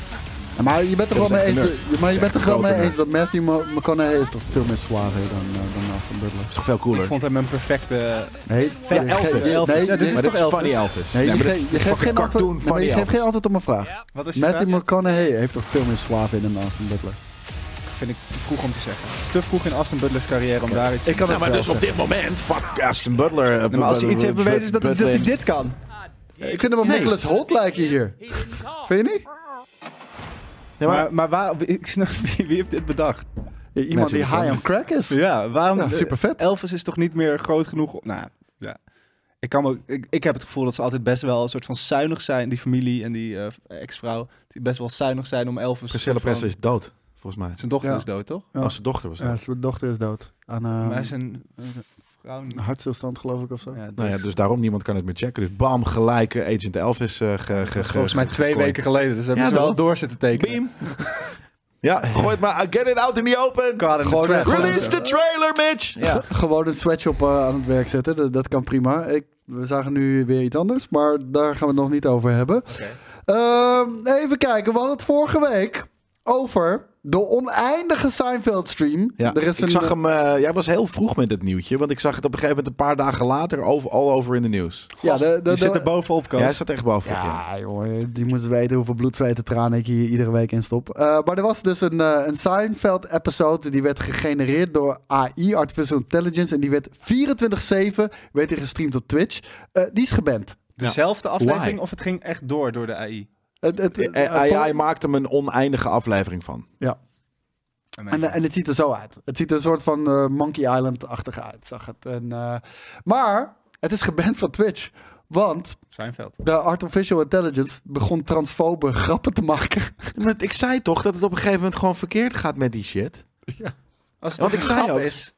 [SPEAKER 4] Ja, Maar je bent er wel
[SPEAKER 2] Dat is
[SPEAKER 4] mee eens,
[SPEAKER 2] echt een nerd.
[SPEAKER 4] dat- maar je
[SPEAKER 2] Dat is
[SPEAKER 4] bent er
[SPEAKER 2] echt
[SPEAKER 4] wel
[SPEAKER 2] een
[SPEAKER 4] mee
[SPEAKER 2] grote
[SPEAKER 4] eens dat Matthew Mo- McConaughey is toch veel meer zwaarder dan, eh, dan Austin Butler.
[SPEAKER 2] Toch veel
[SPEAKER 3] Ik
[SPEAKER 2] cooler.
[SPEAKER 3] vond hem een perfecte...
[SPEAKER 4] Nee,
[SPEAKER 3] Ja,
[SPEAKER 4] je
[SPEAKER 3] Elvis.
[SPEAKER 4] geeft- Nee,
[SPEAKER 3] Elvis. Ja, dit
[SPEAKER 4] nee,
[SPEAKER 3] is
[SPEAKER 2] Maar dit
[SPEAKER 3] toch
[SPEAKER 2] is
[SPEAKER 3] Elvis?
[SPEAKER 2] funny Elvis.
[SPEAKER 4] nee,
[SPEAKER 2] Ja,
[SPEAKER 4] je
[SPEAKER 2] maar dit
[SPEAKER 4] geeft-
[SPEAKER 2] is
[SPEAKER 4] je geeft
[SPEAKER 2] fucking
[SPEAKER 4] geen
[SPEAKER 2] cartoon
[SPEAKER 4] antwoord- nee, maar
[SPEAKER 2] funny
[SPEAKER 4] je geeft geen
[SPEAKER 2] Elvis.
[SPEAKER 4] antwoord op mijn vraag.
[SPEAKER 3] Wat is nou? je vraag?
[SPEAKER 4] Matthew McConaughey heeft toch veel meer zwaar in dan Austin Butler.
[SPEAKER 3] Vind ik te vroeg om te zeggen. Het is te vroeg in Austin Butlers carrière om daar iets...
[SPEAKER 4] Ik kan
[SPEAKER 2] Ja,
[SPEAKER 4] het
[SPEAKER 2] maar
[SPEAKER 4] wel
[SPEAKER 2] dus op dit moment, fuck Aston Butler. eh,
[SPEAKER 3] maar als hij iets
[SPEAKER 2] Butler-
[SPEAKER 3] heeft bewezen is dat, dat
[SPEAKER 2] Butler-
[SPEAKER 3] hij dit kan.
[SPEAKER 4] zeggen. Ik vind hem op Nicholas Holt lijken hier. Vind je niet?
[SPEAKER 2] Nee, maar-
[SPEAKER 3] maar maar waar, ik snap, wie, wie heeft dit bedacht?
[SPEAKER 4] Ja, Iemand die high on crack is.
[SPEAKER 3] Ja, waarom?
[SPEAKER 4] Ja, supervet.
[SPEAKER 3] Elvis is toch niet meer groot genoeg? om- Nou, ja. Ik, kan me ook, ik, ik heb het gevoel dat ze altijd best wel een soort van zuinig zijn, die familie en die eh, ex-vrouw. Die best wel zuinig zijn om Elvis.
[SPEAKER 2] Priscilla
[SPEAKER 3] van-
[SPEAKER 2] Presley is dood, volgens mij.
[SPEAKER 3] Zijn dochter
[SPEAKER 4] Ja.
[SPEAKER 3] is dood, toch?
[SPEAKER 4] Ja.
[SPEAKER 2] Als zijn dochter was
[SPEAKER 4] Ja,
[SPEAKER 2] dood.
[SPEAKER 4] zijn dochter is dood. Aan
[SPEAKER 3] Maar
[SPEAKER 4] eh,
[SPEAKER 3] zijn eh, vrouw niet.
[SPEAKER 4] een hartstilstand geloof ik of zo.
[SPEAKER 3] Ja,
[SPEAKER 2] Nou ja, dus daarom niemand kan het meer checken. Dus bam, gelijk eh, Agent Elvis eh, ge- ge-
[SPEAKER 3] volgens mij twee
[SPEAKER 2] gekoord.
[SPEAKER 3] weken geleden, dus hebben
[SPEAKER 2] Ja,
[SPEAKER 3] ze wel
[SPEAKER 2] toch?
[SPEAKER 3] door zitten tekenen.
[SPEAKER 2] Beam. Ja, gooi het maar. uit. Get it out in the open.
[SPEAKER 3] Kwaad in de
[SPEAKER 4] Gewoon
[SPEAKER 3] trash.
[SPEAKER 4] echt.
[SPEAKER 2] Release the trailer, Mitch. Ja.
[SPEAKER 4] Gewoon een sweatshop eh, aan het werk zetten. Dat, dat kan prima. Ik, we zagen nu weer iets anders, maar daar gaan we het nog niet over hebben. Ehm, even kijken, we hadden het vorige week over de oneindige Seinfeld stream.
[SPEAKER 2] Ja,
[SPEAKER 4] er is
[SPEAKER 2] ik
[SPEAKER 4] een,
[SPEAKER 2] zag hem. eh, jij was heel vroeg met het nieuwtje, want ik zag het op een gegeven moment een paar dagen later over, al over in de nieuws.
[SPEAKER 4] eh, Ja, de, de,
[SPEAKER 3] Die
[SPEAKER 4] de-
[SPEAKER 3] zit er bovenop,
[SPEAKER 2] Ja,
[SPEAKER 3] Koos.
[SPEAKER 2] hij staat echt bovenop. Ja.
[SPEAKER 4] ja, jongen, die moest weten hoeveel bloed, zweet en tranen ik hier iedere week in stop. Eh, maar er was dus een, eh, een Seinfeld-episode die werd gegenereerd door AI, Artificial Intelligence. En die werd 24-7 werd die gestreamd op Twitch. Eh, die is geband.
[SPEAKER 3] Dezelfde aflevering
[SPEAKER 2] Why?
[SPEAKER 3] of het ging echt door door de AI?
[SPEAKER 4] Het, het,
[SPEAKER 2] Eh,
[SPEAKER 4] eh,
[SPEAKER 2] AI
[SPEAKER 4] vol-
[SPEAKER 2] maakt hem een oneindige aflevering van.
[SPEAKER 4] Ja. En, eh, en het ziet er zo uit. Het ziet er een soort van eh, Monkey Island-achtig uit, zag het. En, eh, maar het is geband van Twitch. Want
[SPEAKER 3] Seinfeld.
[SPEAKER 4] de artificial intelligence begon transfobe grappen te maken.
[SPEAKER 2] Maar ik zei toch dat het op een gegeven moment gewoon verkeerd gaat met die shit.
[SPEAKER 3] Als het
[SPEAKER 2] Want
[SPEAKER 3] toch
[SPEAKER 2] ik
[SPEAKER 3] een
[SPEAKER 2] zei
[SPEAKER 3] grap
[SPEAKER 2] ook-
[SPEAKER 3] is.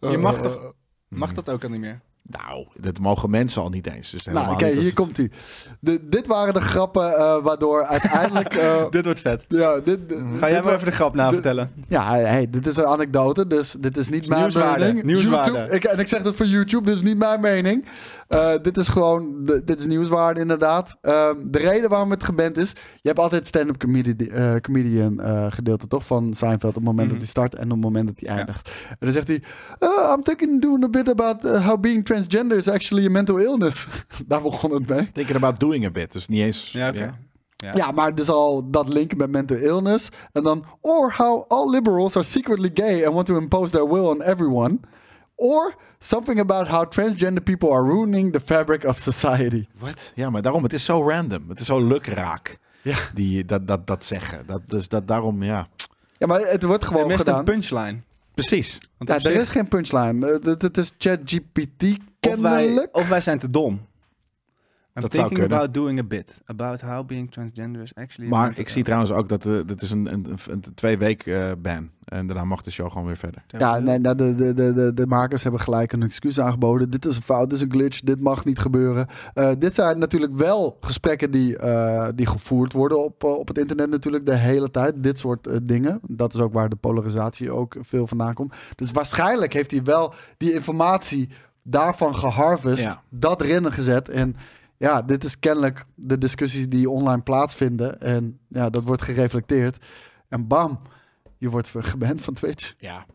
[SPEAKER 2] Oh.
[SPEAKER 3] Je mag toch...
[SPEAKER 2] Hmm.
[SPEAKER 3] Mag dat ook al niet meer?
[SPEAKER 2] Nou, dat mogen mensen al niet eens. Dus helemaal
[SPEAKER 4] Nou, oké,
[SPEAKER 2] niet als
[SPEAKER 4] hier
[SPEAKER 2] het-
[SPEAKER 4] komt hij. Dit waren de grappen eh, waardoor uiteindelijk... eh,
[SPEAKER 3] Dit wordt vet.
[SPEAKER 4] ja, dit, dit-
[SPEAKER 3] Ga jij
[SPEAKER 4] dit
[SPEAKER 3] maar
[SPEAKER 4] wa-
[SPEAKER 3] even de grap na vertellen.
[SPEAKER 4] Ja, hey, dit is een anekdote, dus dit is niet mijn
[SPEAKER 3] Nieuwswaarde,
[SPEAKER 4] mening.
[SPEAKER 3] nieuwswaarde.
[SPEAKER 4] YouTube, ik, en ik zeg dat voor YouTube, dit is niet mijn mening. Eh, dit is gewoon, de- dit is nieuwswaarde inderdaad. Ehm, de reden waarom het geband is, je hebt altijd stand-up comedi- eh, comedian eh, gedeelte toch van Seinfeld op het
[SPEAKER 3] Mhm.
[SPEAKER 4] moment dat hij start en op het moment dat hij eindigt. En dan zegt hij, "Uh, I'm thinking doing a bit about eh, how being transgender is actually a mental illness. Daar begon het mee.
[SPEAKER 2] Thinking about doing a bit. Dus niet eens.
[SPEAKER 3] Ja, oké. Ja.
[SPEAKER 4] Ja, maar dus al dat linken met mental illness. En dan, or how all liberals are secretly gay and want to impose their will on everyone. Or something about how transgender people are ruining the fabric of society.
[SPEAKER 2] Wat? Ja, maar daarom, het is zo random. Het is zo lukraak.
[SPEAKER 4] Ja.
[SPEAKER 2] Die, dat, dat, dat zeggen. Dat, dus dat daarom, ja.
[SPEAKER 4] Ja, maar het wordt
[SPEAKER 3] Je
[SPEAKER 4] gewoon
[SPEAKER 3] mist een
[SPEAKER 4] gedaan.
[SPEAKER 3] punchline.
[SPEAKER 2] Precies.
[SPEAKER 3] Want
[SPEAKER 4] Ja,
[SPEAKER 3] op
[SPEAKER 4] er
[SPEAKER 3] zich-
[SPEAKER 4] is geen punchline. Eh, dit- Het is ChatGPT
[SPEAKER 3] of wij,
[SPEAKER 4] kennelijk.
[SPEAKER 3] of wij zijn te dom. I'm
[SPEAKER 2] Dat zou
[SPEAKER 3] thinking
[SPEAKER 2] kunnen.
[SPEAKER 3] about doing a bit. About how being transgender is actually...
[SPEAKER 2] Maar ik zie trouwens ook dat eh dit is een, een, een twee week eh, ban. En daarna mag de show gewoon weer verder.
[SPEAKER 4] Ja, nee, nou, de, de, de, de, de makers hebben gelijk een excuus aangeboden. Dit is een fout, dit is een glitch, dit mag niet gebeuren. Eh, dit zijn natuurlijk wel gesprekken die, eh, die gevoerd worden op, eh, op het internet natuurlijk de hele tijd. Dit soort eh, dingen. Dat is ook waar de polarisatie ook veel vandaan komt. Dus waarschijnlijk heeft hij wel die informatie daarvan geharvest,
[SPEAKER 2] Ja.
[SPEAKER 4] dat erin gezet en... Ja, dit is kennelijk de discussies die online plaatsvinden. En ja, dat wordt gereflecteerd. En bam, je wordt geband van Twitch.
[SPEAKER 2] Ja.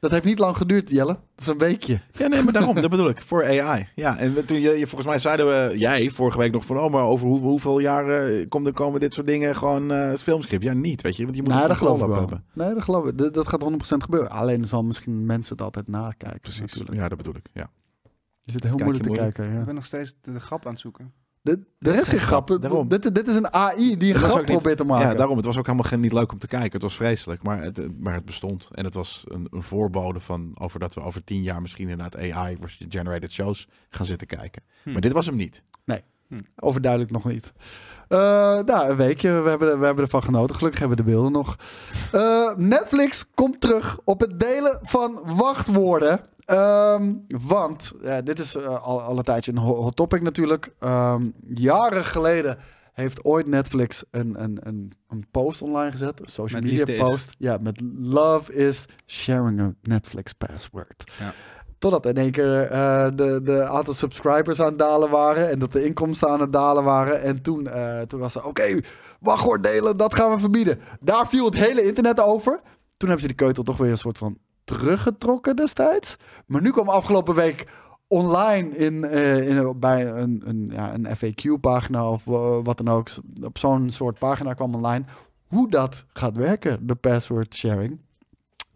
[SPEAKER 4] Dat heeft niet lang geduurd, Jelle. Dat is een weekje.
[SPEAKER 2] Ja, nee, maar daarom. dat bedoel ik. Voor AI. Ja, en toen je, je volgens mij zeiden we, jij vorige week nog van, oh, maar over hoe, hoeveel jaren komen, komen dit soort dingen gewoon eh het filmscript? Ja, niet, weet je. Want je moet
[SPEAKER 4] nee,
[SPEAKER 2] een
[SPEAKER 4] Nou, dat geloof ik
[SPEAKER 2] controle
[SPEAKER 4] wel.
[SPEAKER 2] op hebben.
[SPEAKER 4] Nee, dat geloof ik. Dat, dat gaat 100% gebeuren. Alleen zal misschien mensen het altijd nakijken. Precies.
[SPEAKER 2] Precies.
[SPEAKER 4] Natuurlijk.
[SPEAKER 2] Ja, dat bedoel ik. Ja.
[SPEAKER 4] Je zit heel
[SPEAKER 2] Kijk je
[SPEAKER 4] moeilijk te
[SPEAKER 2] moeilijk.
[SPEAKER 4] kijken.
[SPEAKER 3] Ik
[SPEAKER 4] Ja.
[SPEAKER 3] ben nog steeds de, de grap aan het zoeken.
[SPEAKER 4] Dit, er is geen grap.
[SPEAKER 2] grap, daarom.
[SPEAKER 4] Dit, dit is een AI die een
[SPEAKER 2] Het was
[SPEAKER 4] grap
[SPEAKER 2] ook niet-
[SPEAKER 4] probeert te maken.
[SPEAKER 2] Ja, daarom. Het was ook helemaal geen, niet leuk om te kijken. Het was vreselijk, maar het, het- maar het bestond. En het was een, een voorbode van over dat we over tien jaar misschien inderdaad AI-generated shows gaan zitten kijken.
[SPEAKER 4] Hm.
[SPEAKER 2] Maar dit was hem niet.
[SPEAKER 4] Overduidelijk nog niet. Eh, nou, een weekje. We hebben, we hebben ervan genoten. Gelukkig hebben we de beelden nog. Eh, Netflix komt terug op het delen van wachtwoorden. Ehm, want, eh, dit is eh, al, al een tijdje een ho- hot topic natuurlijk. Ehm, jaren geleden heeft ooit Netflix een, een, een, een post online gezet. Een social
[SPEAKER 3] Met liefde
[SPEAKER 4] media
[SPEAKER 3] is.
[SPEAKER 4] post. Ja, met love is sharing a Netflix password.
[SPEAKER 3] Ja.
[SPEAKER 4] Totdat in één keer eh, de, de aantal subscribers aan het dalen waren. En dat de inkomsten aan het dalen waren. En toen, eh, toen was ze, oké, wachtwoord delen, dat gaan we verbieden. Daar viel het hele internet over. Toen hebben ze die keutel toch weer een soort van teruggetrokken destijds. Maar nu kwam afgelopen week online in, eh, in, een- bij een, een, ja, een FAQ-pagina of eh, wat dan ook. Op zo'n soort pagina kwam online hoe dat gaat werken, de password sharing.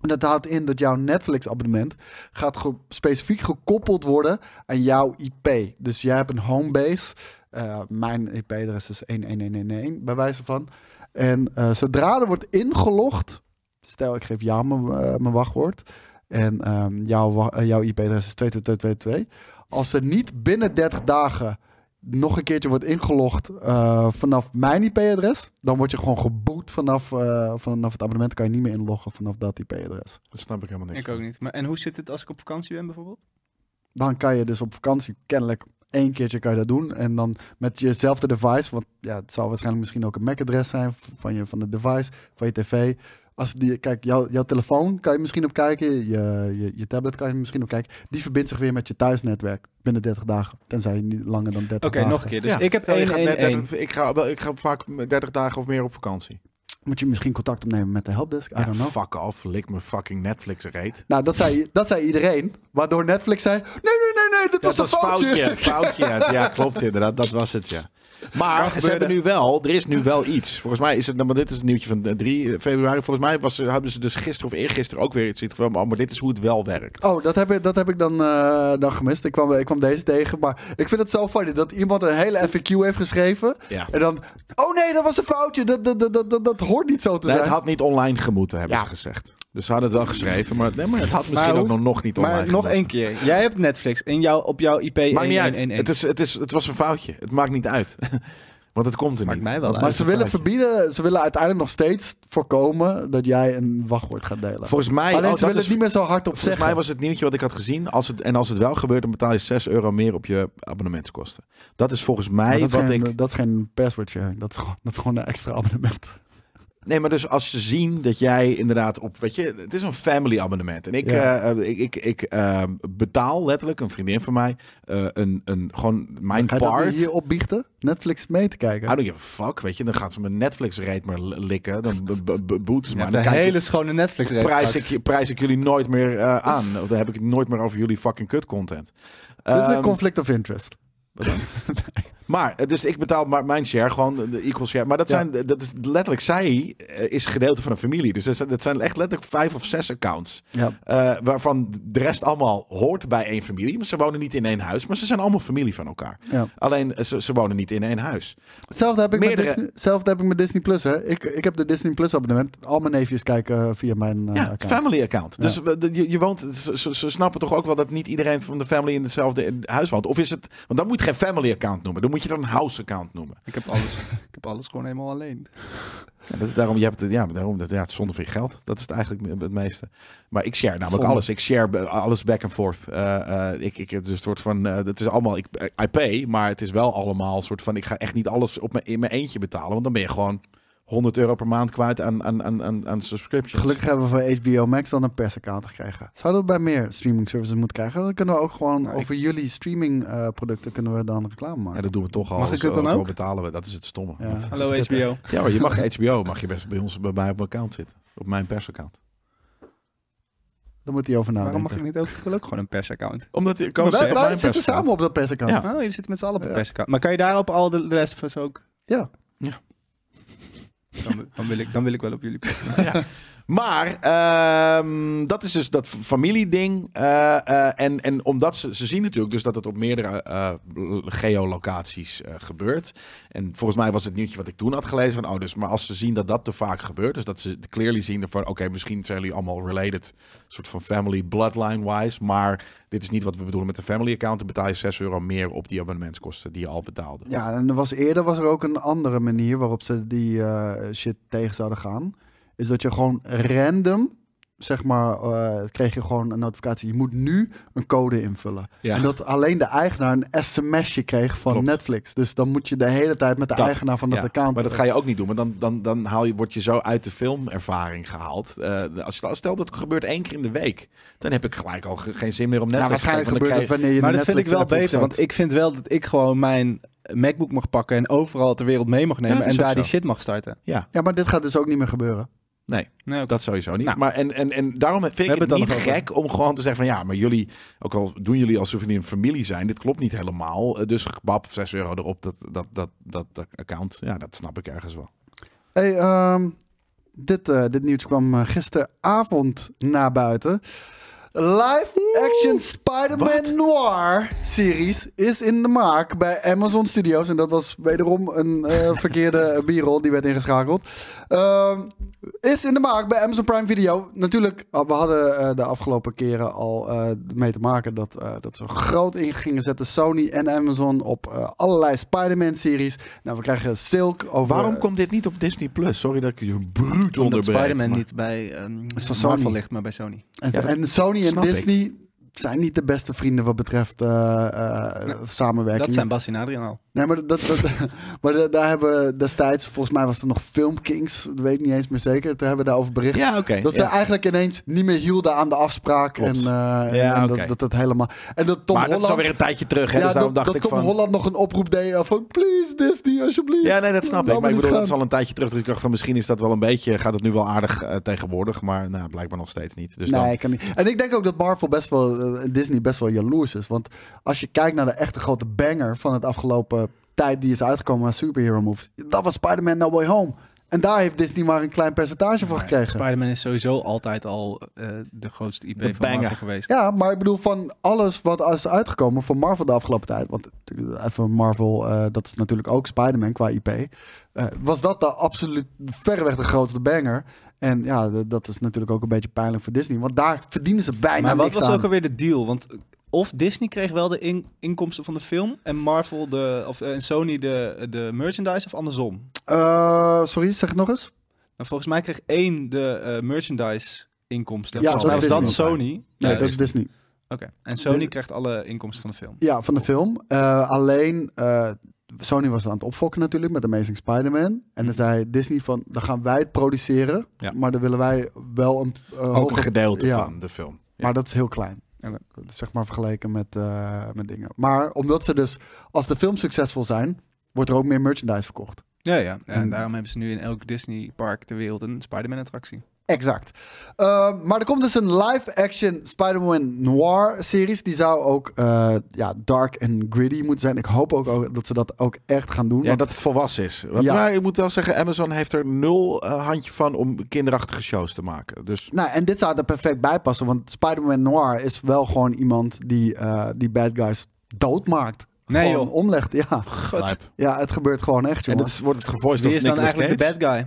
[SPEAKER 4] En dat houdt in dat jouw Netflix-abonnement gaat ge- specifiek gekoppeld worden aan jouw IP. Dus jij hebt een homebase. Eh, mijn IP-adres is 11111, bij wijze van. En eh, zodra er wordt ingelogd, stel ik geef jou mijn, eh, mijn wachtwoord en ehm, jouw, wa- eh, jouw IP-adres is 22222. Als er niet binnen 30 dagen nog een keertje wordt ingelogd eh, vanaf mijn IP-adres, dan word je gewoon geboet vanaf, eh, vanaf het abonnement. Kan je niet meer inloggen vanaf dat IP-adres.
[SPEAKER 2] Dat snap ik helemaal niks.
[SPEAKER 3] Ik ook niet. Maar, en hoe zit het als ik op vakantie ben bijvoorbeeld?
[SPEAKER 4] Dan kan je dus op vakantie kennelijk één keertje kan je dat doen. En dan met jezelfde device, want ja, het zal waarschijnlijk misschien ook een MAC-adres zijn van, je, van de device, van je tv. Als die, kijk, jouw jouw telefoon kan je misschien op kijken, je, je, je tablet kan je misschien op kijken. Die verbindt zich weer met je thuisnetwerk binnen 30 dagen, tenzij je niet langer dan 30
[SPEAKER 3] Oké,
[SPEAKER 4] dagen.
[SPEAKER 3] nog een keer. Dus
[SPEAKER 2] Ja,
[SPEAKER 3] ik heb
[SPEAKER 2] stel, je
[SPEAKER 3] 1,
[SPEAKER 2] gaat
[SPEAKER 3] 1,
[SPEAKER 2] net
[SPEAKER 3] 1.
[SPEAKER 2] 30 ik, ga, wel- ik ga vaak 30 dagen of meer op vakantie.
[SPEAKER 4] Moet je misschien contact opnemen met de helpdesk? I
[SPEAKER 2] Ja,
[SPEAKER 4] don't know.
[SPEAKER 2] fuck off. Lik me fucking Netflix reet.
[SPEAKER 4] Nou, dat zei, dat zei iedereen. Waardoor Netflix zei: Nee, nee, nee, nee, dit was een foutje.
[SPEAKER 2] Foutje, ja. Ja, klopt inderdaad. Dat was het, ja. Maar ze
[SPEAKER 3] gebeurde.
[SPEAKER 2] hebben nu wel, er is nu wel iets. Volgens mij is het, want dit is het nieuwtje van eh, 3 februari. Volgens mij was, hadden ze dus gisteren of eergisteren ook weer iets van, "Oh, maar dit is hoe het wel werkt.
[SPEAKER 4] Oh, dat heb ik, dat heb ik dan, eh, dan gemist. Ik kwam, ik kwam deze tegen. Maar ik vind het zo funny dat iemand een hele FAQ heeft geschreven.
[SPEAKER 2] Ja.
[SPEAKER 4] En dan: Oh nee, dat was een foutje. Dat, dat, dat, dat, dat, dat hoort niet zo te
[SPEAKER 2] Nee,
[SPEAKER 4] zijn.
[SPEAKER 2] het had niet online gemoeten, hebben
[SPEAKER 4] Ja.
[SPEAKER 2] ze gezegd. Dus ze hadden het wel geschreven, maar, nee, maar het had misschien
[SPEAKER 3] hoe-
[SPEAKER 2] ook nog, nog niet online
[SPEAKER 3] Maar nog
[SPEAKER 2] gemoeten.
[SPEAKER 3] één keer. Jij hebt Netflix in jou, op jouw IP
[SPEAKER 2] Maakt niet uit.
[SPEAKER 3] 1111.
[SPEAKER 2] Het, is, het, is, het was een foutje. Het maakt niet uit. Want het komt er
[SPEAKER 3] Maakt
[SPEAKER 2] niet.
[SPEAKER 3] mij wel
[SPEAKER 2] Want
[SPEAKER 3] uit.
[SPEAKER 2] het
[SPEAKER 4] maar
[SPEAKER 2] is
[SPEAKER 4] ze
[SPEAKER 2] een
[SPEAKER 4] willen
[SPEAKER 2] foutje.
[SPEAKER 4] verbieden. Ze willen uiteindelijk nog steeds voorkomen dat jij een wachtwoord gaat delen.
[SPEAKER 2] Volgens mij, oh,
[SPEAKER 4] Alleen
[SPEAKER 2] dat
[SPEAKER 4] ze willen
[SPEAKER 2] is-
[SPEAKER 4] het niet meer zo hard op
[SPEAKER 2] volgens
[SPEAKER 4] zeggen.
[SPEAKER 2] mij was het nieuwtje wat ik had gezien. Als het, en als het wel gebeurt, dan betaal je 6 euro meer op je abonnementskosten. Dat is volgens
[SPEAKER 4] Maar
[SPEAKER 2] mij
[SPEAKER 4] dat, is
[SPEAKER 2] wat
[SPEAKER 4] geen,
[SPEAKER 2] ik...
[SPEAKER 4] dat is geen password sharing. Dat is gewoon, dat is gewoon een extra abonnement.
[SPEAKER 2] Nee, maar dus als ze zien dat jij inderdaad op... Weet je, het is een family abonnement. En ik,
[SPEAKER 4] Ja.
[SPEAKER 2] eh, eh, ik, ik, ik eh, betaal letterlijk, een vriendin van mij, eh, een, een, gewoon mijn
[SPEAKER 4] Ga je dat
[SPEAKER 2] part.
[SPEAKER 4] weer hier opbiechten? Netflix mee te kijken?
[SPEAKER 2] I don't give a fuck, weet je. Dan gaan ze mijn Netflix-rate maar likken. Dan be- be- be- boeten ze
[SPEAKER 3] Ja,
[SPEAKER 2] maar.
[SPEAKER 3] een
[SPEAKER 2] Dan kijk ik-
[SPEAKER 3] hele schone netflix
[SPEAKER 2] prijs ik, prijs ik jullie nooit meer eh, aan. Of dan heb ik het nooit meer over jullie fucking kut content.
[SPEAKER 4] Dit is een
[SPEAKER 2] Ehm,
[SPEAKER 4] conflict of interest.
[SPEAKER 2] maar, eh, dus ik betaal maar mijn share, gewoon de- de equal share. Maar dat
[SPEAKER 4] Ja.
[SPEAKER 2] zijn, eh, dat is letterlijk, zij eh, is gedeelte van een familie. Dus dat zijn, dat zijn echt letterlijk vijf of zes accounts.
[SPEAKER 4] Ja.
[SPEAKER 2] eh, waarvan de rest allemaal hoort bij één familie. Maar ze wonen niet in één huis, maar ze zijn allemaal familie van elkaar.
[SPEAKER 4] Ja.
[SPEAKER 2] Alleen, eh, ze, ze wonen niet in één huis.
[SPEAKER 4] Hetzelfde heb ik, met
[SPEAKER 2] Meerdere-
[SPEAKER 4] Disney, hetzelfde heb ik met Disney Plus. Hè. Ik, ik heb de Disney Plus abonnement. Al mijn neefjes kijken eh, via mijn eh,
[SPEAKER 2] ja, het
[SPEAKER 4] account.
[SPEAKER 2] family account.
[SPEAKER 4] Ja.
[SPEAKER 2] Dus we- de- je, je woont, ze, ze- ze snappen toch ook wel dat niet iedereen van de family in hetzelfde in- huis woont. Of is het, want dan moet je geen family account noemen, dan moet je het een house account noemen.
[SPEAKER 3] Ik heb alles, ik heb alles gewoon helemaal alleen.
[SPEAKER 2] Ja, dat is daarom, je hebt het, ja, maar daarom, dat, ja, het is zonde van je geld. Dat is het eigenlijk me- het meeste. Maar ik share namelijk
[SPEAKER 4] Zonde.
[SPEAKER 2] alles. Ik share be- alles back and forth. Eh, eh, ik, ik, het is een soort van, eh, het is allemaal, ik, I pay, maar het is wel allemaal een soort van, ik ga echt niet alles op mijn, in mijn eentje betalen, want dan ben je gewoon 100 euro per maand kwijt aan, aan, aan, aan, aan subscriptions.
[SPEAKER 4] Gelukkig hebben we van HBO Max dan een persaccount gekregen. Zouden we bij meer streaming services moeten krijgen? Dan kunnen we ook gewoon
[SPEAKER 3] Nou, ik-
[SPEAKER 4] over jullie streaming eh, producten kunnen we dan reclame
[SPEAKER 2] Ja,
[SPEAKER 4] maken.
[SPEAKER 2] dat doen we toch al.
[SPEAKER 3] Mag ik
[SPEAKER 2] Dus,
[SPEAKER 3] het dan
[SPEAKER 2] eh,
[SPEAKER 3] ook?
[SPEAKER 2] wel betalen we. Dat is het stomme.
[SPEAKER 4] Ja.
[SPEAKER 2] Ja,
[SPEAKER 3] Hallo
[SPEAKER 4] Dat is kut, hè.
[SPEAKER 3] HBO.
[SPEAKER 2] maar je mag HBO, mag je best bij ons bij mij op mijn account zitten. Op mijn persaccount.
[SPEAKER 4] Dan moet hij over
[SPEAKER 3] Waarom mag
[SPEAKER 4] nadenken.
[SPEAKER 3] ik niet ook, ik wil ook gewoon een persaccount?
[SPEAKER 2] Omdat ik
[SPEAKER 3] Maar wij-
[SPEAKER 4] Wij,
[SPEAKER 3] Op
[SPEAKER 4] wij zitten samen op dat persaccount.
[SPEAKER 2] Ja.
[SPEAKER 3] Oh, jullie zitten met z'n allen op een
[SPEAKER 4] Ja.
[SPEAKER 3] persaccount. Maar kan je daarop al de de rest van ze ook?
[SPEAKER 4] Ja.
[SPEAKER 2] Ja.
[SPEAKER 3] Dan, dan, wil ik, dan wil ik wel op jullie persaccount.
[SPEAKER 2] Maar ehm, dat is dus dat familieding. eh, eh, en, en omdat ze, ze zien natuurlijk dus dat het op meerdere eh, l- geolocaties eh, gebeurt. En volgens mij was het nieuwtje wat ik toen had gelezen van... Oh, dus, maar als ze zien dat dat te vaak gebeurt... dus dat ze clearly zien van... oké, misschien zijn jullie allemaal related... soort van family bloodline-wise... maar dit is niet wat we bedoelen met een family account... dan betaal je 6 euro meer op die abonnementskosten... die je al betaalde.
[SPEAKER 4] Ja, en er was, eerder was er ook een andere manier waarop ze die eh, shit tegen zouden gaan. Is dat je gewoon random, zeg maar, eh, kreeg je gewoon een notificatie. Je moet nu een code invullen.
[SPEAKER 2] Ja.
[SPEAKER 4] En dat alleen de eigenaar een sms'je kreeg van
[SPEAKER 2] Klopt.
[SPEAKER 4] Netflix. Dus dan moet je de hele tijd met de
[SPEAKER 2] Dat,
[SPEAKER 4] eigenaar van dat
[SPEAKER 2] Ja,
[SPEAKER 4] account...
[SPEAKER 2] Maar dat ga je ook niet doen. Want dan, dan, dan haal je, word je zo uit de filmervaring gehaald. Eh, als je, stel dat het gebeurt één keer in de week. Dan heb ik gelijk al ge- geen zin meer om
[SPEAKER 4] Ja,
[SPEAKER 2] Netflix te
[SPEAKER 4] Nou, waarschijnlijk
[SPEAKER 2] kijken, want
[SPEAKER 4] gebeurt dat
[SPEAKER 2] dan
[SPEAKER 4] wanneer je
[SPEAKER 3] Maar
[SPEAKER 4] de
[SPEAKER 3] dat vind ik wel
[SPEAKER 4] Netflix-app
[SPEAKER 3] beter,
[SPEAKER 4] opstart.
[SPEAKER 3] want ik vind wel dat ik gewoon mijn MacBook mag pakken en overal ter wereld mee mag nemen
[SPEAKER 2] dat is
[SPEAKER 3] en
[SPEAKER 2] ook
[SPEAKER 3] daar die
[SPEAKER 2] zo.
[SPEAKER 3] shit mag starten.
[SPEAKER 4] Ja, maar dit gaat dus ook niet meer gebeuren.
[SPEAKER 2] krijg je- Nee,
[SPEAKER 3] Nee,
[SPEAKER 2] dat sowieso niet.
[SPEAKER 3] Nou.
[SPEAKER 2] maar en, en, en daarom vind ik
[SPEAKER 3] hebben
[SPEAKER 2] het,
[SPEAKER 3] het
[SPEAKER 2] niet
[SPEAKER 3] al nog over.
[SPEAKER 2] gek om gewoon te zeggen van... ja, maar jullie, ook al doen jullie alsof jullie een familie zijn... dit klopt niet helemaal. Eh, Dus bab, 6 euro erop, dat, dat, dat, dat, dat account. Ja, dat snap ik ergens wel.
[SPEAKER 4] Hey, ehm, dit, eh, dit nieuws kwam eh, gisteravond naar buiten. Live action Spider-Man Noir series is in de maak bij Amazon Studios. En dat was wederom een eh, verkeerde b-roll die werd ingeschakeld. Ehm, is in de maak bij Amazon Prime Video. Natuurlijk, ah, we hadden eh, de afgelopen keren al eh, mee te maken dat, eh, dat ze groot in gingen zetten. Sony en Amazon op eh, allerlei Spider-Man series. Nou, we krijgen Silk over...
[SPEAKER 2] Waarom komt dit niet op Disney+. Plus? Sorry dat ik je bruut
[SPEAKER 3] Omdat
[SPEAKER 2] onderbreek.
[SPEAKER 3] Spider-Man
[SPEAKER 2] maar-
[SPEAKER 3] niet bij ehm
[SPEAKER 4] is van
[SPEAKER 3] Marvel
[SPEAKER 4] Sony.
[SPEAKER 3] ligt, maar bij Sony.
[SPEAKER 4] En,
[SPEAKER 2] Ja, dat
[SPEAKER 4] en Sony en
[SPEAKER 2] snap ik.
[SPEAKER 4] Disney zijn niet de beste vrienden wat betreft eh, eh, samenwerking.
[SPEAKER 3] Dat zijn Bas en Adriaan al.
[SPEAKER 4] Nee, maar, dat, dat, maar da- daar hebben we destijds, volgens mij was er nog Filmkings, dat weet ik niet eens meer zeker, toen hebben we daarover bericht.
[SPEAKER 2] Ja, oké.
[SPEAKER 4] Dat
[SPEAKER 2] ja.
[SPEAKER 4] ze eigenlijk ineens niet meer hielden aan de afspraak. En, eh,
[SPEAKER 2] Ja,
[SPEAKER 4] en
[SPEAKER 2] oké.
[SPEAKER 4] dat, dat dat helemaal. En dat Tom
[SPEAKER 2] maar
[SPEAKER 4] Holland.
[SPEAKER 2] dat is alweer een tijdje terug, hè?
[SPEAKER 4] ja,
[SPEAKER 2] dus daarom
[SPEAKER 4] dat,
[SPEAKER 2] dacht
[SPEAKER 4] dat
[SPEAKER 2] ik
[SPEAKER 4] Tom
[SPEAKER 2] van...
[SPEAKER 4] Holland nog een oproep deed eh, van please Disney alsjeblieft.
[SPEAKER 2] Ja, nee, dat snap ik.
[SPEAKER 4] Laat
[SPEAKER 2] Maar ik
[SPEAKER 4] me
[SPEAKER 2] bedoel, dat
[SPEAKER 4] niet
[SPEAKER 2] is al een tijdje terug. Dus ik dacht van misschien is dat wel een beetje, gaat het nu wel aardig eh, tegenwoordig. Maar nou, blijkbaar nog steeds niet. Dus
[SPEAKER 4] gaan.
[SPEAKER 2] dan,
[SPEAKER 4] Nee, kan niet. En ik denk ook dat Marvel best wel, eh, Disney best wel jaloers is. Want als je kijkt naar de echte grote banger van het afgelopen tijd die is uitgekomen aan superhero movies. Dat was Spider-Man No Way Home. En daar heeft Disney maar een klein percentage van gekregen.
[SPEAKER 3] Spider-Man is sowieso altijd al eh, de grootste IP
[SPEAKER 2] De
[SPEAKER 3] van
[SPEAKER 2] banger.
[SPEAKER 3] Marvel geweest.
[SPEAKER 4] Ja, maar ik bedoel, van alles wat is uitgekomen van Marvel de afgelopen tijd. Want natuurlijk, even Marvel, eh, dat is natuurlijk ook Spider-Man qua IP. eh, was dat de absoluut verreweg de grootste banger. En ja, d- dat is natuurlijk ook een beetje pijnlijk voor Disney. Want daar verdienen ze bijna
[SPEAKER 3] Maar wat
[SPEAKER 4] niks
[SPEAKER 3] was
[SPEAKER 4] aan.
[SPEAKER 3] ook alweer de deal? Want eh, of Disney kreeg wel de in- inkomsten van de film en Marvel de, of, eh, en Sony de, de merchandise of andersom?
[SPEAKER 4] Eh, sorry, zeg het nog eens.
[SPEAKER 3] Nou, volgens mij kreeg één de eh, merchandise inkomsten.
[SPEAKER 4] Ja,
[SPEAKER 3] Volgens
[SPEAKER 4] dat
[SPEAKER 3] mij
[SPEAKER 4] is
[SPEAKER 3] was dat
[SPEAKER 4] Disney.
[SPEAKER 3] Sony.
[SPEAKER 4] Nee,
[SPEAKER 3] Ja, dus-
[SPEAKER 4] dat is Disney.
[SPEAKER 3] Oké. En Sony
[SPEAKER 4] Dis-
[SPEAKER 3] krijgt alle inkomsten van de film.
[SPEAKER 4] Ja, van de film. Eh, alleen, eh, Sony was aan het opfokken natuurlijk met Amazing Spider-Man. En dan zei Disney van, dan gaan wij het produceren.
[SPEAKER 2] Mhm. Ja.
[SPEAKER 4] Maar dan willen wij wel een eh,
[SPEAKER 2] ook een
[SPEAKER 4] hoger-
[SPEAKER 2] gedeelte
[SPEAKER 4] ja.
[SPEAKER 2] van de film. Ja.
[SPEAKER 4] Maar dat is heel klein.
[SPEAKER 3] Oké.
[SPEAKER 4] Dat is Zeg maar vergeleken met, eh, met dingen. Maar omdat ze dus, als de films succesvol zijn, wordt er ook meer merchandise verkocht.
[SPEAKER 3] Ja, ja.
[SPEAKER 4] En-
[SPEAKER 3] En daarom hebben ze nu in elk Disney park ter wereld een Spider-Man attractie.
[SPEAKER 4] Exact. Ehm, maar er komt dus een live-action Spider-Man Noir series. Die zou ook eh, ja, dark en gritty moeten zijn. Ik hoop ook, ook dat ze dat ook echt gaan doen.
[SPEAKER 2] Ja,
[SPEAKER 4] want-
[SPEAKER 2] dat het volwassen is. Want,
[SPEAKER 4] Ja.
[SPEAKER 2] Maar ik moet wel zeggen, Amazon heeft er nul eh, handje van om kinderachtige shows te maken. Dus
[SPEAKER 4] Nou, en dit zou er perfect bij passen. Want Spider-Man Noir is wel gewoon iemand die eh, die bad guys doodmaakt.
[SPEAKER 3] Nee,
[SPEAKER 4] gewoon
[SPEAKER 3] joh.
[SPEAKER 4] omlegt. Ja.
[SPEAKER 2] lijp.
[SPEAKER 4] ja, het gebeurt gewoon echt,
[SPEAKER 2] En
[SPEAKER 4] jongen.
[SPEAKER 2] dat is, wordt het gevoiced
[SPEAKER 3] Wie
[SPEAKER 2] door
[SPEAKER 3] is dan
[SPEAKER 2] Nicolas
[SPEAKER 3] eigenlijk
[SPEAKER 2] Cage?
[SPEAKER 3] de bad guy?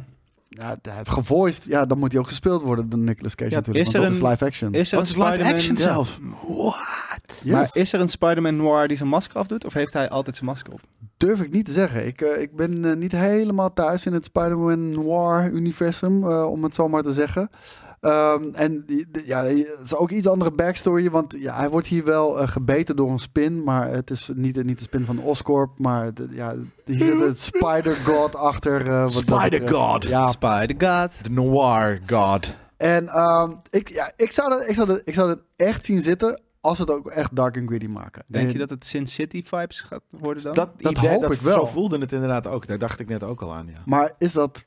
[SPEAKER 4] Ja, d- het gevoiced, ja, dan moet hij ook gespeeld worden door Nicolas Cage
[SPEAKER 2] Ja,
[SPEAKER 4] natuurlijk.
[SPEAKER 3] is
[SPEAKER 4] want
[SPEAKER 3] er
[SPEAKER 4] dat
[SPEAKER 3] een-
[SPEAKER 4] is live action.
[SPEAKER 3] Is er
[SPEAKER 2] Want
[SPEAKER 3] een
[SPEAKER 2] het is live
[SPEAKER 3] Spider-Man-
[SPEAKER 2] action
[SPEAKER 3] Ja.
[SPEAKER 2] zelf.
[SPEAKER 4] Yes.
[SPEAKER 3] Maar is er een Spider-Man noir die zijn masker afdoet? Of heeft hij altijd zijn masker op?
[SPEAKER 4] Durf ik niet te zeggen. Ik, eh, ik ben eh, niet helemaal thuis in het Spider-Man noir-universum, eh, om het zo maar te zeggen. Ehm, en die, die- ja, die- het is ook iets andere backstory, want ja, hij wordt hier wel eh, gebeten door een spin, maar het is niet, niet de spin van Oscorp, maar de- ja, hier zit het Spider-God achter. eh, wat dat betreft.
[SPEAKER 2] Spider-God.
[SPEAKER 4] Ja,
[SPEAKER 3] Spider-God.
[SPEAKER 2] De noir god.
[SPEAKER 4] En ehm, ik, ja, ik, zou dat, ik, zou dat, ik zou dat echt zien zitten als ze het ook echt dark and gritty maken.
[SPEAKER 3] Denk
[SPEAKER 4] En-
[SPEAKER 3] je dat het Sin City vibes gaat worden dan?
[SPEAKER 2] Dat,
[SPEAKER 4] Dat
[SPEAKER 2] idee,
[SPEAKER 4] hoop
[SPEAKER 2] dat
[SPEAKER 4] ik wel.
[SPEAKER 2] Zo voelde het inderdaad ook. Daar dacht ik net ook al aan, ja.
[SPEAKER 4] Maar is dat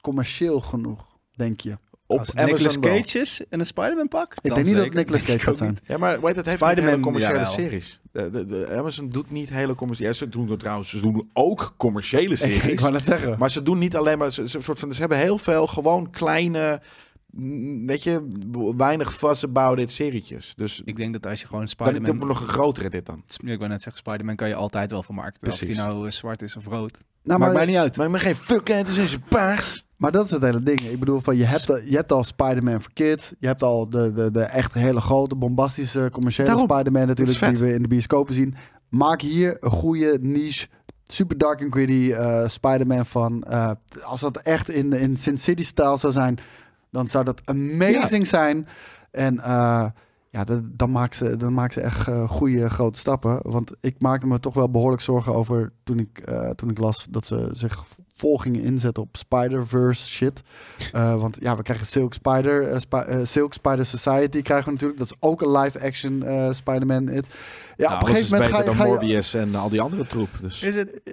[SPEAKER 4] commercieel genoeg, denk je?
[SPEAKER 2] Op
[SPEAKER 3] Als het Nicolas
[SPEAKER 2] Amazon wel.
[SPEAKER 3] Cage is en een Spider-Man pak?
[SPEAKER 4] Ik denk niet dat Nicolas Cage gaat zijn.
[SPEAKER 2] Ja, maar weet, dat heeft niet
[SPEAKER 3] Spider-Man,
[SPEAKER 2] hele commerciële
[SPEAKER 3] jawel.
[SPEAKER 2] series. De, de, de- Amazon doet niet hele commerciële... Ja, ze doen het trouwens, ze doen ook commerciële series.
[SPEAKER 4] net zeggen.
[SPEAKER 2] Maar ze doen niet alleen maar... Ze, ze- soort van, ze hebben heel veel gewoon kleine... mm, Weet je, weinig vastgebouwde serietjes. Dus
[SPEAKER 3] Ik denk dat als je gewoon
[SPEAKER 2] dan komt er
[SPEAKER 3] Spider-Man...
[SPEAKER 2] nog een grotere dit dan.
[SPEAKER 3] Ik wou net zeggen, Spider-Man kan je altijd wel vermarkten. Of
[SPEAKER 2] Precies.
[SPEAKER 3] die nou eh, zwart is of rood.
[SPEAKER 4] Nou,
[SPEAKER 3] Maakt mij
[SPEAKER 4] maar,
[SPEAKER 3] niet uit.
[SPEAKER 2] Maar, maar geen fuck uit, het is een paars.
[SPEAKER 4] maar dat is het hele ding. Ik bedoel, van, je, hebt, al- je hebt al Spider-Man voor Kids. Je hebt al de, de, de echt hele grote, bombastische, commerciële
[SPEAKER 2] Daarom.
[SPEAKER 4] Spider-Man natuurlijk...
[SPEAKER 2] Dat is
[SPEAKER 4] die
[SPEAKER 2] vet.
[SPEAKER 4] we in de bioscopen zien. Maak hier een goede niche... Super dark and gritty eh, Spider-Man van. eh, als dat echt in, in Sin City-stijl zou zijn, dan zou dat amazing zijn. En eh, ja, dat- dan maakt ze, dan maakt ze echt eh, goede grote stappen. Want ik maakte me toch wel behoorlijk zorgen over toen ik, eh, toen ik las dat ze zich vol gingen inzetten op Spider-Verse shit. Eh, want ja, we krijgen Silk Spider, eh, Spi- eh, Silk Spider Society krijgen we natuurlijk. Dat is ook een live-action eh, Spider-Man. It.
[SPEAKER 2] Nou,
[SPEAKER 4] Ja, op een gegeven moment ga je,
[SPEAKER 2] dan
[SPEAKER 4] ga je,
[SPEAKER 2] Morbius en al die andere troep. Dus.
[SPEAKER 3] Is het...
[SPEAKER 4] eh,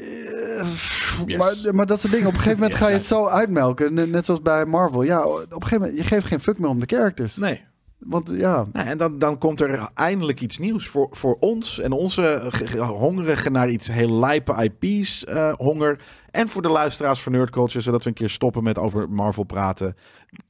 [SPEAKER 4] pff,
[SPEAKER 2] Yes.
[SPEAKER 4] maar, maar dat soort dingen. Op een gegeven moment
[SPEAKER 2] Yes.
[SPEAKER 4] ga je het zo uitmelken. Net, net zoals bij Marvel. Ja, op een gegeven moment, je geeft geen fuck meer om de characters.
[SPEAKER 2] Nee.
[SPEAKER 4] Want ja,
[SPEAKER 2] Nou, en dan, dan komt er eindelijk iets nieuws voor, voor ons en onze ge- ge- hongerige naar iets heel lijpe IP's eh, honger. En voor de luisteraars van Nerd Culture, zodat we een keer stoppen met over Marvel praten.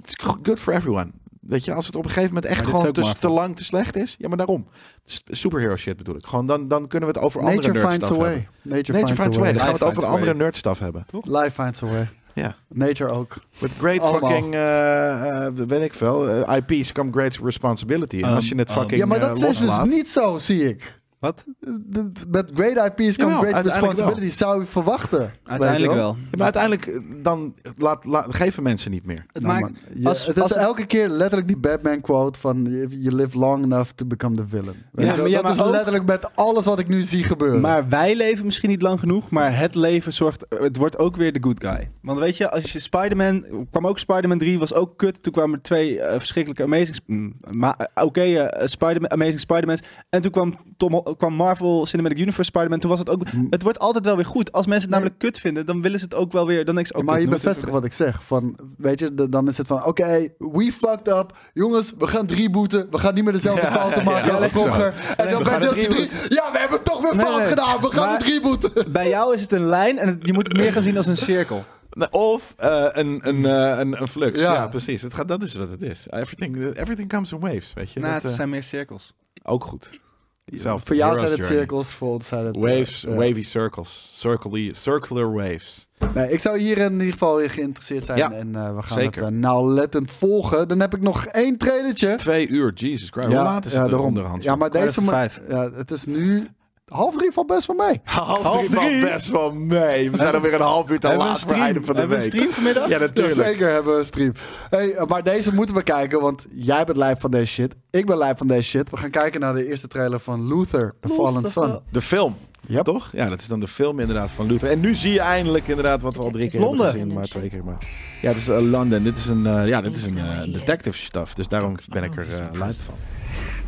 [SPEAKER 2] It's go- good for everyone. Weet je, als het op een gegeven moment echt
[SPEAKER 3] Maar dit is
[SPEAKER 2] gewoon
[SPEAKER 3] ook
[SPEAKER 2] te,
[SPEAKER 3] Marvel.
[SPEAKER 2] te lang te slecht is. Ja, maar daarom. S- Superhero shit bedoel ik. Gewoon dan, dan kunnen we het over
[SPEAKER 4] nature
[SPEAKER 2] andere
[SPEAKER 4] finds
[SPEAKER 2] nerd
[SPEAKER 4] a
[SPEAKER 2] stuff
[SPEAKER 4] way.
[SPEAKER 2] hebben.
[SPEAKER 4] Nature,
[SPEAKER 2] Nature finds a way. Dan gaan we het
[SPEAKER 3] Life
[SPEAKER 2] over
[SPEAKER 3] finds a
[SPEAKER 2] andere
[SPEAKER 3] way.
[SPEAKER 2] nerd stuff hebben.
[SPEAKER 4] Life finds a way.
[SPEAKER 2] Ja.
[SPEAKER 4] Nature ook.
[SPEAKER 2] With great
[SPEAKER 4] Allemaal.
[SPEAKER 2] fucking, eh eh, weet ik veel, eh, IP's come great responsibility. En
[SPEAKER 3] Um,
[SPEAKER 2] als je het
[SPEAKER 3] um.
[SPEAKER 2] fucking
[SPEAKER 4] Ja, maar
[SPEAKER 2] eh,
[SPEAKER 4] dat is dus
[SPEAKER 2] loslaat-
[SPEAKER 4] niet zo, zie ik.
[SPEAKER 3] Wat?
[SPEAKER 4] De- de- Met great IP's come
[SPEAKER 2] Jawel,
[SPEAKER 4] great
[SPEAKER 2] uiteindelijk
[SPEAKER 4] responsibility. Zou je verwachten. weet je
[SPEAKER 3] Uiteindelijk wel.
[SPEAKER 2] Ja, maar uiteindelijk, eh, dan laat, laat- geven mensen niet meer.
[SPEAKER 3] Het
[SPEAKER 4] Nou,
[SPEAKER 3] maakt,
[SPEAKER 4] maar je-
[SPEAKER 3] als-
[SPEAKER 4] het is
[SPEAKER 3] als-
[SPEAKER 4] elke keer letterlijk die Batman quote van if you live long enough to become the villain. Weet
[SPEAKER 3] Ja,
[SPEAKER 4] je wel?
[SPEAKER 3] maar- ja,
[SPEAKER 4] dat
[SPEAKER 3] maar
[SPEAKER 4] is
[SPEAKER 3] ook-
[SPEAKER 4] letterlijk met alles wat ik nu zie gebeuren.
[SPEAKER 3] Maar wij leven misschien niet lang genoeg, maar het leven zorgt. Het wordt ook weer de good guy. Want weet je, als je Spider-Man. kwam ook Spider-Man 3, was ook kut. Toen kwamen er twee eh, verschrikkelijke Amazing. Sp- mm, ma- eh, Oké, eh, Spider-Man- Amazing Spider-Mans. En toen kwam, Tom, kwam Marvel Cinematic Universe Spider-Man. Toen was het ook. Het wordt altijd wel weer goed. Als mensen het
[SPEAKER 4] Nee.
[SPEAKER 3] namelijk kut vinden, dan willen ze het ook wel weer. Dan denk ze, oh,
[SPEAKER 4] maar
[SPEAKER 3] kut,
[SPEAKER 4] je
[SPEAKER 3] nu moet het
[SPEAKER 4] bevestigt wat ik zeg. Van, weet je, de- dan is het van, oké, we fucked up. Jongens, we gaan drie boeten. We gaan niet meer dezelfde fouten maken
[SPEAKER 2] ja,
[SPEAKER 4] als
[SPEAKER 2] dat is ook
[SPEAKER 4] vroeger. En dan
[SPEAKER 2] we
[SPEAKER 4] bij
[SPEAKER 2] gaan het
[SPEAKER 4] deeltje drie, ja, we hebben het toch weer
[SPEAKER 3] Nee,
[SPEAKER 4] fout
[SPEAKER 3] nee.
[SPEAKER 4] gedaan. We gaan
[SPEAKER 3] Maar-
[SPEAKER 4] het drie boeten.
[SPEAKER 3] weer- Bij jou is het een lijn en het- je moet het meer gaan zien als een cirkel.
[SPEAKER 2] Nou, Of eh, een, een, eh, een, een flux.
[SPEAKER 4] Ja.
[SPEAKER 2] Ja, precies. Het gaat, dat is wat het is. Everything, everything comes in waves, weet je.
[SPEAKER 3] Nou,
[SPEAKER 2] dat,
[SPEAKER 3] het
[SPEAKER 2] eh,
[SPEAKER 3] zijn meer cirkels.
[SPEAKER 2] Ook goed. Hetzelfde.
[SPEAKER 4] Voor jou
[SPEAKER 2] Hero's
[SPEAKER 4] zijn het
[SPEAKER 2] Journey.
[SPEAKER 4] cirkels, voor ons zijn het... eh,
[SPEAKER 2] Waves,
[SPEAKER 4] Ja.
[SPEAKER 2] wavy circles. Circly, circular waves.
[SPEAKER 4] Nee, ik zou hier in ieder geval in geïnteresseerd zijn.
[SPEAKER 2] Ja,
[SPEAKER 4] en eh, we gaan
[SPEAKER 2] zeker.
[SPEAKER 4] het eh, nauwlettend volgen. Dan heb ik nog één trailertje.
[SPEAKER 2] Twee uur, Jesus Christ. Hoe laat is het
[SPEAKER 4] daarom.
[SPEAKER 2] onderhand?
[SPEAKER 4] Ja, maar
[SPEAKER 3] Kwart
[SPEAKER 4] deze...
[SPEAKER 3] voor
[SPEAKER 4] ma-
[SPEAKER 3] vijf.
[SPEAKER 4] Ja, het is nu... Half drie valt best wel mee.
[SPEAKER 2] half,
[SPEAKER 3] half
[SPEAKER 2] drie valt
[SPEAKER 3] drie.
[SPEAKER 2] best wel mee. We zijn alweer een half uur te
[SPEAKER 3] Hebben we een
[SPEAKER 2] laat voor het einde
[SPEAKER 3] stream,
[SPEAKER 2] van de
[SPEAKER 3] hebben we
[SPEAKER 2] week.
[SPEAKER 3] een stream
[SPEAKER 2] Ja,
[SPEAKER 3] vanmiddag?
[SPEAKER 4] Ja,
[SPEAKER 2] natuurlijk.
[SPEAKER 4] zeker hebben we een stream. Hey, eh, maar deze moeten we kijken, want jij bent lijf van deze shit. Ik ben lijf van deze shit. We gaan kijken naar de eerste trailer van Luther, The Fallen Sun.
[SPEAKER 2] De film,
[SPEAKER 4] Yep.
[SPEAKER 2] toch? Ja, dat is dan de film inderdaad van Luther. En nu zie je eindelijk inderdaad wat we al drie keer
[SPEAKER 3] Londen.
[SPEAKER 2] hebben gezien. Maar twee keer maar. Ja, het is eh, Londen. Dit is een, eh, ja, dit is een eh, detective stuff. Dus daarom ben ik er eh luid van.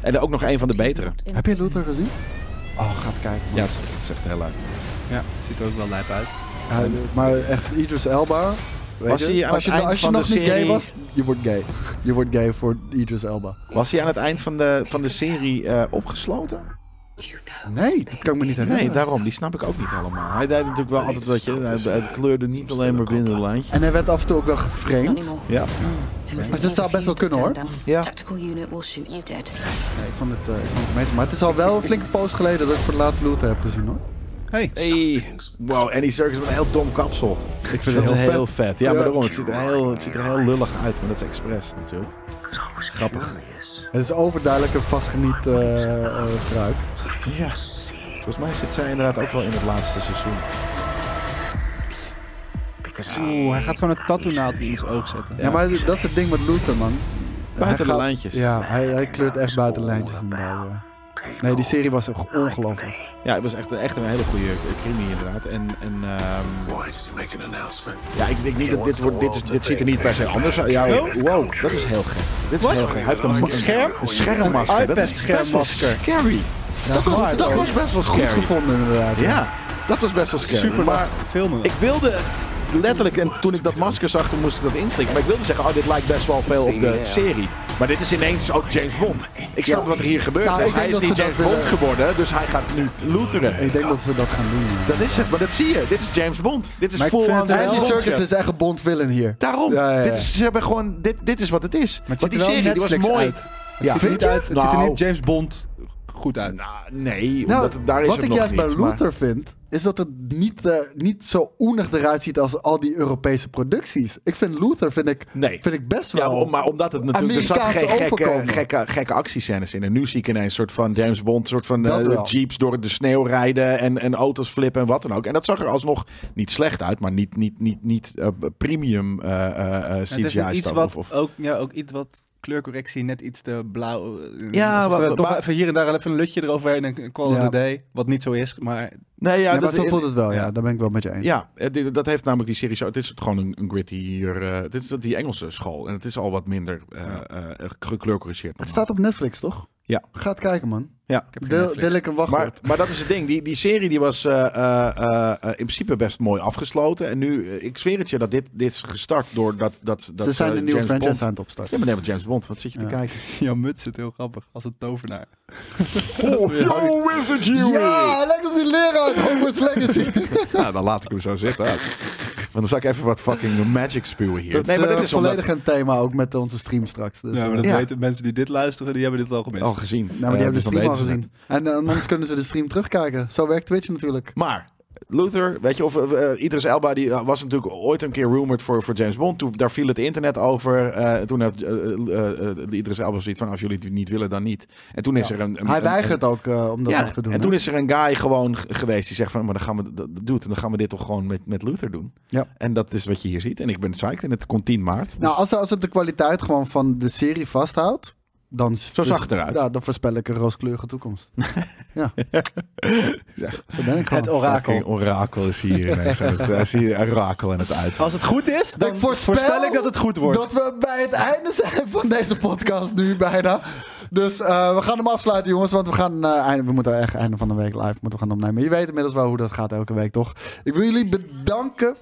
[SPEAKER 2] En ook nog een van de betere.
[SPEAKER 4] Heb je Luther gezien? Oh, gaat kijken.
[SPEAKER 2] Ja, het is, het is echt heel leuk.
[SPEAKER 3] Ja, het ziet er ook wel lijp uit.
[SPEAKER 4] Hij- maar echt, Idris Elba. Weet
[SPEAKER 2] Was
[SPEAKER 4] je,
[SPEAKER 2] hij aan
[SPEAKER 4] als je,
[SPEAKER 2] het eind
[SPEAKER 4] als je
[SPEAKER 2] van
[SPEAKER 4] nog
[SPEAKER 2] de
[SPEAKER 4] niet gay
[SPEAKER 2] serie-
[SPEAKER 4] was, je wordt gay. Je wordt gay voor Idris Elba.
[SPEAKER 2] Was hij aan het eind van de, van de serie eh, opgesloten?
[SPEAKER 4] Nee, dat kan ik me niet herinneren.
[SPEAKER 2] Nee, daarom. Die snap ik ook niet helemaal. Hij deed natuurlijk wel altijd wat je... Hij, hij kleurde niet alleen maar binnen een lijntje.
[SPEAKER 4] En hij werd af en toe ook wel geframed.
[SPEAKER 6] anymore.
[SPEAKER 2] Ja.
[SPEAKER 4] Dus dat zou best wel kunnen hoor.
[SPEAKER 2] Ja.
[SPEAKER 6] Tactical unit will shoot you dead.
[SPEAKER 4] Nee, ik vond het, eh, ik vond het meestal. Maar het is al wel een flinke poos geleden dat ik voor de laatste Luther heb gezien hoor.
[SPEAKER 3] Hey.
[SPEAKER 2] Hey. Wow, en die circus met een heel dom kapsel. Ik vind
[SPEAKER 4] het
[SPEAKER 2] dat
[SPEAKER 4] heel
[SPEAKER 2] heel vet. Ja,
[SPEAKER 4] Ja.
[SPEAKER 2] maar daarom, het ziet, er heel, het ziet er heel lullig uit, maar dat is expres natuurlijk. Grappig.
[SPEAKER 4] Het is overduidelijk een vastgeniet eh eh, gebruik.
[SPEAKER 2] Ja. Volgens mij zit zij inderdaad ook wel in het laatste seizoen.
[SPEAKER 3] Oeh, hij gaat gewoon een tattoo naald in zijn oog zetten.
[SPEAKER 4] Ja, maar dat is het ding met Luther, man. Hij
[SPEAKER 2] Buiten de
[SPEAKER 4] gaat-
[SPEAKER 2] lijntjes.
[SPEAKER 4] Ja, hij, hij kleurt echt buiten de lijntjes. inderdaad, ja. Nee, die serie was echt ongelooflijk.
[SPEAKER 2] Ja, het was echt, echt een hele goede crimi inderdaad. En, en ehm, Ja, ik denk niet dat dit wordt. Dit, is, dit ziet er niet per se anders uit. Ja, wow, dat is heel gek. Dit is heel gek. Hij heeft een,
[SPEAKER 3] Een scherm?
[SPEAKER 2] Een schermmasker.
[SPEAKER 3] Een
[SPEAKER 2] Dat is best wel
[SPEAKER 3] iPad-schermmasker.
[SPEAKER 2] Scary. dat, was,
[SPEAKER 3] waar,
[SPEAKER 2] dat
[SPEAKER 3] hoor.
[SPEAKER 2] was best wel
[SPEAKER 4] Goed
[SPEAKER 2] scary.
[SPEAKER 4] gevonden, inderdaad.
[SPEAKER 2] Ja, dat was best wel scary.
[SPEAKER 3] Super
[SPEAKER 2] maar
[SPEAKER 3] lastig te filmen.
[SPEAKER 2] ik wilde letterlijk, en toen ik dat masker zag, toen moest ik dat inslikken. Maar ik wilde zeggen, oh, dit lijkt best wel veel op de serie. Maar dit is ineens ook James Bond. Ik snap wat er hier gebeurt.
[SPEAKER 4] Nou,
[SPEAKER 2] is.
[SPEAKER 4] ik denk
[SPEAKER 2] hij is
[SPEAKER 4] dat
[SPEAKER 2] niet
[SPEAKER 4] ze
[SPEAKER 2] James
[SPEAKER 4] dat
[SPEAKER 2] Bond
[SPEAKER 4] willen.
[SPEAKER 2] geworden, dus hij gaat nu looteren.
[SPEAKER 4] Ik denk dat ze dat gaan doen. ja.
[SPEAKER 2] Dat is het, maar dat zie je. Dit is James Bond. Dit is
[SPEAKER 3] Maar ik
[SPEAKER 2] full
[SPEAKER 3] vind
[SPEAKER 2] on
[SPEAKER 3] het wel-
[SPEAKER 4] En die
[SPEAKER 2] James Bond,
[SPEAKER 4] circus
[SPEAKER 2] ja.
[SPEAKER 4] is echt een bond villain hier.
[SPEAKER 2] Daarom.
[SPEAKER 4] Ja, ja, ja.
[SPEAKER 2] Dit, is, ze hebben gewoon, dit, dit is wat het is.
[SPEAKER 3] Maar het
[SPEAKER 2] Want die
[SPEAKER 3] ziet er
[SPEAKER 2] serie
[SPEAKER 3] wel
[SPEAKER 2] die was
[SPEAKER 3] Netflix
[SPEAKER 2] mooi.
[SPEAKER 3] uit. Het,
[SPEAKER 2] Ja.
[SPEAKER 3] ziet, er niet uit, het ziet er
[SPEAKER 2] Nou.
[SPEAKER 3] niet James Bond goed uit.
[SPEAKER 2] Nou, nee,
[SPEAKER 4] Nou,
[SPEAKER 2] omdat, daar is
[SPEAKER 4] wat
[SPEAKER 2] het
[SPEAKER 4] ik
[SPEAKER 2] nog
[SPEAKER 4] juist
[SPEAKER 2] niet.
[SPEAKER 4] bij
[SPEAKER 2] maar-
[SPEAKER 4] Luther vind, is dat het niet, eh, niet zo oenig eruit ziet als al die Europese producties. Ik vind Luther vind ik,
[SPEAKER 2] Nee.
[SPEAKER 4] vind ik
[SPEAKER 2] Ja,
[SPEAKER 4] best wel...
[SPEAKER 2] om- maar omdat het natuurlijk... Er zat
[SPEAKER 4] Amerikaans
[SPEAKER 2] geen gekke,
[SPEAKER 4] overkomen.
[SPEAKER 2] gekke, gekke actiescènes in. En nu zie ik ineens een soort van James Bond... soort van
[SPEAKER 4] Dat
[SPEAKER 2] eh,
[SPEAKER 4] wel.
[SPEAKER 2] jeeps door de sneeuw rijden... En, en auto's flippen en wat dan ook. En dat zag er alsnog niet slecht uit... maar niet, niet, niet, niet eh, premium eh, eh, eh,
[SPEAKER 3] het is
[SPEAKER 2] CGI
[SPEAKER 3] iets
[SPEAKER 2] stuff.
[SPEAKER 3] wat,
[SPEAKER 2] Of, of,
[SPEAKER 3] Ook, ja, ook iets wat kleurcorrectie, net iets te blauw. eh,
[SPEAKER 2] Ja,
[SPEAKER 3] alsof
[SPEAKER 2] wat-
[SPEAKER 3] er toch
[SPEAKER 2] maar-
[SPEAKER 3] even hier en daar even een lutje eroverheen en een call
[SPEAKER 4] Ja.
[SPEAKER 3] of the day. Wat niet zo is, maar
[SPEAKER 2] nee, ja,
[SPEAKER 4] Ja, maar
[SPEAKER 2] dat,
[SPEAKER 4] zo voelt het wel, ja.
[SPEAKER 3] ja.
[SPEAKER 4] Daar ben ik wel met je eens.
[SPEAKER 2] Ja, eh, dit- dat heeft namelijk die serie zo. Het is gewoon een, een gritty hier. eh, dit is die Engelse school. En het is al wat minder eh eh, gekleurcorrigeerd.
[SPEAKER 4] Het staat op Netflix, toch?
[SPEAKER 2] Ja.
[SPEAKER 4] Ga het kijken, man.
[SPEAKER 2] Ja.
[SPEAKER 3] heb geen
[SPEAKER 4] Deel,
[SPEAKER 3] Netflix.
[SPEAKER 4] deel ik een wachtwoord.
[SPEAKER 2] Maar, maar dat is het ding. Die, die serie die was eh, eh, eh, eh, in principe best mooi afgesloten. En nu, eh, ik zweer het je, dat dit, dit is gestart door dat... dat, dat
[SPEAKER 4] Ze zijn
[SPEAKER 2] eh,
[SPEAKER 4] de nieuwe
[SPEAKER 2] James
[SPEAKER 4] franchise
[SPEAKER 2] Bond.
[SPEAKER 4] aan het opstarten.
[SPEAKER 2] Ja, maar nee, maar James Bond. Wat zit je te kijken?
[SPEAKER 3] jouw muts zit heel grappig als een tovenaar.
[SPEAKER 2] Oh, wizard you!
[SPEAKER 4] Ja, hij lijkt op die leraar uit Hogwarts Legacy.
[SPEAKER 2] Nou, dan laat ik hem zo zitten. Want dan zal ik even wat fucking magic spuwen hier.
[SPEAKER 4] Dat is, eh,
[SPEAKER 2] omdat-
[SPEAKER 4] volledig een thema ook met onze stream straks. Dus,
[SPEAKER 3] Ja, maar
[SPEAKER 4] eh,
[SPEAKER 3] dat
[SPEAKER 2] Ja.
[SPEAKER 3] weten mensen die dit luisteren, die hebben dit al gemist.
[SPEAKER 2] Al gezien.
[SPEAKER 4] nou, maar die
[SPEAKER 2] Eh,
[SPEAKER 4] hebben
[SPEAKER 2] dus
[SPEAKER 4] de
[SPEAKER 2] dan
[SPEAKER 4] stream al
[SPEAKER 2] weten ze het.
[SPEAKER 4] gezien. En eh, anders kunnen ze de stream terugkijken. Zo werkt Twitch natuurlijk.
[SPEAKER 2] Maar Luther, weet je, of eh, eh, Idris Elba, die eh, was natuurlijk ooit een keer rumored voor, voor James Bond. Toen, daar viel het internet over. Eh, toen had eh, eh, eh, Idris Elba zoiets van, als jullie het niet willen, dan niet. En toen is er een... een-
[SPEAKER 4] Hij
[SPEAKER 2] een-
[SPEAKER 4] weigert ook eh, om dat
[SPEAKER 2] ja,
[SPEAKER 4] nog te doen.
[SPEAKER 2] en
[SPEAKER 4] hè?
[SPEAKER 2] toen is er een guy gewoon g- geweest die zegt van, maar dan gaan we dat doet en dan gaan we dit toch gewoon met, met Luther doen.
[SPEAKER 4] Ja.
[SPEAKER 2] En dat is wat je hier ziet. En ik ben psyched en het komt 10 maart.
[SPEAKER 4] Nou, als, als het de kwaliteit gewoon van de serie vasthoudt, dan, Zo
[SPEAKER 2] zag het eruit.
[SPEAKER 4] Ja, dan voorspel ik een rooskleurige toekomst. ja. Zo ben ik gewoon.
[SPEAKER 3] Het orakel.
[SPEAKER 2] Fucking orakel is hier ineens. aan het- Hij zie je orakel en het uit.
[SPEAKER 3] Als het goed is, dan
[SPEAKER 4] Ik
[SPEAKER 3] voorspel, ik dat het goed wordt.
[SPEAKER 4] Dat we bij het einde zijn van deze podcast nu bijna. Dus eh, we gaan hem afsluiten, jongens. Want we, gaan, eh, einde, we moeten echt einde van de week live moeten gaan opnemen. Je weet inmiddels wel hoe dat gaat elke week, toch? Ik wil jullie bedanken.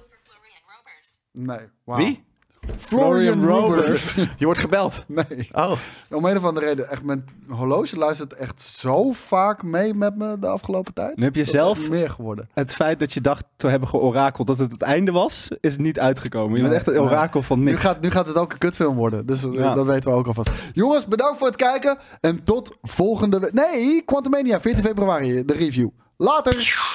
[SPEAKER 4] Nee. wauw.
[SPEAKER 2] Wie?
[SPEAKER 4] Florian,
[SPEAKER 3] Florian
[SPEAKER 4] Roberts.
[SPEAKER 2] Je wordt gebeld.
[SPEAKER 4] Nee.
[SPEAKER 2] Oh.
[SPEAKER 4] Om een of andere reden, echt, mijn horloge luistert echt zo vaak mee met me de afgelopen tijd.
[SPEAKER 3] Nu heb je
[SPEAKER 4] Dat
[SPEAKER 3] zelf-
[SPEAKER 4] is meer geworden.
[SPEAKER 3] Het feit dat je dacht te hebben georakeld dat het het einde was, is niet uitgekomen. Je
[SPEAKER 4] Nee,
[SPEAKER 3] bent echt een
[SPEAKER 4] nee.
[SPEAKER 3] orakel van
[SPEAKER 4] Nu
[SPEAKER 3] niks.
[SPEAKER 4] gaat, nu gaat het ook een kutfilm worden, dus eh,
[SPEAKER 3] Ja.
[SPEAKER 4] dat weten we ook alvast. Jongens, bedankt voor het kijken en tot volgende week. Nee, Quantumania, 14 februari, de review. Later!